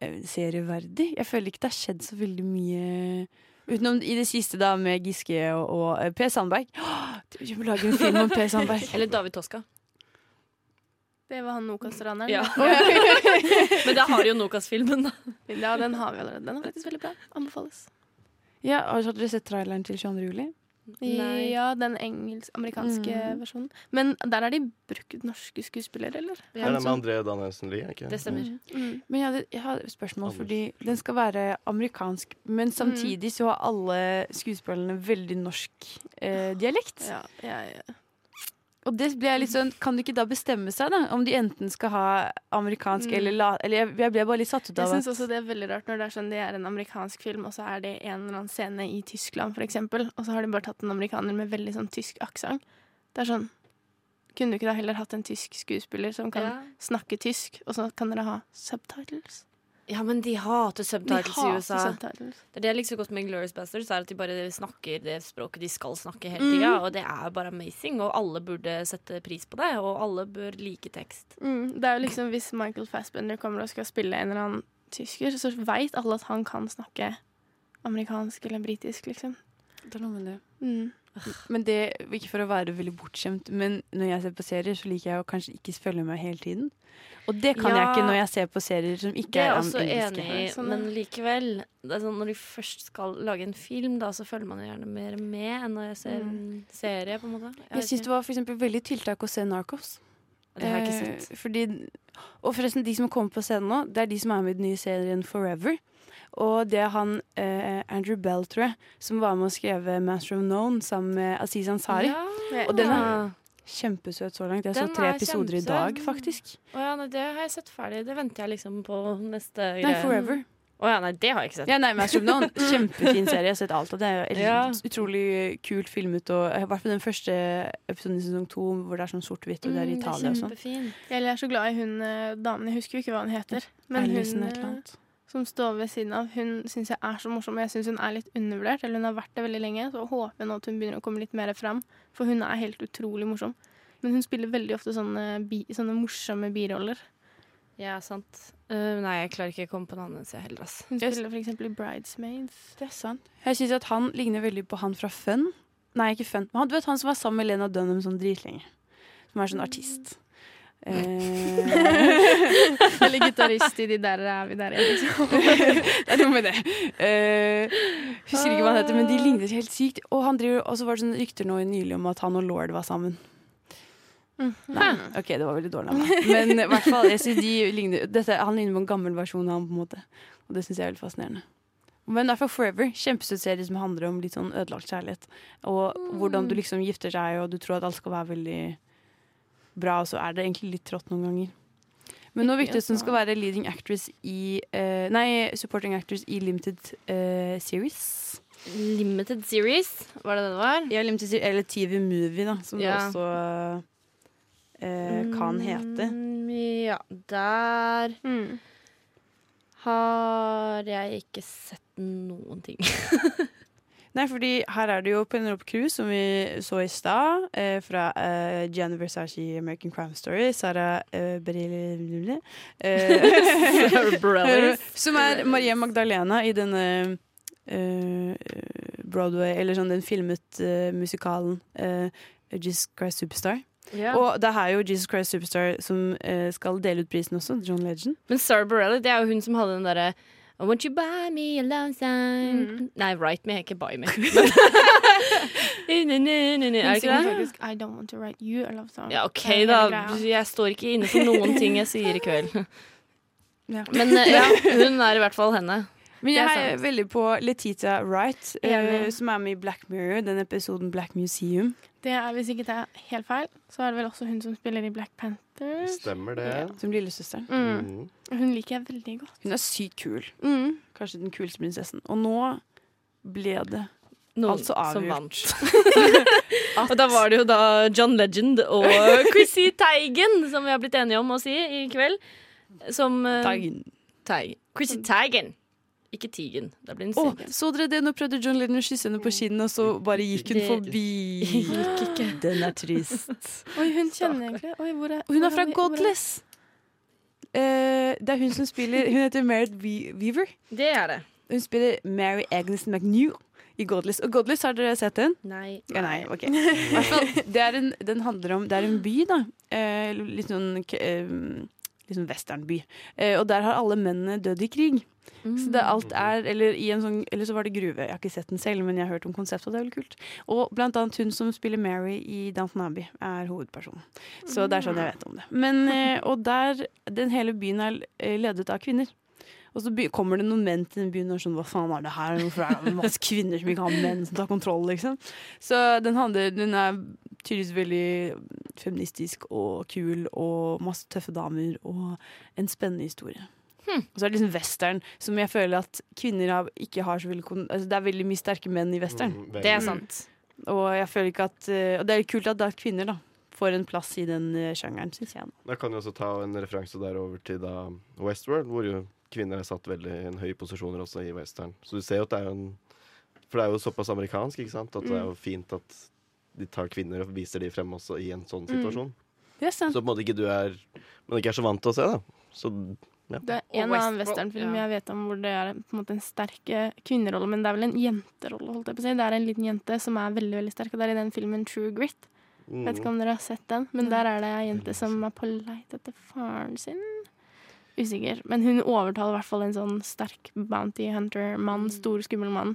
A: eh, serieverdig? Jeg føler ikke det har skjedd så veldig mye Utenom i det siste, da, med Giske og, og eh, Per Sandberg. Åh, Vi må lage en film om Per Sandberg.
B: *laughs* Eller David Toska.
C: Det var han
B: *laughs*
C: Nokas-raneren.
B: Ja. Men da har jo Nokas-filmen, da.
C: *laughs* ja, den har vi allerede. Den er faktisk veldig bra. Anbefales.
A: Ja, har dere sett traileren til 22. juli?
B: Nei.
C: Ja, den engelsk, amerikanske
A: Mm.
C: versjonen. Men der har de brukt norske skuespillere, eller?
E: Det er den med André Danielsen Lie, er ikke
B: Det stemmer.
A: Men jeg hadde, jeg hadde et spørsmål,
E: Anders.
A: fordi den skal være amerikansk, men samtidig så har alle skuespillerne veldig norsk eh, dialekt.
C: Ja, ja, ja.
A: Og det ble jeg litt sånn, kan du ikke da bestemme seg da, om de enten skal ha amerikansk
C: Mm.
A: eller la... Eller jeg, jeg ble bare litt satt ut
C: Jeg
A: av
C: syns også det er veldig rart når det er sånn det er en amerikansk film, og så er det en eller annen scene i Tyskland, for eksempel, og så har de bare tatt en amerikaner med veldig sånn tysk aksent. Det er sånn Kunne du ikke da heller hatt en tysk skuespiller som kan
B: Ja.
C: snakke tysk, og så kan dere ha subtitles?
B: ja, men de hater
C: De
B: subtitles i
C: hater
B: USA.
C: subtitles.
B: Det er det jeg liker så godt med Glorious Bastards, er at de bare snakker det språket de skal snakke hele
C: Mm.
B: tida. Og det er bare amazing, og alle burde sette pris på det. Og alle bør like tekst.
C: Mm, det er jo liksom hvis Michael Fassbender kommer og skal spille en eller annen tysker, så veit alle at han kan snakke amerikansk eller britisk, liksom.
A: Det er noe med det.
C: Mm.
A: Men det, ikke for å være veldig bortskjemt, men når jeg ser på serier, så liker jeg å kanskje ikke følge med hele tiden. Og det kan jeg
B: Ja.
A: ikke når jeg ser på serier som ikke
B: Det er
A: er,
B: jeg
A: am-
B: også
A: engelske.
B: enig i,
C: Sånn, ja.
B: men likevel. Det er sånn, når de først skal lage en film, da, så følger man jo gjerne mer med enn når jeg ser en serie. på en måte Mm. Jeg
A: Jeg
B: vet
A: syns det
B: ikke.
A: var for eksempel veldig tiltak å se Narcos.
B: det har jeg ikke sett.
A: Eh, Fordi, og forresten, de som kommer på scenen nå, det er de som er med i den nye serien Forever. Og det er han eh, Andrew Bell, tror jeg, som var med og skrev Master of Known sammen med Aziz Ansari.
B: Ja.
A: Og den er kjempesøt så langt. Jeg så
B: Den
A: tre
B: er
A: episoder i
B: kjempesøt. Mm.
A: dag, faktisk.
B: Å ja, nei, det har jeg sett ferdig. Det venter jeg liksom på neste
A: Nei, Forever.
B: Å ja, nei, det har jeg ikke sett.
A: Ja, nei, Master of Known. *laughs* Kjempefin serie. Jeg har sett alt av det. Jeg
B: Ja.
A: elsker- Utrolig kult filmet. Og i hvert fall den første episoden i sesong to, hvor det er sånn sort-hvitt, og det er i
B: Mm,
A: Italia og sånn.
B: kjempefint.
C: Jeg er så glad i hun eh, damen, jeg husker jo ikke hva hun heter. Men
A: Alison
C: hun
A: et eller
C: eh,
A: annet.
C: som står ved siden av, hun syns jeg er så morsom. Og jeg syns hun er litt undervurdert, eller hun har vært det veldig lenge. Så håper jeg nå at hun begynner å komme litt mer fram, for hun er helt utrolig morsom. Men hun spiller veldig ofte sånne, bi, sånne morsomme biroller.
B: Ja, sant. Uh, nei, jeg klarer ikke å komme på en annen enn jeg heller, ass.
C: Hun
A: Yes.
C: spiller for eksempel i Bridesmaids.
A: *laughs* Det er sant. Jeg synes at han ligner veldig på han fra Fun. Nei, ikke Fun. Men han, du vet han som var sammen med Lena Dunham sånn dritlenge. Som er sånn artist. Eh,
C: Eller *laughs* gitarist i De der er vi der igjen. liksom.
A: det er noe med det. Eh, husker ikke hva han heter, men de lignet helt sykt. Og, han driver, og så var det sånn rykter nå nylig om at han og Lord var sammen. Nei, ok, det var veldig dårlig av meg. *laughs* Men i hvert fall, jeg synes *laughs* de ligner, dette, han ligner på en gammel versjon av han på en måte. Og det synes jeg er veldig fascinerende. Men i hvert fall Forever, kjempesøt serie som handler om litt sånn ødelagt kjærlighet. Og hvordan du liksom gifter seg, og du tror at alt skal være veldig bra, og så er det egentlig litt trått noen ganger. Men nå virker det som hun skal være leading actress i eh, Nei, supporting actress i limited eh, series.
B: Limited Series, var det det det var?
A: Ja, limited series, eller TV movie, da, som
B: Ja.
A: det også eh, kan hete.
B: Mm, Ja, der
C: Mm.
B: har jeg ikke sett noen ting. *laughs*
A: Nei, fordi her er det jo Penelope Cruz, som vi så i stad, eh, fra eh, Gianni Versace i American Crime Story, Sara eh, Bareilles eh, *laughs* Som er Maria Magdalena i denne eh, Broadway, eller sånn den filmet eh, musikalen eh, Jesus Christ Superstar.
B: Ja.
A: Og det er jo Jesus Christ Superstar som eh, skal dele ut prisen også, John Legend.
B: Men Sarah Borelli, det er jo hun som hadde den derre I want you buy me a long time
C: Mm.
B: Nei, write me, ikke
C: *laughs*
B: buy me. *laughs* Men- er
C: Hun
B: det
C: synger
B: ikke det?
C: faktisk I don't want to write you a love song.
B: Ja, OK,
C: Det er hele
B: da.
C: greia.
B: Jeg står ikke inne for noen ting jeg sier i kveld.
C: *laughs*
A: Ja.
B: Men eh, ja, *laughs* hun er i hvert fall henne.
A: Men jeg
B: Det er
A: heier veldig på Letitia Wright, eh,
C: Enig.
A: som er med i Black Mirror, den episoden Black Museum.
C: Det er Hvis ikke det er helt feil, så er det vel også hun som spiller i Black Panther.
E: Stemmer det.
A: Som lillesøsteren.
C: Mm.
E: Mm.
C: Hun liker jeg veldig godt.
A: Hun er sykt kul.
C: Mm.
A: Kanskje den kuleste prinsessen. Og nå ble
B: *laughs*
A: det
B: Noen
A: Altså
B: som vant.
C: *laughs*
A: avgjort.
B: Og da var det jo da John Legend
C: *laughs*
B: og Chrissy Teigen, som vi har blitt enige om å si i kveld. Som eh,
A: dagen.
B: Teigen. Mm. Chrissy Teigen. Ikke Tigen. Da blir den
A: Å,
B: seg.
A: så dere det? Nå prøvde John Lennon å kysse henne på kinnet, og så bare gikk hun
B: Mm. Det-
A: forbi.
B: Gikk ikke.
A: *laughs* Den er trist.
C: Oi, hun kjenner jeg egentlig Oi, hvor er,
A: Hun
C: hvor
A: er fra
C: vi- hvor
A: Godless. Eh, det er hun som spiller Hun heter Merritt Wee- Weaver.
B: Det er det.
A: Hun spiller Mary Agnes McNew i Godless. Og Godless, har dere sett den?
B: Nei.
A: Ja, nei, ok. *laughs* I hvert fall, det er en, den handler om Det er en by, da. Eh, litt sånn k- eh, liksom westernby. Eh, og der har alle mennene dødd i krig.
B: Mm.
A: Så det alt er, eller, i en sånn, eller så var det gruve. Jeg har ikke sett den selv, men jeg har hørt om konseptet, og det er veldig kult. Og blant annet hun som spiller Mary i Downton Abbey, er hovedpersonen. Så det er sånn jeg vet om det. Men, eh, og der, den hele byen er eh, ledet av kvinner. Og så by- kommer det noen menn til den byen og er sånn Hva faen er det her? Hvorfor er det masse kvinner som ikke har menn som tar kontroll? liksom? Så den, handler, den er tydeligvis veldig feministisk og kul og masse tøffe damer og en spennende historie. Og så er det liksom western, som jeg føler at kvinner har, ikke har så veldig kon altså, Det er veldig mye sterke menn i western.
E: Mm,
B: Det er
E: veldig.
B: sant.
A: Og jeg føler ikke at eh, Og det er kult at det er kvinner, da. Får en plass i den eh, sjangeren, syns jeg.
E: Da kan vi også ta en referanse der over til da Westworld, hvor jo kvinner er satt veldig i en høy posisjoner også i western. Så du ser jo at det er jo en For det er jo såpass amerikansk, ikke sant, at det er
B: Mm.
E: jo fint at de tar kvinner og viser de frem også i en
B: Mm.
E: sånn situasjon.
A: Yes,
E: Så på en måte ikke du er Man ikke er så vant til å se, da. Så
C: Det er en
B: Og
C: annen
B: Westworld, ja.
C: westernfilm jeg vet om hvor det er på en måte en sterk eh, kvinnerolle, men det er vel en jenterolle, holdt jeg på å si. Det er en liten jente som er veldig veldig sterk, og det er i den filmen True Grit.
E: mm,
C: Vet ikke om dere har sett den, men der er det ei jente som er på leit etter faren sin. Usikker. Men hun overtaler i hvert fall en sånn sterk bounty hunter-mann, stor, skummel mann,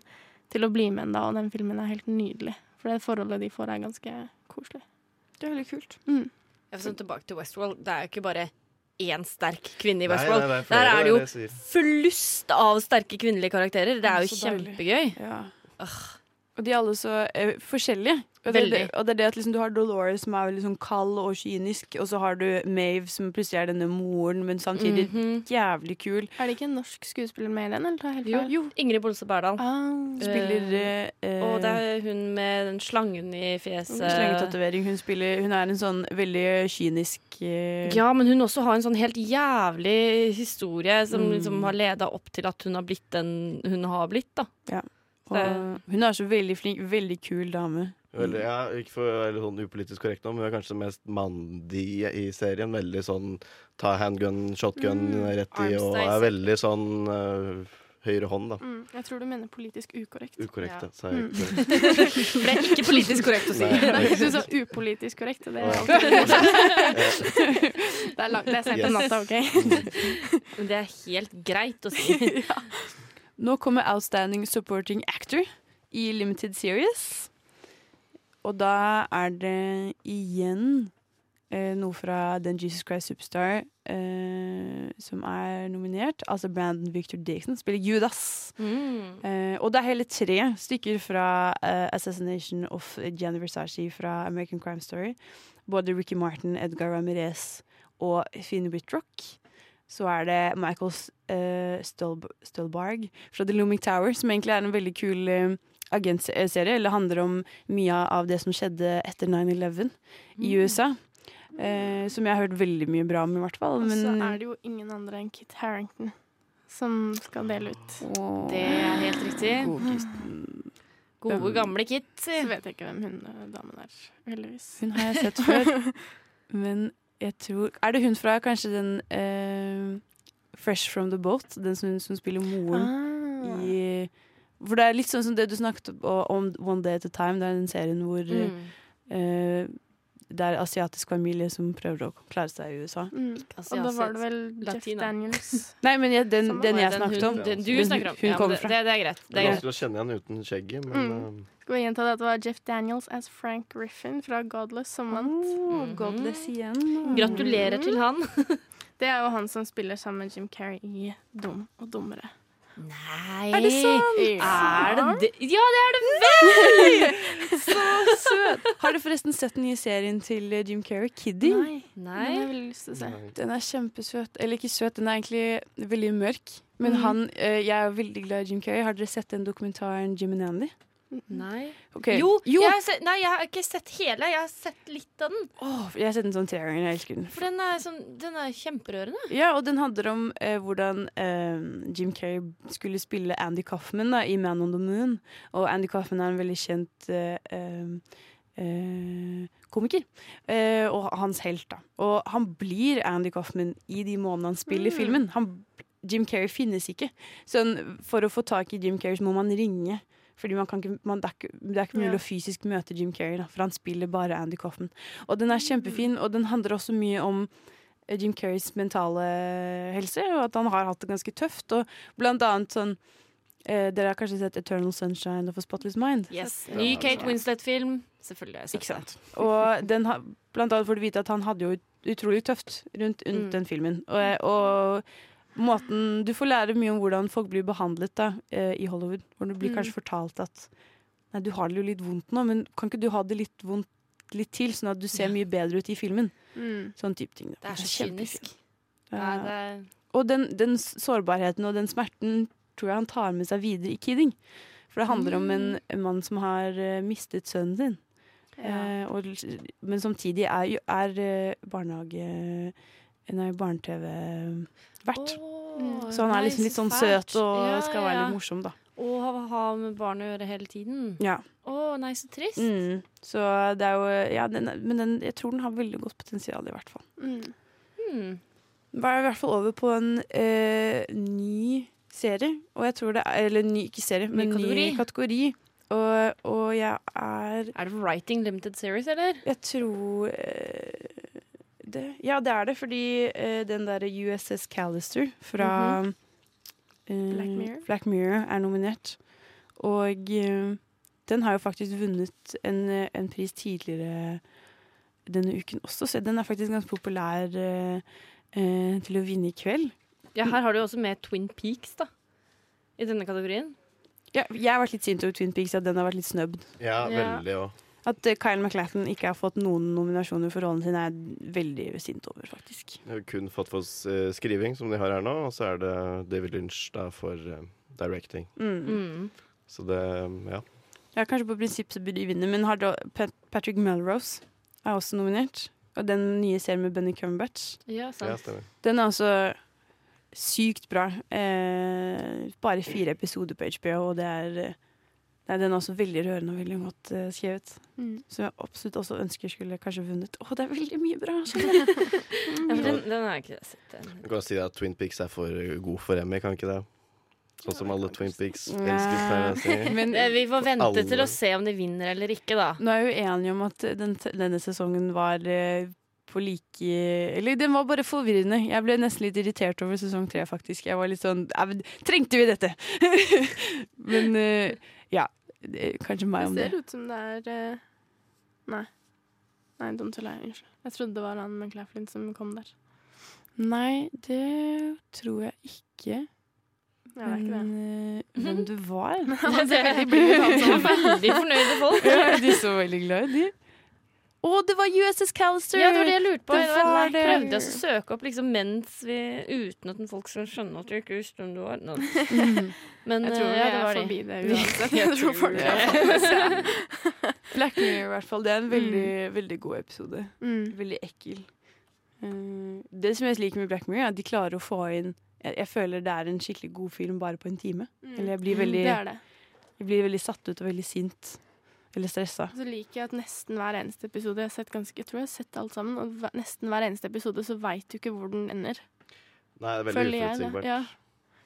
C: til å bli med henne, da, og den filmen er helt nydelig. For det forholdet de får, er ganske koselig.
A: Det er veldig kult.
C: Mm.
B: Jeg får sånn tilbake til Westworld. Det er jo ikke bare én sterk kvinne i
E: Nei,
B: Westworld.
E: nei, det er flere,
B: Der er det jo
E: det er det jeg
B: flust av sterke kvinnelige karakterer. Det er jo
A: Så deilig.
B: kjempegøy.
A: Ja.
B: Åh.
A: Og de er alle så eh, forskjellige. Og det, er det,
B: Veldig.
A: og det er det at liksom, du har Dolores som er veldig sånn kald og kynisk, og så har du Mave som plutselig er denne moren, men samtidig
B: Mhm.
A: jævlig kul.
C: Er det ikke en norsk skuespiller med i den, eller tar jeg helt
B: Jo,
C: feil?
B: jo. Ingrid Bolse Berdal.
C: Ah.
A: Spiller eh, eh,
B: Og det er hun med den slangen i fjeset.
A: Slengetatovering. Hun, spiller- hun er en sånn veldig kynisk eh,
B: Ja, men hun også har en sånn helt jævlig historie som
A: Mm.
B: liksom har leda opp til at hun har blitt den hun har blitt, da.
A: og, Hun er så veldig flink, veldig kul dame.
E: sier. Veldig, ja, ikke for å være sånn upolitisk korrekt nå, men hun er kanskje den mest mandige i serien. Veldig sånn ta handgun, shotgun rett i, og er veldig sånn øh, høyre hånd, da.
C: Mm, jeg tror du mener politisk ukorrekt.
E: Ukorrekt,
B: Ja. Mm.
E: da. sa jeg
B: *laughs*
E: ikke.
B: For det er ikke politisk korrekt å si.
E: Nei.
C: Nei,
B: *laughs*
C: *laughs* du sa upolitisk korrekt, og det er
E: *laughs* Ja.
C: alltid
E: Eh,
C: *laughs* Det er, langt, det er sent på
E: Yes.
C: natta, OK?
B: Men det er helt greit å *laughs* si.
A: Nå kommer Outstanding Supporting Actor i Limited Series. Og da er det igjen eh, noe fra den Jesus Christ Superstar eh, som er nominert. Altså Brandon Victor Dixon spiller Judas.
B: Mm.
A: Eh, og det er hele tre stykker fra eh, Assassination of Gianni Versace fra American Crime Story. Både Ricky Martin, Edgar Ramirez og Finn Whitrock. Så er det Michael S- eh, Stolb Stolbarg fra The Looming Tower, som egentlig er en veldig kul eh, agentserie. Eller handler om mye av det som skjedde etter 9-11 i USA. Eh, som jeg har hørt veldig mye bra om, i hvert fall.
C: Og
A: Men
C: så er det jo ingen andre enn Kit Harrington som skal dele ut.
A: Åh,
B: Det er helt riktig.
A: godgutten.
B: Gode, gamle Kit.
C: Så vet jeg ikke hvem hun eh, damen er, heldigvis.
A: Hun har jeg sett
B: *laughs*
A: før. Men jeg tror Er det hun fra kanskje den eh, Fresh From The Boat? Den som, som spiller moren
C: Ah.
A: i For det er litt sånn som det du snakket o- om One Day At A Time. Det er den serien hvor
B: Mm.
A: eh, det er asiatisk familie som prøver å klare seg i USA.
C: Mm.
B: Altså,
C: Og da
B: jeg har
C: var det vel Jeff
B: Latina.
C: Daniels.
A: *laughs* Nei, men jeg, den,
C: Samme
A: den
B: sett-
A: jeg
B: den
A: snakket om.
B: hun, den, du
A: Den hun-
B: snakker om.
A: hun
B: Ja, men
A: kommer
B: det, det, det er greit.
E: Det
B: Det er
E: er
B: greit.
E: vanskelig å kjenne igjen uten skjegget, men eh,
C: Mm. Skal vi gjenta det at det var Jeff Daniels as Frank Griffin fra Godless som vant?
A: Oh,
B: Mhm.
A: Godless igjen.
B: Gratulerer til han.
C: Det er jo han som spiller sammen med Jim Carrey i Dum og dummere.
B: Nei
A: Er det sant?
B: Er det det? Ja, det er det vel!
A: Søt! *laughs* Har du forresten sett den nye serien til eh, Jim Carrey, Kidding?
C: Nei. Den har jeg veldig lyst til å se.
E: eh,
A: Den er kjempesøt. Eller ikke søt, den er egentlig veldig mørk.
B: Mhm.
A: Men han, eh, jeg er jo veldig glad i Jim Carrey. Har dere sett den dokumentaren Jim and Andy?
B: Nei.
A: Ok.
B: Jo,
A: jo.
B: Jeg
A: Åh,
B: har sett, nei, jeg har ikke sett hele. Jeg har sett litt av den.
A: Jeg... har sett den som tre ganger. Jeg elsker den.
B: For den er, sånn, den er kjemperørende.
A: *laughs* Ja, og den handler om eh, hvordan eh, Jim Carrey skulle spille Andy Coffman da, i Man on the Moon. Og Andy Coffman er en veldig kjent eh, eh, eh, komiker. Eh, og hans helt, da. Og han blir Andy Coffman i de månedene han spiller filmen. Han, Jim Carrey finnes ikke. Så han- for å få tak i Jim Carrey så må man ringe. Fordi man kan ikke, man, det, er ikke, det er ikke mulig
C: Ja.
A: å fysisk møte Jim Carrey, da, for han spiller bare Andy Coffman. Og den er kjempefin, og den handler også mye om Jim Currys mentale helse, og at han har hatt det ganske tøft. Og blant annet sånn eh, Dere har kanskje sett 'Eternal Sunshine of a Spotless Mind'?
B: Yes. Ny Kate Winslet-film. Selvfølgelig har jeg
A: Ikke
B: sett det.
A: sant?
B: *laughs*
A: Og den har, blant annet får du vite at han hadde jo ut- utrolig tøft rundt, rundt
B: Mm.
A: den filmen. Og, og måten Du får lære mye om hvordan folk blir behandlet da, eh, i Hollywood. Hvor du blir
B: Mm.
A: kanskje fortalt at Nei, du har det jo litt vondt nå, men kan ikke du ha det litt vondt litt til, sånn at du ser mye bedre ut i filmen?
C: Mm.
A: Sånn type ting. da.
B: Det er så
A: kjempefint.
B: kynisk.
A: Ja.
B: Nei, det er
A: Og den, den sårbarheten og den smerten tror jeg han tar med seg videre i Kidding. For det handler om
B: Mm.
A: en, en mann som har eh, mistet sønnen sin. Eh, og, men samtidig er, jo- er eh, barnehage Nei, barne-TV-vert.
B: Åh,
A: så han er
B: nei,
A: liksom litt
B: så
A: sånn
B: fælt.
A: søt og
B: Ja,
A: skal
B: ja,
A: være
B: ja.
A: litt morsom, da.
B: Å ha- ha med barn å gjøre hele tiden.
A: Ja.
B: Å, nei, så trist.
A: Mm. Så det er jo Ja, den, er- men den, jeg tror den har veldig godt potensial, i hvert fall.
C: Mm.
B: Hmm.
A: Var i hvert fall over på en eh, ny serie, og jeg tror det er Eller ny, ikke serie, men ny kategori.
B: kategori.
A: Og, og jeg er
B: Er det Writing Limited Series, eller?
A: Jeg tror eh, det. Ja, det er det, fordi eh, den derre USS Callister fra eh,
C: Black Mirror.
A: Black Mirror er nominert. Og eh, den har jo faktisk vunnet en, eh, en pris tidligere denne uken også, så den er faktisk ganske populær eh, eh, til å vinne i kveld.
B: Ja, her har du jo også med Twin Peaks, da. I denne kategorien.
A: Ja, jeg har vært litt sint over Twin Peaks, at den har vært litt snøbb.
E: Ja,
B: Ja.
E: veldig òg.
A: At eh, Kyle MacLachlan ikke har fått noen nominasjoner for rollen sin, er jeg veldig sint over, faktisk.
E: Jeg har kun fått for eh, skriving, som de har her nå, og så er det David Lynch da for eh, directing.
A: Mm.
B: Mm.
E: Så det, eh, ja.
A: Ja, kanskje på prinsipp så burde de vinne, men har da Pat Patrick Melrose er også nominert. Og den nye serien med Benny Cumberbatch.
B: Ja,
E: ja
B: sant.
E: stemmer.
A: Den er altså sykt bra. Eh, bare fire episoder på HBO, og det er eh, Nei, den er også veldig rørende og veldig godt eh, skrevet.
C: Mm.
A: Som jeg absolutt også ønsker skulle kanskje vunnet. Å, det er veldig mye bra!
B: *laughs* Ja, for den, den har jeg ikke sett. Den.
E: Du kan si at Twin Peaks er for god for Emmy, kan ikke det? Sånn som alle Twin Peaks
A: Nei.
E: elsker, pleier jeg å si.
A: *laughs* Men
B: Eh, Vi får vente
E: Alle.
B: til å se om de vinner eller ikke, *laughs* da.
A: Nå er jeg uenig om at den, denne sesongen var eh, på like Eller den var bare forvirrende. Jeg ble nesten litt irritert over sesong tre, faktisk. Jeg var litt sånn "Au, Trengte vi dette?! *laughs* Men eh, ja. det- Kanskje meg
C: Det
A: om det.
C: ser ut som det er eh, Nei. Nei, dumt å leie. Unnskyld. Jeg trodde det var han McLaughlin som kom der.
A: Nei, det tror jeg ikke.
C: Ja, det er ikke det.
A: Men eh, hvem du
C: *laughs*
A: var *laughs*
B: Det er altså. *laughs* veldig fornøyde folk.
A: Ja, De så veldig glad ut, de. Å, det var USS Callister!
B: Ja, det var det jeg lurte på.
A: Det
B: Det var,
A: var det.
B: prøvde jeg å søke opp liksom, mens vi Uten at folk skal skjønne at du ikke visste hvem du var. Nå.
A: *laughs* Mhm.
B: Men
C: Jeg
B: eh,
C: tror vi
B: ja, det
C: er
B: var *laughs* de.
C: forbi det uansett.
B: Jeg
C: Jeg tror
B: tror
C: folk
B: det.
C: har fått med
B: *laughs*
C: seg.
A: Black Mirror, i hvert fall. Det er en veldig, veldig god episode.
C: Mm.
A: Veldig ekkel. Eh, det som jeg liker med Black Mirror, er at de klarer å få inn jeg, jeg føler det er en skikkelig god film bare på en time.
C: Mm.
A: Eller jeg blir veldig,
C: Det er det.
A: jeg blir veldig satt ut og veldig sint. Eller stressa.
C: Så liker jeg at nesten hver eneste episode Jeg har sett ganske, jeg tror jeg har sett alt sammen, og hver- nesten hver eneste episode så veit du ikke hvor den ender.
E: Nei, det er
C: Føler
E: veldig
C: jeg det,
E: uforutsigbart.
C: ja.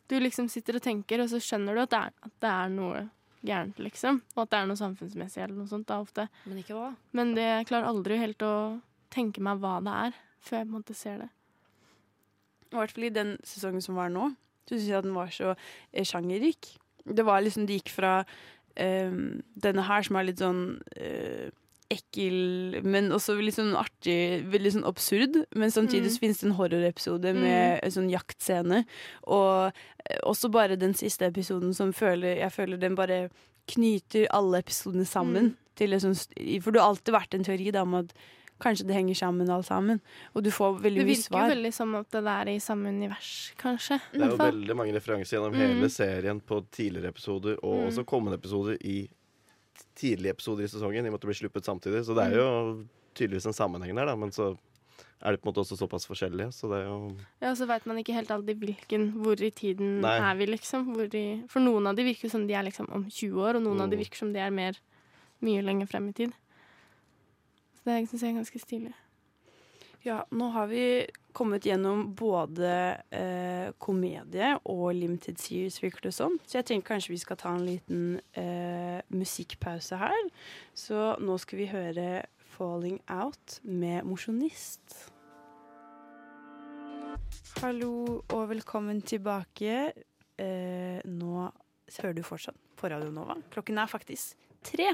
C: Du liksom sitter og tenker, og så skjønner du at det er, at det er noe gærent, liksom. Og at det er noe samfunnsmessig eller noe sånt, da ofte.
B: Men ikke hva?
C: Men det, jeg klarer aldri helt å tenke meg hva det er, før jeg på en måte ser det.
A: I hvert fall i den sesongen som var nå, så syns jeg at den var så eh, sjangerrik. Det var liksom De gikk fra eh, denne her, som er litt sånn eh, ekkel, men også litt sånn artig, veldig sånn absurd. Men samtidig
C: Mm.
A: så finnes det en horrorepisode med en sånn jaktscene. Og eh, også bare den siste episoden som føler Jeg føler den bare knyter alle episodene
C: Mm.
A: sammen. Til liksom, st- for det har alltid vært en teori da, om at kanskje det henger sammen alt sammen. Og du får veldig
C: Det
A: mye
C: virker jo
A: svar.
C: veldig som at det er i samme univers, kanskje.
E: Det er jo
C: Hvertfall.
E: veldig mange referanser gjennom
C: Mm.
E: hele serien på tidligere episoder, og
C: Mm.
E: også kommende episoder i tidlige episoder i sesongen, i og med at det blir sluppet samtidig. Så det er jo tydeligvis en sammenheng der, da, men så er det på en måte også såpass forskjellige, så det er jo
C: Ja, og så veit man ikke helt alltid hvilken Hvor i tiden
E: Nei.
C: er vi, liksom. Hvor i, for noen av de virker jo som de er liksom om 20 år, og noen av de
E: Mm.
C: virker som de er mer mye lenger frem i tid. Så det syns jeg er ganske stilig.
A: Ja, nå har vi kommet gjennom både eh, komedie og limited series, virker det som. Så jeg tenker kanskje vi skal ta en liten eh, musikkpause her. Så nå skal vi høre 'Falling Out' med Mosjonist. Hallo og velkommen tilbake. Eh, nå hører du fortsatt på Radio Nova. Klokken er faktisk tre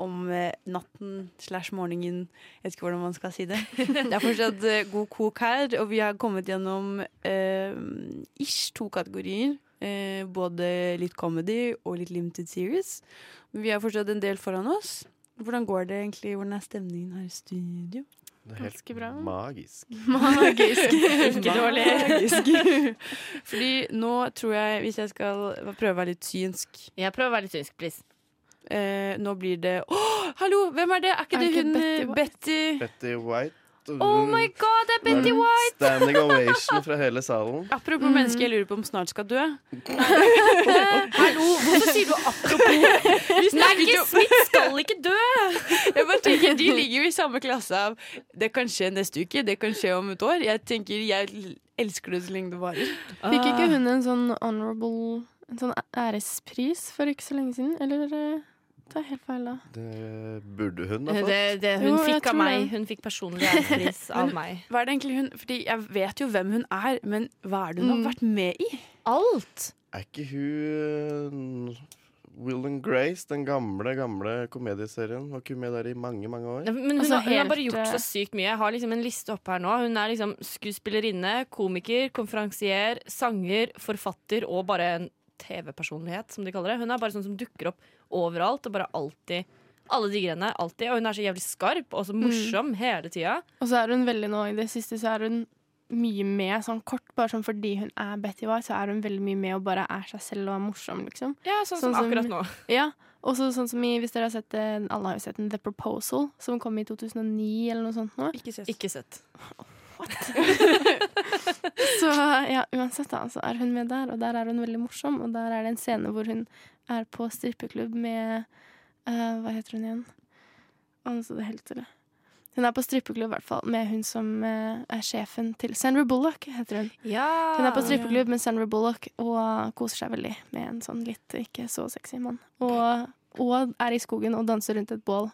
A: om eh, natten slash morgenen. Jeg vet ikke hvordan man skal si det. Det er fortsatt eh, god kok her, og vi har kommet gjennom eh, ish to kategorier. Eh, både litt comedy og litt limited series. Men vi har fortsatt en del foran oss. Hvordan går det egentlig? Hvordan er stemningen her i studio?
E: Det er helt
C: Ganske bra.
E: magisk.
A: Magisk.
C: Ikke dårlig.
A: Magisk. Fordi nå tror jeg, hvis jeg skal prøve å være litt synsk
B: Jeg prøver å være litt synsk, please.
A: eh, Nå blir det Å, hallo! Hvem er det? Er ikke
C: Er
A: det
C: ikke
A: hun
C: Betty
A: Betty?
C: White?
A: Betty?
E: Betty White.
B: Oh my god, det er Betty White!
E: Standing ovation fra hele salen.
A: Apropos mennesker jeg lurer på om snart skal dø.
B: Hallo, hvorfor sier du *laughs* apropos? Merke Smith skal ikke dø!
A: Jeg bare tenker, De ligger jo i samme klasse av Det kan skje neste uke, det kan skje om et år. Jeg tenker, jeg elsker det så lenge det varer.
C: Fikk ikke hun en sånn honorable En sånn ærespris for ikke så lenge siden? Eller eh, tar jeg helt feil da?
E: Det burde hun ha fått.
B: Det, det, hun
C: Jo, jeg
B: fikk av
C: tror
B: meg
C: det.
B: Hun fikk personlig ærespris av meg.
A: Hva er det egentlig hun Fordi jeg vet jo hvem hun er, men hva er det hun har vært med i?
B: Alt!
E: Er ikke hun eh, Will and Grace, den gamle, gamle komedieserien? Var ikke hun med der i mange, mange år?
B: Men hun,
C: Altså,
B: har, hun har bare
C: helt,
B: gjort
C: eh,
B: så sykt mye. Jeg har liksom en liste oppe her nå. Hun er liksom skuespillerinne, komiker, konferansier, sanger, forfatter og bare en TV-personlighet, som de kaller det. Hun er bare sånn som dukker opp overalt og bare alltid alle de greiene. Alltid. Og hun er så jævlig skarp og så morsom hele tida.
C: Og så er hun veldig nå i det siste så er hun mye med sånn kort, bare sånn fordi hun er Betty White, så er hun veldig mye med og bare er seg selv og er morsom, liksom.
B: Ja, sånn, som
C: Sånn som-
B: akkurat nå.
C: Ja, og så sånn som i, hvis dere har sett det, alle har jo sett den, The Proposal, som kom i 2009 eller noe sånt nå.
A: Ikke sett.
B: Ikke sett.
C: Så ja, uansett da, så er hun med der, og der er hun veldig morsom, og der er det en scene hvor hun er på strippeklubb med, eh, hva heter hun igjen? Altså, det er helt stille. Hun er på strippeklubb i hvert fall, med hun som eh, er sjefen til Sandra Bullock, heter hun.
B: Ah, Ja.
C: Hun er på strippeklubb med Sandra Bullock og koser seg veldig med en sånn litt ikke så sexy mann. Og, og er i skogen og danser rundt et bål.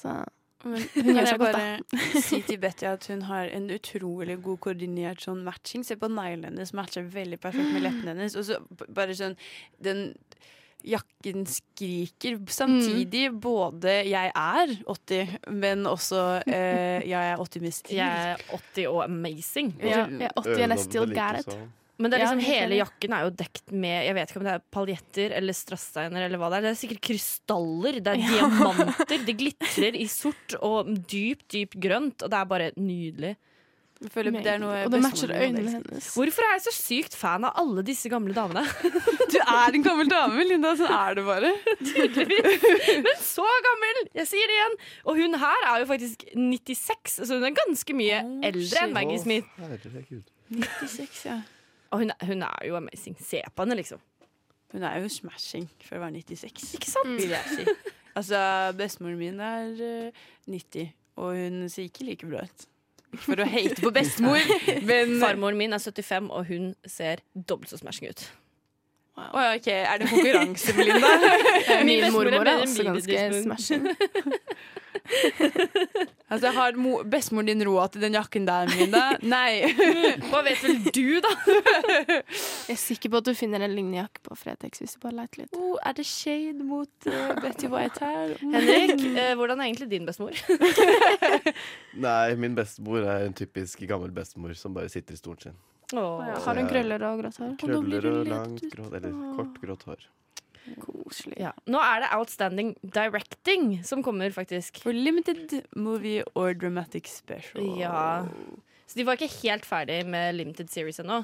C: Så
A: Men kan
C: Hun gjør
A: jeg
C: seg godt,
A: bare si til Betty at hun har en utrolig god koordinert sånn matching. Se på neglene hennes, matcher veldig perfekt med leppene hennes. Og så b- bare sånn Den jakken skriker samtidig både 'jeg er 80', men også eh, 'jeg er 80 med stil'.
B: Jeg er 80 og amazing.
C: ja, jeg er 80 and I still
E: Øyenåpne
C: got it.
E: likeså.
B: Men det er
C: Ja,
B: liksom,
C: helt
B: hele
C: enig.
B: jakken er jo dekt med Jeg vet ikke om det er paljetter eller strassteiner eller hva det er. Det er sikkert krystaller, det er diamanter. Det glitrer i sort og dypt, dypt grønt, og det er bare nydelig.
A: Jeg føler det er noe
C: og det
A: bestemoren
C: matcher
A: min hadde
C: øynene
A: elsket.
C: hennes.
B: Hvorfor er jeg så sykt fan av alle disse gamle damene?
A: *laughs* Du er en gammel dame, Linda. Sånn er det bare.
B: Men så gammel! Jeg sier det igjen. Og hun her er jo faktisk 96, så hun er ganske mye
A: Oh,
B: eldre enn Maggie
E: Å,
B: Smith.
E: herregud.
A: 96, ja.
B: Og hun, hun er jo amazing. Se på henne, liksom.
A: Hun er jo smashing for å være 96.
B: Ikke sant?
A: vil jeg si. Altså, bestemoren min er eh, 90, og hun ser ikke like bra ut. Ikke for å hate *laughs* på
B: *laughs*
A: bestemor, men
B: Farmoren min er 75, og hun ser dobbelt så smashing ut.
A: Å ja, ok, Er det konkurranse, *laughs* Melinda?
C: Eh,
B: Min
C: Min
B: bestemor er
C: mormor
B: bedre
C: er
B: enn
C: også
B: Bibi
C: ganske
B: Disney.
C: smashing.
A: Altså, Har mo- bestemoren din råd til den jakken der, Melinda? Nei. *laughs*
B: *laughs* Hva vet vel du, da?
C: Jeg er sikker på at du finner en lignende jakke på Fretex hvis du bare leter litt.
A: Oh, er det shade mot eh, Betty White her?
B: *laughs* *laughs* Henrik, eh, hvordan er egentlig din bestemor?
E: Nei, min bestemor er en typisk gammel bestemor som bare sitter i stolen sin.
C: Har hun krøller og grått hår?
E: Krøller og langt grått, eller kort grått
A: *laughs*
E: hår.
C: Koselig.
B: Ja. Nå er det Outstanding Directing som kommer, faktisk.
A: *laughs* For limited movie or dramatic special.
B: Ja. Så de var ikke helt ferdig med Limited Series ennå.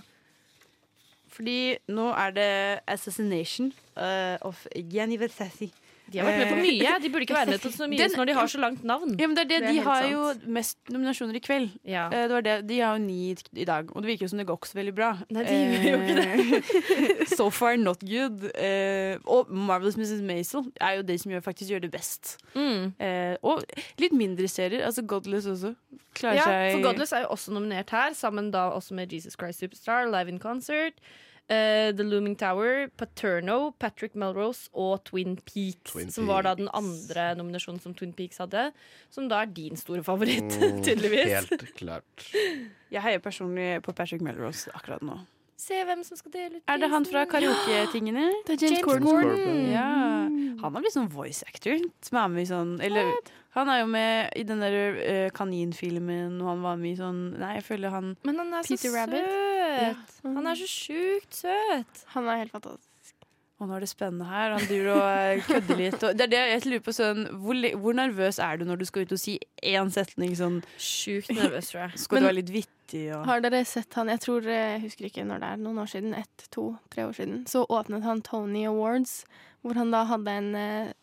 A: Fordi nå er det Assassination eh, of Jennifer Sassi.
B: De har vært med på mye. De burde ikke være med på så *laughs* mye
A: Den-
B: når de har så langt navn.
A: Ja, men det er det,
C: Det er
A: De
C: helt
A: har
C: sant.
A: jo mest nominasjoner i kveld.
B: Ja.
A: Eh, Det var det. De har jo ni i- i dag, og det virker jo som det går ikke så veldig bra.
B: Nei, det gjør jo
A: ikke det. *laughs* so far not good. Eh, og Marvelous Mrs. Maisel er jo de som gjør, faktisk gjør det best.
B: Mm.
A: Eh, og litt mindre serier. Altså Godless også. Klarer
B: ja.
A: seg
B: For Godless er jo også nominert her, sammen da også med Jesus Christ Superstar, Live in Concert. eh, The Looming Tower, Paterno, Patrick Melrose og Twin Peaks.
E: Twin
B: som var da den
E: Peaks.
B: andre nominasjonen som Twin Peaks hadde. Som da er din store favoritt,
E: Mm,
B: *laughs* tydeligvis.
E: Helt klart.
A: Jeg heier personlig på Patrick Melrose akkurat nå.
B: Se hvem som skal dele ut
A: Er det han fra
B: prisen.
A: karaoketingene?
C: Det er James,
B: James
C: Corden.
E: Corden.
A: Ja. Han er blitt sånn voice actor. Som er med i sånn Eller han er jo med i den der eh, kaninfilmen, og han var med i sånn Nei, jeg føler han
B: Men han er
C: Peter
B: så
C: Rabbit.
B: søt. Han er så sjukt søt.
C: Han er helt fantastisk.
A: Å, nå er det spennende her. Han driver og eh, kødder litt. Og det er det jeg lurer på sånn hvor, li- hvor nervøs er du når du skal ut og si én setning sånn
B: Sjukt nervøs, *laughs* tror jeg.
A: Skal du
C: Men-
A: være litt vittig og
C: Har dere sett han Jeg tror, eh, jeg husker ikke når det er, noen år siden. Ett, to, tre år siden. Så åpnet han Tony Awards, hvor han da hadde en eh,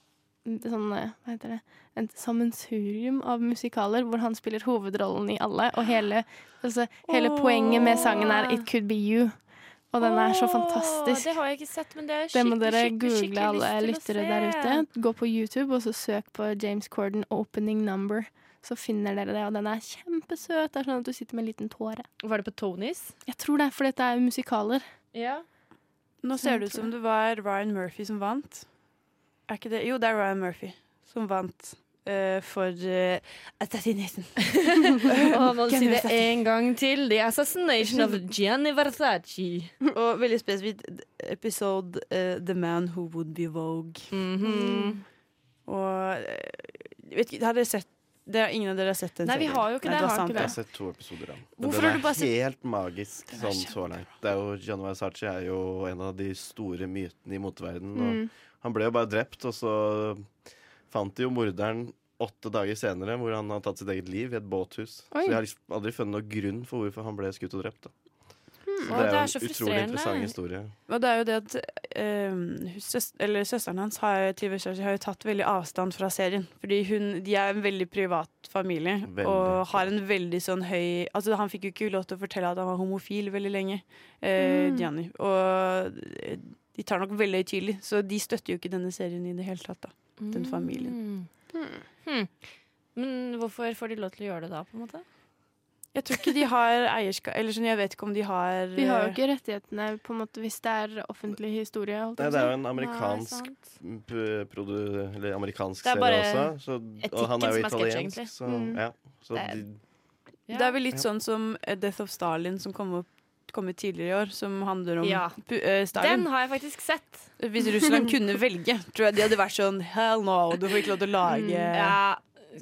C: sånn eh, Hva heter det? En sammensurium av musikaler hvor han spiller hovedrollen i alle. Og hele, altså, hele
A: Åh.
C: poenget med sangen er It Could Be You. Og den er så
B: Åh,
C: fantastisk.
B: Det har jeg ikke sett, men det er
C: Det må
B: skikkelig,
C: dere
B: skikkelig,
C: google,
B: skikkelig
C: alle
B: lyst til å
C: lyttere der
B: se.
C: ute. Gå på YouTube og så søk på James Corden 'Opening Number'. Så finner dere det, og den er kjempesøt. Det er sånn at du sitter med en liten tåre.
B: Var det på Tonys?
C: Jeg tror det er fordi dette er musikaler.
B: Ja.
A: Nå ser det ut som det var Ryan Murphy som vant. Er ikke det? Jo, det er Ryan Murphy som vant eh, for uh, Assassination.
B: *laughs* Og man
A: Gianni
B: sier det
A: Versace.
B: en gang til. The Assassination of Gianni Versace.
A: Og veldig spesifikt episode eh, The Man Who Would Be Vogue. Mm.
B: Mhm.
A: Og eh, vet ikke, har dere sett det har Ingen av dere har sett den
B: Nei, vi har jo ikke det,
A: var
B: har
A: sant,
B: ikke
E: Jeg
B: det.
E: har sett to episoder av den. Men
A: Hvorfor
E: den
A: har
E: er
A: du bare sett-
E: helt magisk
A: Den er
E: sånn så langt. Det er jo, Gianni Versace er jo en av de store mytene i moteverdenen. og
C: Mm.
E: Han ble jo bare drept, og så fant de jo morderen åtte dager senere, hvor han har tatt sitt eget liv i et båthus.
C: Oi.
E: Så jeg har liksom aldri funnet noen grunn for hvorfor han ble skutt og drept. Da. Så
B: Å,
E: det er
B: det
E: jo
B: er
E: en
B: så
E: utrolig
B: frustrerende.
E: interessant historie.
A: Og det er jo det at eh, hus- søs- eller søsteren hans har, til Versace har jo tatt veldig avstand fra serien. Fordi hun, de er en veldig privat familie
E: Veldig.
A: og har en veldig sånn høy Altså Han fikk jo ikke lov til å fortelle at han var homofil veldig lenge, eh,
C: Mm.
A: Gianni. Og eh, de tar nok veldig høytidelig, så de støtter jo ikke denne serien i det hele tatt. da Mm. Den familien.
B: Mhm. Hmm. Men hvorfor får de lov til å gjøre det da, på en måte?
A: Jeg tror ikke de har eierskap Eller sånn, jeg vet ikke om de har
C: Vi har jo
A: eh,
C: ikke rettighetene på en måte hvis det er offentlig historie. Holdt
E: Nei,
C: jeg
E: det er
C: på å si.
E: jo en amerikansk,
B: Nei, sant.
E: p- produ, eller amerikansk
B: Det er
E: serie
B: bare
E: også. Så, og han er
B: etikken som er sketsj,
E: jo italiensk,
B: egentlig.
E: så
C: Mm.
E: ja. Så
B: Det er-
E: de,
B: Ja.
A: Det er vel litt
E: Ja.
A: sånn som eh, Death of Stalin, som kom opp kom ut tidligere i år, som handler om
B: Ja.
A: pu- eh, Stalin.
B: Den har jeg faktisk sett.
A: Hvis Russland kunne velge, tror jeg de hadde vært sånn Hell no, du får ikke lov til å lage
B: Ja.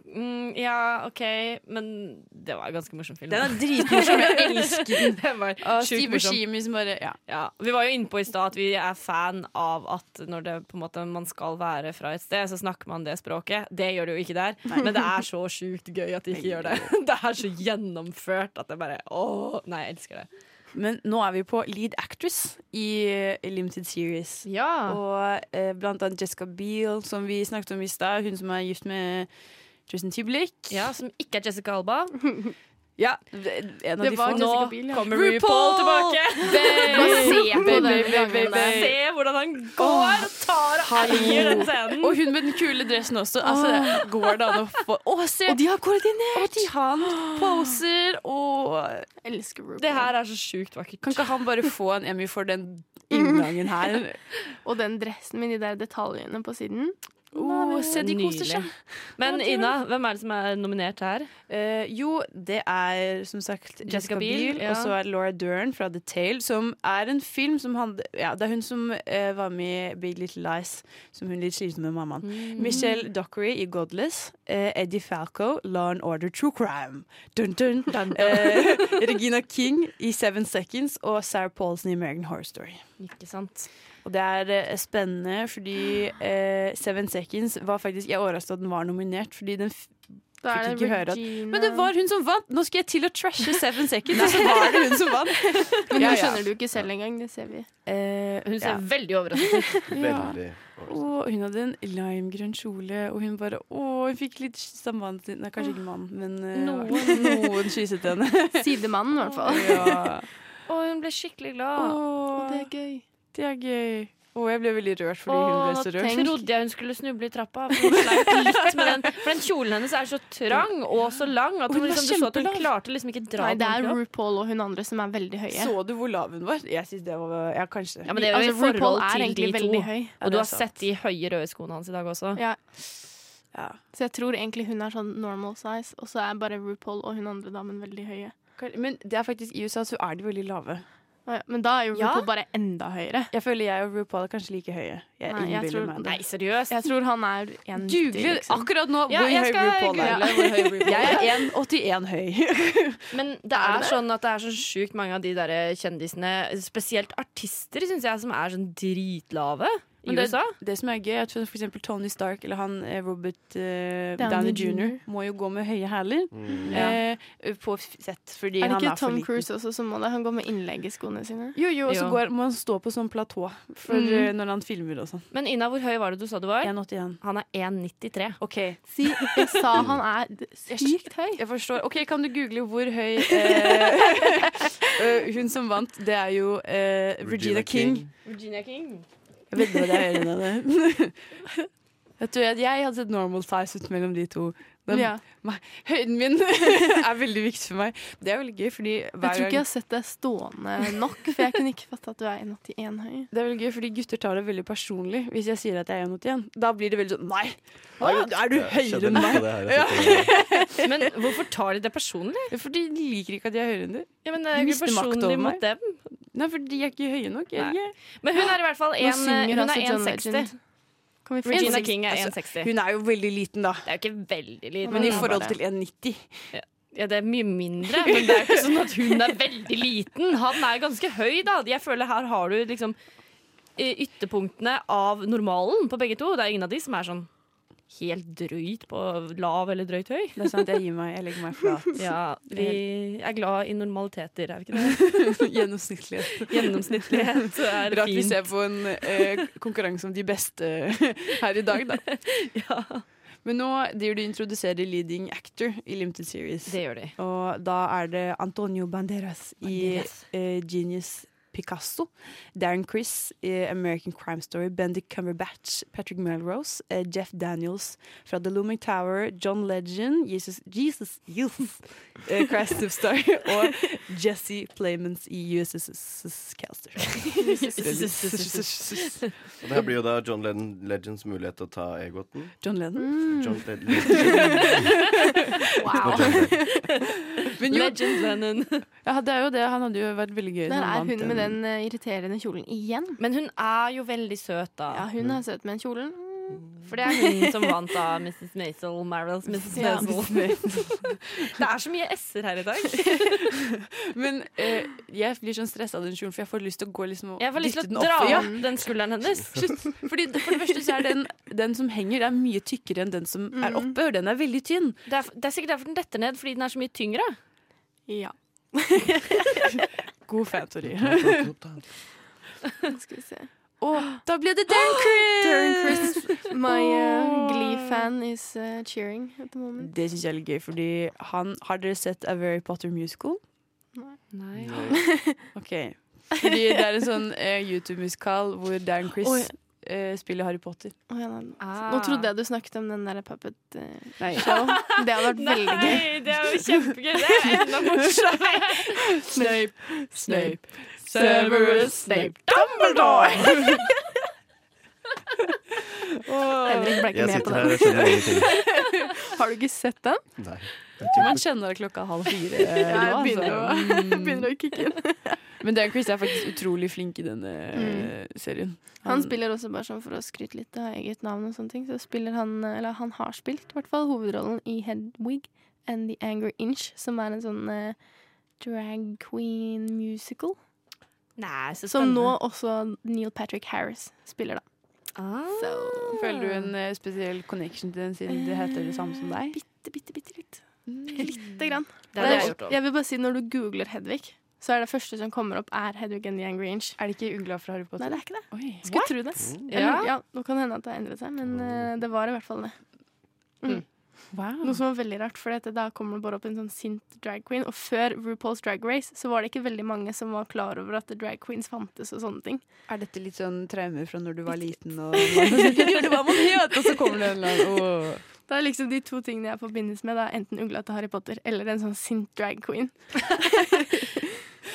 B: Mm, ja, OK, men det var en ganske morsom film.
A: Den er dritmorsom. Jeg elsker *laughs* den.
B: *laughs* Det var
A: Og
B: sjukt
A: Steve
B: morsom.
A: Buscemi som bare Ja.
B: Ja, vi var jo inne på i stad at vi er fan av at når det på en måte man skal være fra et sted, så snakker man det språket. Det gjør det jo ikke der, men det er så sjukt gøy at de ikke gjør det. Det *laughs* er så gjennomført at det bare Åh, nei, jeg elsker det.
A: Men nå er vi på lead actress i eh, Limited Series.
B: Ja.
A: Og eh, blant annet Jessica Biel, som vi snakket om i stad. Hun som er gift med Justin Tiblik.
B: Som ikke er Jessica Alba.
A: Ja, en av
C: Det
A: de
C: var
A: få.
B: Nå
C: Jessica Biel, ja.
B: kommer
A: RuPaul!
B: RuPaul, tilbake! *laughs*
C: Bare se på den
A: baby,
C: gangen
A: baby,
C: der.
A: baby.
B: Se hvordan han går og tar og eier den scenen.
A: Og hun med den kule dressen også. Altså, går det an å få Å, se!
C: Og de har koordinert!
A: Og de har han poser og
C: Jeg elsker RuPaul.
B: Det her er så sjukt vakkert.
A: Kan ikke han bare få en Emmy for den inngangen her?
C: Og den dressen med de der detaljene på siden.
A: Oh, se, de koser
B: Nydelig.
A: seg.
B: Men Ina, hvem er det som er nominert her?
A: *laughs* Eh, jo, det er som sagt Jessica,
B: Jessica
A: Biel,
B: Biel, ja.
A: og så er det Laura Dern fra The Tale, som er en film som handler Ja, det er hun som eh, var med i Big Little Lies, som hun litt sliter med mammaen. Mm-hmm.
B: Mm.
A: Michelle Dockery i Godless. eh, Eddie Falco, Law and Order True Crime. Dun, dun. *laughs* Eh, Regina King i Seven Seconds og Sarah Paulson i American Horror Story.
B: Ikke sant.
A: Og det er eh, spennende fordi eh, Seven Seconds var faktisk Jeg er overrasket at den var nominert, fordi den f Fikk
C: Da er det
A: ikke høre at-
C: Regina
A: Men det var hun som vant! Nå skal jeg til å trashe Seven Seconds, og så var det hun som vant!
C: Men
A: *laughs* Ja,
C: det
A: ja.
C: skjønner du ikke selv engang. Det ser vi.
A: Eh,
B: Hun ser
A: ja.
B: veldig overrasket ut.
E: veldig
A: Og hun hadde en limegrønn kjole, og hun bare Å, hun fikk litt kyss av mannen sin. Nei, kanskje ikke mannen, men eh,
B: Noen.
A: noen kysset henne.
C: Sidemannen, i hvert fall.
A: ja.
B: Og hun ble skikkelig glad.
A: Å,
C: Og det er gøy.
A: det er gøy. Og jeg ble veldig rørt fordi hun ble
B: Åh,
A: så rørt.
B: trodde jeg hun skulle snuble i trappa. For, hun sleit litt med den. for den kjolen hennes er så trang og så lang at
A: Hun
B: hun,
A: var
B: liksom, du så at hun
A: kjempelang.
B: klarte liksom ikke dra
C: Nei, det
B: den
C: er
B: ordentlig opp.
C: RuPaul og hun andre som er veldig høye.
A: Så du hvor lav hun var? Jeg synes det var Ja, kanskje.
B: Ja, men det er jo i
C: altså, RuPaul
B: forhold
C: er
B: til
C: egentlig
B: de to.
C: veldig høy.
A: Ja,
B: Og du
A: det er
B: har
A: sant.
B: sett de høye røde skoene hans i dag også.
C: Ja.
A: Ja.
C: Så jeg tror egentlig hun er sånn normal size, og så er bare RuPaul og hun andre damen veldig høye.
A: Kan- Men det er faktisk i USA så er de veldig lave.
C: Å ja, Men da er jo
A: Ja.
C: RuPaul bare enda høyere.
A: Jeg føler jeg og RuPaul er kanskje like høye. Jeg
C: Nei, jeg
A: innbiller
C: tror-
A: meg det.
B: Nei, seriøst?
C: Jeg tror han er 1,90.
A: Google
C: liksom.
A: akkurat nå
B: Ja,
A: hvor høy
B: jeg skal
A: RuPaul er.
B: google hvor høy *laughs* RuPaul
A: Jeg
B: er.
A: er 1,81 høy.
B: Men det er, sånn at det er så sjukt mange av de der kjendisene, spesielt artister, syns jeg, som er sånn dritlave i
A: Men det-
B: USA.
A: Det som er gøy, er at for eksempel Tony Stark eller han eh, Robert eh, Downey
C: Downey
A: jr. må jo gå med høye hæler
E: Mm.
A: eh, på f- sett fordi
C: Er det
A: han
C: ikke
A: er for
C: Tom
A: liten.
C: Cruise også som må det? Han går med innlegg i skoene sine.
A: Jo, jo, og så
B: Jo.
A: går, må han stå på sånn platå for,
C: Mm.
A: eh, når han filmer og sånn.
B: Men Ina, hvor høy var det du sa du var?
A: 1,81.
B: Han er 1,93.
A: OK,
C: Si, jeg sa han er sykt høy.
A: jeg forstår. Ok, Kan du google hvor høy eh, eh, *laughs* Hun som vant, det er jo eh, Regina King.
B: Virginia King.
A: Jeg vet ikke hva det er høyere enn det. *laughs* Jeg tror at jeg hadde sett normal size ut mellom de to. Den,
C: Ja.
A: Høyden min *laughs* er veldig viktig for meg. Det er veldig gøy, fordi
C: Jeg
A: hver
C: tror ikke jeg
A: gang
C: har sett deg stående nok, for jeg kunne ikke fatte at du er 1,81 høy.
A: det er veldig gøy, fordi gutter tar det veldig personlig hvis jeg sier at jeg er 1,81. Da blir det veldig sånn Nei! Å, er du høyere enn meg?
B: Men hvorfor tar de det personlig?
A: Fordi de liker ikke at jeg er høyere enn du.
B: Ja, men det er jo ikke
A: Mister makt over
B: personlig
A: meg.
B: mot dem.
A: Nei, for de er ikke høye nok.
B: Nei.
A: Jeg, jeg.
B: Men hun er i hvert fall
C: Nå
B: en,
C: synger
B: hun
C: altså
B: er
C: John
B: 1,60.
C: Legend. Kan vi få
B: Regina
C: innsikt?
B: King er
A: Altså,
B: 1,60.
A: Hun er jo veldig liten, da.
B: Det er jo ikke veldig lite.
A: Men i
C: Ja,
A: forhold
C: bare.
A: til 1,90.
B: Ja, det er mye mindre, men det er jo ikke sånn at hun er veldig liten. Han er ganske høy, da. Jeg føler her har du liksom eh, ytterpunktene av normalen på begge to. Det er ingen av de som er sånn helt drøyt på lav eller drøyt høy.
A: Det er sant, jeg gir meg. Jeg legger meg *laughs* flat.
B: Ja, vi er glad i normaliteter, er vi ikke det?
A: *laughs* Gjennomsnittlig.
B: Gjennomsnittlighet er
A: Rart vi
B: fint.
A: ser på en eh, konkurranse om de beste eh, her i
B: *laughs*
A: dag, da. Men nå driver du og introduserer leading actor i Limited Series.
B: Det gjør de.
A: Og da er det Antonio Banderas,
B: Banderas.
A: i eh, Genius Picasso. Darren Criss i American Crime Story. Bendik Cumberbatch, Patrick Melrose, eh, Jeff Daniels fra The Looming Tower. John Legend, Jesus Jesus, Jesus eh, Christ Superstar *laughs* og Jesse Playmans i USS Calster.
E: Og det her blir jo da John Lennon Legends mulighet til å ta Egoten.
C: *laughs*
A: John Lennon.
C: Mm.
B: Mm.
E: John
B: *laughs*
E: Lennon.
C: Wow.
A: Men jo,
B: Legend Lennon.
A: ja, det er jo det. Han hadde jo vært veldig gøy. når
C: Der
A: han
C: er
A: vant
C: hun med den eh, irriterende kjolen igjen.
B: *laughs* Men hun er jo veldig søt, da.
C: Ja, hun er søt med den kjolen.
A: Mm.
B: For det er hun som vant av Mrs. Maisel, Marils Mrs.
C: Ja.
B: Maisel. *laughs* Det er så mye s-er her i *laughs* dag.
A: Men eh, jeg blir sånn stressa av den kjolen, for jeg får lyst til å gå liksom og
B: Jeg får lyst
A: dytte
B: til
A: den
B: å
A: opp.
B: dra
A: Ja,
B: opp den skulderen hennes.
A: slutt. Fordi det- for det første så er den, den som henger, det er mye tykkere enn den som
C: Mm.
A: er oppe. Og den er veldig tynn.
B: Det er, det er sikkert derfor den detter ned, fordi den er så mye tyngre.
C: *laughs* Ja.
A: God fanteori.
C: Skal vi se.
A: og da ble det Darren Criss!
C: Ah, Darren Criss. My
A: Åh.
C: uh, Glee-fan is uh, cheering at the
A: *laughs*
C: moment.
A: Det syns jeg er litt gøy, fordi han Har dere sett A Very Potter Musical?
B: Nei.
A: Ok. Fordi det er en sånn eh, YouTube-musikal hvor Darren Criss
C: Oi.
A: eh, spiller Harry Potter.
C: Å, ja, nei.
B: Ah.
C: Nå trodde jeg du snakket om den der puppet eh,
A: Nei.
C: show. Det hadde vært veldig gøy.
B: Nei, det er jo kjempegøy. Det er jo *laughs* enda morsommere.
A: Snape, Snape, Severus Snape, *laughs* Dumbledore!
C: Henrik ble ikke
E: Jeg
C: med på
E: sitter
C: den.
E: her og skjønner ingenting.
B: *laughs*
C: *laughs* Har du ikke sett den?
E: Nei.
A: Man kjenner klokka halv fire. eh,
C: Ja, jeg
A: nå,
C: begynner
A: altså. Mm.
C: å *laughs* kicke inn.
A: *laughs* Men Dan Chris er faktisk utrolig flink i denne eh, serien.
C: Mm. Han spiller også bare sånn for å skryte litt av eget navn og sånne ting. Så spiller han, eh, eller han har spilt i hvert fall, hovedrollen i Hedwig and The Angry Inch, som er en sånn eh, drag queen musical.
B: Nei, så
C: Som nå også Neil Patrick Harris spiller, da.
B: Ah.
C: So.
A: Føler du en eh, spesiell connection til den, siden det heter det samme som deg?
C: Bitte, bitte, bitte litt. Lite grann.
B: Det hadde jeg gjort også.
C: jeg vil bare si når du googler Hedvig, så er det første som kommer opp, er Hedvig and the Angry Inch.
A: Er det ikke Ugla fra Harry
C: Nei,
A: Potter?
C: det er ikke det.
A: Oi.
C: Skulle tro det.
B: Ja.
C: Eller, ja, nå kan det hende at det har endret seg, men eh, det var i hvert fall det.
F: Wow.
C: Noe som var veldig rart, for dette, da kommer det bare opp en sånn sint drag queen. Og før RuPaul's Drag Race så var det ikke veldig mange som var klar over at drag queens fantes og sånne ting.
A: Er dette litt sånn traumer fra når du var liten og *laughs* man
C: *laughs*
A: gjorde *laughs* hva man het, og så kommer det en eller annen åh.
C: Det er liksom de to tingene jeg forbindes med. Da. Enten ugla til Harry Potter eller en sånn sint drag queen.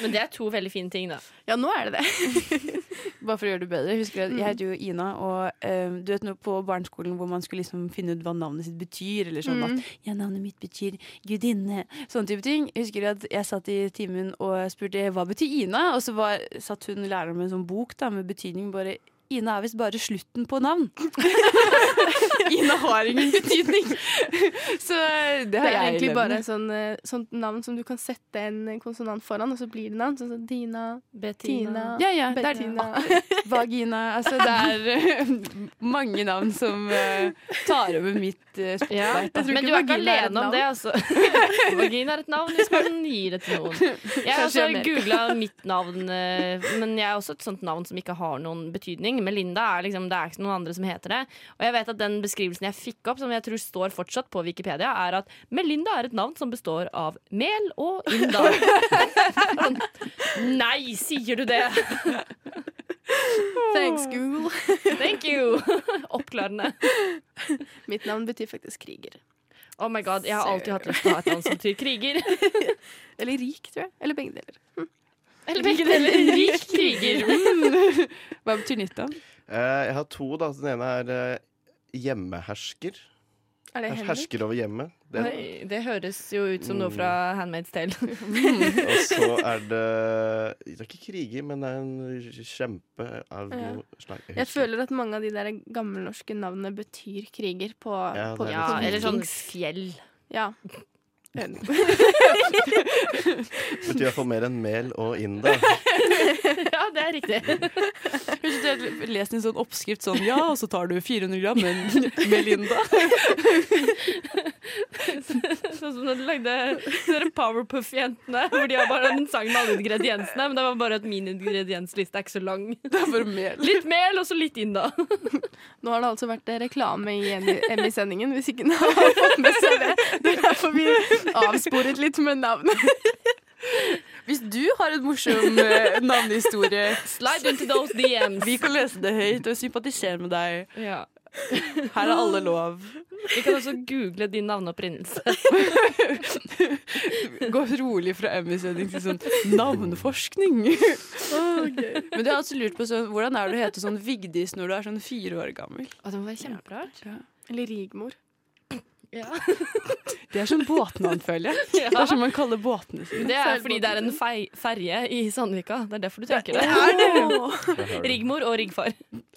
B: Men det er to veldig fine ting, da.
C: Ja, nå er det det.
A: Bare for å gjøre det bedre. Husker Jeg, jeg heter jo Ina, og eh, du vet nå på barneskolen hvor man skulle liksom finne ut hva navnet sitt betyr, eller sånn
C: Mm.
A: at ja, navnet mitt betyr gudinne, sånne type ting. Jeg Husker at jeg satt i timen og spurte hva betyr Ina, og så var, satt hun læreren med en sånn bok da, med betydning bare Ina er visst bare slutten på navn. *laughs* Ina har ingen betydning. *laughs* Så eh, det
C: Det
A: har
C: er
A: jeg
C: egentlig
A: levd
C: bare
A: med.
C: et sånn, eh, sånt navn som du kan sette en konsonant foran, og så blir det navn. Sånn som Dina, Tina,
A: ja, ja, det er
C: Bettina.
A: *laughs* Vagina. Altså, det er eh, mange navn som eh, tar over mitt uh,
B: Ja.
A: spotlight. da.
C: tror
B: Men
C: ikke
B: du er ikke
C: vagina er et
B: alene om det, altså. *laughs* Vagina er et navn hvis man gir det til
C: *laughs*
B: noen. Jeg har
C: Kanskje
B: også
C: i Amerika.
B: googla mitt navn, eh, men jeg er også et sånt navn som ikke har noen betydning. Melinda er liksom, det er ikke noen andre som heter det. Og jeg vet at den beskrivelsen jeg fikk opp, som jeg tror står fortsatt på Wikipedia, er at Melinda er et navn som består av mel og inda.
C: *laughs*
B: Sånn, Nei, sier du det?
C: Thanks, Google.
B: Thank you! *laughs* Oppklarende.
C: Mitt navn betyr faktisk kriger.
B: Oh my god, Jeg har alltid hatt lyst til å ha et navn som betyr kriger.
C: Eller rik, tror jeg. Eller begge deler.
B: Eller begge deler. Rik kriger.
A: Hva betyr nytt navn?
E: Eh, jeg har to, da. Den ene er eh, hjemmehersker.
C: Er det Henrik?
E: Hersker over hjemmet. Det,
B: Oi, det høres jo ut som noe
E: Mm.
B: fra Handmaid's Tale. *laughs*
E: og så er det Det er ikke kriger, men det er en kjempe av
C: Ja.
E: noe slag.
C: Jeg
E: Jeg husker ikke.
C: føler at mange av de der gammelnorske navnene betyr kriger på,
E: Ja,
C: på
E: det er
B: Ja,
E: litt
B: eller sånn fjell.
C: Ja.
E: Det betyr i hvert fall mer enn mel og
B: *laughs*
E: inda.
B: *laughs* Ja, det er riktig. *laughs*
A: Kanskje du har lest en sånn oppskrift sånn Ja, og så tar du 400 gram med Melinda.
B: Sånn som når du lagde de der Powerpuff-jentene, hvor de har bare en sang med alle ingrediensene, men det var bare at min ingrediensliste er ikke så lang.
A: Det er bare mel.
B: Litt mel, og så litt inn, da.
C: Nå har det altså vært eh, reklame i Emmy- Emmy-sendingen, hvis ikke noen har fått med seg det. Det er derfor vi avsporet litt med navnet.
A: Hvis du har en morsom eh, navnehistorie
B: Slide into those DMs.
A: vi kan lese det høyt og sympatisere med deg.
B: Ja.
A: Her er alle lov.
B: Vi kan også google din navneopprinnelse.
A: Gå rolig fra Emmy-sending til sånn navneforskning. Men du har også lurt på sånn, hvordan er det å hete sånn Vigdis når du er sånn fire år gammel?
B: Å, det må være kjemperart.
C: Eller Rigmor.
B: Ja.
A: Det er sånn båtnavn, føler *laughs* jeg. Det er som man kaller båtene sine.
B: Det er fordi det er en fei- ferje i Sandvika. Det er derfor du tenker det.
E: Der har du det.
B: Rigmor og Rigfar.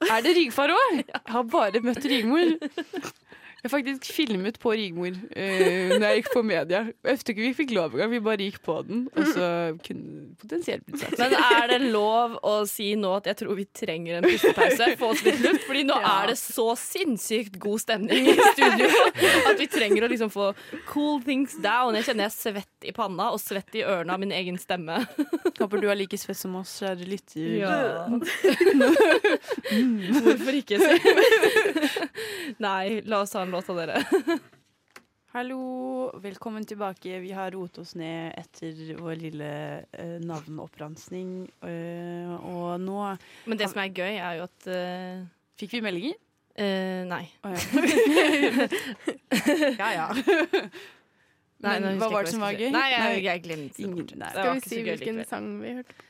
A: Er det Rigfar òg? *laughs* Jeg har bare møtt Rigmor. Jeg faktisk filmet på Rigmor eh, når jeg gikk på media. Jeg tror ikke vi fikk lov engang, vi bare gikk på den. Og så kunne potensielt blitt satt.
B: Men er det lov å si nå at jeg tror vi trenger en pustepause? Få oss litt luft, *laughs* fordi nå er det så sinnssykt god stemning i *laughs* studio at vi trenger å liksom få cool things down. Jeg kjenner jeg er svett i panna og svett i ørene av min egen stemme.
A: Håper du er like svett som oss, kjære lytter.
B: *laughs* Hvorfor ikke? Si? *laughs* Nei, la oss ha en låt av dere.
A: Hallo, velkommen tilbake. Vi har rotet oss ned etter vår lille eh, navneoppramsning. eh, og nå
B: Men det som er gøy, er jo at eh,
A: fikk vi meldinger.
B: eh, Nei.
A: Å,
B: *laughs*
A: ja. ja
B: nei
A: Men hva
B: nå husker jeg ikke
A: var det som
B: jeg
A: var
B: skulle
A: gøy?
B: si. Nei, jeg, jeg glemte det.
A: Ingen, nei.
B: Det
C: Skal
B: var
C: vi
B: ikke
C: si
B: så gøy
C: hvilken
B: likevel.
C: sang vi hørte?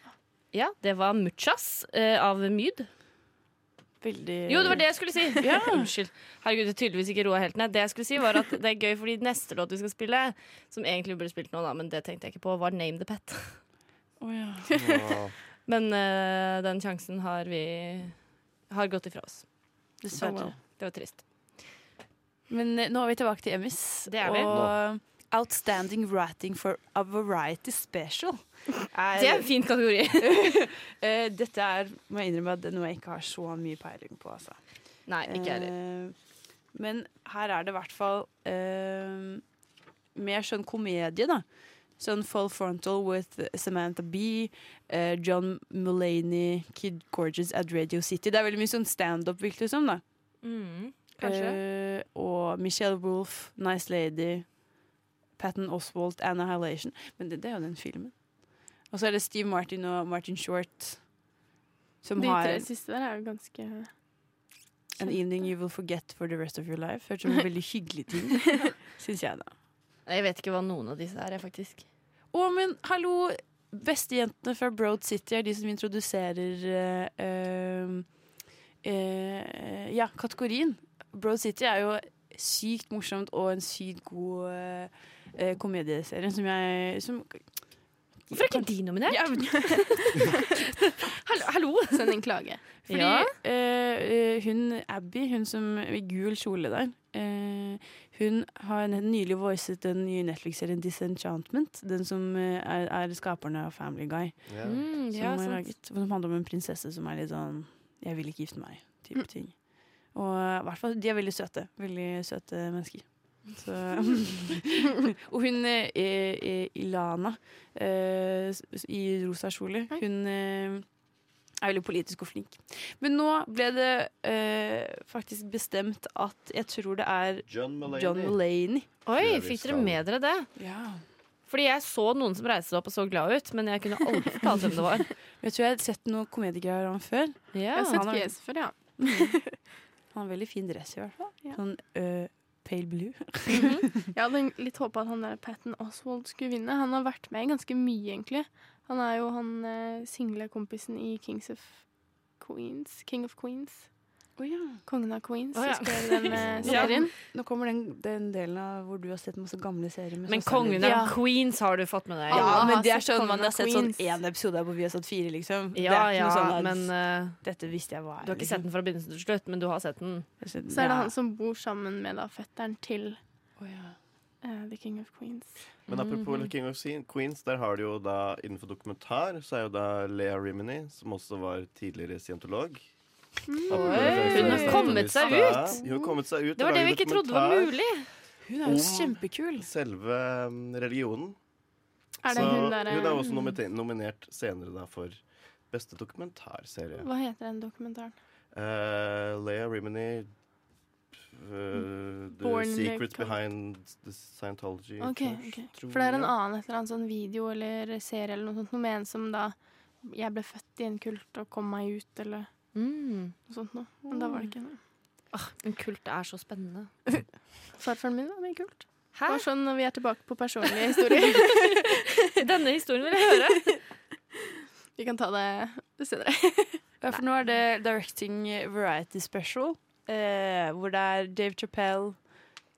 B: Ja, det var Muchas eh, av Myd.
A: Veldig
B: Jo, det var det jeg skulle si.
A: Ja.
B: *laughs* Unnskyld. Herregud, det er tydeligvis ikke roa helt ned. Det jeg skulle si var at det er gøy fordi neste låt vi skal spille, som egentlig burde spilt nå, da, men det tenkte jeg ikke på, var Name the Pet.
A: Å, ja.
E: Åh.
B: Men eh, den sjansen har vi har gått ifra oss.
A: Dessverre.
C: Oh, wow.
B: Det var trist.
A: Men eh, nå er vi tilbake til Emmys.
B: Det er vi.
A: Og Outstanding Writing for a Variety Special. Er,
B: Det er en fin kategori.
A: *laughs* eh, dette er, må jeg innrømme, at det er noe jeg ikke har så mye peiling på. Altså.
B: Nei, ikke heller.
A: Eh, men her er det i hvert fall eh, mer sånn komedie, da. Sånn Full Frontal with Samantha Bee, eh, John Mulaney, Kid Gorgeous at Radio City. Det er veldig mye sånn standup, virker det som. liksom, da.
B: Mm.
G: Kanskje.
A: eh, og Michelle Wolff, Nice Lady, Patton Oswald, Annihilation. Men det, det er jo den filmen. Og så er det Steve Martin og Martin Short som
C: De
A: har
C: tre siste der er jo ganske
A: An Evening You Will Forget for the Rest of Your Life. Hørtes *laughs* som en veldig hyggelig ting, *laughs* syns jeg, da.
B: Jeg vet ikke hva noen av disse her er, faktisk.
A: Å, men hallo! Bestejentene fra Broad City er de som introduserer eh, eh, eh, Ja, kategorien. Broad City er jo sykt morsomt og en sykt god eh, eh, komedieserie som jeg som,
B: Hvorfor er ikke de nominert?
A: ja,
B: Hallo! hallo.
C: Send inn klage.
A: Fordi
B: Ja.
A: eh, eh, hun Abby, hun som i gul kjole der, eh, hun har ne- nylig voicet den nye Netflix-serien Disenchantment. Den som eh, er, er skaperne av Family Guy.
E: Ja.
B: Mm,
A: som
B: ja,
A: er
B: sant.
A: laget. Som handler om en prinsesse som er litt sånn 'jeg vil ikke gifte meg'
B: Mm.
A: type ting. Og i hvert fall, de er veldig søte. Veldig søte mennesker. Så.
B: *laughs*
A: og hun eh, eh, Ilana eh, s- i rosa kjole, hun eh, er veldig politisk og flink. Men nå ble det eh, faktisk bestemt at jeg tror det er
E: John
A: John Mulaney.
B: Oi,
E: vi
B: fikk
E: skal-
B: dere med dere det? Fordi jeg så noen som reiste seg opp og så glad ut, men jeg kunne *laughs* aldri fortalt hvem det var.
A: Jeg tror jeg har sett noen komediegreier av ham før.
B: Ja.
C: Jeg har sett
A: han har-
C: fjeset før, ja.
A: Han har veldig fin dress i hvert fall.
C: Ja.
A: Sånn eh, pale blue.
C: Jeg hadde litt håpa at han der Patton Oswald skulle vinne. Han har vært med ganske mye, egentlig. Han er jo han eh, single kompisen i Kings of Queens. King of Queens. Kongen av Queens.
B: Å, ja.
C: Husker dere den eh,
B: *laughs* Ja.
C: serien?
A: Nå kommer den, den delen av hvor du har sett masse gamle serier. med sånn
B: Men
A: søsteren din.
B: kongen av Queens har du fått med deg.
A: ja,
C: Alle
A: men
C: har
A: det er
C: sett
A: sånn
C: Kongen
A: man har
C: av
A: sett sånn
C: Queens.
A: én episode hvor vi har sett fire, liksom. Det
B: ja,
A: er ikke
B: ja
A: noe sånn at
B: men eh,
A: Dette visste jeg hva er.
B: du har ikke sett den fra begynnelsen til slutt, men du har sett den.
A: liksom.
C: Så er det
A: Ja.
C: han som bor sammen med da fetteren til
A: Å, ja.
C: eh, The King of Queens.
E: Men apropos King of Queen- Queens, der har du jo da innenfor dokumentar så er jo da Lea Rimini, som også var tidligere scientolog.
C: Mm.
E: Apropos det som
B: Hun har
E: jeg snakket om
B: kommet
E: i
B: seg
E: stad. Hun har kommet seg ut
B: Det var
E: og
B: det vi
E: laget
B: ikke trodde var
E: dokumentar.
B: mulig.
A: Hun er jo
E: Om-
A: kjempekul.
E: Selve um, religionen.
C: Er det
E: så
C: hun eh, derre
E: er også
B: um,
E: nominert, nominert senere da for beste dokumentarserie.
C: Hva heter den dokumentaren?
E: Eh, Lea Rimini uh, The
C: Born
E: Secret
C: Cult.
E: Behind the Scientology
C: Ok,
E: Church,
C: ok.
E: tror
C: For det er en
E: jeg.
C: annen et eller annet sånn video eller serie eller noe sånt. Noe med en som da Jeg ble født i en kult og kom meg ut, eller
B: Mm.
C: noe sånt noe. Men da var det ikke noe.
B: Men kult er så spennende.
C: Farfaren min var mye kult.
B: Hæ? *laughs*
C: Det var sånn når vi er tilbake på personlige historier. *laughs*
B: Denne historien vil jeg høre.
C: Vi kan ta det senere.
A: Ja, for nå er det Directing Variety Special, eh, hvor det er Dave Chappelle,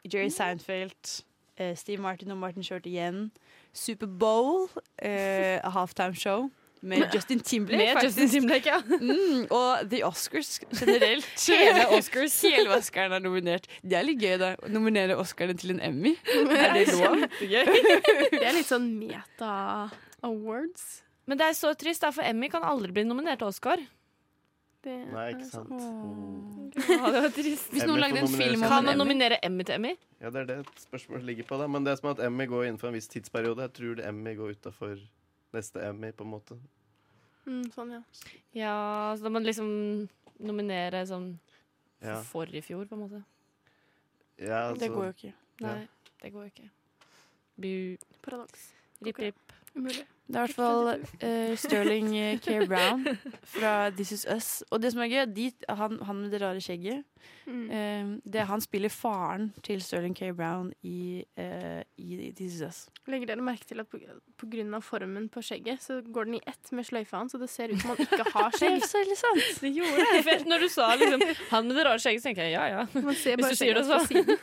A: Jerry Seinfeld, eh, Steve Martin og Martin Short igjen, Superbowl, eh, halftime show med Justin Timberlake,
B: *laughs* Med
A: faktisk.
B: Justin Timberlake, ja.
A: Mm, og The Oscars *laughs* generelt.
B: Hele Oscars.
A: Hele Oscaren er nominert. Det er litt gøy, da. Å nominere Oscarene til en Emmy. Er det *laughs* lov?
C: Det er litt sånn meta-awards.
B: *laughs* Men det er så trist, da, for Emmy kan aldri bli nominert til *laughs* Oscar.
C: Det
E: Nei,
C: er
E: ikke
C: sånn.
E: sant.
B: Ja, det var trist.
A: Hvis
E: Emmy
A: noen
E: får
A: lagde en
E: nominere
A: film
E: seg
B: Kan
A: om
B: man
E: selv.
A: en Emmy
B: nominere Emmy til Emmy?
E: Ja, det er det et spørsmål ligger på. da Men det er som at Emmy går innenfor en viss tidsperiode. Jeg tror Emmy går utafor neste Emmy, på en måte.
C: Mm, sånn, ja.
B: Ja, så da må man liksom nominere sånn
E: Ja,
B: for i fjor, på en måte.
E: ja
A: Det
E: altså,
A: går jo ikke.
B: Nei, det går jo ikke. Bu-
C: Paradoks.
B: Rip, rip.
C: Umulig.
A: Det er i hvert fall eh, Sterling eh, K. Brown fra This Is Us. Og det som er gøy, de, han, han med det rare skjegget
C: Mm.
A: eh, det, Han spiller faren til Sterling K. Brown i, eh, i This Is Us.
C: Eh, Legger dere merke til at på, på grunn av formen på skjegget, så går den i ett med sløyfa hans, så det ser ut som han ikke *laughs* har
A: Ah, Det er
C: skjegg.
A: jo så veldig sant.
B: Det gjorde *laughs* det. For når du sa *laughs* liksom, han med det rare skjegget, så tenkte jeg ja ja.
C: Man ser
B: Hvis
C: bare
B: du sier det
C: skjegget hans på siden.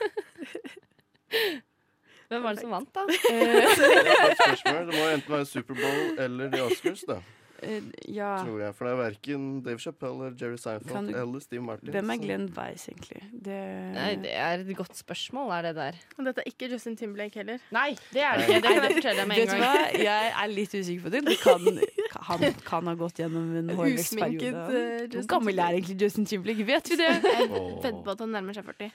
B: Hvem var det som vant, da?
A: Eh,
E: Det, er et godt spørsmål. det må enten være Superbowl eller The Oscars, da.
A: Eh, ja.
E: Tror jeg. For det er verken Dave Chappelle eller Jerry Seinfeld
A: Kan du-
E: eller Steve Martin.
A: Hvem er
E: så-
A: Glenn Weiss, egentlig? Det,
B: Nei, det er et godt spørsmål, er det der.
C: Og dette er ikke Justin Timberlake heller.
B: Nei, det er det
E: Nei.
B: ikke. Det kan jeg fortelle deg med
A: Vet
B: en
A: du
B: gang.
A: hva, jeg er litt usikker på det. det kan, han kan ha gått gjennom
C: *laughs*
A: en
C: Usminket
A: hårvekstperiode.
C: eh,
A: Hvor
C: Justin
A: gammel er
C: Timberlake.
A: egentlig Justin Timberlake? Vet vi det?
C: *laughs*
E: Åh.
C: Vedder på at han nærmer seg 40.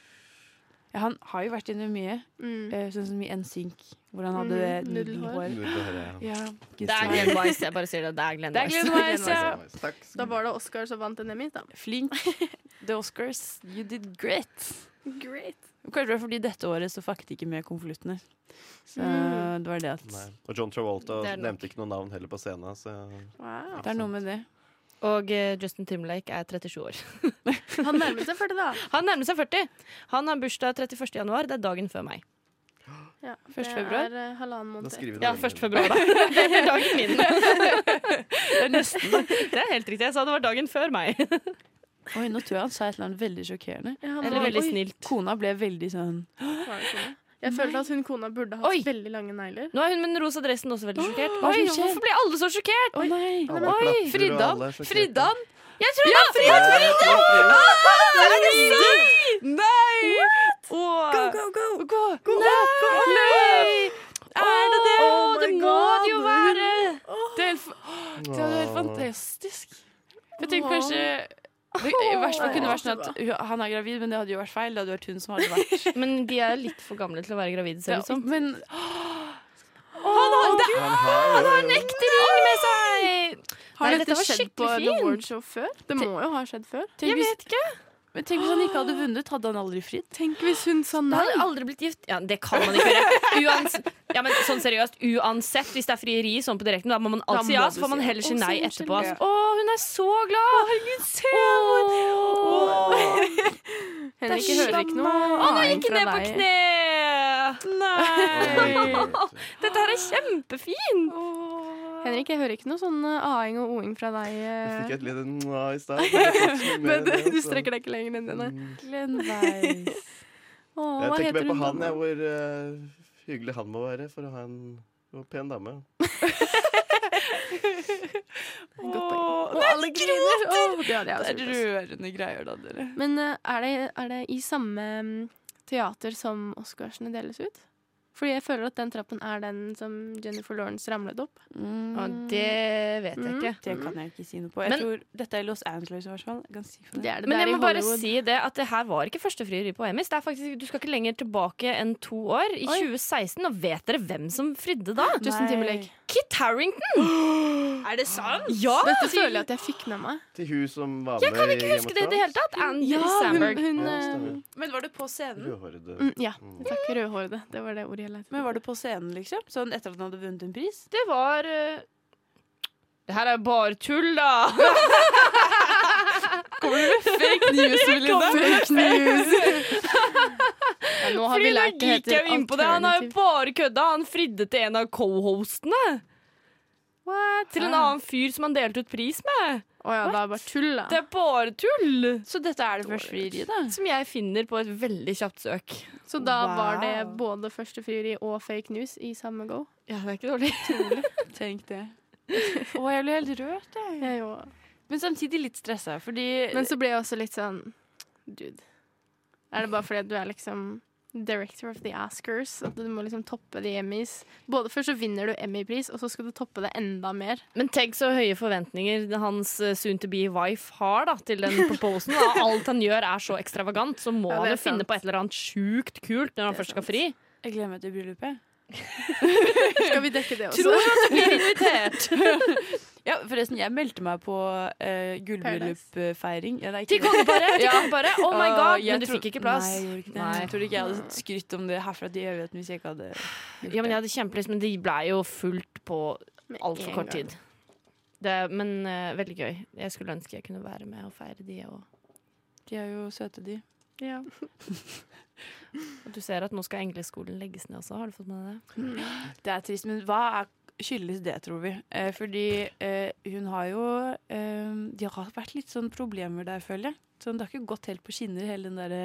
A: Ja, han har jo vært gjennom mye,
C: Mm.
A: eh, sånn som i NSYNC, hvor han hadde
C: Mhm,
A: nudelhår.
C: nudelhår.
E: Nå hører jeg.
A: Ja,
B: Det er Glenn Weiss. Jeg bare sier det. Det er Glenn
A: Det er
B: Weiss.
A: Glenn Weiss, ja.
E: Takk.
C: Da var det Oscar som vant en Emmy, da.
A: Flink. The Oscars, you did great.
C: Great.
A: Kanskje det var fordi dette året så fucket de ikke med konvoluttene. Så
C: Mm.
A: det var det at
E: Nei. Og John Travolta
B: Det er nok.
E: nevnte ikke noe navn heller på scenen. Så
C: Wow.
A: Det er noe med det.
B: Og eh, Justin Timberlake er 37 år.
C: Han nærmet seg 40, da.
B: Han nærmer seg 40. Han har bursdag 31. januar. Det er dagen før meg.
C: *laughs* Ja,
A: Første februar?
C: Det er eh, halvannen
E: Da
C: måned.
E: skriver vi
B: Ja,
E: det.
B: 1. februar, *laughs* da. Det er dagen *laughs* min.
A: Det er nesten
B: Det er helt riktig. Jeg sa det var dagen før meg.
A: Oi, nå tror jeg han sa et eller annet veldig sjokkerende.
C: Ja, han
B: Eller
C: var-
B: veldig
C: Oi,
B: snilt.
A: Kona ble veldig sånn
C: var det kone? Jeg følte at hun kona burde hatt
B: Oi.
C: veldig lange negler.
B: Nå er hun med den rosa dressen også veldig sjokkert.
A: hva
B: Oi,
A: som skjer?
B: hvorfor ble alle så sjokkert?
A: Å nei!
E: Alle klapper, og
A: Fridda!
E: alle er sjokkerte.
A: Fridda!
B: Jeg tror ja,
E: Ja, Frida!
B: er Ah, det sant?
A: Nei! Åh.
D: Go, go!
A: Gå! Nei! Er det det?
B: Å, det må det jo være.
A: Det er helt, f- det er jo helt fantastisk. Jeg tenker kanskje det, I hvert fall kunne det vært sånn at hun- han er gravid, men det hadde jo vært feil. Det hadde vært hun som hadde *laughs* vært liksom.
B: Men de er litt for gamle til å være gravide, ser det ut som.
A: Men
E: Han har jo
B: Ekte ring med seg!
C: Har
B: Nei,
C: dette
B: dette var
C: skjedd på
B: skikkelig
C: en
B: fint.
C: awardshow før? Det må jo ha skjedd før.
A: tenk hvis, men tenk hvis han ikke hadde vunnet, hadde han aldri fridd?
C: Tenk hvis hun
B: Da
C: sa nei.
B: hadde jeg aldri blitt gift. Ja, Det kan man ikke gjøre. Uansett, ja, men sånn seriøst, uansett hvis det er frieri sånn på direkten, da må man
C: Da
B: alltid
C: må
B: ja,
C: du
B: så får man
C: si ja.
B: heller si
C: Å,
B: nei
C: så
B: etterpå.
C: unnskyld.
B: Altså. Å, hun er så glad! Å, herregud, se henne!
C: *laughs* Henrik
B: Det er
C: hører ikke noe
B: Å, nå gikk hun ned på kne!
E: Oi.
B: *laughs* Dette her er kjempefint!
C: Henrik, jeg hører ikke noe sånn eh, aing og oing fra deg. *laughs*
E: Jeg fikk
C: eh.
E: et lite nå i stad.
C: Men
E: men jeg kan ikke mer enn det,
C: du
E: altså.
C: strekker deg ikke lenger enn det, nei.
E: Mm.
A: Glenveis.
C: Å,
E: Jeg
C: hva
E: tenker
C: heter
E: mer på
C: hun
E: han,
C: da?
E: jeg, hvor eh, hyggelig han må være for å ha en en pen dame.
C: Godt poeng.
A: Åh,
C: Og alle griner! Å, det hadde
A: Det
C: jeg også
A: er
C: gjort, altså.
A: rørende greier, da, dere.
C: Men eh, er det, er det i samme mm, teater som Oscarsene deles ut? Fordi jeg føler at den trappen er den som Jennifer Lawrence ramlet opp.
A: Mm.
B: Å, det vet jeg ikke.
A: Det kan jeg ikke si noe på. Jeg
B: Men-
A: tror Dette er Los Angeles, i hvert fall. Jeg kan si for
C: Det
A: det.
C: er det
B: Men jeg
C: der
B: må
C: i
B: bare
C: Hollywood.
B: si det at det her var ikke første frieri på Emis. Det er faktisk, du skal ikke lenger tilbake enn to år. I
C: Oi.
B: 2016. Og vet dere hvem som fridde da?
C: Justin Timberlake.
B: Kit Harrington! Er det sant? Ja!
C: Dette føler jeg at jeg fikk med meg.
E: Til hun som var
B: Jeg
E: med
B: kan ikke
E: i
B: huske det i det hele tatt. Andy
C: hun,
B: Samberg.
C: hun
E: Ja,
C: eh,
E: stemmer.
A: Men eh, var det på scenen?
E: Rødhårede.
C: mm, Ja,
E: Mm.
C: takk. Rødhårede. Det var det ordet jeg lette
A: Men var det på scenen, liksom? Sånn etter at han hadde vunnet en pris?
B: Det var eh, Det her er jo bare tull, da!
A: Fake news, Melinda!
B: *laughs*
C: Ja, nå har
B: Fordi
C: vi
B: nå
C: lært det
B: gikk jeg
C: heter
B: jo inn på det. Han har jo
C: alternativ.
B: bare kødda. Han fridde til en av co-hostene. Til en
A: Ah.
B: annen fyr som han delte ut pris med.
C: Å ja, det er bare tull, da.
B: Det er bare tull!
A: Så dette er det første frieriet, da?
B: Som jeg finner på et veldig kjapt søk.
C: Så da var det
A: Wow.
C: både første frieri og fake news i samme go.
B: Ja, det er ikke dårlig.
A: Tenk det. Å, jeg ble helt rørt, jeg.
C: Jeg jo.
A: Men samtidig litt stressa, fordi
C: Men så ble jeg også litt sånn Dude. Er det bare fordi du er liksom director of the Askers? At du må liksom toppe de Emmys? Både først så vinner du Emmy-pris, og så skal du toppe det enda mer.
B: *laughs* Men tenk så høye forventninger hans eh, soon to be wife har da, til den proposen. Da. Alt han gjør er så ekstravagant, så må
C: Ja, det
B: han
C: er
B: jo finne
C: sant.
B: på et eller annet sjukt kult når han
C: Det er
B: først skal
C: sant.
B: fri.
A: Jeg gleder meg til bryllupet.
C: Skal vi dekke det også?
B: Tror du at du blir invitert?
A: Ja, forresten, jeg meldte meg på uh, gullbryllupfeiring. *laughs* Ja, det er
B: Til
A: ikke det.
B: kongeparet? Til kongeparet? Oh my
A: Åh,
B: god,
A: jeg
B: men du
A: tro-
B: fikk ikke plass.
A: Nei, jeg gjorde ikke det.
B: Nei.
A: Jeg tror ikke jeg hadde skrytt om det herfra til evigheten hvis jeg ikke hadde
B: Ja, men jeg hadde kjempelyst, men de ble jo fullt på
C: Med en
B: altfor kort
C: gang.
B: tid. Det, men eh, veldig gøy. Jeg skulle ønske jeg kunne være med og feire de og
A: De er jo søte, de.
C: Ja.
B: *laughs* og Du ser at nå skal engleskolen legges ned også, har du fått med deg det?
A: Det er trist, men hva er skyldes det, tror vi? Eh, fordi eh, hun har jo eh, De har vært litt sånn problemer der, føler jeg. Sånn, det har ikke gått helt på skinner, hele den derre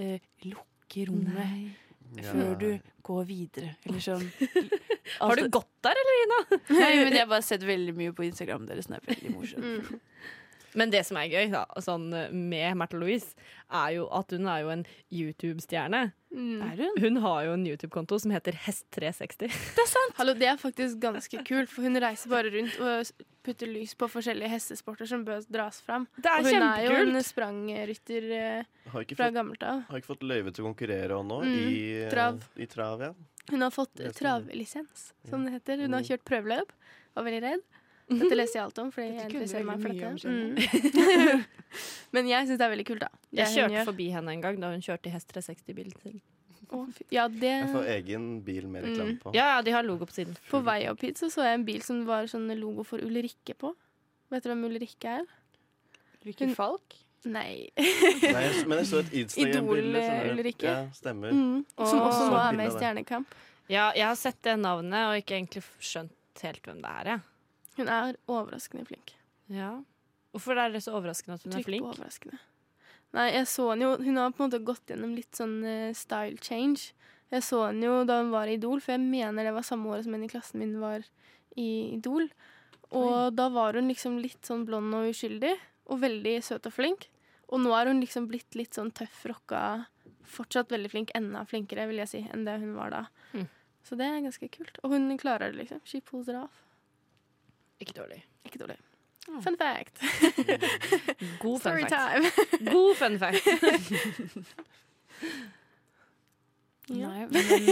A: eh, lukke rommet før du går videre, eller *laughs* sånn.
B: Har du gått der, eller?
A: Nei, men jeg har bare sett veldig mye på Instagram deres, den er veldig morsom.
C: Mm.
B: Men det som er gøy da, sånn, med Märtha Louise, er jo at hun er jo en YouTube-stjerne.
C: Mm.
A: Er hun?
B: Hun har jo en YouTube-konto som heter Hest360.
C: Hallo, det er faktisk ganske kult, for hun reiser bare rundt og s- putter lys på forskjellige hestesporter som bør dras fram.
B: Det
C: Og hun er jo en sprangrytter eh,
E: Har ikke
C: fra
E: fått,
C: gammelt av.
E: har ikke fått løyve til å konkurrere nå,
C: Mm,
E: i, eh,
C: trav.
E: i trav, ja.
C: Hun har fått
E: Det stemmer.
C: travlisens, som det heter. Hun har
E: Mm.
C: kjørt prøveløp, var veldig redd.
E: *laughs*
C: Dette leser jeg alt om, fordi jeg
A: Dette kunne
C: interesserer
A: veldig
C: meg for
A: mye om,
C: dette.
A: skjønner
C: Mm. *laughs* Men jeg syns det er veldig kult, da. Det
B: Jeg
C: hun
B: kjørte
C: gjør.
B: forbi henne en gang da hun kjørte hest 360-bil til.
C: Å, fy- Ja,
E: Jeg får
C: det
E: egen bil med reklame på.
B: Ja, ja, de har logo på siden.
C: På vei opp hit så, så jeg en bil som var sånn logo for Ulrikke på. Vet dere hvem Ulrikke er?
A: Hvilken falk?
C: Nei.
E: Nei, jeg- men jeg så et Instagram-bilde. skjønner du.
C: Idol-Ulrikke.
E: Ja, stemmer.
C: *laughs* eh, Mm. Som
B: Åh.
C: også nå
E: Så
C: er med i
E: bildet der.
C: Stjernekamp.
B: Ja, jeg har sett det navnet og ikke egentlig skjønt helt hvem det er, jeg.
C: Hun er overraskende flink.
B: Ja. Hvorfor er det så overraskende at hun er
C: Trykk på
B: flink?
C: overraskende. Nei, jeg så henne jo Hun har på en måte gått gjennom litt sånn eh, style change. Jeg så henne jo da hun var i Idol, for jeg mener det var samme året som en i klassen min var i Idol. Og da var hun liksom litt sånn blond og uskyldig, og veldig søt og flink. Og nå er hun liksom blitt litt sånn tøff rocka, fortsatt veldig flink, enda flinkere, vil jeg si, enn det hun var da.
B: Mm.
C: Så det er ganske kult. Og hun klarer det, liksom. She pulls it off.
B: Ikke dårlig.
C: Ikke dårlig. Fun fact.
B: *laughs* God *laughs* fun
C: Story
B: fact.
C: time.
B: God fun fact. *laughs*
C: Ja.
A: Nei, men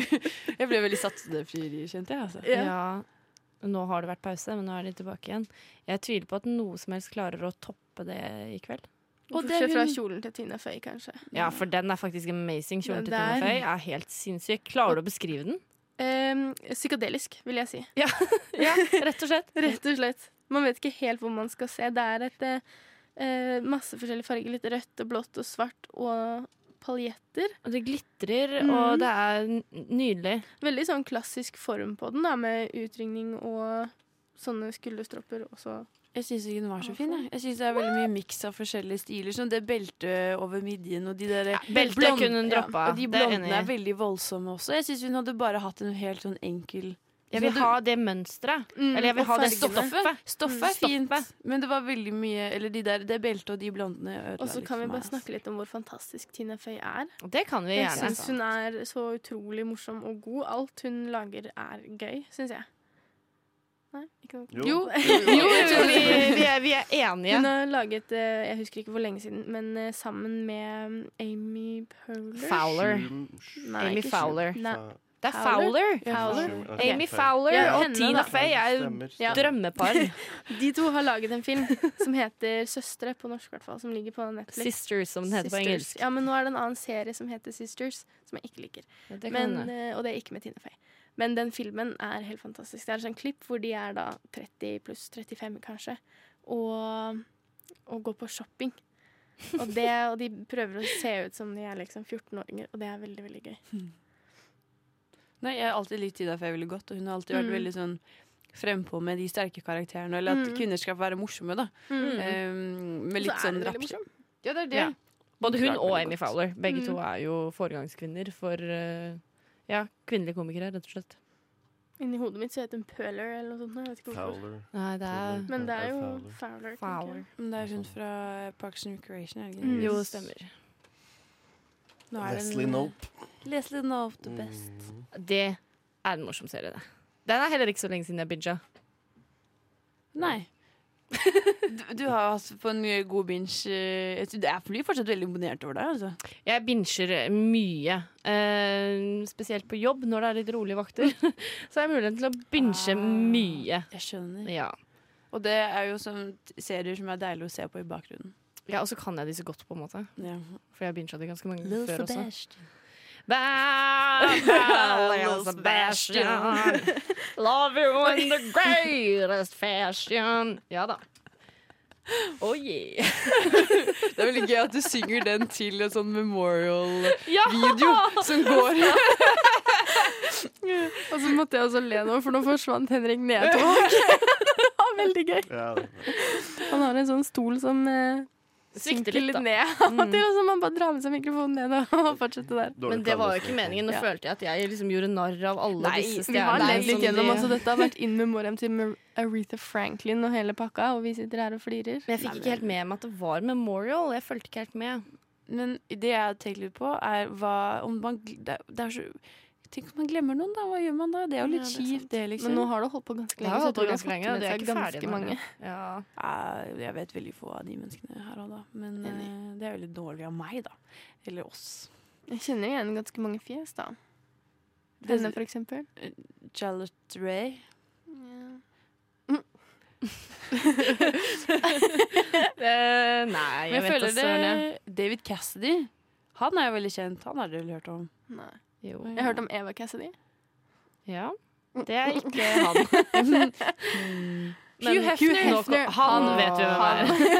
A: *laughs* Jeg ble veldig satt i det frieriet, kjente jeg. Altså.
C: Ja.
B: Ja. Nå har det vært pause, men nå er de tilbake igjen. Jeg tviler på at noe som helst klarer å toppe det i kveld.
C: Og det fra kjolen til Tina Fey, kanskje.
B: Ja, for den er faktisk amazing. Kjolen til
C: Den
B: Tina
C: der.
B: Fey er helt sinnssyk. Klarer du å beskrive den?
C: Ehm, psykadelisk, vil jeg si.
B: *laughs* Ja, rett og slett.
C: Rett og slett. Man vet ikke helt hvor man skal se. Det er et eh, eh, masse forskjellige farger. Litt rødt og blått og svart og paljetter.
B: Og det glitrer,
C: Mm.
B: og det er n- nydelig.
C: Veldig sånn klassisk form på den, da, med utringning og sånne skulderstropper også.
A: Jeg syns ikke den var så fin. Jeg, jeg synes Det er veldig mye miks av forskjellige stiler. Som det beltet over midjen og de der
B: beltet
A: blond-
B: kunne hun droppa.
A: og de
B: Det er jeg
A: blondene
B: enig i.
A: er, veldig voldsomme også. Jeg syns hun hadde bare hatt en helt sånn enkel
B: Jeg vil ha det mønsteret.
C: Mm,
B: Eller jeg vil
C: og
B: ha det
C: fargene.
B: stoffet.
A: Stoffet er
B: Mm,
A: fint,
B: stoffet.
A: men det var veldig mye Eller de der, det beltet og de blondene ødela
C: Og så
A: litt for
B: liksom
C: kan vi
A: meg,
C: bare
A: altså.
C: snakke litt om hvor fantastisk Tina Fey er.
B: Det kan vi
C: Jeg
B: gjerne.
C: syns hun er så utrolig morsom og god. Alt hun lager, er gøy, syns jeg. Nei, ikke noe.
E: Jo.
C: *laughs*
B: Jo, jo, vi, vi, er, vi er enige.
C: Hun har laget, eh, jeg husker ikke hvor lenge siden, men eh, sammen med mm, Amy Powler.
B: Fowler.
C: Nei,
B: Amy
C: ikke
B: Fowler.
C: Shu- Nei.
B: Det er Fowler.
C: Fowler? Fowler.
E: Ok.
B: Amy Fowler
C: Ja,
B: og
C: henne,
B: Tina
C: da.
B: Fey er jo
E: Stemmer,
C: Ja.
B: *laughs*
E: stemmer.
B: drømmepar.
C: De to har laget en film som heter Søstre, på norsk i hvert fall, som ligger på Netflix.
B: Sisters, som den heter på
C: Sisters.
B: engelsk.
C: Ja, men nå er det en annen serie som heter Sisters, som jeg ikke liker.
B: Ja, det kan
C: men,
B: hende.
C: eh, og det er ikke med Tina Fey. Men den filmen er helt fantastisk. Det er sånn klipp hvor de er da 30 pluss 35, kanskje, og, og går på shopping. Og, *laughs* det, og de prøver å se ut som de er liksom 14-åringer, og det er veldig, veldig gøy.
A: Nei, Jeg har alltid likt Ida Fey veldig godt, og hun har alltid vært
C: Mm.
A: veldig sånn frempå med de sterke karakterene. Eller at
C: Mm.
A: kvinner skal være morsomme, da.
C: Mm.
A: Ehm, med
C: Og så
A: litt
C: er
A: sånn
C: hun veldig
A: rapp...
C: morsom.
A: Ja, det er det.
B: Ja. Både hun
A: Klart
B: og
A: veldig
B: Amy
A: godt.
B: Fowler. Begge
C: Mm.
B: to er jo foregangskvinner for eh, ja, kvinnelige komikere, rett og slett.
C: Inni hodet mitt så heter hun Pøler eller noe sånt. Jeg vet ikke hvorfor.
E: Fowler.
B: Nei, det er
E: Fowler.
C: Men det er jo Fowler. tenker
E: Fowler.
B: Fowler.
C: jeg.
A: Men det er hun fra Parks and Recreation, er det ikke
C: Mm.
A: det?
B: Jo, det stemmer.
A: Nå er det en-
E: Leslie Nope.
A: Leslie Knope, the best.
E: Mm.
B: Det er en morsom serie, det. Den er heller ikke så lenge siden jeg binga.
A: Nei. Du, du har hatt på en god binge. eh, Jeg tror- jeg blir fortsatt veldig imponert over deg. Altså.
B: Jeg binger mye. eh, spesielt på jobb, når det er litt rolige vakter. *laughs* Så har jeg muligheten til å binge
A: Ah.
B: mye.
A: Jeg skjønner.
B: Ja.
A: Og det er jo sånn t- serier som er deilig å se på i bakgrunnen.
B: ja, Og så kan jeg de så godt, på en måte.
A: Ja.
B: For jeg binga de ganske mange
A: Little
B: før også.
A: Sebastian.
B: Little Sebastian. Love you in the greatest fashion. Ja da. Oh yeah.
A: Det er veldig gøy at du synger den til en sånn *laughs* memorial-video
B: Ja! *laughs*
A: som går
C: Og så måtte jeg også le nå, for nå forsvant *laughs* Henrik Nedtog. det var veldig gøy.
E: Ja, det er-
C: Han har en sånn stol som eh,
B: Svikter
C: synker
B: litt,
C: litt
B: da.
C: ned
B: *laughs*
C: av og til, og så må liksom, man bare dra med seg mikrofonen ned og fortsette der.
E: dårlig
B: Men det var jo ikke
E: planløsning.
B: meningen. Nå
C: Ja.
B: følte jeg at jeg liksom gjorde narr av alle
A: Nei,
B: disse
C: Vi har
B: stjernene
C: levd litt
B: som
C: gjennom,
B: de-
C: altså Dette har vært in memoriam til Mar- Aretha Franklin og hele pakka, og vi sitter her og flirer.
B: Men jeg fikk ikke helt med meg at det var memorial. Jeg fulgte ikke helt med.
A: Men det jeg har tenkt litt på, er hva om man, gl- det, er- det er så, Tenk om man glemmer noen, da. Hva gjør man da? Det er jo litt kjipt, det, liksom.
C: Men nå har du holdt på ganske lenge, så jeg tror du har fått med
B: det er
C: deg
B: ikke ferdig
C: ganske mange.
B: Ja. *laughs*
A: Eh, Jeg vet veldig få av de menneskene her og da, men
C: Enig.
A: eh, det er veldig dårlig av meg, da. Eller oss.
C: Jeg kjenner igjen ganske mange fjes, da.
A: Det-
C: Denne, for eksempel.
A: Charlotte Ray.
B: Eh, nei, jeg,
A: Men jeg
B: vet da
A: føler
B: søren, jeg.
A: det David Cassidy. Han er jo veldig kjent. Han har dere vel hørt om?
B: *laughs*
C: Nei.
B: Jo.
C: Jeg har hørt om Eva Cassidy.
B: Ja.
A: Mm.
B: Det er ikke
A: *laughs*
B: han. *laughs* Men
A: Hugh Hefner.
B: Nå kom- Han
A: Åh.
B: vet vi hvem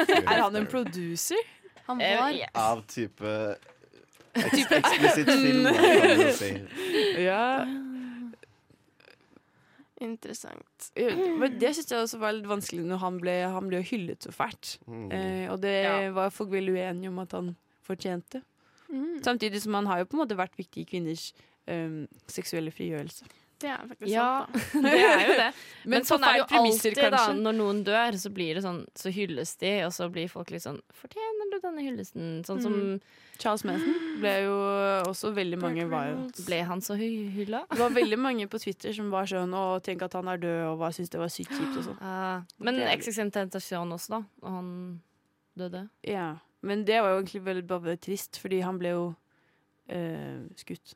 B: *laughs* er.
A: Er han en producer?
C: Han
B: Eh,
C: var
B: yes.
H: Av type eks
B: *laughs*
H: eksplisitt film, kan man jo si.
A: Ja.
C: interessant.
A: Men det syns jeg også var litt vanskelig når han ble, han ble jo hyllet så fælt.
E: Mm.
A: Eh, og det
B: Ja.
A: var folk vel uenige om at han fortjente.
C: Mm.
A: Samtidig som han har jo på en måte vært viktig i kvinners eh, seksuelle frigjørelse.
C: Det er faktisk
B: Ja.
C: sant, da.
B: Det er jo det. Men,
A: på
B: sånn er det jo
A: feil premisser,
B: alltid, da.
A: kanskje.
B: Når noen dør, så blir det sånn Så hylles de, og så blir folk litt sånn Fortjener du denne hyllesten? Sånn som
A: Mm. Charles Manson ble jo også veldig mange var jo
B: Ble han så hy hylla?
A: Det var veldig mange på Twitter som var sånn Å, tenk at han er død, og hva syns det var sykt kjipt og sånn.
B: Ah, men
A: Det er-
B: Existentation også, da. Og han døde.
A: Ja. Men det var jo egentlig veldig bare trist, fordi han ble jo eh, skutt.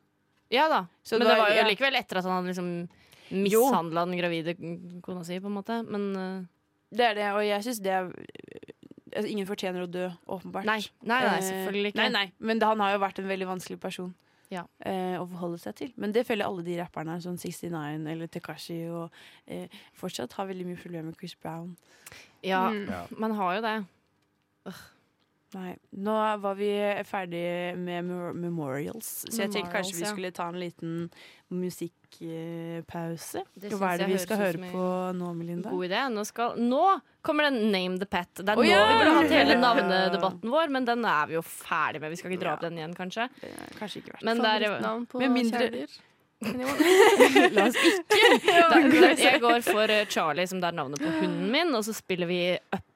B: Ja da.
A: Så
B: men
A: det
B: det
A: var-
B: var jo
A: ja.
B: likevel etter at han hadde liksom mishandla den gravide kona si, på en måte. Men eh,
A: Det er det, og jeg syns det er altså, Ingen fortjener å dø, åpenbart.
B: nei, nei, nei,
A: Eh,
B: selvfølgelig ikke.
A: Nei, nei. Men det, han har jo vært en veldig vanskelig person
B: Ja.
A: eh, å forholde seg til. Men det føler alle de rapperne her, sånn 69 eller Tekashi, og eh, fortsatt har veldig mye problemer med Chris Brown.
B: Ja,
C: Mm.
H: Ja.
B: man har jo det.
A: Nei. Nå var vi ferdige med mem- memorials, så jeg tenkte kanskje
B: Memorials,
A: vi
B: ja.
A: skulle ta en liten musikkpause. Hva
B: Det syns
A: er det
B: jeg
A: vi skal
B: høres ut
A: høre
B: som
A: på nå,
B: en
A: Melinda?
B: God idé. Nå, skal, nå kommer den Name the Pet. Det er nå
A: ja!
B: vi burde hatt hele
A: Ja.
B: navnedebatten vår, men den er vi jo ferdig med. Vi skal ikke dra opp den igjen, kanskje.
A: Eh, Kanskje
B: *laughs*
A: ikke verdt
B: Men det er
C: Favorittnavn på
A: Med mindre-
C: kjæledyr. Anyone?
A: La oss *laughs* ikke
B: Da- da- Jeg går for eh, Charlie, som det er navnet på hunden min, og så spiller vi Up.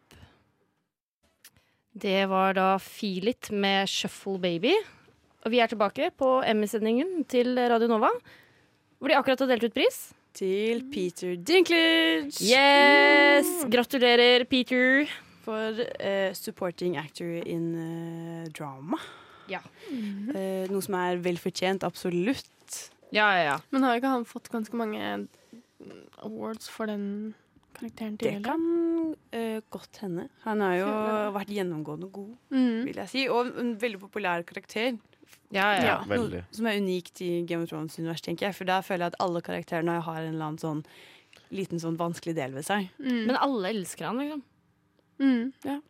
B: Det var da Feel It med Shuffle Baby. Og vi er tilbake på Emmy-sendingen til Radio Nova, hvor de akkurat har delt ut pris.
A: til Peter Dinklage
B: Yes! Gratulerer, Peter.
A: for eh, supporting actor in eh, drama.
B: Ja.
C: *laughs*
B: Mm.
A: Eh, noe som er vel fortjent, absolutt.
B: Ja, ja, ja.
C: Men har ikke han fått ganske mange awards for den karakteren
A: Det
C: tidligere?
A: kan eh, godt hende. Han har jo
C: Ja.
A: vært gjennomgående god,
C: Mm.
A: vil jeg si. Og en veldig populær karakter.
B: ja, ja, ja.
C: Ja.
E: Veldig.
A: Noe som er unikt i Game of Thrones univers, tenker jeg. For der føler jeg at alle karakterene har en eller annen sånn liten sånn vanskelig del ved seg.
C: Mm.
B: Men alle elsker han, liksom.
C: mm. Ja.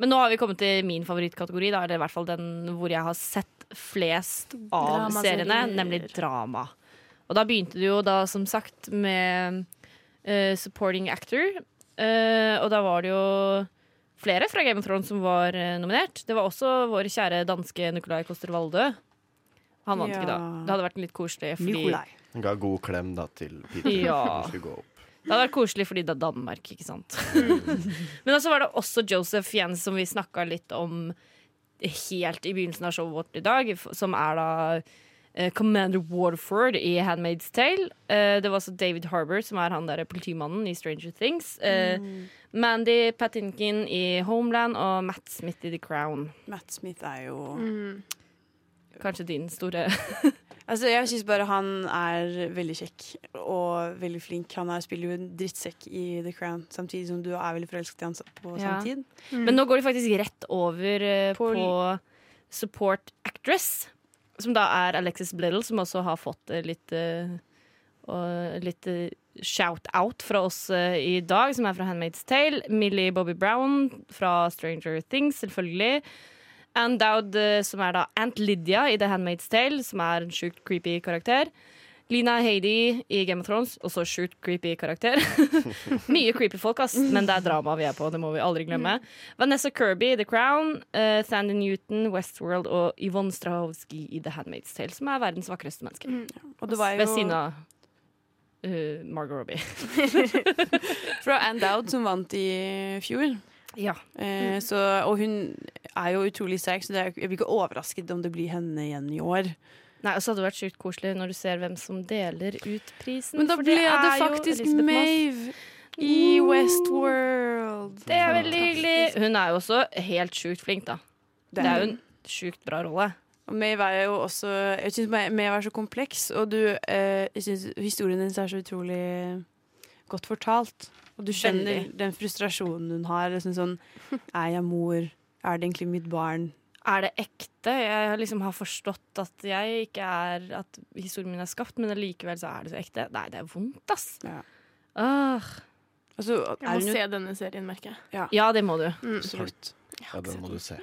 B: Men nå har vi kommet til min favorittkategori, da, eller i hvert fall den hvor jeg har sett flest av
C: Dramaserier.
B: seriene, nemlig drama. Og da begynte det jo da, som sagt, med eh, supporting actor. Eh, og da var det jo flere fra Game of Thrones som var eh, nominert. Det var også vår kjære danske Nicolai Coster-Waldø. Han vant
A: Ja.
B: ikke, da. Det hadde vært litt koselig. Fordi
A: Nikolai.
E: Han ga god klem da til Peter.
B: Ja.
E: som skulle gå opp.
B: det hadde vært koselig fordi det er Danmark, ikke sant? *laughs* Men så var det også Joseph Jens som vi snakka litt om helt i begynnelsen av showet vårt i dag, f- som er da eh, Commander Warford i Handmaid's Tale. Eh, Det var også David Harbour, som er han der politimannen i Stranger Things. eh,
A: Mm.
B: Mandy Patinkin i Homeland og Matt Smith i The Crown.
A: Matt Smith er jo
C: Mm.
B: Kanskje din store
A: Altså, jeg syns bare han er veldig kjekk og veldig flink. Han er, spiller jo en drittsekk i The Crown, samtidig som du er veldig forelsket i han på
B: Ja.
A: samme tid.
C: mm.
B: Men nå går de faktisk rett over eh, på, support actress, som da er Alexis Bleddle, som også har fått eh, litt eh, og litt eh, shout-out fra oss eh, i dag, som er fra Handmaid's Tale. Millie Bobby Brown fra Stranger Things, selvfølgelig. Ann Dowd, eh, som er da Aunt Lydia i The Handmaid's Tale, som er en sjukt creepy karakter. Lina Heidi i Game of Thrones, også sjukt creepy karakter. *laughs* Mye creepy folk, ass, men det er drama vi er på. Det må vi aldri glemme. Vanessa Kirby i The Crown, uh, Sandy Newton, Westworld og Yvonne Strahovski i The Handmaid's Tale, som er verdens vakreste menneske.
C: Mm.
A: Og det var
B: Ved siden
A: jo
B: av eh, Margot Robbie.
A: fra Ann Dowd som vant i fjor.
B: *laughs* Ja.
A: Eh,
B: Mm.
A: så, og hun er jo utrolig sterk, så det er, jeg blir ikke overrasket om det blir henne igjen i år.
B: Nei, og så hadde det vært sjukt koselig når du ser hvem som deler ut prisen.
A: Men da
B: for
A: ble det,
B: er jo
A: faktisk
B: Elizabeth Moss. Mm.
A: Mave i Westworld.
B: Det er veldig hyggelig. Hun er jo også helt sjukt flink, da. Det er jo en sjukt bra rolle.
A: Og Maeve er jo også Jeg syns Maeve er så kompleks, og du eh, Jeg syns historien hennes er så utrolig godt fortalt. Og du skjønner
B: Veldig.
A: den frustrasjonen hun har. Liksom sånn, er jeg mor? Er det egentlig mitt barn?
B: Er det ekte? Jeg liksom har forstått at jeg ikke er At historien min er skapt, men allikevel så er det så ekte. Nei, det er vondt, ass.
A: Ja.
B: Åh.
A: Og så Altså, er hun
C: Jeg må
A: jo
C: se denne serien, merker jeg.
B: Ja, det må du.
A: absolutt
E: Ja, den må du se.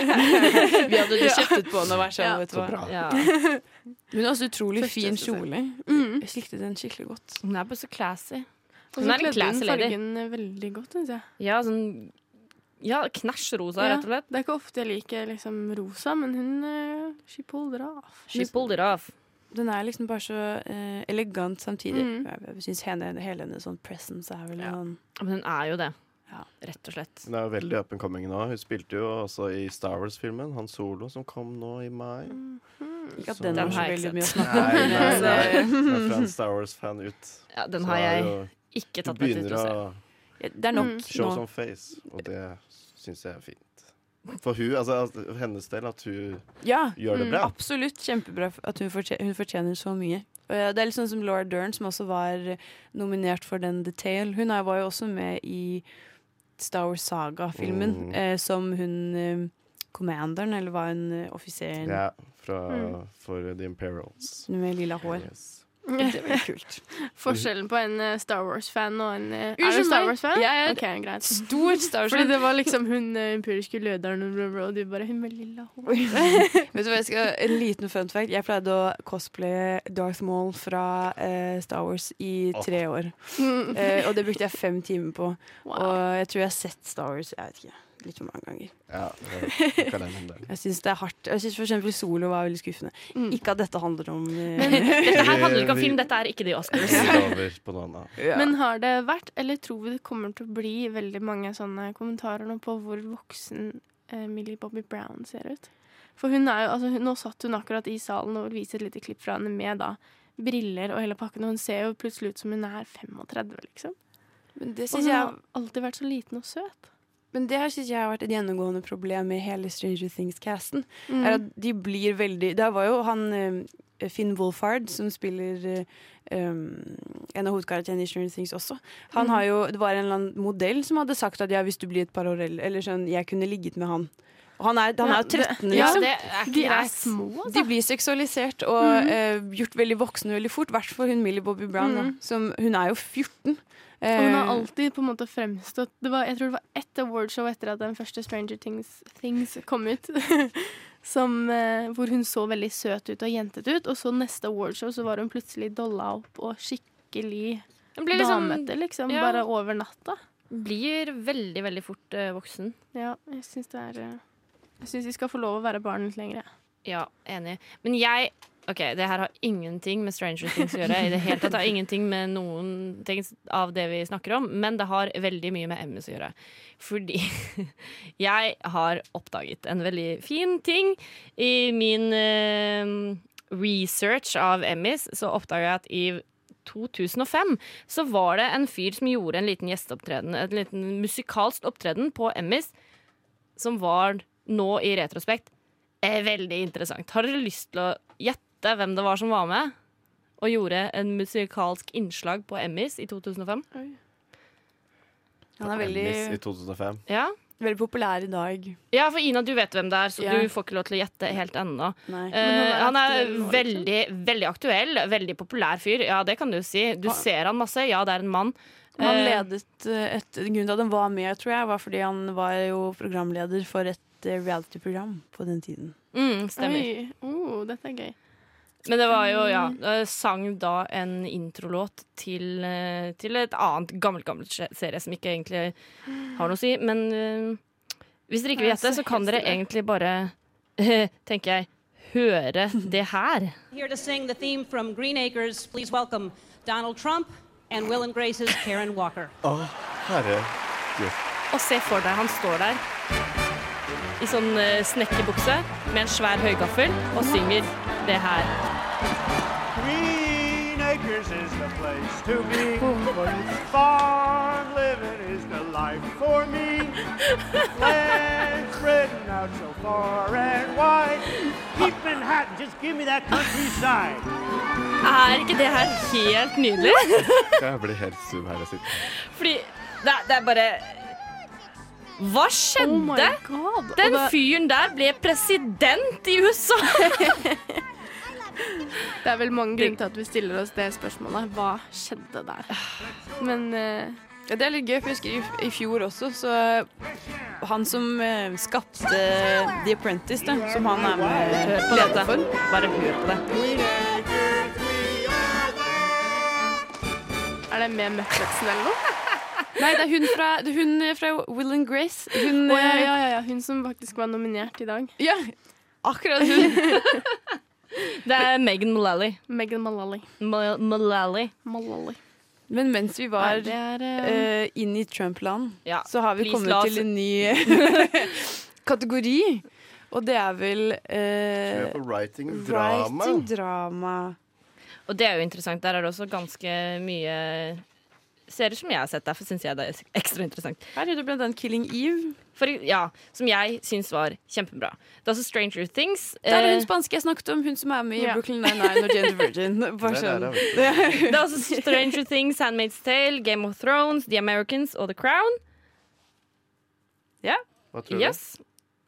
A: *laughs* Vi hadde jo kjeftet på henne og vært sånn, vet du
E: Så
A: hva.
E: bra.
B: Ja.
A: Hun har også utrolig
C: Første
A: fin
C: sesong.
A: kjole.
C: Mm.
A: Jeg likte den skikkelig godt.
B: Hun er bare så classy.
C: Og
B: Hun
C: så
B: er en
C: kledde hun
B: classy lady.
C: fargen eh, veldig godt, syns jeg.
B: Ja, sånn Ja, knæsj rosa,
C: Ja.
B: rett og slett.
C: Det er ikke ofte jeg liker liksom rosa, men hun eh, She pulled it off.
B: She pulled it off.
A: Den er liksom bare så eh, elegant samtidig.
C: Mm.
A: Jeg, jeg syns hele, hele hennes sånn presence er vel sånn
B: Men hun er jo det.
A: Ja.
B: Rett og slett.
E: Hun er jo veldig up and coming nå. Hun spilte jo også i Star Wars-filmen, Han Solo, som kom nå i mai.
A: Ikke at
E: Så-
A: den
B: Den
A: var så
B: har jeg ikke
A: veldig mye å
B: sett.
A: snakke
E: Nei, nei,
A: om.
E: nei.
A: men, altså,
E: Hun er fra en Star Wars-fan ut.
B: Ja, den
E: Så
B: har
E: er
B: jeg
E: jo-
B: ikke
E: Hun
B: tatt meg tid
E: begynner
B: til å se.
E: å
A: eh, Det er nok
C: Mm.
E: show
A: nå.
E: some face, og det syns jeg er fint. For hun, altså altså, hennes del, at hun
A: Ja,
E: gjør det
C: Mm,
E: bra.
A: absolutt kjempebra f- at hun fortjener, hun fortjener så mye. Og, eh, Det er litt sånn som Laura Dern, som også var eh, nominert for den The Tale. Hun er- var jo også med i Star Wars Saga-filmen,
E: Mm.
A: eh, som hun eh, Commanderen, eller var hun eh, offiseren
E: Ja, fra,
C: Mm.
E: for The Imperials.
A: med lilla hår?
E: Yes.
A: Det var kult.
C: Mhm. *laughs* Forskjellen på en eh, Star Wars-fan og en eh, Er
A: Unnskyld
C: du Star
A: meg.
C: Wars-fan?
A: Jeg er-
C: Ok, greit.
A: Stor Star
C: Fordi det var liksom hun eh, empiriske lederen og bla, bla, og du bare Hun med lilla hår.
A: Vet du hva, jeg skal, En liten fun fact. Jeg pleide å cosplaye Darth Maul fra eh, Star Wars i
E: Åh.
A: tre år.
C: Mm.
A: Eh, og det brukte jeg fem timer på.
C: Wow.
A: Og jeg tror jeg har sett Star Wars jeg vet ikke, litt for mange ganger.
E: Ja, det var kalenderen.
A: Jeg syns det er hardt. Jeg synes for eksempel Solo var veldig skuffende.
C: Mm.
A: Ikke at dette handler om eh,
B: *laughs* Men dette her handler ikke om
E: Vi- *laughs*
B: film, dette er ikke de Oscars.
E: Vi går over på noe annet.
A: ja.
C: Men har det vært, eller tror vi det kommer til å bli, veldig mange sånne kommentarer nå på hvor voksen eh, Millie Bobby Brown ser ut? For hun er jo, altså hun, nå satt hun akkurat i salen og viser et lite klipp fra henne med da briller og hele pakken, og hun ser jo plutselig ut som hun er 35, liksom.
A: Men det
C: Og
A: syns
C: hun
A: jeg,
C: har alltid vært så liten og søt.
A: men det her synes jeg har vært et gjennomgående problem med hele Stranger Things-casten. Er
C: Mm.
A: at de blir veldig Der var jo han eh, Finn Wolfhard, som spiller eh, um, en av hovedkarakterene i Stranger Things også. Han har jo, det var en eller annen modell som hadde sagt at ja, hvis du blir et par år eldre Eller sånn, jeg kunne ligget med han. Og han er, han er jo 13,
C: Ja,
A: liksom.
B: det er
C: Mm. De er små,
A: De blir seksualisert og eh, gjort veldig voksne veldig fort. I hvert fall hun Millie Bobby Brown. da,
C: Mhm.
A: som, hun er jo 14.
C: Og hun har
A: Eh,
C: alltid på en måte fremstått det var, Jeg tror det var ett awardshow etter at den første Stranger Things, Things kom ut. *laughs* som, eh, hvor hun så veldig søt ut og jentete ut. Og så neste awardshow så var hun plutselig dolla opp og skikkelig
B: Den blir, liksom,
C: damete, liksom.
B: ja.
C: Bare over natta.
B: blir veldig, veldig fort eh, voksen.
C: Ja, jeg syns det er eh, Jeg syns de skal få lov å være barn litt lenger. jeg.
B: Ja, enig. Men jeg Ok, det her har ingenting med Stranger Things å gjøre. I det hele tatt Det har ingenting med noen ting av det vi snakker om, men det har veldig mye med Emmys å gjøre. Fordi *laughs* jeg har oppdaget en veldig fin ting i min eh, research av Emmys. Så oppdaga jeg at i 2005 så var det en fyr som gjorde en liten gjesteopptreden, en liten musikalsk opptreden på Emmys, som var nå i retrospekt er Eh, veldig interessant. Har dere lyst til å gjette hvem det var som var med og gjorde en musikalsk innslag på Emmys i 2005?
A: han er veldig,
E: Emmys i 2005.
B: Ja,
A: veldig populær i dag.
B: ja for Ina, du vet hvem det er, så
A: Ja.
B: du får ikke lov til å gjette helt ennå.
A: Nei.
B: Eh,
C: Men
B: han
C: han er
B: er
C: aktuell nå,
B: veldig, veldig aktuell, veldig populær fyr. Ja, det kan du si. Du ser han masse. Ja, det er en mann.
A: Han
B: Eh,
A: ledet eh, et Grunnen til at han var med, tror jeg, var fordi han var jo programleder for et eh, reality-program på den tiden.
B: Mm, stemmer.
C: Oi, oh, dette er gøy.
B: Men det var jo, ja.
C: Mm.
B: eh, Sang da en introlåt til, eh, til et annet gammelt, gammelt se- serie som ikke egentlig har noe å si. Men eh, hvis dere ikke vil
C: Jeg er
B: gjette,
C: så
B: så kan
C: helt
B: dere
C: stille.
B: egentlig bare, *laughs* tenker jeg, høre det her.
I: Here to sing the theme from Green Acres, please welcome Donald Trump and Will and Grace's Karen Walker.
E: Å, herre.
B: Og se for deg han står der i sånn eh, snekkerbukse med en svær høygaffel og synger det her.
J: Green Acres is the place to be. For it's farm living is the life for me. Land spreading out so far and wide. Keep Manhattan. Just give me that countryside.
B: Er ikke det her helt nydelig? *laughs*
E: Jeg blir helt stum her jeg sitter.
B: Fordi det, er- det er bare
C: Oh
B: Hva skjedde?
C: god.
B: Den fyren der ble president i USA!
C: Det er vel mange grunner til at vi stiller oss det spørsmålet. Hva skjedde der? Men eh,
A: Ja, det er litt gøy, for jeg husker i, i fjor også, så han som eh, skapte The Apprentice, da, som han er med eh, på dette for, bare hør på det.
C: er det med Muppetsen eller noe?
A: Nei, det er hun fra, det er hun eh, fra Will and Grace. Hun,
C: Å, ja,
A: eh,
C: ja, ja, ja. Hun som faktisk var nominert i dag.
A: ja, *laughs* akkurat hun.
B: Det er Megan Mullally.
C: Megan Mullally.
B: Mu- Mullally.
C: Mullally.
A: Men mens vi
C: Nei,
A: var
C: det er eh,
A: eh, inn i Trump-land,
B: Ja,
A: så har vi
B: please,
A: kommet
B: la oss-
A: til en *laughs* ny kategori, og det er vel
E: Vi
A: eh,
E: er på writing drama.
A: writing drama.
B: Og det er jo interessant. Der er det også ganske mye serier som jeg har sett. Derfor syns jeg det er ekstra interessant.
A: Her er det blant annet Killing Eve.
B: For, ja, som jeg syns var kjempebra. Det er også Stranger Things.
A: Der er
B: Eh,
A: hun spanske jeg snakket om, hun som er med i
C: Ja.
A: Brooklyn Nine-Nine og Jane the *laughs* Virgin. Bare
E: Der er
A: sånn.
E: det, vet du.
B: det er
A: altså
B: også Stranger Things, Handmaid's Tale, Game of Thrones, The Americans og The Crown.
E: Hva tror du?
B: Yes.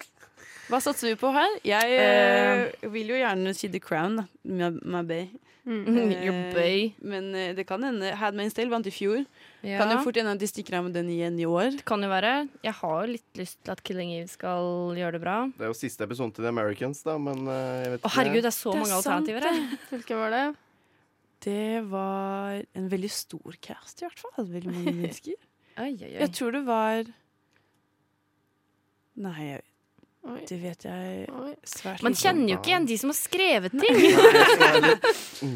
A: *laughs* Hva satser vi på her? Jeg eh, vil jo gjerne si The Crown, da. My, my bay.
C: Mm.
A: Mm.
B: Mm, Your boy.
A: Men eh, det kan hende Hadman's Tale vant i fjor.
B: Ja.
A: Eh, Kan jo fort hende at de stikker av med den igjen i år.
B: Det kan jo være. Jeg har jo litt lyst til at Killing Eve skal gjøre det bra.
E: Det er jo siste episode til The Americans, da, men eh, jeg vet
B: Å herregud, det er så
A: Det er
B: mange
A: sant,
B: alternativer her.
C: Hvilken var det?
A: Det var en veldig stor cast, i hvert fall. Veldig *laughs* mange mennesker.
B: Oi, oi, oi.
A: Jeg tror det var Nei, jeg-
C: Oi.
A: det vet jeg
C: Oi.
A: svært
B: Man
A: lite om.
B: kjenner jo ikke igjen de som har skrevet ting.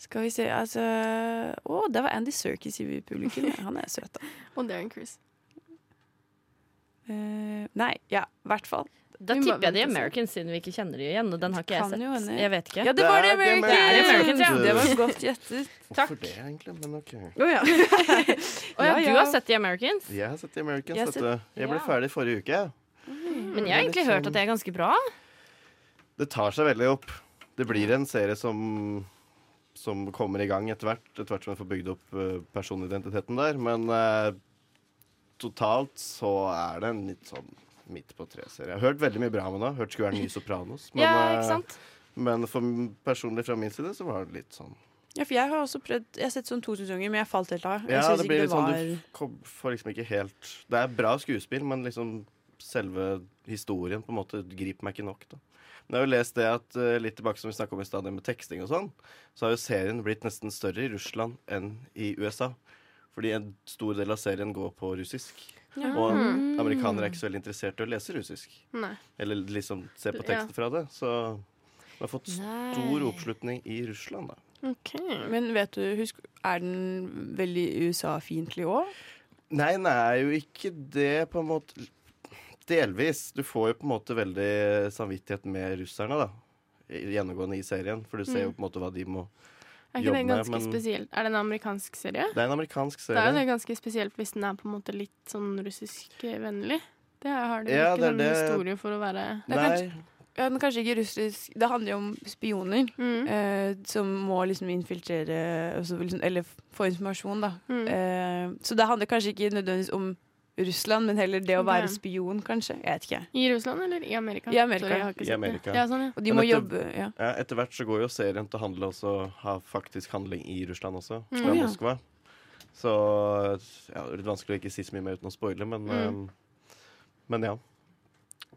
A: Skal vi se, altså Å, det var Andy Serkis i publikum. Han er søt, da.
C: Og Darren Cruise.
A: Eh, nei, ja, i hvert fall.
B: Da
C: Vi må
B: tipper jeg The
C: vente og se.
B: Americans, siden vi ikke kjenner de igjen. Og den har ikke jeg
A: Kan jo
B: sett.
A: hende.
B: Jeg vet ikke.
A: Ja, det var det,
E: Det er
A: Americans!
E: The
B: Americans, ja.
A: Det var godt gjettet.
E: Hvorfor det, egentlig? Men ok.
A: Å *laughs* ja.
B: Å ja,
A: Ja, ja.
B: du har sett The Americans?
E: Jeg har sett The Americans,
A: Jeg har
E: vet du. Jeg ble
B: Ja.
E: ferdig forrige uke.
B: Men jeg har egentlig hørt at det er ganske bra.
E: Det tar seg veldig opp. Det blir en serie som som kommer i gang etter hvert, etter hvert som jeg får bygd opp eh, personidentiteten der. Men eh, totalt så er det en litt sånn midt på tre-serie. Jeg har hørt veldig mye bra om henne. Hørt skulle
B: *laughs*
E: være en ny Sopranos. Men,
B: Ja,
E: eh,
B: ikke sant?
E: men for m- personlig fra min side så var det litt sånn
A: ja, for jeg har også prøvd Jeg har sett sånn to sesonger, men jeg falt helt av. Jeg
E: Ja,
A: synes
E: det
A: ikke
E: blir litt sånn
A: var-
E: du f- kom- får liksom ikke helt Det er bra skuespill, men liksom selve historien på en måte griper meg ikke nok. da men jeg har jo lest det at eh, litt tilbake som vi snakket om i stedet med teksting og sånn, så har jo serien blitt nesten større i Russland enn i USA. Fordi en stor del av serien går på russisk. Og
A: Mm.
E: amerikanere er ikke så veldig interessert i å lese russisk.
C: Mm. Nei.
E: Eller liksom se på
C: Ja.
E: teksten fra det. Så det har fått stor oppslutning i Russland, da.
A: Men vet du, husk, er den veldig USA-fiendtlig òg?
E: Nei, den er jo ikke det, på en måte. Delvis. Du får jo på en måte veldig samvittighet med russerne, da. I- Gjennomgående i serien. For du ser jo
C: Mm.
E: på en måte hva de må
C: Er ikke
E: Jobben
C: den
E: er,
C: ganske
E: men-
C: spesiell? Er det en amerikansk serie?
E: Det er en amerikansk
C: Det er jo det
E: serie.
C: ganske spesielt hvis den er på en måte litt sånn russiskvennlig. Det har de jo
E: Ja,
C: ikke
E: det er
C: sånn
E: det-
C: historie for å være
A: er
E: Nei,
A: Ja, den er kanskje ikke russisk Det handler jo om spioner
C: mm.
A: eh, som må liksom infiltrere altså, liksom, Eller f- få informasjon, da.
C: Mm.
A: Eh, så det handler kanskje ikke nødvendigvis om Russland, men heller det å
C: Ok.
A: være spion, kanskje. Jeg vet ikke.
C: I Russland eller i Amerika?
A: I Amerika.
C: Sorry, jeg har ikke
E: I
C: sett det.
E: Amerika.
C: Ja, sånn, ja.
A: Og de
E: Men
A: må
E: dette-
A: jobbe ja.
E: ja, etter hvert så går jo serien til å handle også ha faktisk handling i Russland også.
C: Mm.
E: Fra
A: Å, ja.
E: Moskva. Så ja, det er litt vanskelig å ikke si så mye mer uten å spoile, men,
C: Mm.
E: eh, men ja.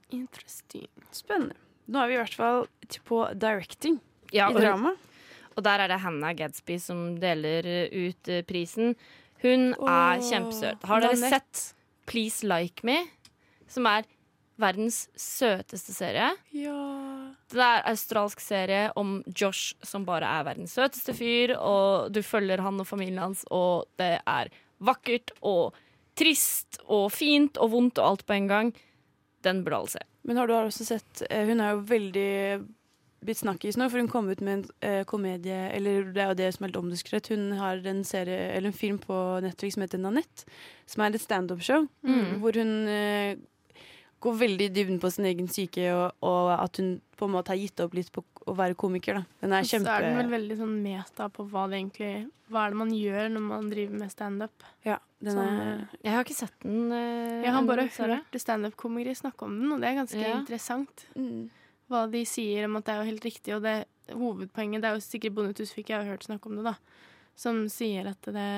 C: Interesting.
A: Spennende. Nå er vi i hvert fall til på directing
B: Ja,
A: i
B: og,
A: drama.
B: og der er det Hannah Gadsby som deler eh, ut eh, prisen. Hun er kjempesøt. Har dere
A: Nanette.
B: sett Please Like Me? Som er verdens søteste serie.
A: Ja.
B: Det er en australsk serie om Josh som bare er verdens søteste fyr, og du følger han og familien hans, og det er vakkert og trist og fint og vondt og alt på en gang. Den burde alle se.
A: Men har du også sett eh, Hun er jo veldig blitt snakkis nå, for hun kom ut med en eh, komedie Eller det er jo det som er helt omdiskret. Hun har en serie, eller en
C: Mm.
A: film på Netflix som heter Nanette, som er et standup-show, hvor hun eh, går veldig i dybden på sin egen syke, og, og at hun på en måte har gitt opp litt på å være komiker. Da. Den er
C: Og Så
A: kjempe...
C: er den vel veldig sånn meta på hva det egentlig Hva er det man gjør når man driver med standup.
A: Ja, den er...
C: Sånn, eh,
B: Jeg har ikke sett den. eh,
C: Jeg har bare
B: ennå, dessverre.
C: hørt standup-komikere snakke om den, og det er ganske
B: Ja.
C: interessant. Hva de sier om at det er jo helt riktig, og det hovedpoenget Det er jo sikkert Bonde Tusvik, jeg har jo hørt snakke om det, da, som sier at det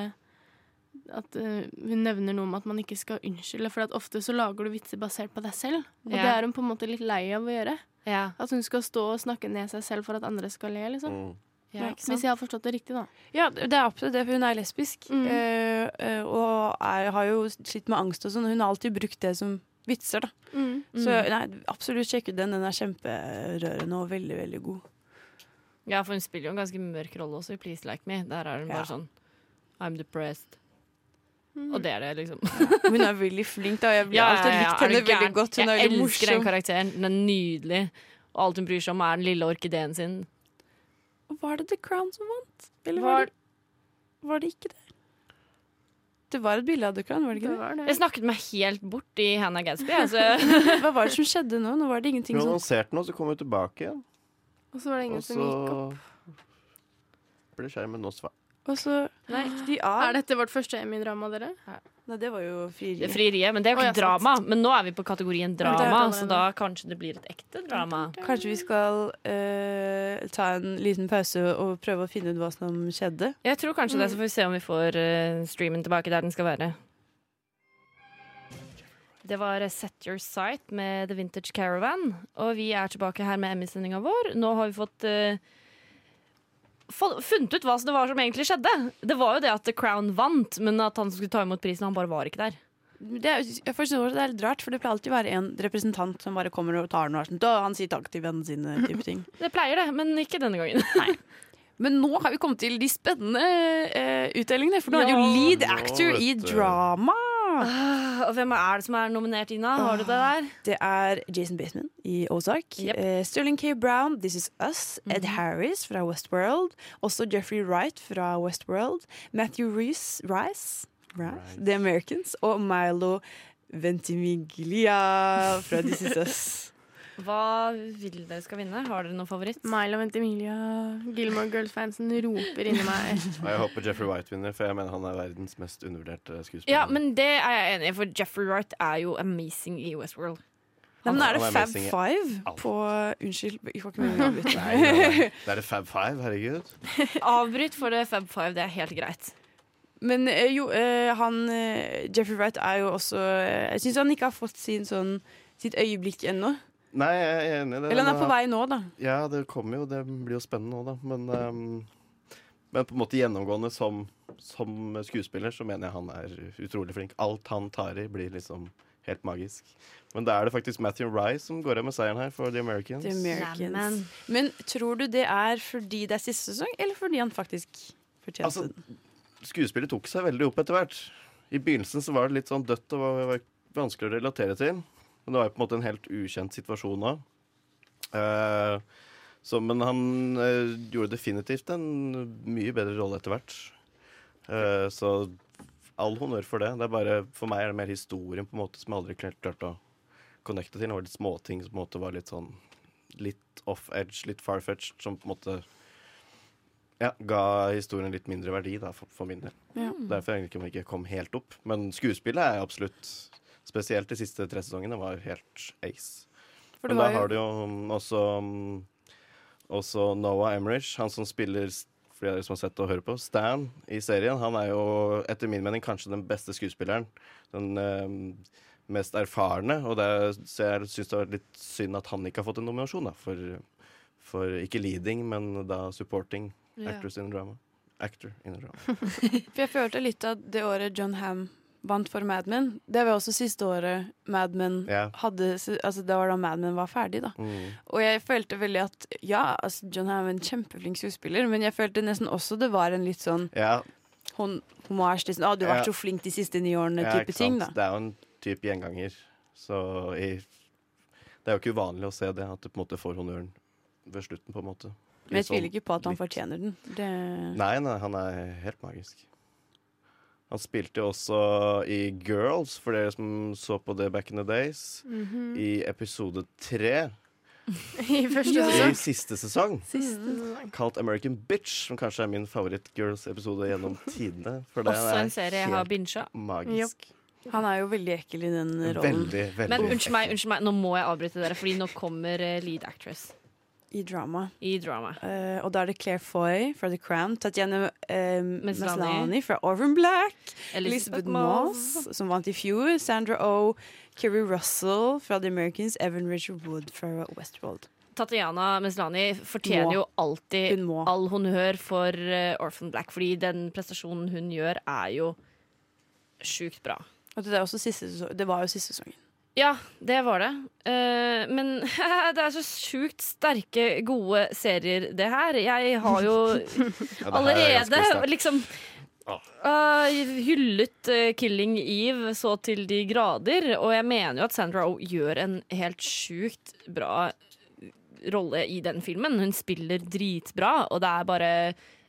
C: at eh, Hun nevner noe om at man ikke skal unnskylde, for at ofte så lager du vitser basert på deg selv. Og
B: Ja.
C: det er hun på en måte litt lei av å gjøre.
B: Ja,
C: At hun skal stå og snakke ned seg selv for at andre skal le, liksom.
E: Mm.
B: ja, ikke
C: Hvis
B: sant?
C: jeg har forstått det riktig, da.
A: Ja, det er absolutt det, for hun er lesbisk.
C: Mm.
A: eh, eh, og er, har jo slitt med angst og sånn. Hun har alltid brukt det som vitser, da.
B: Mm.
A: Så nei, absolutt sjekk ut den. Den er kjemperørende og veldig, veldig god.
B: ja, for hun spiller jo en ganske mørk rolle også i Please Like Me. Der er hun
A: Ja. Mm.
B: bare sånn I'm depressed. Og det er det, liksom.
A: Hun er veldig flink, da. Jeg har alltid likt
B: er du
A: henne veldig
B: gæren?
A: godt. Hun er
B: jeg
A: veldig
B: elsker den
A: morsom.
B: karakteren. Den er nydelig. Og alt hun bryr seg om, er den lille orkideen sin.
A: Var det The Crown som vant? Eller
B: Var-
A: var, det, var det ikke det? Det var et bilde av The Crown, var det
C: Det
A: ikke det?
C: var det.
B: Jeg *laughs* snakket meg helt bort i Hannah Gadsby.
A: *laughs*
B: Altså.
A: Hva var det som skjedde nå? Nå var det ingenting
E: Hun
A: som
E: annonserte noe, så kom hun tilbake igjen.
C: Og så var det ingen
E: Og
C: som gikk opp.
E: så ble skjermen nå svart.
A: Og så Nei, gikk de av.
C: Er dette vårt første Emmy-drama, dere?
A: Nei, det var jo frieri.
B: Frieriet. Men det er jo
C: Å, ja,
B: ikke
C: sant.
B: drama. Men nå er vi på kategorien
A: det er
B: drama,
C: drama,
B: så
C: ja.
B: da kanskje det blir et ekte drama.
A: Kanskje vi skal eh, ta en liten pause og prøve å finne ut hva som skjedde.
B: Jeg tror kanskje det, så får vi se om vi får eh, streamen tilbake der den skal være. Det var eh, Set Your Sight med The Vintage Caravan. Og vi er tilbake her med Emmy-sendinga vår. Nå har vi fått eh, få- funnet ut hva som- det var som egentlig skjedde. Det var jo det at The Crown vant, men at han som skulle ta imot prisen, han bare var ikke der.
A: Det er, jeg forstår at det er litt rart, for det pleier alltid å være en representant som bare kommer og tar den og er sånn «Da, Han sier takk til vennene sine, type ting.
B: Det pleier det, men ikke denne gangen.
A: *laughs* Men nå har vi kommet til de spennende eh, utdelingene, for nå er det jo
B: Ja.
A: lead
E: Nå,
A: actor i
E: vet du.
A: drama.
B: Og hvem er det som er nominert, Ina? Har du det der?
A: Det er Jason Bateman i Ozark.
B: Yep.
A: eh, Sterling K. Brown, This Is Us. Ed Harris fra Westworld. Også Jeffrey Wright fra Westworld. Matthew Reece Rice, Rice, The Americans. Og Milo Ventimiglia fra This Is Us.
B: Hva vil dere skal vinne? Har dere noen favoritt?
C: Milo Ventimiglia, Gilmore Girls-fansen roper inni
A: *laughs*
C: meg.
E: Og jeg håper Jeffrey White vinner, for jeg mener han er verdens mest undervurderte skuespiller.
B: Ja, men det er jeg enig i, for Jeffrey Wright er jo amazing i Westworld.
A: Nei, men nå er det
E: Han er
A: Fab
E: amazing i
A: Five
E: alt.
A: på Unnskyld, jeg
E: *laughs*
A: får ikke med meg avbryte.
E: *laughs* Nei, nei, nei. Det er det Fab Five, herregud.
B: Avbryt for det Fab Five, det er helt greit.
A: Men eh, jo, eh, han eh, Jeffrey Wright er jo også eh, Jeg syns han ikke har fått sin sånn sitt øyeblikk ennå.
E: Nei, jeg er enig i det.
A: Eller han
E: men
A: er på vei nå, da.
E: Ja, det kommer jo. Det blir jo spennende nå, da. Men, ehm, men på en måte gjennomgående som, som skuespiller så mener jeg han er utrolig flink. Alt han tar i, blir liksom helt magisk. Men da er det faktisk Matthew Rye som går av med seieren her for The Americans.
A: The Americans.
B: Neimen.
A: Men tror du det er fordi det er siste sesong, eller fordi han faktisk fortjente
E: Altså,
A: den?
E: skuespillet tok seg veldig opp etter hvert. I begynnelsen så var det litt sånn dødt og var, var vanskelig å relatere til. Men det var jo på en måte en helt ukjent situasjon nå. Eh, så, men han eh, gjorde definitivt en mye bedre rolle etter hvert. Eh, så all honnør for det. det er bare, for meg er det mer historien på en måte som jeg aldri klart- klarte å connecte til. Det var litt småting som på en måte var litt sånn litt off-edge, litt far-fetched, som på en måte ja, ga historien litt mindre verdi da, for, for min del. Derfor egentlig ikke om jeg ikke kom helt opp. Men skuespillet er absolutt Spesielt de siste tre sesongene var helt ace.
A: For det
E: Men
A: var
E: da
A: jo-
E: har du jo mm, også, mm, også Noah Emmerich, han som spiller s- for de av dere som har sett og hører på, Stan i serien. Han er jo etter min mening kanskje den beste skuespilleren. Den eh, mest erfarne. Og det, er- så jeg syns det har vært litt synd at han ikke har fått en nominasjon, da. For, for ikke leading, men da supporting actors in drama. Actor in drama.
A: Mhm. For jeg følte litt at det året John Ham vant for Mad Men, det var også siste året Mad Men
E: Ja.
A: hadde Altså det var da Mad Men var ferdig, da.
E: Mm.
A: Og jeg følte veldig at ja, altså John Ham er en kjempeflink skuespiller, men jeg følte nesten også det var en litt sånn
E: Ja,
A: hon- hommage til sånn Å, du har
E: Ja.
A: vært så flink de siste ni årene,
E: ja,
A: type
E: ikke
A: ting,
E: sant?
A: da.
E: Det er jo en type gjenganger. Så i, det er jo ikke uvanlig å se det, at du på en måte får honnøren ved slutten, på en måte.
A: Men
E: Litt
A: jeg tviler
E: sånn-
A: ikke på at han
E: litt-
A: fortjener den. Det
E: Nei, nei, han er helt magisk. Han spilte jo også i Girls, for dere som så på det back in the days,
C: Mhm.
E: i episode tre
C: *laughs* I første
E: i
C: sesong.
E: siste sesong.
C: Siste
E: Kalt American Bitch, som kanskje er min favoritt-Girls-episode gjennom tidene. For det
B: Også en
E: er
B: serie jeg har bincha.
E: magisk.
A: Han er jo veldig ekkel i den rollen.
E: Veldig, veldig
B: Men unnskyld meg, unnskyld meg, nå må jeg avbryte dere, Fordi nå kommer eh, lead actress
A: I drama.
B: i drama.
A: Eh, og da er det Claire Foy fra The Crown, Tatjana eh,
B: Maslany.
A: Maslany fra Orphan Black,
B: Elizabeth
A: Elizabeth Moss, som vant i fjor, Sandra O, oh, Kerry Russell fra The Americans, Evan Richard Wood fra Westworld.
B: Tatiana Meslani fortjener
A: Må.
B: jo alltid
A: Hun må.
B: all honnør for eh, Orphan Black, fordi den prestasjonen hun gjør, er jo sjukt bra.
A: Og det, er også siste sesong, det var jo siste sesongen.
B: Ja, det var det. Eh, men *laughs* det er så sjukt sterke, gode serier, det her. Jeg har jo
E: *laughs* Ja, det her er ganske
B: allerede
E: sterkt. Ah.
B: liksom
E: Ja.
B: eh, hyllet eh, Killing Eve så til de grader, og jeg mener jo at Sandra Oh gjør en helt sjukt bra rolle i den filmen. Hun spiller dritbra, og det er bare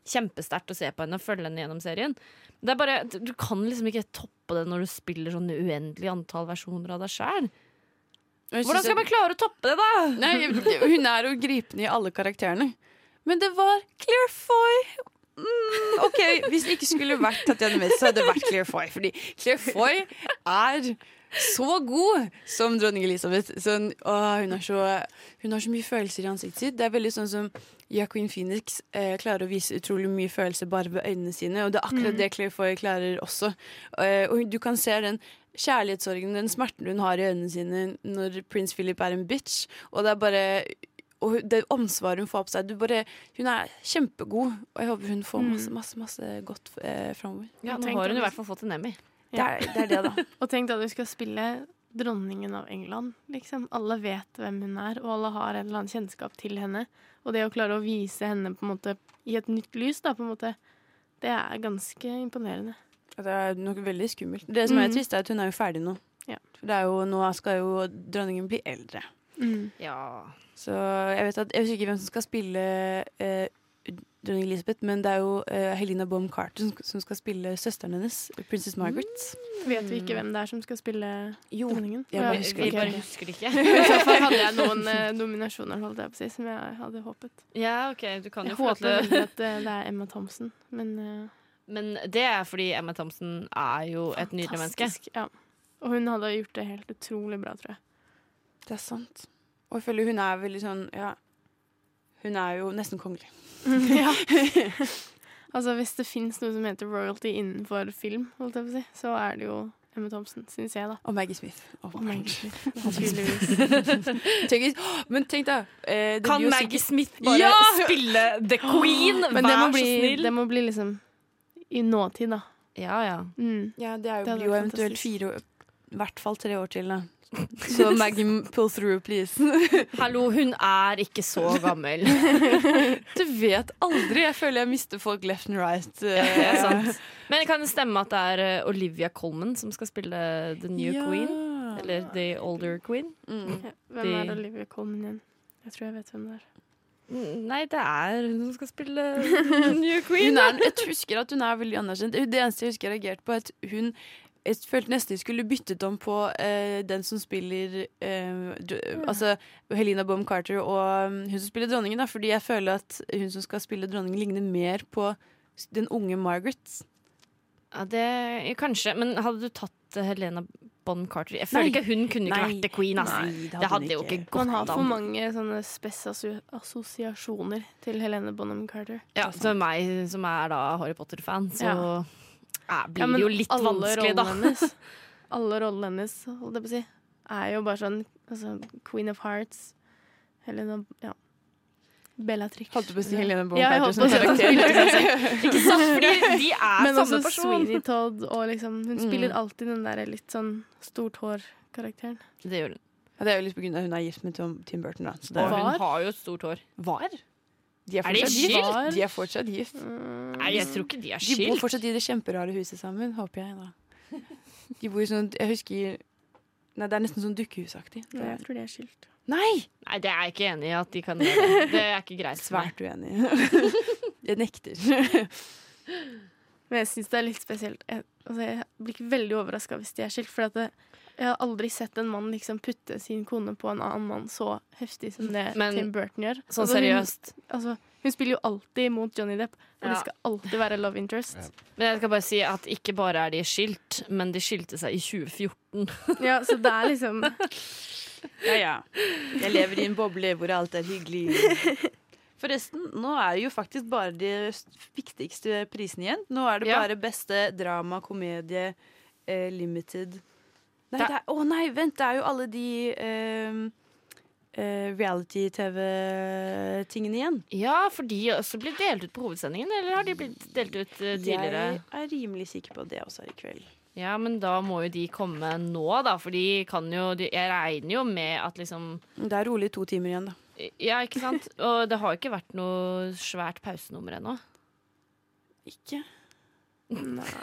B: kjempesterkt å se på henne og følge henne gjennom serien. Det er bare, Du kan liksom ikke toppe det når du spiller sånn uendelig antall versjoner av deg sjæl. Hvordan skal man klare å toppe det, da?
A: Nei, hun er jo gripende i alle karakterene. Men det var Claire Foy! Mm, OK, hvis det ikke skulle vært Tatjana Mez, så hadde det vært Claire Foy. Fordi Claire Foy er så god som dronning Elisabeth. Sånn, å, hun, har så, hun har så mye følelser i ansiktet sitt. Det er veldig sånn som Jacqueline Phoenix eh, klarer å vise utrolig mye følelser bare ved øynene sine. Og det er akkurat det Claire Foy klarer også. Eh, og du kan se den kjærlighetssorgen, den smerten hun har i øynene sine når prins Philip er en bitch. Og det er bare og hun- det ansvaret hun får på seg. Du bare, hun er kjempegod, og jeg håper hun får masse, masse, masse godt eh, framover.
B: Ja, nå
C: tenk
B: har
C: om
B: hun i
C: det-
B: hvert fall fått en Emmy.
C: Ja.
A: Det, er- det er det, da.
C: Og tenk deg at du skal spille dronningen av England, liksom. Alle vet hvem hun er, og alle har en eller annen kjennskap til henne. Og det å klare å vise henne på en måte i et nytt lys, da, på en måte, det er ganske imponerende.
A: Og Det er nok veldig skummelt. Det som er
C: Mhm.
A: trist, er at hun er jo ferdig nå.
C: Ja.
A: For det er jo, nå skal jo dronningen bli eldre. Mm.
B: Ja.
A: Så jeg vet at, jeg husker ikke hvem som skal spille eh, dronning Elisabeth, men det er jo eh, Helena Bohm Carter som, som skal spille søsteren hennes, prinsesse Margaret.
B: Mm.
C: Vet vi ikke hvem det er som skal spille
A: Jo,
C: dronningen?
A: jeg
C: Ja,
A: bare
B: Vi
A: husker
C: ok.
A: ikke.
B: *laughs* bare husker det ikke.
C: I så fall hadde *laughs* jeg noen eh, nominasjoner, holdt jeg på å si, som jeg hadde håpet.
B: Ja, ok, du kan jo
C: Jeg
B: få lov
C: håper
B: til
C: veldig at eh, det er Emma Thompson, men eh,
B: Men det er fordi Emma Thompson er jo et nydelig menneske.
C: fantastisk. Ja. Og hun hadde gjort det helt utrolig bra,
B: *laughs*
C: tror jeg.
A: Det er sant. Og jeg føler hun er veldig sånn, ja, hun er jo nesten kongelig.
B: *laughs*
C: ja. altså, hvis det fins noe som heter royalty innenfor film, holdt jeg på å si, så er det jo Emma Thompson, syns jeg, da.
A: Og Maggie Smith. Oh,
C: my Naturligvis.
B: *laughs*
A: tenk, Åh, men tenk da. eh, det blir
B: Kan
A: jo
B: Maggie
A: sikkert-
B: Smith bare
A: Ja!
B: spille
C: *gasps*
B: The Queen?
C: Men det
B: Vær
C: må,
B: så
C: bli,
B: snill!
C: det må bli liksom i nåtid, da.
B: Ja, ja.
C: Mm.
A: Ja, det er jo,
C: Det hadde
A: blir jo
C: vært
A: eventuelt
C: fantastisk.
A: fire, år- i hvert fall tre år til da. Så Maggie, pull through, *laughs* please.
B: Hallo, hun er ikke så
C: *laughs*
B: gammel.
A: Du vet aldri, jeg føler jeg mister folk left and right.
B: Det er
A: eh,
B: sant. Men kan det stemme at det er eh, Olivia Colman som skal spille The New Queen? Eller The Older Queen?
A: Mm.
C: Hvem
B: De-
C: er Olivia Colman igjen? Jeg tror jeg vet hvem det er.
B: Mm, Nei, det er hun som skal spille The New Queen.
A: Hun er, jeg husker at hun er veldig anerkjent. Det eneste jeg husker jeg reagerte på, er at hun jeg følte nesten jeg skulle byttet om på eh, den som spiller eh, dr- Altså Helena Bohm Carter og um, hun som spiller dronningen, da, fordi jeg føler at hun som skal spille dronningen, ligner mer på s- den unge Margaret.
B: Ja, det, kanskje, men hadde du tatt eh, Helena Bonn Carter? Jeg føler
A: Nei.
B: ikke hun kunne ikke
A: Nei.
B: vært The Queen. ass.
A: Nei, det hadde
B: det
A: hun
B: hadde jo
A: ikke.
B: ikke
C: Man har
B: gått
C: for
B: an.
C: mange sånne spes-assosiasjoner til Helene Bonham Carter.
B: Ja, for meg som er da Harry Potter-fan, så
C: Ja.
B: eh, blir det jo litt
C: alle
B: vanskelig,
C: rollene
B: da.
C: Hennes, alle rollene hennes, holdt jeg på å si, er jo bare sånn altså, Queen of Hearts, Helena Ja. Bellatrix.
A: Holdt du på å si Helena Bohm
C: Ja, jeg
A: Carter
C: holdt
A: som
C: på å si at hun
A: karakter?
C: spiller seg selv.
B: *laughs* Ikke
A: *laughs*
B: sant? Fordi de er
C: *laughs* Men altså,
B: samme
C: også
B: person.
C: Sweeney Todd og liksom Hun
A: Mm.
C: spiller alltid den der litt sånn stort hår-karakteren.
B: Det gjør hun.
A: Ja, det er jo litt på grunn av at hun er gift med Tom, Tim Burton, da. Så det
B: Og
A: er,
B: hun har jo et stort hår.
A: var? De er
B: Er de
A: fortsatt gift.
B: skilt?
A: De er fortsatt gift.
B: Nei, jeg tror ikke de er
A: De bor
B: skilt.
A: fortsatt i det kjemperare huset sammen, håper jeg. da De bor i sånn Jeg husker Nei, det er nesten sånn dukkehusaktig. Det
C: Nei, jeg
A: er-
C: tror de er skilt.
A: Nei!
B: Nei, det er jeg ikke enig i at de kan gjøre. Det er ikke greit. for meg.
A: Svært uenig. Jeg nekter.
C: Men jeg syns det er litt spesielt. Jeg, altså, jeg blir ikke veldig overraska hvis de er skilt. For at det, jeg har aldri sett en mann liksom putte sin kone på en annen mann så heftig som det
B: Men-
C: Tim Burton gjør.
B: Sånn
C: Altså, hun-
B: seriøst.
C: Altså, hun spiller jo alltid mot Johnny Depp,
B: Ja.
C: og det skal alltid være love interest.
B: Men jeg skal bare si at ikke bare er de skilt, men de skilte seg i 2014.
C: *laughs* Ja, så det er liksom
A: Ja, ja. Jeg lever i en boble hvor alt er hyggelig. Forresten, nå er det jo faktisk bare de viktigste prisene igjen. Nå er det
B: Ja.
A: bare beste drama, komedie, eh, limited Nei, det er, å nei, vent! Det er jo alle de eh, eh, reality-TV-tingene igjen.
B: Ja, for de også blir delt ut på hovedsendingen, eller har de blitt delt ut eh, tidligere?
A: Jeg er rimelig sikker på at det også er i kveld.
B: Ja, men da må jo de komme nå, da, for de kan jo de, Jeg regner jo med at liksom
A: Det er rolig to timer igjen, da.
B: Ja, ikke *laughs* sant? Og det har jo ikke vært noe svært pausenummer ennå.
A: Ikke? Nei. *laughs*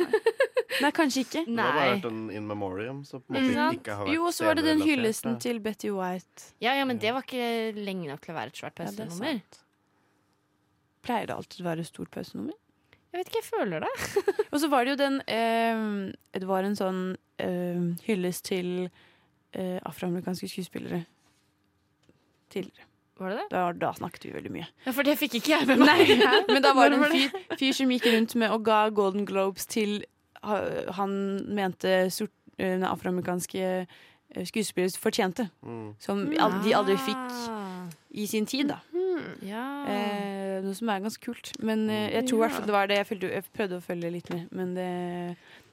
A: Nei, kanskje ikke.
E: Det har bare
B: Nei. Mm.
E: vært en in memoriam. Så på en
B: Ikke
E: måte
B: sant?
E: ikke har vært
A: Jo, og så var det den
E: TV-relatert,
A: hyllesten
E: da.
A: til Betty White.
B: Ja, ja, men det var ikke lenge nok til å være et svært
A: Ja, det er
B: pausenummer.
A: sant. Pleier det alltid å være stort pausenummer? *laughs*
B: jeg vet ikke, jeg føler det.
A: Og så var det jo den eh, Det var en sånn eh, hyllest til eh, afroamerikanske skuespillere. Tidligere.
B: Var det det?
A: Da, da snakket vi veldig mye.
B: Ja, For det fikk ikke jeg *laughs* med
A: *laughs*
B: meg.
A: Men da var det
B: Når
A: en fyr, fyr som gikk rundt med og ga Golden Globes til ha- han mente sort, eh, afroamerikanske eh, skuespillere fortjente.
E: Mm.
A: Som al- de aldri fikk i sin tid, da.
B: Ah. Ja.
A: Eh, noe som er ganske kult. Men eh, jeg tror i hvert fall det var det. Jeg, følte, jeg prøvde å følge litt med, men det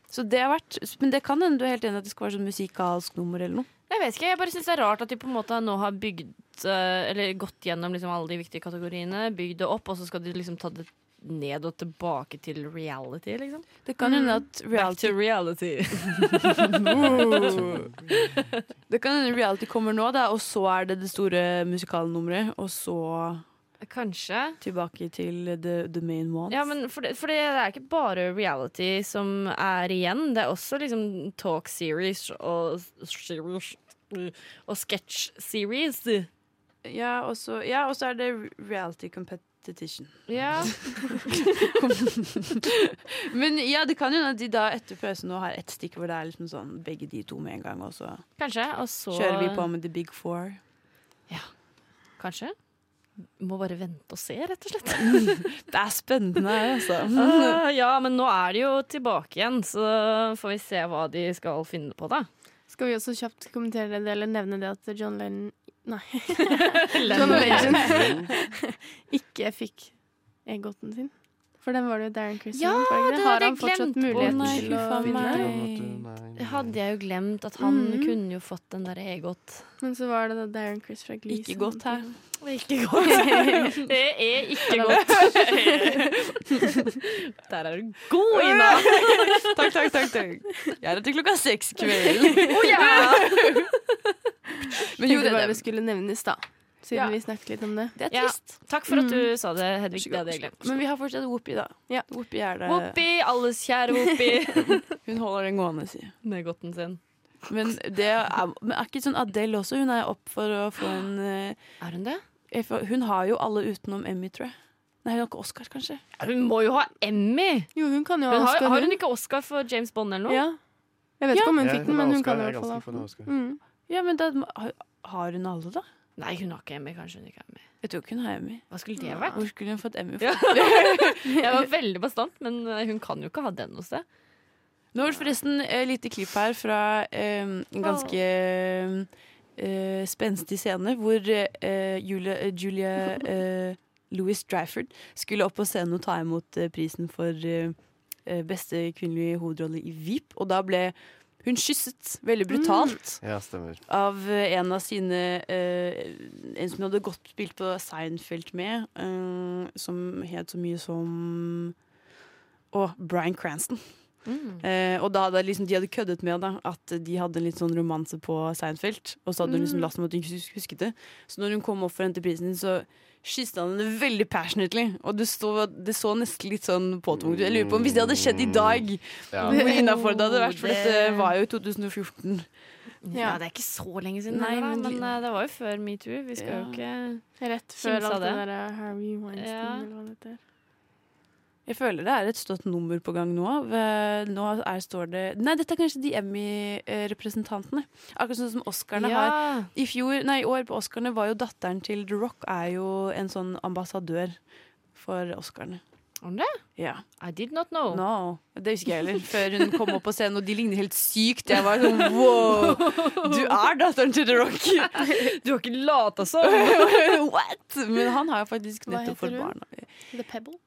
A: Så det har vært Men det kan hende du er helt enig at det skal være sånn musikalsk nummer eller noe.
B: Jeg vet ikke, jeg bare synes det er rart at de på en måte nå har bygd eh, Eller gått gjennom liksom alle de viktige kategoriene, bygd det opp, og så skal de liksom ta det ned og tilbake til reality, liksom.
A: Det kan hende at Mm. reality
B: reality.
A: *laughs* Det kan hende reality kommer nå, da, og så er det det store musikalnummeret. Og så
B: Kanskje.
A: tilbake til the, the main one.
B: Ja, men for det, for det er ikke bare reality som er igjen. Det er også liksom talk series og series og sketch series.
A: Ja, og så ja, og så er det reality competition.
B: Ja.
A: *laughs* Men ja, det kan jo hende at de da etter pausen nå har ett stikk hvor det er liksom sånn begge de to med en gang, og så
B: Kanskje. Og så
A: kjører vi på med the big four.
B: Kanskje. Må bare vente og se, rett og slett.
A: Det er spennende, altså.
B: Ah, ja, men nå er de jo tilbake igjen, så får vi se hva de skal finne *laughs* på, da.
C: Skal vi også kjapt kommentere det eller nevne det at John Lennon Nei, John
B: Lennon.
C: Legend ikke fikk egoten sin. For den var det jo Darren Chris
B: Ja, det
C: Har
B: hadde
C: han
B: jeg
C: fortsatt
B: glemt.
C: muligheten
B: Å, nei,
C: til å
A: fy faen
C: vinne?
A: meg.
B: Det hadde jeg jo glemt, at han
C: Mm.
B: kunne jo fått den der egot.
C: Men så var det da Darren Chris fra Glee.
A: Ikke
C: som-
A: godt her.
B: Ikke *laughs* godt. Det er ikke godt. *laughs* Der er du god, Ina.
A: *laughs* Takk, takk, takk. takk. Jeg er her til klokka seks i kveld.
B: *laughs* Oh, ja.
A: Men jo,
C: Tenkte
A: det,
C: bare
A: det,
C: det skulle nevnes, da. Siden
A: Ja.
C: vi snakket litt om det.
A: det er
B: Ja.
A: trist.
B: Takk for at du sa det, Hedvig. Det hadde jeg glemt.
A: Men vi har fortsatt Whoopi, da.
C: Ja.
A: Whoopi er det.
B: Whoopi, alles kjære *laughs* Whoopi.
A: Hun holder den gående, si.
B: Med godten sin.
A: Men det er, men er ikke sånn Adele også? Hun er opp for å få en eh,
B: Er hun det?
A: jeg får- Hun har jo alle utenom Emmy, tror jeg. Nei, hun har ikke Oscar, kanskje.
B: Hun må jo ha Emmy!
C: Jo, hun kan jo
B: Hun
C: ha
B: har,
C: Oscar.
B: har hun ikke Oscar for James Bond eller noe?
C: Ja. Jeg vet ikke om hun
E: Ja,
C: fikk den, men hun kan i
E: Oscar. Jeg
C: hvert
E: er
C: fall ha
E: ganske
C: fått den.
E: fornøyd.
C: Mm.
A: Ja, men da har- Har hun alle, da?
B: Nei, hun har ikke Emmy. Kanskje hun ikke har Emmy.
A: Jeg tror ikke hun har Emmy.
B: Hva skulle det vært?
A: Hvor skulle hun fått Emmy fra?
B: Ja. *laughs* Jeg var veldig bastant, men eh, hun kan jo ikke ha den hos deg.
A: *laughs* Nå var det forresten eh, et lite klipp her fra eh, en ganske eh, spenstig scene hvor eh, Julia, eh, Julia eh, Louis Dryford skulle opp på scenen og ta imot eh, prisen for eh, eh, beste kvinnelige hovedrolle i VIP, og da ble hun kysset veldig brutalt
E: Ja, stemmer.
A: av eh, en av sine eh, En som hun hadde godt spilt på Seinfeld med, eh, som het så mye som Å, Bryan Cranston.
B: Mm.
A: Eh, og da hadde liksom, de hadde køddet med da, at de hadde en litt sånn romanse på Seinfeld. Og så hadde hun liksom latt som at hun ikke hus- husket det. Så når hun kom opp for å hente prisen din, så kysset han henne veldig passionately. Og det, stod, det så nesten litt sånn påtvunget ut. Jeg lurer på om hvis det hadde skjedd i dag,
E: Ja.
B: Mm.
A: hvor innafor det hadde vært. For
B: Det-
A: dette var jo i 2014.
B: Ja, Det er ikke så lenge siden,
A: Nei,
B: heller, da,
A: men
B: men,
A: li-
B: eh, det var jo før metoo. Vi skal jo
A: Ja.
B: ikke
C: Rett
B: Kimsa
C: før alt det
B: det.
C: der Harry Weinstein
B: Ja.
C: eller hva det heter.
A: Jeg føler det er et stått nummer på gang nå. Ved- Nå er, står det Nei, dette er kanskje de Emmy-representantene. Akkurat sånn som Oscarene har. I fjor, nei, i år på Oscarene var jo datteren til The Rock er jo en sånn ambassadør for Oscarene.
B: Er hun det? Oh.
A: Ja.
B: I did not know. *laughs*
A: No. Det husker jeg heller. Før hun kom opp på scenen, og de ligner helt sykt. Jeg var sånn wow! Du er datteren til The Rock!
B: Du har ikke lata som!
A: What? Men han har jo faktisk
C: Hva heter
A: nettopp fått
C: hun?
A: barn.
C: The Pebble.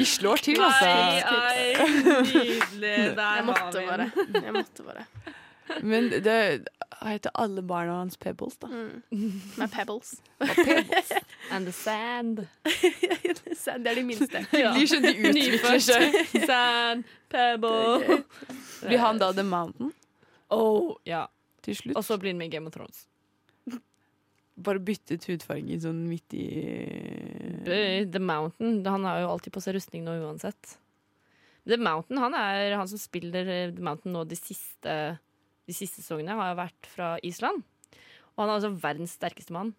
A: De slår til, altså.
B: Ai, ai,
A: *laughs*
B: nydelig. Der
C: Jeg
B: har
C: måtte
B: vi
C: bare.
B: den.
C: Jeg måtte bare.
A: Men det heter alle barna hans Pebbles, da.
C: *laughs* Mm. Med Pebbles. *laughs*
B: And the sand.
C: Sand, Det er de *laughs* minste.
A: Heldig så de utvikler seg.
B: Sand, pebble.
A: Blir han da The Mountain
B: Oh, ja.
A: til slutt?
B: Og så blir han med i Game of Thrones.
A: Bare byttet hudfarge sånn midt i
B: The Mountain. Han er jo alltid på seg rustning nå uansett. The Mountain han er han som spiller eh, The Mountain nå de siste, de siste sesongene, har jo vært fra Island. Og han er altså verdens sterkeste mann.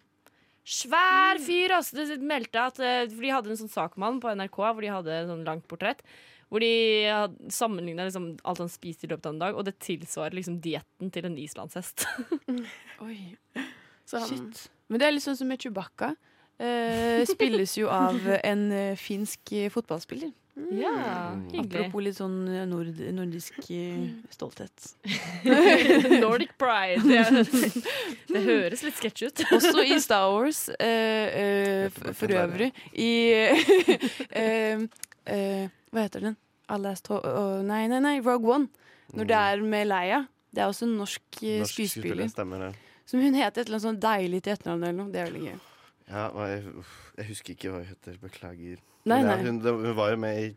B: Svær fyr! Altså, det meldte at eh, For de hadde en sånn sak om han på NRK hvor de hadde en sånn langt portrett. Hvor de sammenligna liksom alt han spiste i løpet av en dag, og det tilsvarer liksom dietten til en islandshest.
A: Oi,
C: *laughs* Så han,
A: shit. Men det er litt sånn som med Chewbacca. Eh, spilles jo av en eh, finsk eh, fotballspiller.
B: Ja, hyggelig.
A: Apropos litt sånn eh, nord nordisk eh, stolthet.
B: *laughs* Nordic *laughs* Pride. Det, det høres litt sketsj ut.
A: Også i Star Wars, eh, eh,
K: Jeg
A: for,
K: tror
A: for
K: det er
A: øvrig. I *laughs* eh, eh, Hva heter den? I Last Ho å, Nei, nei, nei, Rogue One. Når det er med Leia. Det er også en norsk, eh,
E: Mm. Norsk skuespiller,
A: skuespiller.
E: stemmer det.
A: Som hun heter et eller annet sånn deilig til etternavn eller noe. Det er veldig gøy.
E: Ja, hva- jeg, uff, jeg husker ikke hva hun heter. Beklager.
A: Nei,
E: Men ja,
A: nei.
E: Hun, det- hun var jo med i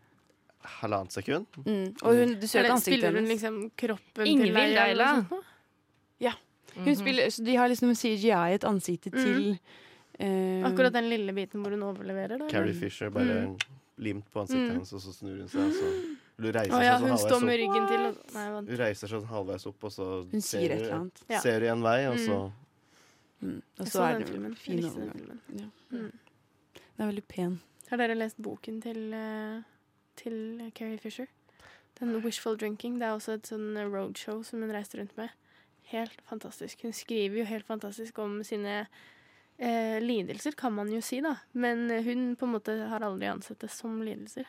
E: halvannet sekund.
A: Mm. Og hun, du ser
C: eller
A: et ansiktet
C: spiller hun
A: hennes.
C: liksom kroppen
B: Ingvild
C: til Leila? eller
B: Leila.
C: noe sånt? Mhm.
A: Hun spiller, så de har liksom CGI-et ansiktet
C: Mm.
A: til eh,
C: Akkurat den lille biten hvor hun overleverer. Da.
E: Carrie Fisher bare limt på ansiktet
C: Mm.
E: hennes, og så snur hun seg. Og så, hun, reiser
C: Å ja,
E: seg
C: hun
E: sånn
C: står med
E: halvveis opp,
C: ryggen til og Nei, vent.
E: hun reiser seg sånn halvveis opp, og så
A: Hun sier et
E: du-
A: eller annet.
C: Ja.
E: ser du en vei, og så
A: Mm. Og
C: Jeg
A: så
C: så
A: er
C: den
A: det jo
C: filmen.
A: en
C: Jeg
A: fin
C: likte den
A: overgang.
C: filmen.
A: Den er veldig pen.
C: Har dere lest boken til, eh, til Carrie Fisher? Den 'Wishful Drinking'. Det er også et sånn roadshow som hun reiste rundt med. Helt fantastisk. Hun skriver jo helt fantastisk om sine eh, lidelser, kan man jo si, da. Men hun på en måte har aldri ansett det som lidelser.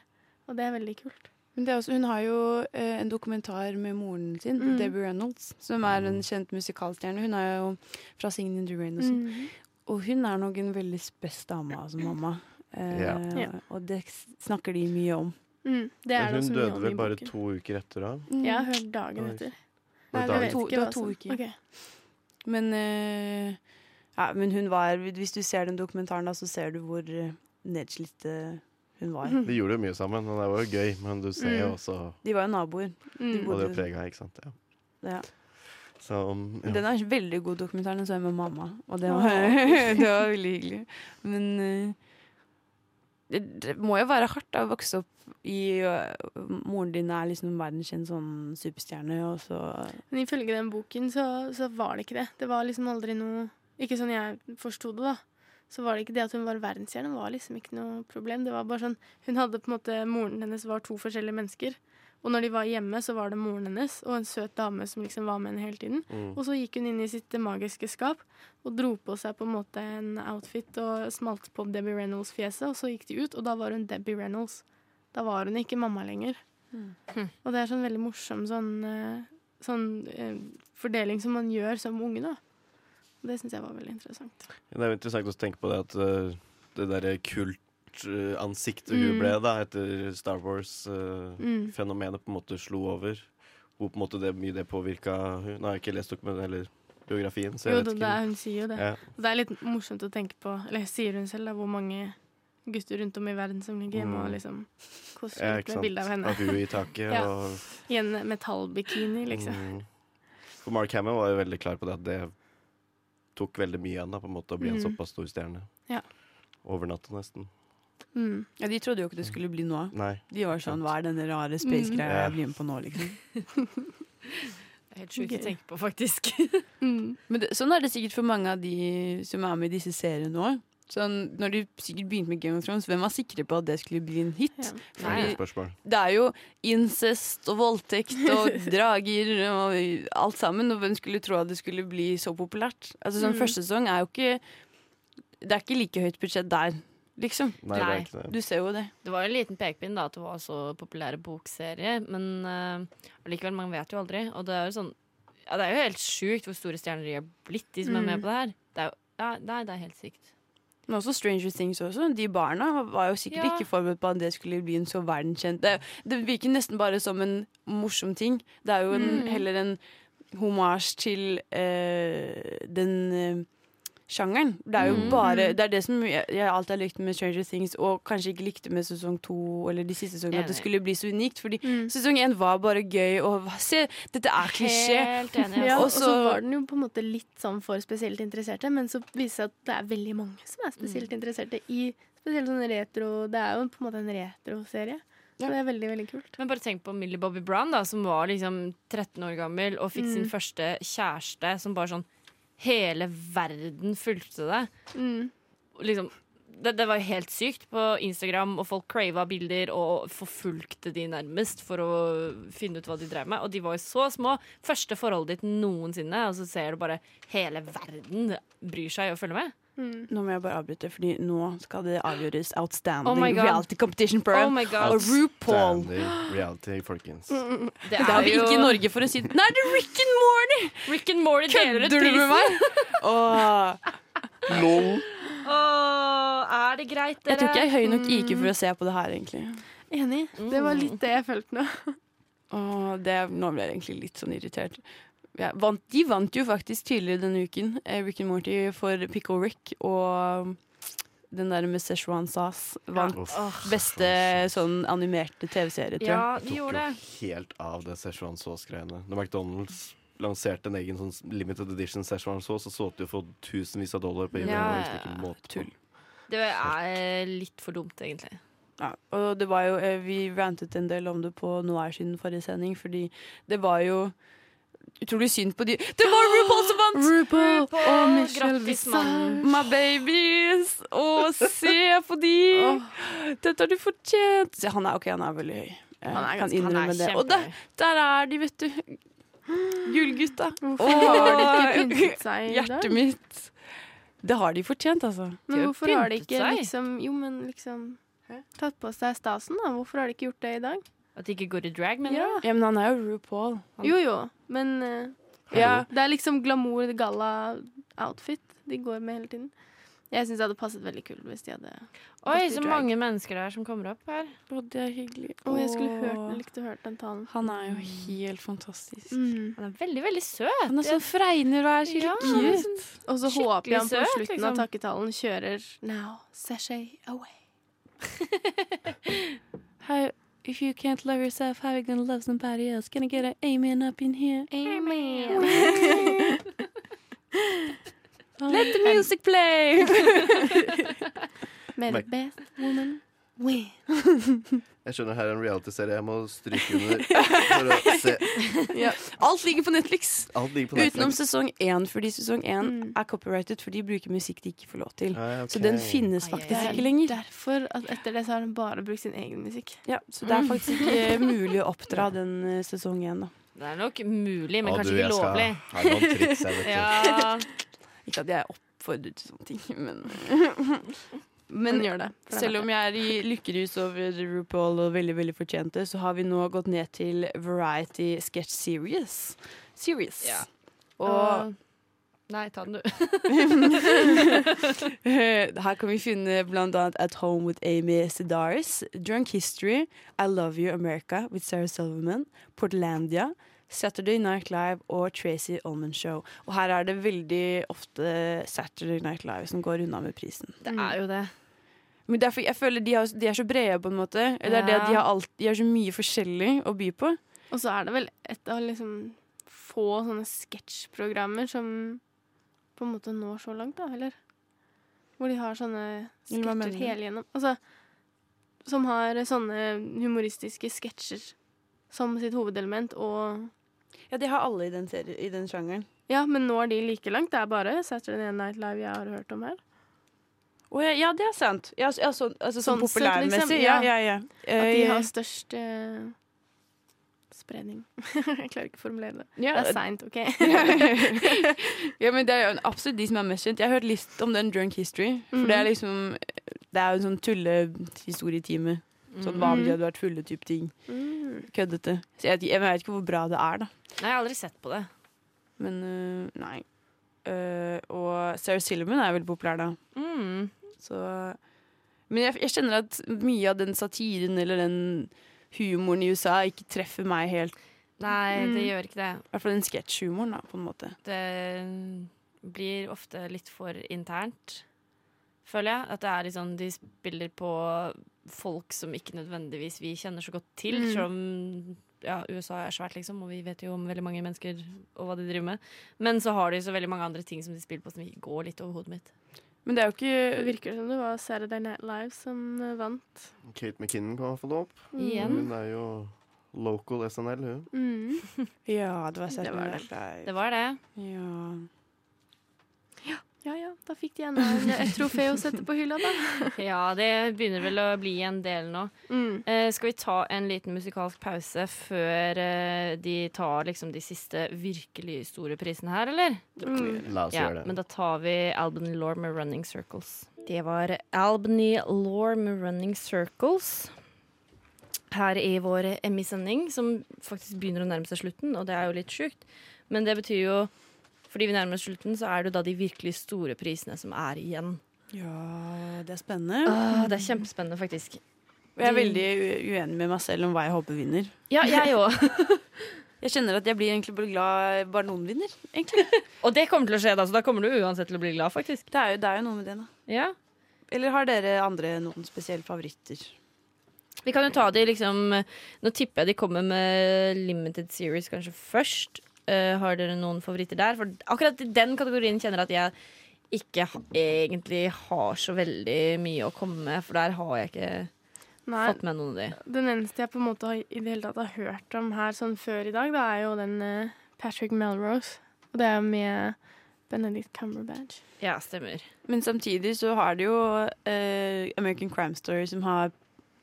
C: Og det er veldig kult.
A: Men det er også, hun har jo eh, en dokumentar med moren sin,
C: Mm.
A: Debbie Reynolds, som er en kjent musikalstjerne. Hun er jo fra Singing in the Rain. Og, sånn.
C: Mm.
A: og hun er nok en veldig spes dame, altså mamma. Eh,
E: Ja.
C: Ja.
A: Og det s- snakker de mye om.
C: Mm, det er
E: Men
C: det også
E: Hun
C: mye
E: døde
C: om i
E: vel bare
C: boken.
E: to uker etter da.
A: Mm.
C: Jeg har hørt dagen
E: Oi.
C: etter.
E: Var
C: Nei, jeg
E: det dagen?
C: vet
A: To-
C: ikke
A: det var
C: hva
A: to
C: som-
A: uker.
C: Ok.
A: Men, eh, ja, men hun var Hvis du ser den dokumentaren, da, så ser du hvor eh, nedslitt eh, hun var.
E: De gjorde jo mye sammen, og det var jo gøy, men du ser jo
C: Mm.
E: også
A: De var jo naboer.
C: Mm.
E: Og
A: Bodde-
E: det prega, ikke sant. Ja.
A: Ja.
E: Så um, ja.
A: Den er en veldig god dokumentar. Den så jeg med mamma, og det var,
C: Åh.
A: *laughs* det var veldig hyggelig. Men eh, det, det må jo være hardt da, å vokse opp i eh, Moren din er liksom verdenskjent sånn superstjerne, og så
C: Men ifølge den boken så, så var det ikke det. Det var liksom aldri noe Ikke sånn jeg forsto det, da. Så var det ikke det at hun var verdensstjerne, var liksom ikke noe problem. Det var bare sånn Hun hadde på en måte Moren hennes var to forskjellige mennesker. Og når de var hjemme, så var det moren hennes og en søt dame som liksom var med henne hele tiden.
E: Mm.
C: Og så gikk hun inn i sitt magiske skap og dro på seg på en måte en outfit og smalt på Debbie Reynolds-fjeset, og så gikk de ut, og da var hun Debbie Reynolds. Da var hun ikke mamma lenger. Og det er sånn veldig morsom sånn, eh, sånn eh, fordeling som man gjør som unge, da. Og det syns jeg var veldig interessant.
E: Det er jo interessant også å tenke på det at eh, det derre kultansiktet
C: Mm.
E: hun ble da etter Star eh, Wars-fenomenet
C: Mm.
E: på en måte slo over. Hvor på en måte det, mye det påvirka hun. Nå har jeg ikke lest dokumentet eller biografien, så jeg
C: Jo,
E: vet
C: det,
E: ikke.
C: det er, hun sier jo det.
E: Ja.
C: Og det er litt morsomt å tenke på, eller sier hun selv, da, hvor mange gutter rundt om i verden som ligger hjemme og
E: Mm.
C: liksom koser
E: Ja,
C: rundt
E: ikke
C: med
E: sant.
C: bilde av henne
E: huet i taket.
C: *laughs* Ja.
E: og,
C: i en metallbikini, liksom.
E: mm. For Mark Hamill var jo veldig klar på det at det tok veldig mye av ham på en måte å bli en
C: Mm.
E: såpass stor stjerne.
C: Ja.
E: Over natta, nesten.
C: Mm.
A: Ja, de trodde jo ikke det skulle bli noe av.
E: Nei.
A: De var sånn Hva er denne rare space-greia jeg blir med på nå, liksom?
B: Helt sjukt
C: Gøy.
B: å tenke på, faktisk.
C: *laughs* Mm.
A: Men det, sånn er det sikkert for mange av de som er med i disse seriene òg. Sånn, når du sikkert begynte med Game of Thrones, hvem var sikre på at det skulle bli en hit?
C: Ja.
A: Fordi
E: Spørsmål.
A: det er jo incest og voldtekt og drager og alt sammen. Og hvem skulle tro at det skulle bli så populært? Altså sånn
B: Mm.
A: Første sesong er jo ikke Det er ikke like høyt budsjett der, liksom.
E: Nei, det
B: Nei.
E: er ikke det.
A: Du ser jo det.
B: Det var jo en liten pekepinn da, at det var så populære bokserier, men eh, allikevel, man vet jo aldri. Og det er jo sånn ja, Det er jo helt sjukt hvor store stjerner de har blitt, de som er med
A: Mm.
B: på det her. Det er jo, ja, nei, det er helt sykt.
A: Men også Stranger Things også. De barna var jo sikkert
B: Ja.
A: ikke forberedt på at det skulle bli en så verdenskjent det, det virker nesten bare som en morsom ting. Det er jo en,
B: Mm.
A: heller en homasj til eh, den eh, sjangeren. Det er jo
B: Mm.
A: bare Det er det som jeg, jeg alltid har likt med Stranger Things, og kanskje ikke likte med sesong to eller de siste sesongene, at det
B: Enig.
A: skulle bli så unikt. Fordi sesong én var bare gøy, og se, dette er klisjé.
B: Helt enig.
C: *laughs* Ja,
B: altså.
C: og så
A: Også-
C: var den jo på en måte litt sånn for spesielt interesserte, men så viser det seg at det er veldig mange som er spesielt interesserte i spesielt sånn retro Det er jo på en måte en retroserie. Så det er veldig, veldig kult.
B: altså. Men bare tenk på Millie Bobby Brown, da, som var liksom 13 år gammel og fikk sin
C: Mm.
B: første kjæreste som bare sånn Hele verden fulgte det.
C: Mm.
B: Liksom, det, det var jo helt sykt på Instagram, og folk crava bilder og forfulgte de nærmest for å finne ut hva de drev med. Og de var jo så små. Første forholdet ditt noensinne, og så ser du bare hele verden bryr seg og følger med.
A: Nå må jeg bare avbryte, Fordi nå skal det avgjøres outstanding
B: Oh my God.
A: reality competition program.
B: Oh my
A: og
B: god.
A: RuPaul.
E: Standard reality, folkens.
C: Mm,
B: Det
A: Det har
B: er
A: vi ikke i
B: jo
A: Norge for å si Nei, det er Rick and Morty!
B: Rick and Morty deler
A: Kødder
B: ut
A: du med
B: prisen.
A: meg? Åh,
E: LOL!
B: Åh, er det greit, dere?
A: jeg tror ikke jeg er mm. høy nok IQ for å se på det her, egentlig.
C: Enig. Det var litt det jeg følte nå.
A: Åh, det, nå ble jeg egentlig litt sånn irritert. Ja, vant, de vant jo faktisk tidligere denne uken, eh, Rick and Morty, for Pickle Rick. Og um, den der med Szechuan Sass vant
E: Uff.
A: beste sånn animerte TV-serie, tror jeg.
B: Ja,
E: Det
B: de
E: tok jo
B: gjorde det.
E: helt av det Szechuan sauce-greiene. Når McDonald's lanserte en egen sånn limited edition Szechuan sauce, så solgte de jo for tusenvis av dollar på eBay.
B: Ja,
E: det var liksom
B: ja,
E: ikke måte på.
A: tull.
B: Det er litt for dumt, egentlig.
A: Ja, og det var jo, eh, vi rantet en del om det på Noir sin forrige sending, fordi det var jo utrolig synd på de Det var RuPaul som vant!
C: Ah, RuPaul og Michelle
B: Grattis, mannen.
A: My babies! Å, se på de! Dette har du fortjent! Se, han, er, ok, han er veldig høy. Eh,
B: Han er
A: kan
B: ganske- han
A: innrømme
B: er
A: det. Og der,
B: kjempehøy.
A: der er de, vet du.
C: *gasps*
A: Gullgutta.
C: *laughs* Hvorfor har de ikke
A: Og
C: pyntet seg i dag?
A: hjertet mitt. Det har de fortjent, altså.
C: Men
B: De har
C: hvorfor har de
B: pyntet
C: ikke
B: seg.
C: liksom Jo, men liksom Tatt på seg stasen, da. Hvorfor har de ikke gjort det i dag?
B: At de ikke går i drag, mener
C: Ja.
B: du?
A: Ja, men han er jo RuPaul.
B: Han-
C: Jo, jo, men eh,
A: Ja,
C: Det er liksom glamour, galla, outfit de går med hele tiden. Jeg syns det hadde passet veldig kult hvis de hadde
B: Oi,
C: Godt i
B: så
C: drag.
B: mange mennesker det er som kommer opp her.
A: Å, det er hyggelig.
C: Å, jeg skulle hørt,
A: Åh.
C: likt å hørt den talen.
A: Han er jo helt fantastisk.
C: Mm.
B: Han er veldig, veldig søt.
A: Han er sånn fregner og er
B: Ja,
A: skikkelig
B: han
A: *laughs*
B: er
A: cute.
B: sånn-
C: Og så
B: Skikkelig
C: håper jeg han på
B: søt,
C: slutten
B: liksom.
C: av takketalen kjører Now, sashay away.
A: How, if you can't love yourself, how are you gonna love somebody else? Gonna get an amen up in here.
C: Amen. *laughs*
B: *laughs*
A: Let the music play!
C: May the best woman win.
E: Jeg skjønner her er en reality-serie jeg må
B: *laughs*
E: stryke under. For å se.
A: Alt ligger på Netflix!
E: Alt ligger på
A: Utenom
E: Netflix.
A: sesong én, fordi sesong én
C: Mm.
A: er copyrighted, for de bruker musikk de ikke får lov til.
E: Ah, ja, ok.
A: Så den finnes
B: Ai,
A: faktisk
B: ai, ai.
A: ikke lenger.
C: Derfor at etter det så har han bare brukt sin egen musikk.
A: Ja, så det er faktisk ikke eh, mulig å oppdra den eh, sesong én, da.
B: Det er nok mulig, men
E: Å,
B: kanskje
E: du,
B: ikke
E: jeg skal
B: lovlig.
E: *laughs* ha noen triks, jeg, vet du.
B: *laughs* Ja.
A: Ikke at jeg er oppfordret til sånne ting, men *laughs* Men
C: Men gjør det. for det er
A: Selv om
C: verdt
A: jeg er i lykkerus over RuPaul og veldig veldig fortjent det, så har vi nå gått ned til Variety Sketch Series. Series.
B: Ja.
C: Ah.
A: Og
B: Nei, ta den, du.
A: *laughs* her kan vi finne blant annet At Home with Amy Sedaris, Drunk History, I Love You America with Sarah Silverman, Portlandia, Saturday Night Live og Tracy Ullman Show. Og her er det veldig ofte Saturday Night Live som går unna med prisen.
B: Det er jo det.
A: Men derfor, jeg føler de, har, de er så brede på en måte. Det er det at de har, alt, de har så mye forskjellig å by på.
C: det. Og så er det vel et av liksom få sånne sketsjprogrammer som på en måte når så langt, da, eller? Hvor de har sånne
A: Eller hva mener du?
C: sketsjer hele gjennom. Altså som har sånne humoristiske sketsjer som sitt hovedelement og
A: Ja, de har alle i den, serie- i den sjangeren.
C: Ja, men når de like langt? Det er bare Saturday Night Live jeg har hørt om her.
A: Å, ja, ja, det er sant. Ja, så- ja, så, altså, sånn
C: Sånn sett,
A: populærmessig.
C: liksom,
A: Ja,
C: ja.
A: ja, ja.
C: At de
A: Eh,
C: har størst eh, spredning. *laughs* jeg klarer ikke å formulere det. Det
A: ja,
C: er seint, OK?
A: *laughs* ja, men det er jo en- absolutt de som er mest kjent. Jeg har hørt litt om den Drunk History. For det er
C: Mhm.
A: liksom Det er jo en sånn tullehistorietime.
B: Mm.
A: Sånn hva om de hadde vært fulle type ting.
C: *laughs* Mm.
A: Køddete. Så jeg, vet ikke- jeg vet ikke hvor bra det er, da.
B: Nei, jeg har aldri sett på det.
A: Men øh, nei. Øh, og Sarah Silverman er veldig populær, da.
B: Mm.
A: Så Men jeg, jeg kjenner at mye av den satiren eller den humoren i USA ikke treffer meg helt.
B: Nei, det
C: Mm.
B: gjør ikke det.
A: I hvert fall den sketsjhumoren, da, på en måte.
B: Det eh, blir ofte litt for internt, føler jeg. At det er litt sånn, de spiller på folk som ikke nødvendigvis vi kjenner så godt til.
C: Mm.
B: Selv om ja, USA er svært, liksom, og vi vet jo om veldig mange mennesker og hva de driver med. Men så har de så veldig mange andre ting som de spiller på som ikke går litt over hodet mitt.
A: Men det er jo
C: Det
A: ikke
C: Eh, virker som det var Saturday Night Live som eh, vant.
K: Kate McKinnon kan i hvert fall det opp.
B: Igjen.
K: Hun er jo local SNL, hun.
C: Mm.
A: Ja, det var
C: Det var det.
B: Det var det.
A: Ja.
C: Ja ja, da fikk de enda en- et trofé å sette på hylla, da.
B: Ja, det begynner vel å bli en del nå.
C: Mm.
B: Eh, skal vi ta en liten musikalsk pause før eh, de tar liksom de siste virkelig store prisene her, eller?
C: Mm.
K: La oss
B: Ja,
K: gjøre det.
B: men da tar vi Albany Lore med Running Circles. Det var Albany Lore med Running Circles her i vår Emmy-sending, som faktisk begynner å nærme seg slutten, og det er jo litt sjukt. Men det betyr jo fordi vi nærmer oss slutten, så er det jo da de virkelig store prisene som er igjen.
A: ja, det er spennende.
B: Åh, Ah, det er kjempespennende, faktisk.
A: Og jeg er veldig u- uenig med meg selv om hva jeg håper vinner.
B: Ja, jeg òg.
A: Jeg kjenner at jeg blir egentlig bare glad bare noen vinner, egentlig.
B: Og det kommer til å skje, da, så da kommer du uansett til å bli glad, faktisk.
A: Det er jo, det er jo noe med det, da.
B: Ja.
A: Eller har dere andre noen spesielle favoritter?
B: Vi kan jo ta de liksom Nå tipper jeg de kommer med limited series kanskje først. Eh, har dere noen favoritter der? For akkurat i den kategorien kjenner jeg at jeg ikke ha, egentlig har så veldig mye å komme med, for der har jeg ikke
C: Nei,
B: fått med noen av de.
C: Den eneste jeg på en måte har, i det hele tatt har hørt om her sånn før i dag, da er jo den eh, Patrick Melrose. Og det er med Benedict Cumberbatch.
B: Ja, stemmer.
A: Men samtidig så har det jo eh, American Crime Story som har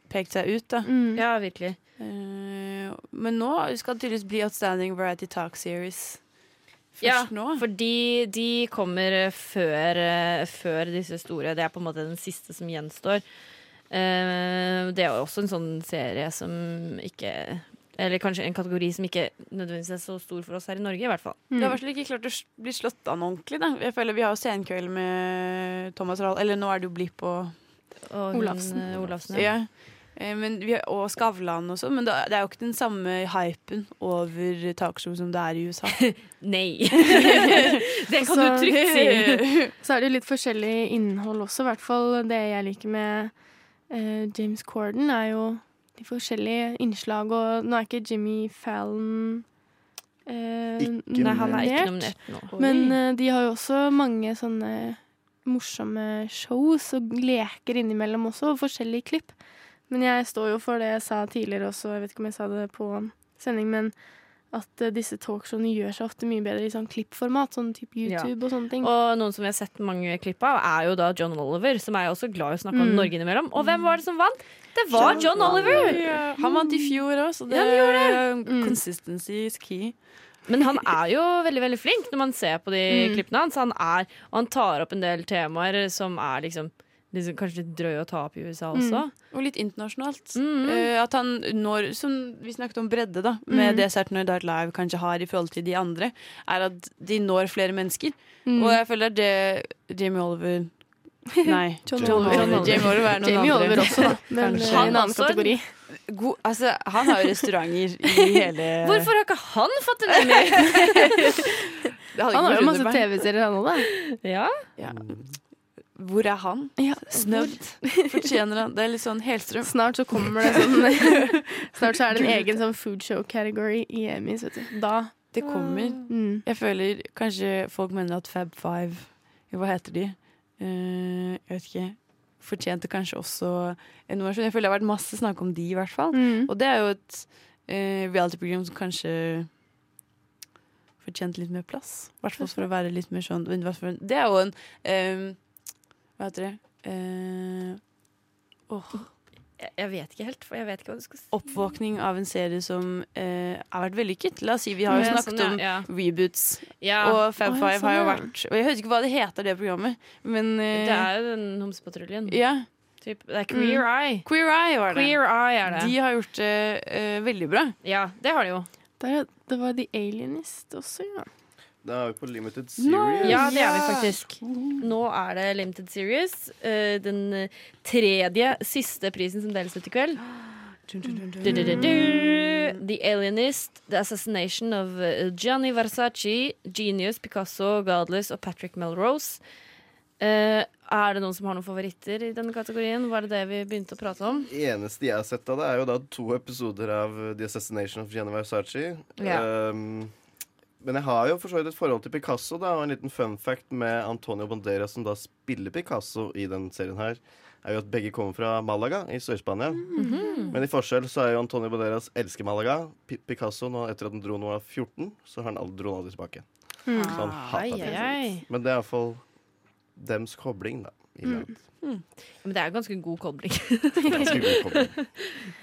A: pekt seg ut, da.
C: Mm.
B: Ja, virkelig.
A: Eh, men nå skal det tydeligvis bli Outstanding Variety Talk Series. Først
B: Ja,
A: nå.
B: Fordi de kommer eh, før, eh, før disse store. Det er på en måte den siste som gjenstår. Eh, Det er jo også en sånn serie som ikke Eller kanskje en kategori som ikke nødvendigvis er så stor for oss her i Norge, i hvert fall.
A: Det har i hvert fall ikke klart å s- bli slått an ordentlig. Da. Mm. Jeg føler Vi har jo Senkveld med Thomas Rahl, eller nå er det jo Blipp og
B: Og hun,
C: Olafsen.
B: eh, Olafsen ja.
A: ja. Eh, men vi har, Og Skavlan og sånn, men det det er jo ikke den samme hypen over talkshow som det er i USA. *laughs*
B: *laughs* Nei! det kan du
C: Så-
B: trygt si.
C: Så er det jo litt forskjellig innhold også, i hvert fall det jeg liker med eh, James Corden, er jo de forskjellige innslag, og nå er ikke Jimmy Fallon eh,
K: Ikke
B: Nei, han er ikke
C: nominert.
B: nominert nå.
C: Men eh, de har jo også mange sånne morsomme shows og leker innimellom også, og forskjellige klipp. Men jeg står jo for det jeg sa tidligere også, jeg vet ikke om jeg sa det på sending, men at eh, disse talkshowene gjør seg ofte mye bedre i sånn klippformat, sånn type
B: Ja.
C: YouTube og sånne ting.
B: Og noen som vi har sett mange klipp av, er jo da John Oliver, som er jo også glad i å snakke om
C: Mm.
B: Norge innimellom. Og hvem var det som vant? Det var John, Oliver!
A: Han vant i fjor òg, så det,
B: Ja, han
C: Mm.
A: consistency is key.
B: Men han er jo veldig veldig flink når man ser på de
C: Mm.
B: klippene hans. Han er, og han tar opp en del temaer som er liksom, liksom kanskje litt drøye å ta opp i USA
A: Mm.
B: også.
A: Og litt internasjonalt.
C: Mm-hmm.
B: Mm.
A: Eh, at han når, som vi snakket om bredde, da, med
C: Mm.
A: det Saturday Night Live kanskje har i forhold til de andre, er at de når flere mennesker.
C: Mm.
A: Og jeg føler det Jamie
C: *laughs*
A: Oliver Nei.
C: John
K: John
C: Oliver.
K: Oliver.
A: Jamie Oliver er noen
C: Jamie
A: andre.
C: Oliver også, da. *laughs* Men
A: Kanskje.
C: eh, i
B: Han
C: en annen
B: også er-
C: kategori.
A: *laughs* God, altså, han har jo restauranter
C: *laughs*
A: i hele
B: Hvorfor har ikke han fått en Emmy?
A: *laughs* Det hadde
C: Han har
A: ikke
C: jo masse
A: forundret meg.
C: TV-serier, han òg, da.
B: ja.
A: Hvor er han?
C: Ja.
A: Snubbed. *laughs* Fortjener han Det er litt sånn Helstrøm.
C: Snart så kommer det *laughs* sånn Snart så er det en egen sånn food show-category i Emmys, vet du. Da
A: Det kommer.
C: mm.
A: Jeg føler kanskje folk mener at Fab Five Hva heter de? Eh, jeg vet ikke. Fortjente kanskje også en nominasjon. Jeg føler det har vært masse snakk om de, i hvert fall.
C: Mm.
A: Og det er jo et eh, reality-program som kanskje fortjente litt mer plass. I hvert fall for å være litt mer sånn men i hvert fall- Det er jo en eh, Hva heter det? eh, åh,
B: Jeg, jeg vet ikke helt, for jeg vet ikke hva du skal si.
A: oppvåkning av en serie som eh, har vært vellykket. La oss si vi har jo
B: Ja,
A: snakket
B: sånn, ja.
A: om reboots,
B: Ja.
A: og
B: Ja.
A: Fab
C: Å, ja,
A: Five
C: sånn,
A: har jo
C: ja.
A: vært Og jeg vet ikke hva det heter, det programmet, men eh,
B: Det er jo den homsepatruljen.
A: ja. Mm.
B: Typ. Det er Queer Eye.
A: Queer Eye var det.
B: Queer Eye er det.
A: De har gjort det eh, veldig bra.
B: Ja, det har de jo.
C: Det, det var The Alienist også, ja.
E: Da er vi på limited series.
B: Ja, det er vi faktisk. Nå er det Limited Series. eh, Den eh, tredje siste prisen som deles ut i kveld. Du, du, du, du. The Alienist, The Assassination of eh, Gianni Versace, Genius, Picasso, Godless og Patrick Melrose. Eh, er det noen som har noen favoritter i denne kategorien? Var det det vi begynte å prate om?
E: Det eneste jeg har sett av det, er jo da to episoder av uh, The Assassination of Gianni Versace.
B: Ja.
E: Um, men jeg har jo for så vidt et forhold til Picasso, da, og en liten fun fact med Antonio Bandera, som da spiller Picasso i den serien her, er jo at begge kommer fra Malaga i Sør-Spania.
B: Mm. Mm-hmm. Mhm.
E: Men i forskjell så er jo Antonio Banderas elsker Malaga. Pi Picasso, nå etter at han dro når han var 14, så har han aldri dro han aldri tilbake.
C: Mm.
E: Så han
B: Ai,
E: hatet
B: ai,
E: det.
B: ai.
E: Men det er iallfall dems kobling, da. I mm.
B: Men det er jo ganske god kobling.
E: kobling.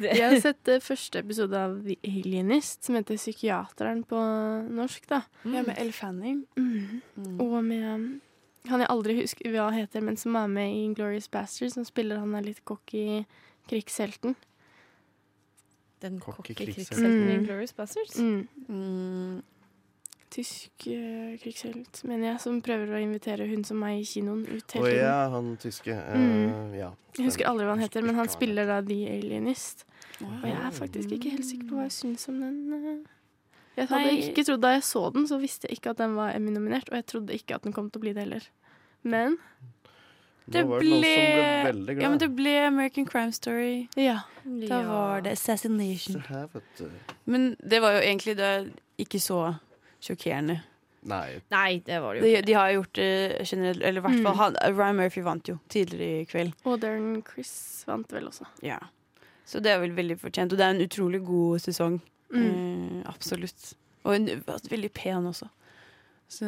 C: Jeg har sett eh, første episode av The Alienist, som heter Psykiateren på norsk, da.
A: Ja, med Elle Fanning.
C: Mm.
B: Oh.
C: Og med um, han jeg aldri husker hva han heter, men som er med i Glorious Bastard, som spiller han er litt cocky krigshelten.
B: Den
E: Cocky
B: cocky
E: krigshelten.
B: krigshelten i
C: Mm.
B: Glorious Bastards.
C: Mm.
A: Mm.
C: Tysk eh, krigshelt, mener jeg, som prøver å invitere hun som meg i kinoen ut
E: Og
C: hele tiden.
E: ja, han tyske. eh,
C: Mm.
E: ja,
C: Jeg husker
E: stemmer.
C: aldri hva han heter, men han
E: Husker ikke hva
C: spiller da The Alienist. Og jeg
E: Ah.
C: er faktisk ikke helt sikker på hva jeg syns om den. eh. Jeg hadde
A: Nei.
C: ikke trodd Da jeg så den, så visste jeg ikke at den var Emmy-nominert, og jeg trodde ikke at den kom til å bli det heller. Men
E: Nå var det noen som ble veldig glad.
A: Ja, men
E: *laughs*
A: det ble American Crime Story.
C: ja.
A: Da var det Assassination.
E: Se her, vet du.
A: Men det var jo egentlig da ikke så sjokkerende.
E: Nei,
B: Nei, det var det jo
A: De, de har gjort det generelt, eller i hvert fall
C: Mm.
A: han- Ryan Murphy vant jo tidligere i kveld.
C: Og Darren Chris vant vel også.
A: Ja. Så det er vel veldig fortjent. Og det er en utrolig god sesong.
C: Mm.
A: Eh, absolutt. Og en, veldig pen også. Så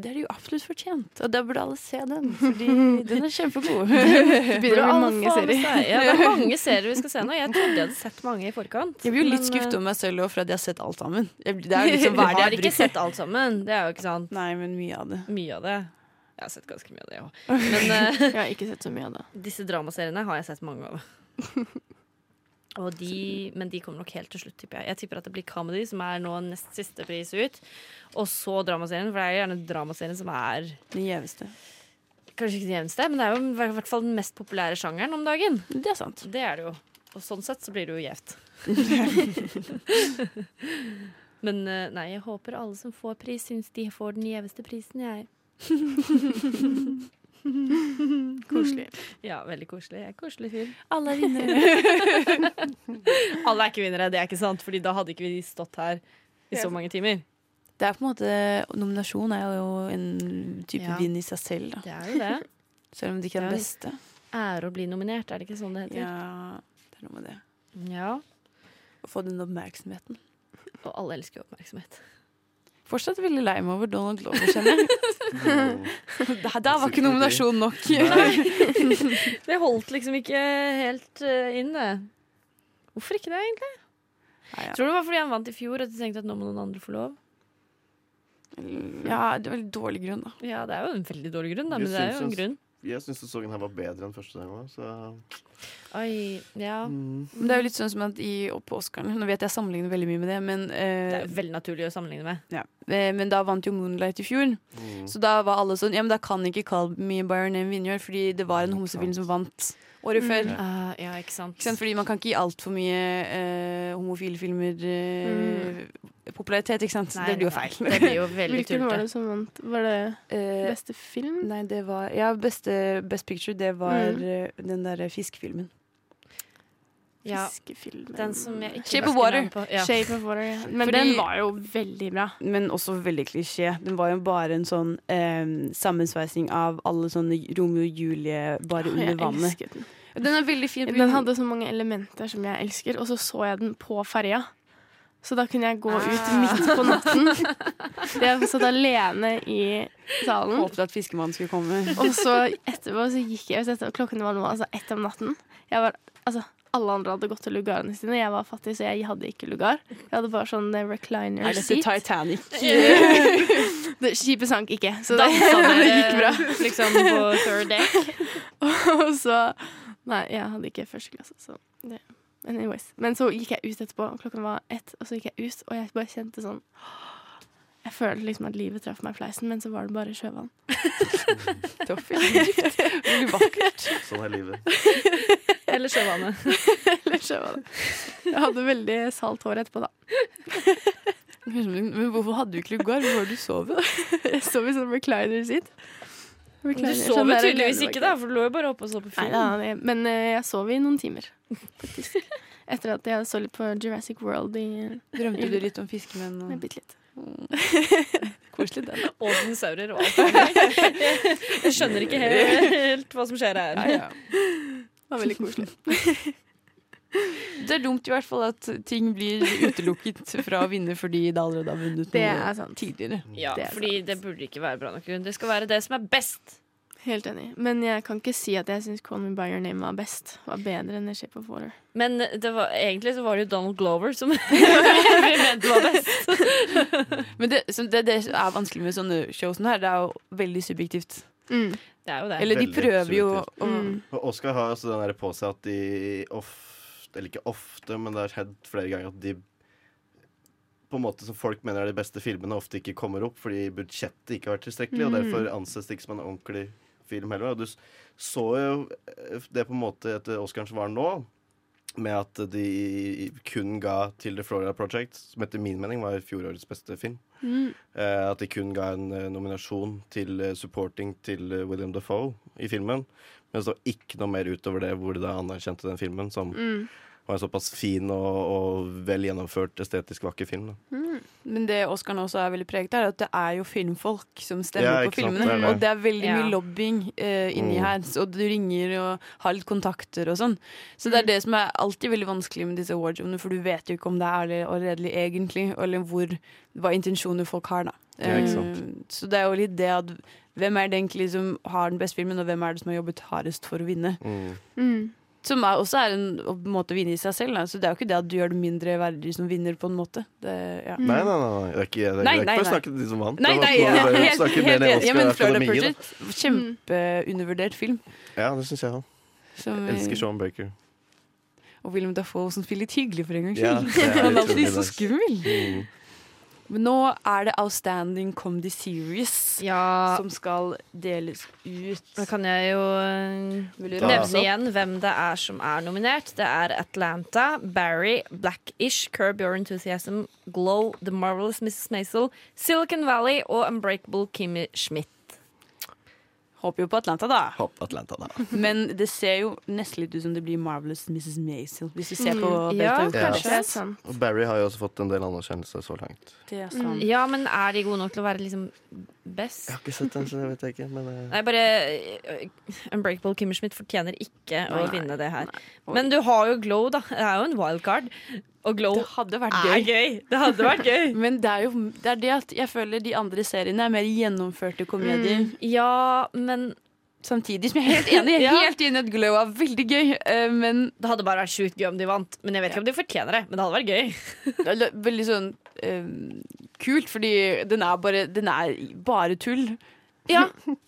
A: det er jo absolutt fortjent. Og da burde alle se den, *laughs* fordi den er *laughs* kjempegod.
C: Det
B: Burde
C: begynner å bli
B: alle
C: mange
B: få med
C: serier.
B: seg- Ja, det
A: *laughs*
B: er mange serier vi skal se nå. Jeg trodde jeg hadde sett mange i forkant.
A: Jeg blir jo
B: men,
A: litt skuffet
B: eh,
A: over meg selv også for at jeg har sett alt sammen. Jeg blir- Det er *laughs* liksom
B: *laughs*
A: hva er det
B: Jeg har
A: jeg
B: ikke
A: bruker.
B: sett alt sammen. Det er jo ikke sant.
A: Nei, men mye av det.
B: Mye av det. Jeg har sett ganske mye av det òg.
A: *laughs*
B: Men eh,
C: *laughs* Jeg har ikke sett så mye av det.
B: disse dramaseriene har jeg sett mange
A: *laughs*
B: av. Og de, men de kommer nok helt til slutt, tipper jeg. Jeg tipper at det blir comedy, som er nå nest siste pris ut. Og så dramaserien, for det er jo gjerne dramaserien som er
A: Den gjeveste.
B: kanskje ikke den jevneste, men det er jo i hvert fall den mest populære sjangeren om dagen.
A: Det er sant.
B: Det er det jo. Og sånn sett så blir det jo gjevt. *laughs* Men eh, nei, jeg håper alle som får pris, syns de får den gjeveste prisen, jeg. *laughs*
C: Koselig.
B: Ja, veldig koselig. Jeg er koselig fyr.
A: Alle er vinnere.
B: *laughs* Alle er ikke vinnere, det er ikke sant, Fordi da hadde ikke vi stått her i så mange timer.
A: Det er på en måte Nominasjon er jo en type
B: Ja.
A: vinn i seg selv, da.
B: Det er jo det.
A: Selv om det ikke er den beste.
B: Ære å bli nominert, er det ikke sånn det heter?
A: Ja, det er noe med det.
B: ja.
A: Å få den oppmerksomheten.
B: Og alle elsker jo *laughs* oppmerksomhet.
A: Fortsatt veldig lei meg over Donald Glover, kjenner *laughs* jeg. Der, der var ikke nominasjon nok.
E: Nei.
B: Det holdt liksom ikke helt eh, inn, det. Hvorfor ikke det, egentlig?
A: Nei, ja.
B: Tror du det var fordi han vant i fjor, at de tenkte at nå må noen andre få lov?
A: Ja, det var litt dårlig grunn, da.
B: Ja, det er jo en veldig dårlig grunn, da,
E: Du
B: men det er
E: syns
B: jo en
E: jo-
B: grunn.
E: jeg syns sesongen her var bedre enn første gang òg, så
B: Oi, ja.
E: mm.
A: Men det er jo litt sånn som at i, og på Oscarene Nå vet jeg sammenligner veldig mye med det, men, eh,
B: Det er jo veldig naturlig å sammenligne med.
A: ja. Eh, men da vant jo Moonlight i fjor.
E: Mm.
A: Så da var alle sånn Ja, men da kan ikke Call Me By Your Name vinne i år, fordi det var en homsefilm som vant året før.
B: Ah, ja, ikke sant.
A: Ikke sant? Fordi man kan ikke gi altfor mye eh, homofile filmer eh, popularitet, ikke sant? det blir jo feil.
B: Det blir jo veldig
C: Hvilken var
B: tullete.
C: det som vant? Var det
A: *laughs* Eh,
C: beste film?
A: nei, det var Ja, beste Best Picture, det var
C: Mm.
A: eh, den derre fiskefilmen.
B: Ja,
C: Fiskefilmen.
B: den som jeg ikke
A: Shape of
B: husker
A: Water.
B: navnet På. Ja.
C: Shape of Water. Ja. Men
A: Fordi-
C: den var jo veldig bra.
A: Men også veldig klisjé. Den var jo bare en sånn eh, sammensveising av alle sånne Romeo og Julie bare under
C: Jeg
A: vannet.
C: elsket den.
A: Ah, Den er veldig fin.
C: Den hadde så mange elementer som jeg elsker, og så så jeg den på ferja. Så da kunne jeg gå
A: Ah.
C: ut midt på natten. Jeg satt alene i salen.
A: Håpet at fiskemannen skulle *laughs* komme.
C: Og så etterpå så gikk jeg ut etter, og klokken var nå altså ett om natten. Jeg var, altså, alle andre hadde gått til lugarene sine. Jeg var fattig, så jeg hadde ikke lugar. Jeg hadde bare sånn eh, recliner
A: Er dette
C: seat.
A: Titanic? *laughs*
B: *laughs*
C: Det- Skipet sank ikke, så det,
B: Dansa
C: *laughs* det
B: dere
C: gikk bra.
B: liksom på third
A: *laughs*
B: deck?
C: Og så Nei, jeg hadde ikke første klasse, så det. Men anyways. Men så gikk jeg ut etterpå, og klokken var ett, og så gikk jeg ut, og jeg bare kjente sånn Jeg følte liksom at livet traff meg i fleisen, men så var det bare sjøvann. *laughs*
E: Sånn er livet.
B: Eller sjøvannet?
C: Eller sjøvann. Jeg hadde veldig salt hår etterpå, da.
A: Men hvorfor hadde du ikke lugar? Hvor var det du sov?
C: Jeg sov i sånn recliner sitt.
B: Du sov jo tydeligvis ikke, da, for du lå jo bare oppe og så på
C: Nei,
B: film.
C: da, det- men eh, jeg sov i noen timer,
B: *laughs*
C: faktisk. Etter at jeg så litt på Jurassic World i
A: Drømte du litt om fiskemenn?
C: Nei,
A: Og...
C: bitte litt.
A: *laughs* Koselig, det. da.
B: Og dinosaurer og alt.
A: *laughs*
B: mulig. Jeg skjønner ikke helt, helt hva som skjer her.
C: Det var veldig koselig.
A: Det er dumt i hvert fall at ting blir utelukket fra å vinne fordi det allerede har vunnet
C: Det
A: noe
C: er sant.
A: tidligere.
B: Ja,
E: Mm.
C: Det er
B: fordi det burde ikke være bra nok grunn. Det skal være det som er best.
C: Helt enig. Men jeg kan ikke si at jeg syns Call Me By Your Name var best. Var bedre enn The Shape of Water.
B: Men det var, egentlig så var det jo Donald Glover som *laughs* vi mente var best.
A: Men det som det, det er vanskelig med sånne show som det her, det er jo veldig subjektivt.
B: Det er jo det.
A: Eller de
E: Veldig
A: prøver jo å
C: Mm.
E: Og Oscar har altså den der på seg at de ofte, eller ikke ofte, men det har skjedd flere ganger at de på en måte som folk mener er de beste filmene, ofte ikke kommer opp fordi budsjettet ikke har vært tilstrekkelig, og derfor anses det ikke som en ordentlig film heller. Og du s- så jo eh, det på en måte etter Oscaren som var nå, med at de kun ga til The Florida Project, som etter min mening var fjorårets beste film. Eh, at de kun ga en eh, nominasjon til eh, supporting til eh, William Defoe i filmen. Men det står ikke noe mer utover det hvor de da anerkjente den filmen som
A: Mm.
E: var en såpass fin og, og vel gjennomført estetisk vakker film. Da.
A: Men det Oscaren også er veldig preget av, er at det er jo filmfolk som stemmer
E: Ja,
A: på
E: ikke sant,
A: filmene.
E: det er det.
A: Og det er veldig mye
B: Ja.
A: lobbying eh, inni
E: Mm.
A: her. Så du ringer og har litt kontakter og sånn. Så det er det som er alltid veldig vanskelig med disse awardshowene, for du vet jo ikke om det er ærlig og redelig egentlig, eller hvor, hva intensjoner folk har, da.
E: Ja, ikke sant.
A: Eh, så det er jo litt det at hvem er det egentlig som har den beste filmen, og hvem er det som har jobbet hardest for å vinne?
C: Mm.
A: Som er, også er en å på en måte vinne i seg selv. Da. Så det er jo ikke det at du gjør det mindre verdig som vinner, på en måte. Det, ja.
E: Nei, nei, nei, nei. Det er ikke, det er,
A: Nei,
E: det er
A: nei,
E: ikke for å
A: nei.
E: snakke til de som vant.
A: Nei,
E: Det var
A: nei,
E: bare-
A: helt,
E: bare
A: helt,
E: snakke ned
A: helt
E: i
A: enig. Ja, men Florida
E: Oscar-akademiet, da.
A: Project, kjempeundervurdert film.
E: Ja, det syns jeg òg.
A: Som,
E: Elsker Sean Baker.
A: og William Dafoe som spiller litt hyggelig for en gangs
E: Ja,
A: skyld.
E: det er
A: Han er
E: utrolig
A: alltid så
E: nice.
A: skummel.
E: Mm.
A: Men nå er det Outstanding Comedy Series
B: Ja,
A: som skal deles ut.
B: da kan jeg jo eh,
A: Vil du
E: Ja.
A: rase
B: nevne
A: opp?
B: igjen hvem det er som er nominert. Det er Atlanta, Barry, Blackish, Curb Your Enthusiasm, Glow, The Marvelous Mrs. Maisel, Silicon Valley og Unbreakable Kimmy Schmidt.
A: Håper jo på Atlanta, da.
E: Hopp Atlanta, da.
A: Men det ser jo nesten litt ut som det blir Marvelous Mrs. Maisel, hvis du ser på
B: Mm,
A: det
B: ja,
A: uttaket.
E: Ja.
C: Kanskje det er sant.
E: Og Barry har jo også fått en del anerkjennelse så langt.
A: Det er sant.
B: Ja, men er de gode nok til å være liksom best?
E: Jeg har ikke sett den, så det vet jeg ikke. Men eh,
B: Nei, bare eh, Unbreakable Kimmy Schmidt fortjener ikke å
A: Nei,
B: vinne det her. Men du har jo Glow, da. Det er jo en wildcard. Og Glow
A: Det hadde vært
B: er
A: gøy.
B: gøy. Det hadde vært gøy.
A: Men det er jo det, er det at jeg føler de andre seriene er mer gjennomførte komedier.
B: *laughs* Ja, men
A: Samtidig som jeg er helt *laughs* enig. Jeg er
B: Ja.
A: helt enig i at Glow er veldig gøy, eh, men
B: Det hadde bare vært sjukt gøy om de vant. Men jeg vet ikke om de fortjener det. Men det hadde vært gøy.
A: det er lø- veldig sånn eh, kult, fordi den er bare, den er bare tull.
B: *laughs* Ja,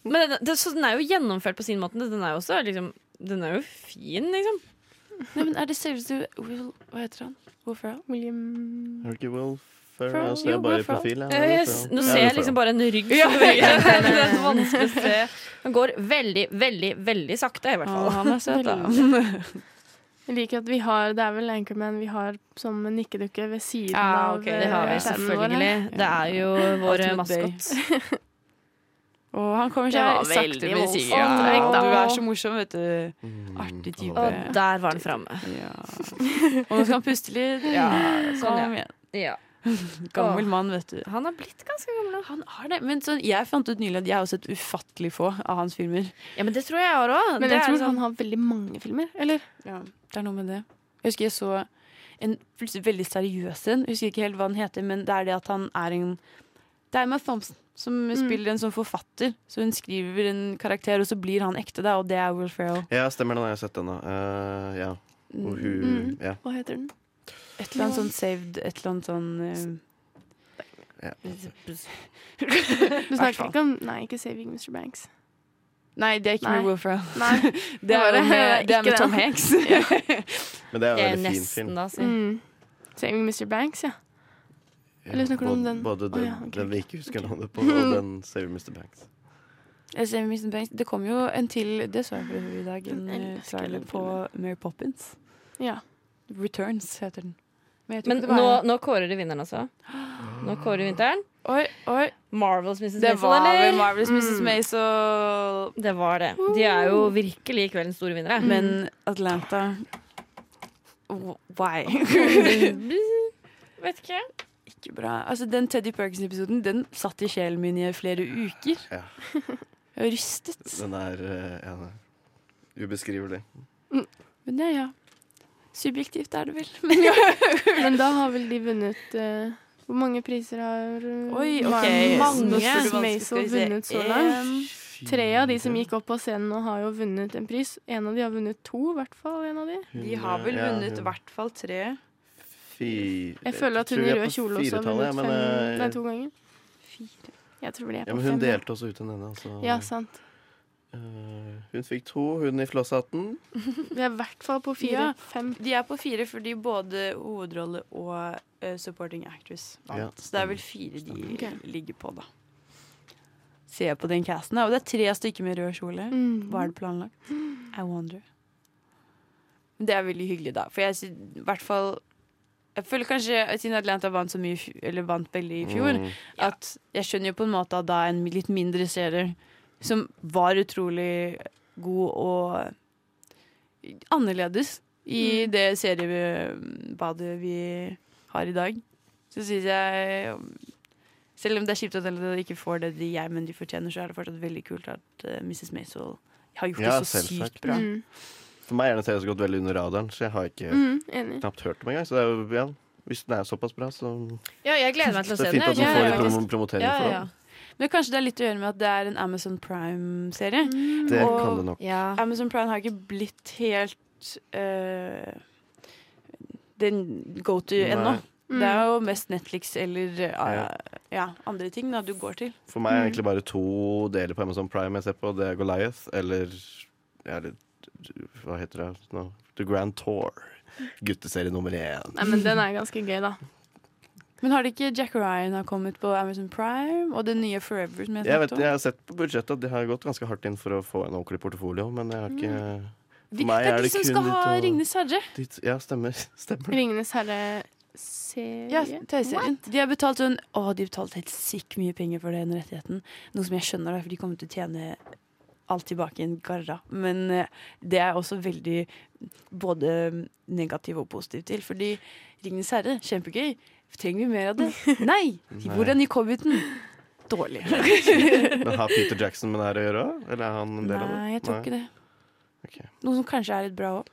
B: men den, det, så den er jo gjennomført på sin måte. Den er jo også liksom Den er jo fin, liksom.
A: Nei, men er det selveste Will Hva heter han? Will Ferrell?
C: William
E: Har du ikke Will Ferrell?
A: Ferrell,
E: Jeg ser
A: jo,
E: bare
A: Will
E: i profil.
B: Eh, jeg s- Nå ser jeg liksom bare en rygg.
A: Ja.
B: det *laughs* er så vanskelig å se. Den går veldig, veldig, veldig sakte, i hvert
A: Å,
B: fall.
A: han er søt, da.
C: Jeg liker at vi har Det er vel Anchorman vi har som en nikkedukke ved siden
A: Ja,
C: av
A: ok,
C: eh,
B: Det har vi
C: skjermen vår her.
B: selvfølgelig. Det er jo vår
A: Ultimate *laughs*
B: maskot.
A: Og han kommer
C: Det var
A: seg sakte,
C: veldig
A: men
C: voldsomt,
A: sikkert. Ja,
C: da.
A: du er så morsom, vet du.
E: Mm.
A: Artig type.
B: Og der var den framme.
A: Ja. Og nå skal han puste litt. Ja,
B: *laughs* Sånn,
A: kom igjen.
B: Ja.
A: Gammel mann, vet du.
B: Han har blitt ganske gammel.
A: Han har det, men sånn, Jeg fant ut nylig at jeg har sett ufattelig få av hans filmer.
B: Ja, men det sånn- tror jeg har òg. *laughs*
C: Men jeg tror han har veldig mange filmer. Eller?
A: Ja, det er noe med det. Jeg husker jeg så en plutselig veldig seriøs en. Jeg husker ikke helt hva den heter, men det er det at han er en Det er Matt Thompson som spiller en sånn forfatter. Så hun skriver en karakter, og så blir han ekte, da, og det er Will Ferrell.
E: Ja, stemmer det. Jeg har sett den, da. Eh, ja. Og hun
C: Mm.
E: Ja.
C: Hva heter den?
A: Et eller annet sånn saved, et eller annet sånn eh,
C: Du snakker ikke om Nei, ikke 'Saving Mr. Banks'.
A: Nei, det er ikke
C: Nei.
A: med Will *laughs* Ferrell.
C: Nei.
A: Det er, jo med, det
C: Ikke
A: er med Tom
C: den.
A: Hanks. *laughs*
E: Men det er jo
B: Det er
E: en veldig fin
B: nesten,
E: film.
B: da. Si.
C: Mm. 'Saving Mr. Banks', ja.
E: Ja,
C: Eller snakker du om den?
E: Både
C: Å,
E: den,
C: ja, ok,
E: den vi
C: ok.
E: ikke husker navnet på, og
C: *laughs*
E: den Save Mr. Banks.
A: Jeg ser Mr. Banks. Det kom jo en til Det så jeg på i dag. En
C: Jeg
A: eh,
C: elsker
A: trailer
C: den
A: på Mary Poppins.
C: ja.
A: Returns heter den. Men, jeg tror
B: Men
A: ikke det
B: nå,
A: var-
B: nå kårer de vinneren, altså. Nå kårer de vinneren.
A: Oi, oi.
B: Marvels Mrs.
A: Det
B: Maisel,
A: var vel
B: eller?
A: Marvelous Mrs. Mace og
B: Det var det. De er jo virkelig kveldens store vinnere. *laughs*
A: Men Atlanta Wh- *laughs* Why?
B: Vet ikke.
A: Ikke bra. Altså, den Teddy Perkins-episoden Den satt i sjelen min i flere uker.
E: Ja.
A: Jeg var rystet.
E: Den er eh, ja, den er ubeskrivelig.
A: Men ja, ja. Subjektivt er det vel.
C: Men da har vel de vunnet eh, Hvor mange priser har eh,
A: Oi,
C: Mar-
A: Mm. ok.
C: Mange
A: Nå spør du vanskelig, skal
C: Maisel
A: vi se.
C: vunnet så langt?
A: En-
C: Mm. Tre av de som gikk opp på scenen nå, har jo vunnet en pris. En av de har vunnet to, i hvert fall. en av de.
A: De har vel vunnet i hvert fall tre.
E: Fire
C: Jeg føler at hun i rød kjole også har vunnet fem, nei, to ganger.
A: Fire.
C: Jeg tror de er
E: eh, Ja,
C: på
E: men
C: fem.
E: hun delte også ut en ende. Altså.
C: Ja, sant.
E: Eh, hun fikk to, hun i flosshatten.
C: Vi er i hvert fall på
A: Ja.
C: fire. Fem.
A: De er på fire fordi både hovedrolle og eh, supporting actress vant.
E: Ja,
A: Så det er vel fire de ligger på, da. Ser jeg på den casten, da. Og det er tre stykker med rød kjole.
C: Mm.
A: Var det planlagt? I wonder. Men det er veldig hyggelig, da. For jeg sy- i hvert fall Jeg føler kanskje at siden Atlanta vant så mye i fj- Eller vant veldig i fjor,
E: Mm.
A: at jeg skjønner jo på en måte at da en litt mindre serie som var utrolig god og annerledes i det seriebadet vi har i dag, så syns jeg Selv om det er kjipt at de ikke får det de jeg men de fortjener, så er det fortsatt veldig kult at eh, Mrs. Maisel har gjort
E: Ja,
A: det så
E: selvsagt.
A: sykt bra.
C: Mm.
E: For meg er den serien som har gått veldig under radaren, så jeg har ikke
C: Mm, enig.
E: knapt hørt om engang. Så det er jo, ja, hvis den er såpass bra, så
B: Ja, jeg gleder meg til å
E: det
B: se
E: er
B: den.
E: fint at
B: jeg.
E: hun får
B: Ja,
E: litt
B: faktisk.
E: prom- promotering
B: Ja,
E: for
B: ja.
E: den.
A: Men kanskje det er litt å gjøre med at det er en Amazon Prime-serie.
E: Det
A: Og-
E: kan det nok.
B: Ja.
A: Amazon Prime har ikke blitt helt eh, den go to
E: Nei.
A: ennå.
C: Mm.
A: Det er jo mest Netflix eller eh,
E: Ja.
A: ja, andre ting da, du går til.
E: For meg er det
A: Mm.
E: egentlig bare to deler på Amazon Prime jeg ser på. Det er Goliath eller, ja, eller Hva heter det nå? The Grand Tour. Gutteserie nummer én.
C: Nei, men den er ganske
A: *laughs*
C: gøy, da.
A: Men har det ikke Jack Ryan har kommet på Amazon Prime? Og det nye Forever som jeg
E: Jeg, vet,
A: snakket om?
E: jeg har sett på budsjettet at de har gått ganske hardt inn for å få en ordentlig portefolio, men jeg har
A: Mm.
E: ikke
A: Vi-
E: meg
A: det
E: er
A: er de
E: det
A: som
E: kun
A: skal
E: litt
A: ha
E: å-
A: Ringnes herre.
E: dit, Ja, stemmer. *laughs* stemmer.
A: *laughs*
C: 'Ringenes herre'-serie.
A: Ja, TV-serien. De har betalt sånn Å, de har betalt helt sykt mye penger for den rettigheten. Noe som jeg skjønner, da, for de kommer til å tjene alt tilbake i en garra. Men eh, det er også veldig både negativ og positiv til. Fordi Ringenes herre, kjempegøy. Trenger vi mer av det? Nei!
E: Nei.
A: Hvordan gikk Hobbiten? Dårlig.
E: Men Har Peter Jackson med det her å gjøre? Eller er han en del av det?
A: Nei, jeg tror ikke det.
E: Ok.
A: Noe som kanskje er litt bra òg.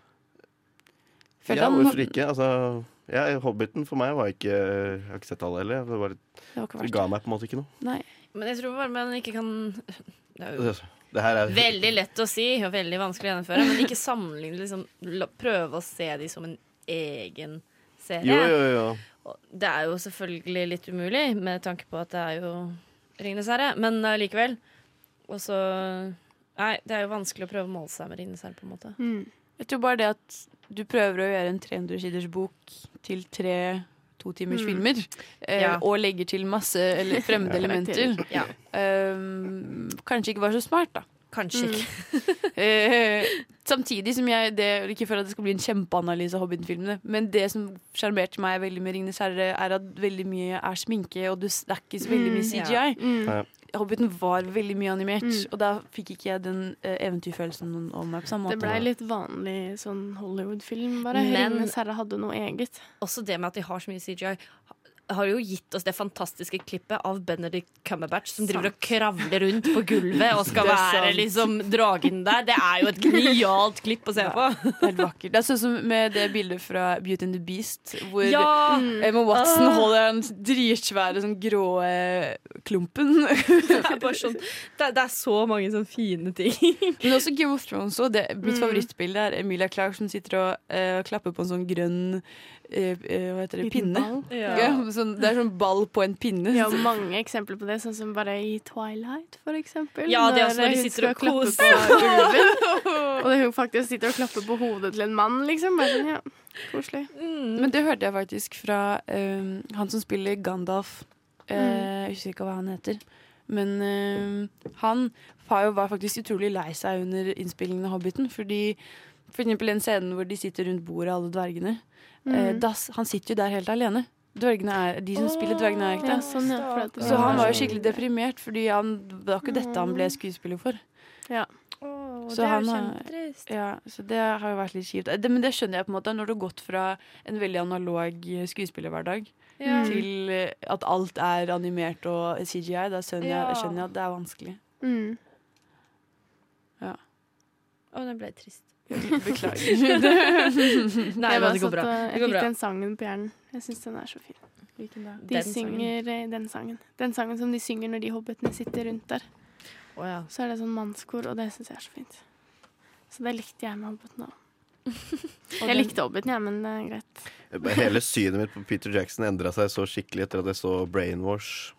A: Følte
E: Ja,
A: han-
E: hvorfor ikke? Altså, ja, Hobbiten for meg var ikke Jeg har ikke sett alle heller. Det var,
A: Det var ikke
E: det
A: verst.
E: ga meg på en måte ikke noe.
B: Men jeg tror bare man ikke kan Det
E: *laughs*
B: er jo
E: Det, det her er
B: veldig lett å si og veldig vanskelig å gjennomføre, men ikke sammenligne liksom, la- Prøve å se de som en egen serie.
E: Jo, jo, jo.
B: Og Det er jo selvfølgelig litt umulig med tanke på at det er jo Ringenes herre, men allikevel. Og så Nei, det er jo vanskelig å prøve å måle seg med Ringenes herre, på en måte.
C: Mm.
A: Jeg tror bare det at du prøver å gjøre en 300 siders bok til tre to timers
C: Mm.
A: filmer, eh,
B: Ja.
A: og legger til masse eller
C: *laughs*
A: fremmede
E: Ja.
A: elementer.
B: Ja,
A: Um, kanskje ikke var så smart,
C: *laughs*
A: da.
B: kanskje
C: Mm.
A: Mm.
B: ikke.
A: Eh, samtidig som jeg det, Ikke for at det skal bli en kjempeanalyse av Hobbiten-filmene, men det som sjarmerte meg veldig med 'Ringenes herre', er at veldig mye er sminke, og du snakker så veldig mye
C: Mm,
B: ja.
A: CGI.
C: Mm.
A: Hobbiten var veldig mye animert,
C: Mm.
A: og da fikk ikke jeg den eh, eventyrfølelsen om meg på samme
C: Det
A: måte.
C: blei litt vanlig sånn Hollywood-film, bare.
B: Men-
C: 'Ringenes herre' hadde noe eget.
B: Også det med at de har så mye CGI. har jo gitt oss det fantastiske klippet av Benedict Cumberbatch som driver og kravler rundt på gulvet og
A: *laughs*
B: skal
A: Det er
B: være
A: sant.
B: liksom dragen der. Det er jo et genialt klipp å se på.
A: Helt vakkert. Det er sånn som med det bildet fra Beauty and the Beast, hvor
B: *laughs* Ja!
A: Emma Watson
B: Ah.
A: holder den dritsvære sånn grå eh, klumpen. *laughs*
B: Det er, bare sånn, det, er- det er så mange sånne fine ting.
A: Men også Game of Thrones. Og det,
B: Mm.
A: mitt favorittbilde er Emilia Clarke som sitter og eh, klapper på en sånn grønn eh, eh, hva heter det, pinne. Ja, sånn, det er sånn ball på en pinne.
C: Vi har mange eksempler på det, sånn som bare i Twilight, for eksempel.
B: Ja, det er også når de
C: hun
B: sitter og
C: skal klappe
B: koser. *laughs*
C: på ulven, Og hun faktisk sitter og klapper på hodet til en mann, liksom. Bare sånn, ja, koselig.
A: Men det hørte jeg faktisk fra eh, han som spiller Gandalf. Eh, Jeg husker ikke hva han heter. Men eh, han var, jo, var faktisk utrolig lei seg under innspillingen av Hobbiten. Fordi for eksempel den scenen hvor de sitter rundt bordet, alle dvergene. eh, da s- han sitter jo der helt alene. Dvergene er, de som spiller dvergene, er ikke
C: Ja,
A: det?
C: sånn, ja, for at det
A: Så
C: skal
A: han
C: være
A: var jo
C: sånn.
A: skikkelig deprimert, fordi han, det var ikke dette han ble skuespiller for.
L: Åh,
A: Så
L: det er
A: han
L: jo
A: har-
L: kjempetrist.
A: Ja, så det har jo vært litt kjipt. Det, men det skjønner jeg på en måte, når du har gått fra en veldig analog skuespillerhverdag
L: Ja.
A: til eh, at alt er animert og CGI, da skjønner jeg,
L: Ja.
A: skjønner jeg at det er vanskelig.
L: *laughs*
C: Mm.
B: Å, den ble trist.
A: Beklager.
B: Nei,
C: jeg
B: men
C: bare
B: det går bra.
C: satt og-
B: Det
C: Jeg
B: går
C: fikk
B: bra.
C: den sangen på hjernen. Jeg syns den er så fin. De
B: Den sangen.
C: synger eh, den sangen. Den sangen som de synger når de hobbitene sitter rundt der.
B: Å, ja.
C: Så er det sånn mannskor, og det syns jeg er så fint. Så det likte jeg med hobbitene òg. Jeg likte hobbiten, jeg, men det er greit.
E: Hele synet mitt på Peter Jackson endra seg så skikkelig etter at jeg så Brainwash.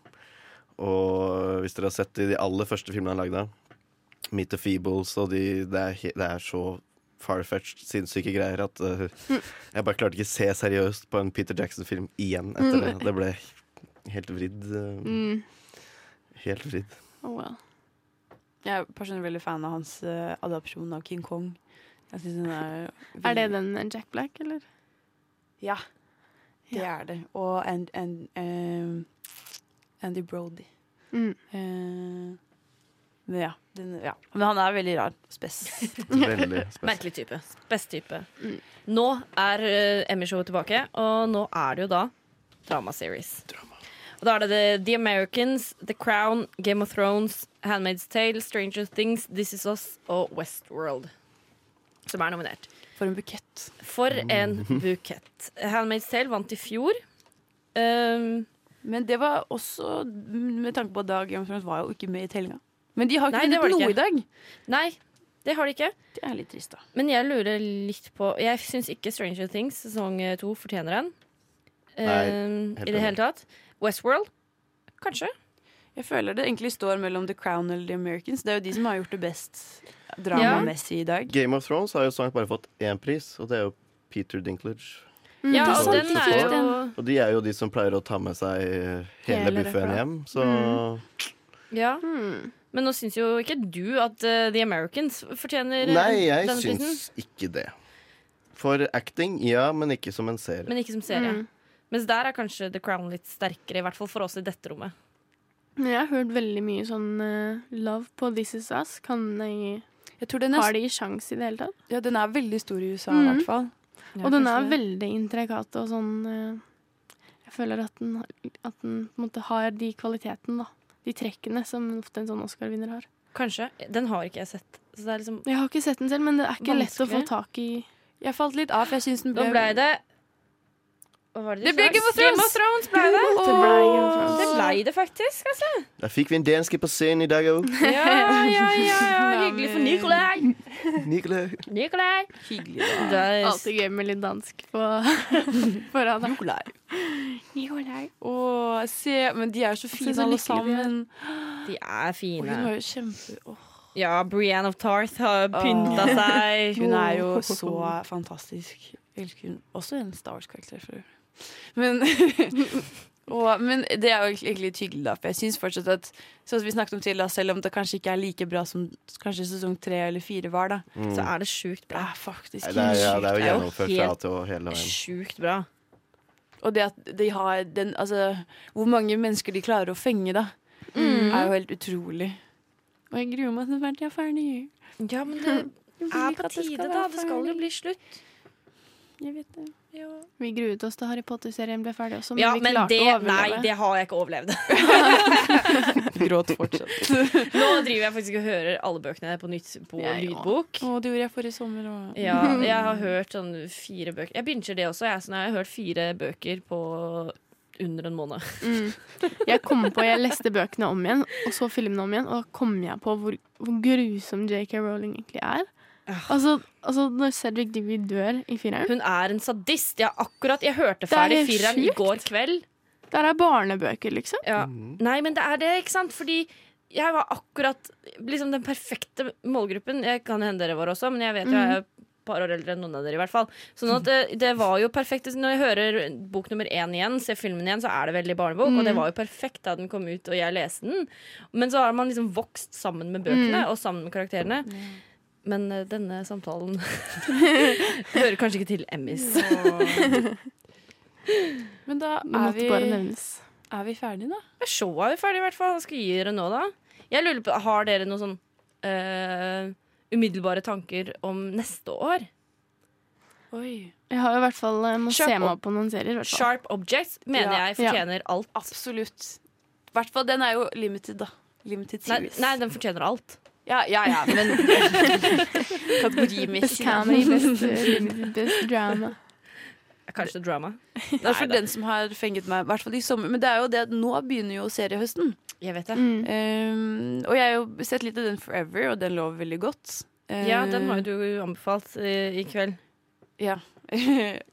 E: Og hvis dere har sett de, de aller første filmene han lagde, Meet the Feebles og de Det er, he- det er så farfetched, sinnssyke greier at eh, jeg bare klarte ikke å se seriøst på en Peter Jackson-film igjen etter det. Det ble helt vridd. eh,
C: Mm.
E: Helt vridd.
C: Oh well.
A: jeg er personlig veldig fan av hans eh, adopsjon av King Kong. Jeg synes den er
C: Er det den eh, Jack Black, eller?
A: Ja, det er det. Og and, and, eh, Andy Brody.
C: Mm.
A: Eh, men ja, den, ja. Men han er veldig rar. Spes.
E: Veldig spesielt.
B: Merkelig type. Best type.
C: Mm.
B: Nå er eh, Emmy-showet tilbake, og nå er det jo da dramaseries. Og da er det The, The Americans, The Crown, Game of Thrones, Handmaid's Tale, Stranger Things, This Is Us og Westworld som er nominert.
A: *laughs* For en bukett.
B: For en bukett. Handmaid's Tale vant i fjor. Um,
A: Men det var også med tanke på at Dag Game of Thrones var jo ikke med i tellinga. Men de har ikke
B: Nei, det
A: vunnet
B: var det
A: noe
B: ikke.
A: i dag.
B: nei, det har de ikke.
A: Det er litt trist, da.
B: Men jeg lurer litt på Jeg syns ikke Stranger Things sesong eh, to fortjener den.
E: Nei,
B: Eh,
E: helt
B: I det
E: enig.
B: hele tatt. Westworld? Kanskje.
A: Jeg føler det egentlig står mellom The Crown eller The Americans. Det er jo de som har gjort det best dramamessig i dag.
E: Game of Thrones har jo snart bare fått én pris, og det er jo Peter Dinklage.
B: ja,
C: Mm,
E: det er
B: og
E: sant.
B: den er jo
E: Og de er jo de som pleier å ta med seg eh, hele
C: Hele
E: buffeen
C: repertoaret.
E: hjem. Så
B: ja.
C: Mm.
B: Men nå syns jo ikke du at eh, The Americans fortjener eh,
E: Nei, jeg
B: denne prisen.
E: syns ikke det. For acting, ja, men ikke som en serie.
B: Men ikke som serie.
C: Mm.
B: Mens der er kanskje The Crown litt sterkere, i hvert fall for oss i dette rommet.
C: Men jeg har hørt veldig mye sånn eh, love på This Is Us. Kan de,
A: Jeg tror den
C: har
A: er,
C: de sjans i det hele tatt?
A: ja, den er veldig stor i USA, i
C: Mhm.
A: hvert fall.
C: Og den er veldig intrikat og sånn eh, Jeg føler at den, at den på en måte har de kvalitetene, da. De trekkene som ofte en sånn Oscar-vinner har.
B: Kanskje. Den har ikke jeg sett. Så det er liksom
C: Jeg har ikke sett den selv, men det er ikke lett å få
B: Vanskelig.
C: tak i
A: Jeg falt litt av, for jeg syns den
B: Nå
A: ble,
B: ble det Hva var det de
A: Det ble
B: sa?
A: Game of
B: Game of Thrones ble det. *laughs*
C: Det ble Game of Thrones.
B: Det ble det faktisk. Altså.
E: Der fikk vi en danske på scenen i dag
B: *laughs*
E: òg.
B: Ja, *laughs* ja, ja,
C: *laughs*
B: ja. *laughs* Hyggelig for Nikolai.
E: Nicolai.
B: Nikolai.
A: hyggelig. da.
B: Det er
C: Alltid gøy med litt dansk på,
B: *laughs*
C: på radaren.
A: Nikolai.
C: Nikolai.
A: Å, se, men de er jo så fine,
C: så
A: alle
C: lykkelige de er.
A: sammen.
B: De er
A: Og hun
B: fine.
A: var jo kjempe... Åh,
B: Ja, Brienne of Tarth har pynta seg.
A: Hun er *laughs* jo så fantastisk. Jeg Elsker hun også en Star Wars-karakter for øvrig. Men, *laughs* og, men det er jo egentlig- egentlig litt hyggelig, da. For jeg syns fortsatt at sånn som vi snakket om til, da, selv om det kanskje ikke er like bra som kanskje sesong tre eller fire var, da,
B: Så er det sjukt
A: det
B: bra.
A: er faktisk
E: Nei, det, er, ja, det er jo
B: Det er jo
E: gjennomført fra
B: helt
E: til å hele veien.
B: Sjukt bra.
A: Og det at de har den Altså, hvor mange mennesker de klarer å fenge, da, er jo helt utrolig. Mm. Og jeg gruer meg til hvert jeg er ferdig.
B: Ja, men det *laughs*
A: Jeg vil
B: er
A: ikke
B: på
A: at det skal
B: tide,
A: være
B: da. Det skal jo
A: ferdig.
B: bli slutt.
C: Jeg vet
A: *laughs*
C: det. Vi gruet oss da Harry Potter-serien ble ferdig også, men
B: Ja,
C: vi
B: men
C: klarte
B: det,
C: å
B: nei,
C: overleve.
B: det har jeg ikke overlevd.
A: Gråt fortsatt.
B: Nå driver jeg faktisk og hører alle bøkene på nytt på
C: Jeg
B: lydbok.
A: Å, det gjorde jeg forrige sommer òg.
B: Ja, jeg har hørt sånn fire bøker Jeg binger det også, jeg. Så nå har jeg hørt fire bøker på under en måned.
C: *laughs* Jeg kom på, jeg leste bøkene om igjen, og så filmene om igjen, og da kom jeg på hvor, hvor grusom J.K. Rowling egentlig er.
B: Ah.
C: Altså, altså når Cedric Diggory dør i fireren
B: Hun er en sadist. Jeg, har akkurat, jeg hørte
C: er
B: ferdig
C: helt
B: fireren i
C: sjukt.
B: går kveld.
C: Der er barnebøker, liksom.
B: Ja. Nei, men det er det, ikke sant? Fordi jeg var akkurat liksom den perfekte målgruppen. Jeg kan hende dere var også, men jeg vet jo
C: Mm.
B: jeg er et par år eldre enn noen av dere. i hvert fall Sånn at det, det var jo perfekt. Når jeg hører bok nummer én igjen, ser filmen igjen, så er det veldig barnebok.
C: Mm.
B: Og det var jo perfekt da den kom ut og jeg leste den. Men så har man liksom vokst sammen med bøkene
C: Mm.
B: og sammen med karakterene. Men eh, denne
C: *laughs*
B: samtalen hører kanskje ikke til Emmys.
A: Men da
C: Det
A: er
C: måtte
A: vi,
C: bare nevnes.
A: er vi ferdige, da?
B: Men Showet er jo ferdig, i hvert fall. Hva skal jeg gi dere nå, da? Jeg lurer på, Har dere noen sånn eh, umiddelbare tanker om neste år?
A: Oi.
C: Jeg har jo i hvert fall eh, må
B: Sharp
C: se meg
B: ob-
C: opp på noen serier. i hvert fall.
B: Sharp Objects mener
A: Ja.
B: jeg fortjener alt.
A: Absolutt. I hvert fall den er jo limited, da. Limited
B: Nei,
A: series.
B: nei, den fortjener alt.
A: Ja, ja, ja,
B: *laughs*
A: men
C: Best
A: Kategorimessig. da.
C: comedy, best eh,
A: *laughs*
C: limited, best drama.
B: Kanskje drama.
A: Det er for
B: Neida.
A: den som har fenget meg, i hvert fall i sommer. Men det er jo det at nå begynner jo seriehøsten.
B: Jeg vet det.
C: Mm.
A: Um, og jeg har jo sett litt av den Forever, og den lover veldig godt. Uh,
B: Ja, den var jo du anbefalt eh, i kveld.
A: *laughs*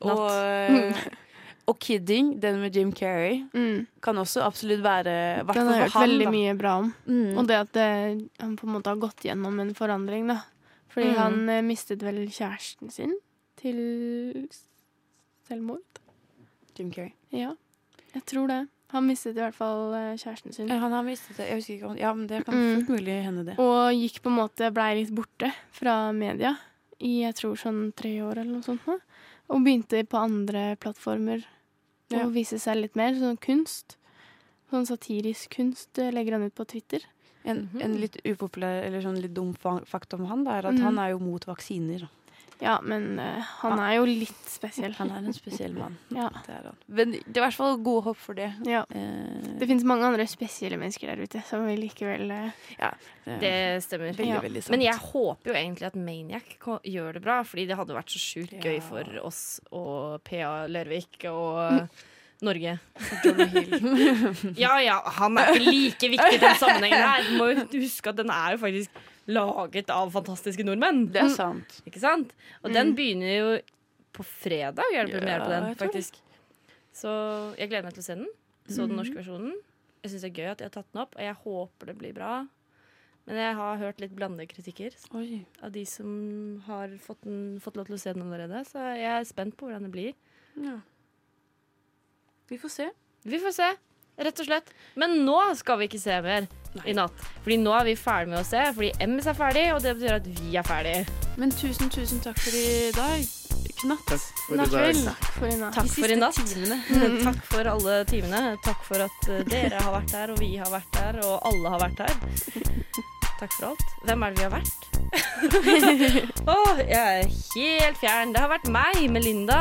A: og, og Kidding, den med Jim Carrey,
C: Mm.
A: kan også absolutt være hvert
C: Den
A: fall
C: har jeg
A: for
C: hørt
A: han,
C: veldig
A: da.
C: mye bra om.
A: Mm.
C: Og det at eh, han på en måte har gått gjennom en forandring, da. Fordi
A: Mm.
C: han eh, mistet vel kjæresten sin til s- selvmord.
A: Jim Carrey.
C: Ja, jeg tror det. Han mistet i hvert fall eh, kjæresten sin.
A: Ja, han har mistet det. Jeg husker ikke om Ja, men det kan
C: Mm.
A: fullt mulig hende, det.
C: Og gikk på en måte, blei litt borte fra media i jeg tror sånn tre år eller noe sånt. nå. Og begynte på andre plattformer
A: Ja.
C: å vise seg litt mer, sånn kunst. Sånn satirisk kunst eh, legger han ut på Twitter.
A: En, en litt upopulær, eller sånn litt dum fa- fakta om han, da, er at
C: Mm.
A: han er jo mot vaksiner.
C: Ja, men eh, han er jo litt spesiell.
A: Han er en spesiell mann.
C: Ja.
A: Det er han. Men det er i hvert fall gode håp for det.
C: Ja.
A: Eh,
C: Det finnes mange andre spesielle mennesker der ute som vi likevel eh,
B: Det stemmer.
A: Veldig,
C: Ja.
A: veldig sant.
B: Men jeg håper jo egentlig at Maniac ko- gjør det bra, fordi det hadde vært så sjukt gøy for oss og PA Lørvik
A: Mm.
B: og Norge. *laughs* ja ja, han er ikke like viktig i den sammenhengen her. Du må jo huske at den er jo faktisk laget av fantastiske nordmenn.
A: Det er sant.
B: Ikke sant? Og den begynner jo på fredag, er det premiere på den,
A: Mm. jeg tror det. Mm.
B: faktisk. Så jeg gleder meg til å se den. Så den norske versjonen. Jeg syns det er gøy at de har tatt den opp, og jeg håper det blir bra. Men jeg har hørt litt blandede kritikker
A: Oi.
B: av de som har fått, den, fått lov til å se den allerede, så jeg er spent på hvordan det blir.
A: Vi får se.
B: Vi får se, rett og slett. Men nå skal vi ikke se mer i natt. Fordi nå er vi ferdig med å se, fordi Emmis er ferdig, og det betyr at vi er ferdig.
A: Men tusen, tusen takk for i dag. Knatt.
E: For i dag.
C: for i natt.
B: Takk for i natt. *laughs* Mm. Takk for alle timene. Takk for at eh, dere har vært her, og vi har vært her, og alle har vært her. Takk for alt. Hvem er det vi har vært? Åh, jeg er helt fjern. Det har vært meg, Melinda.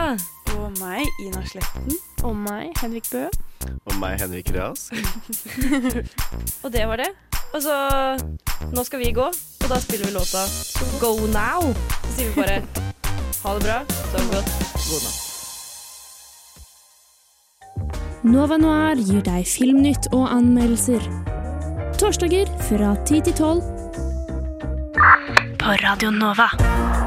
A: Og meg, Ina Sletten.
C: Og meg, Henrik Bø.
E: Og meg, Henrik Rask.
B: Og det var det. Og så Nå skal vi gå, og da spiller vi låta Go Now. Så sier vi bare ha det bra. Sov godt.
M: Nova Noir gir deg filmnytt og anmeldelser. Torsdager fra 10 til 12. På Radio Nova.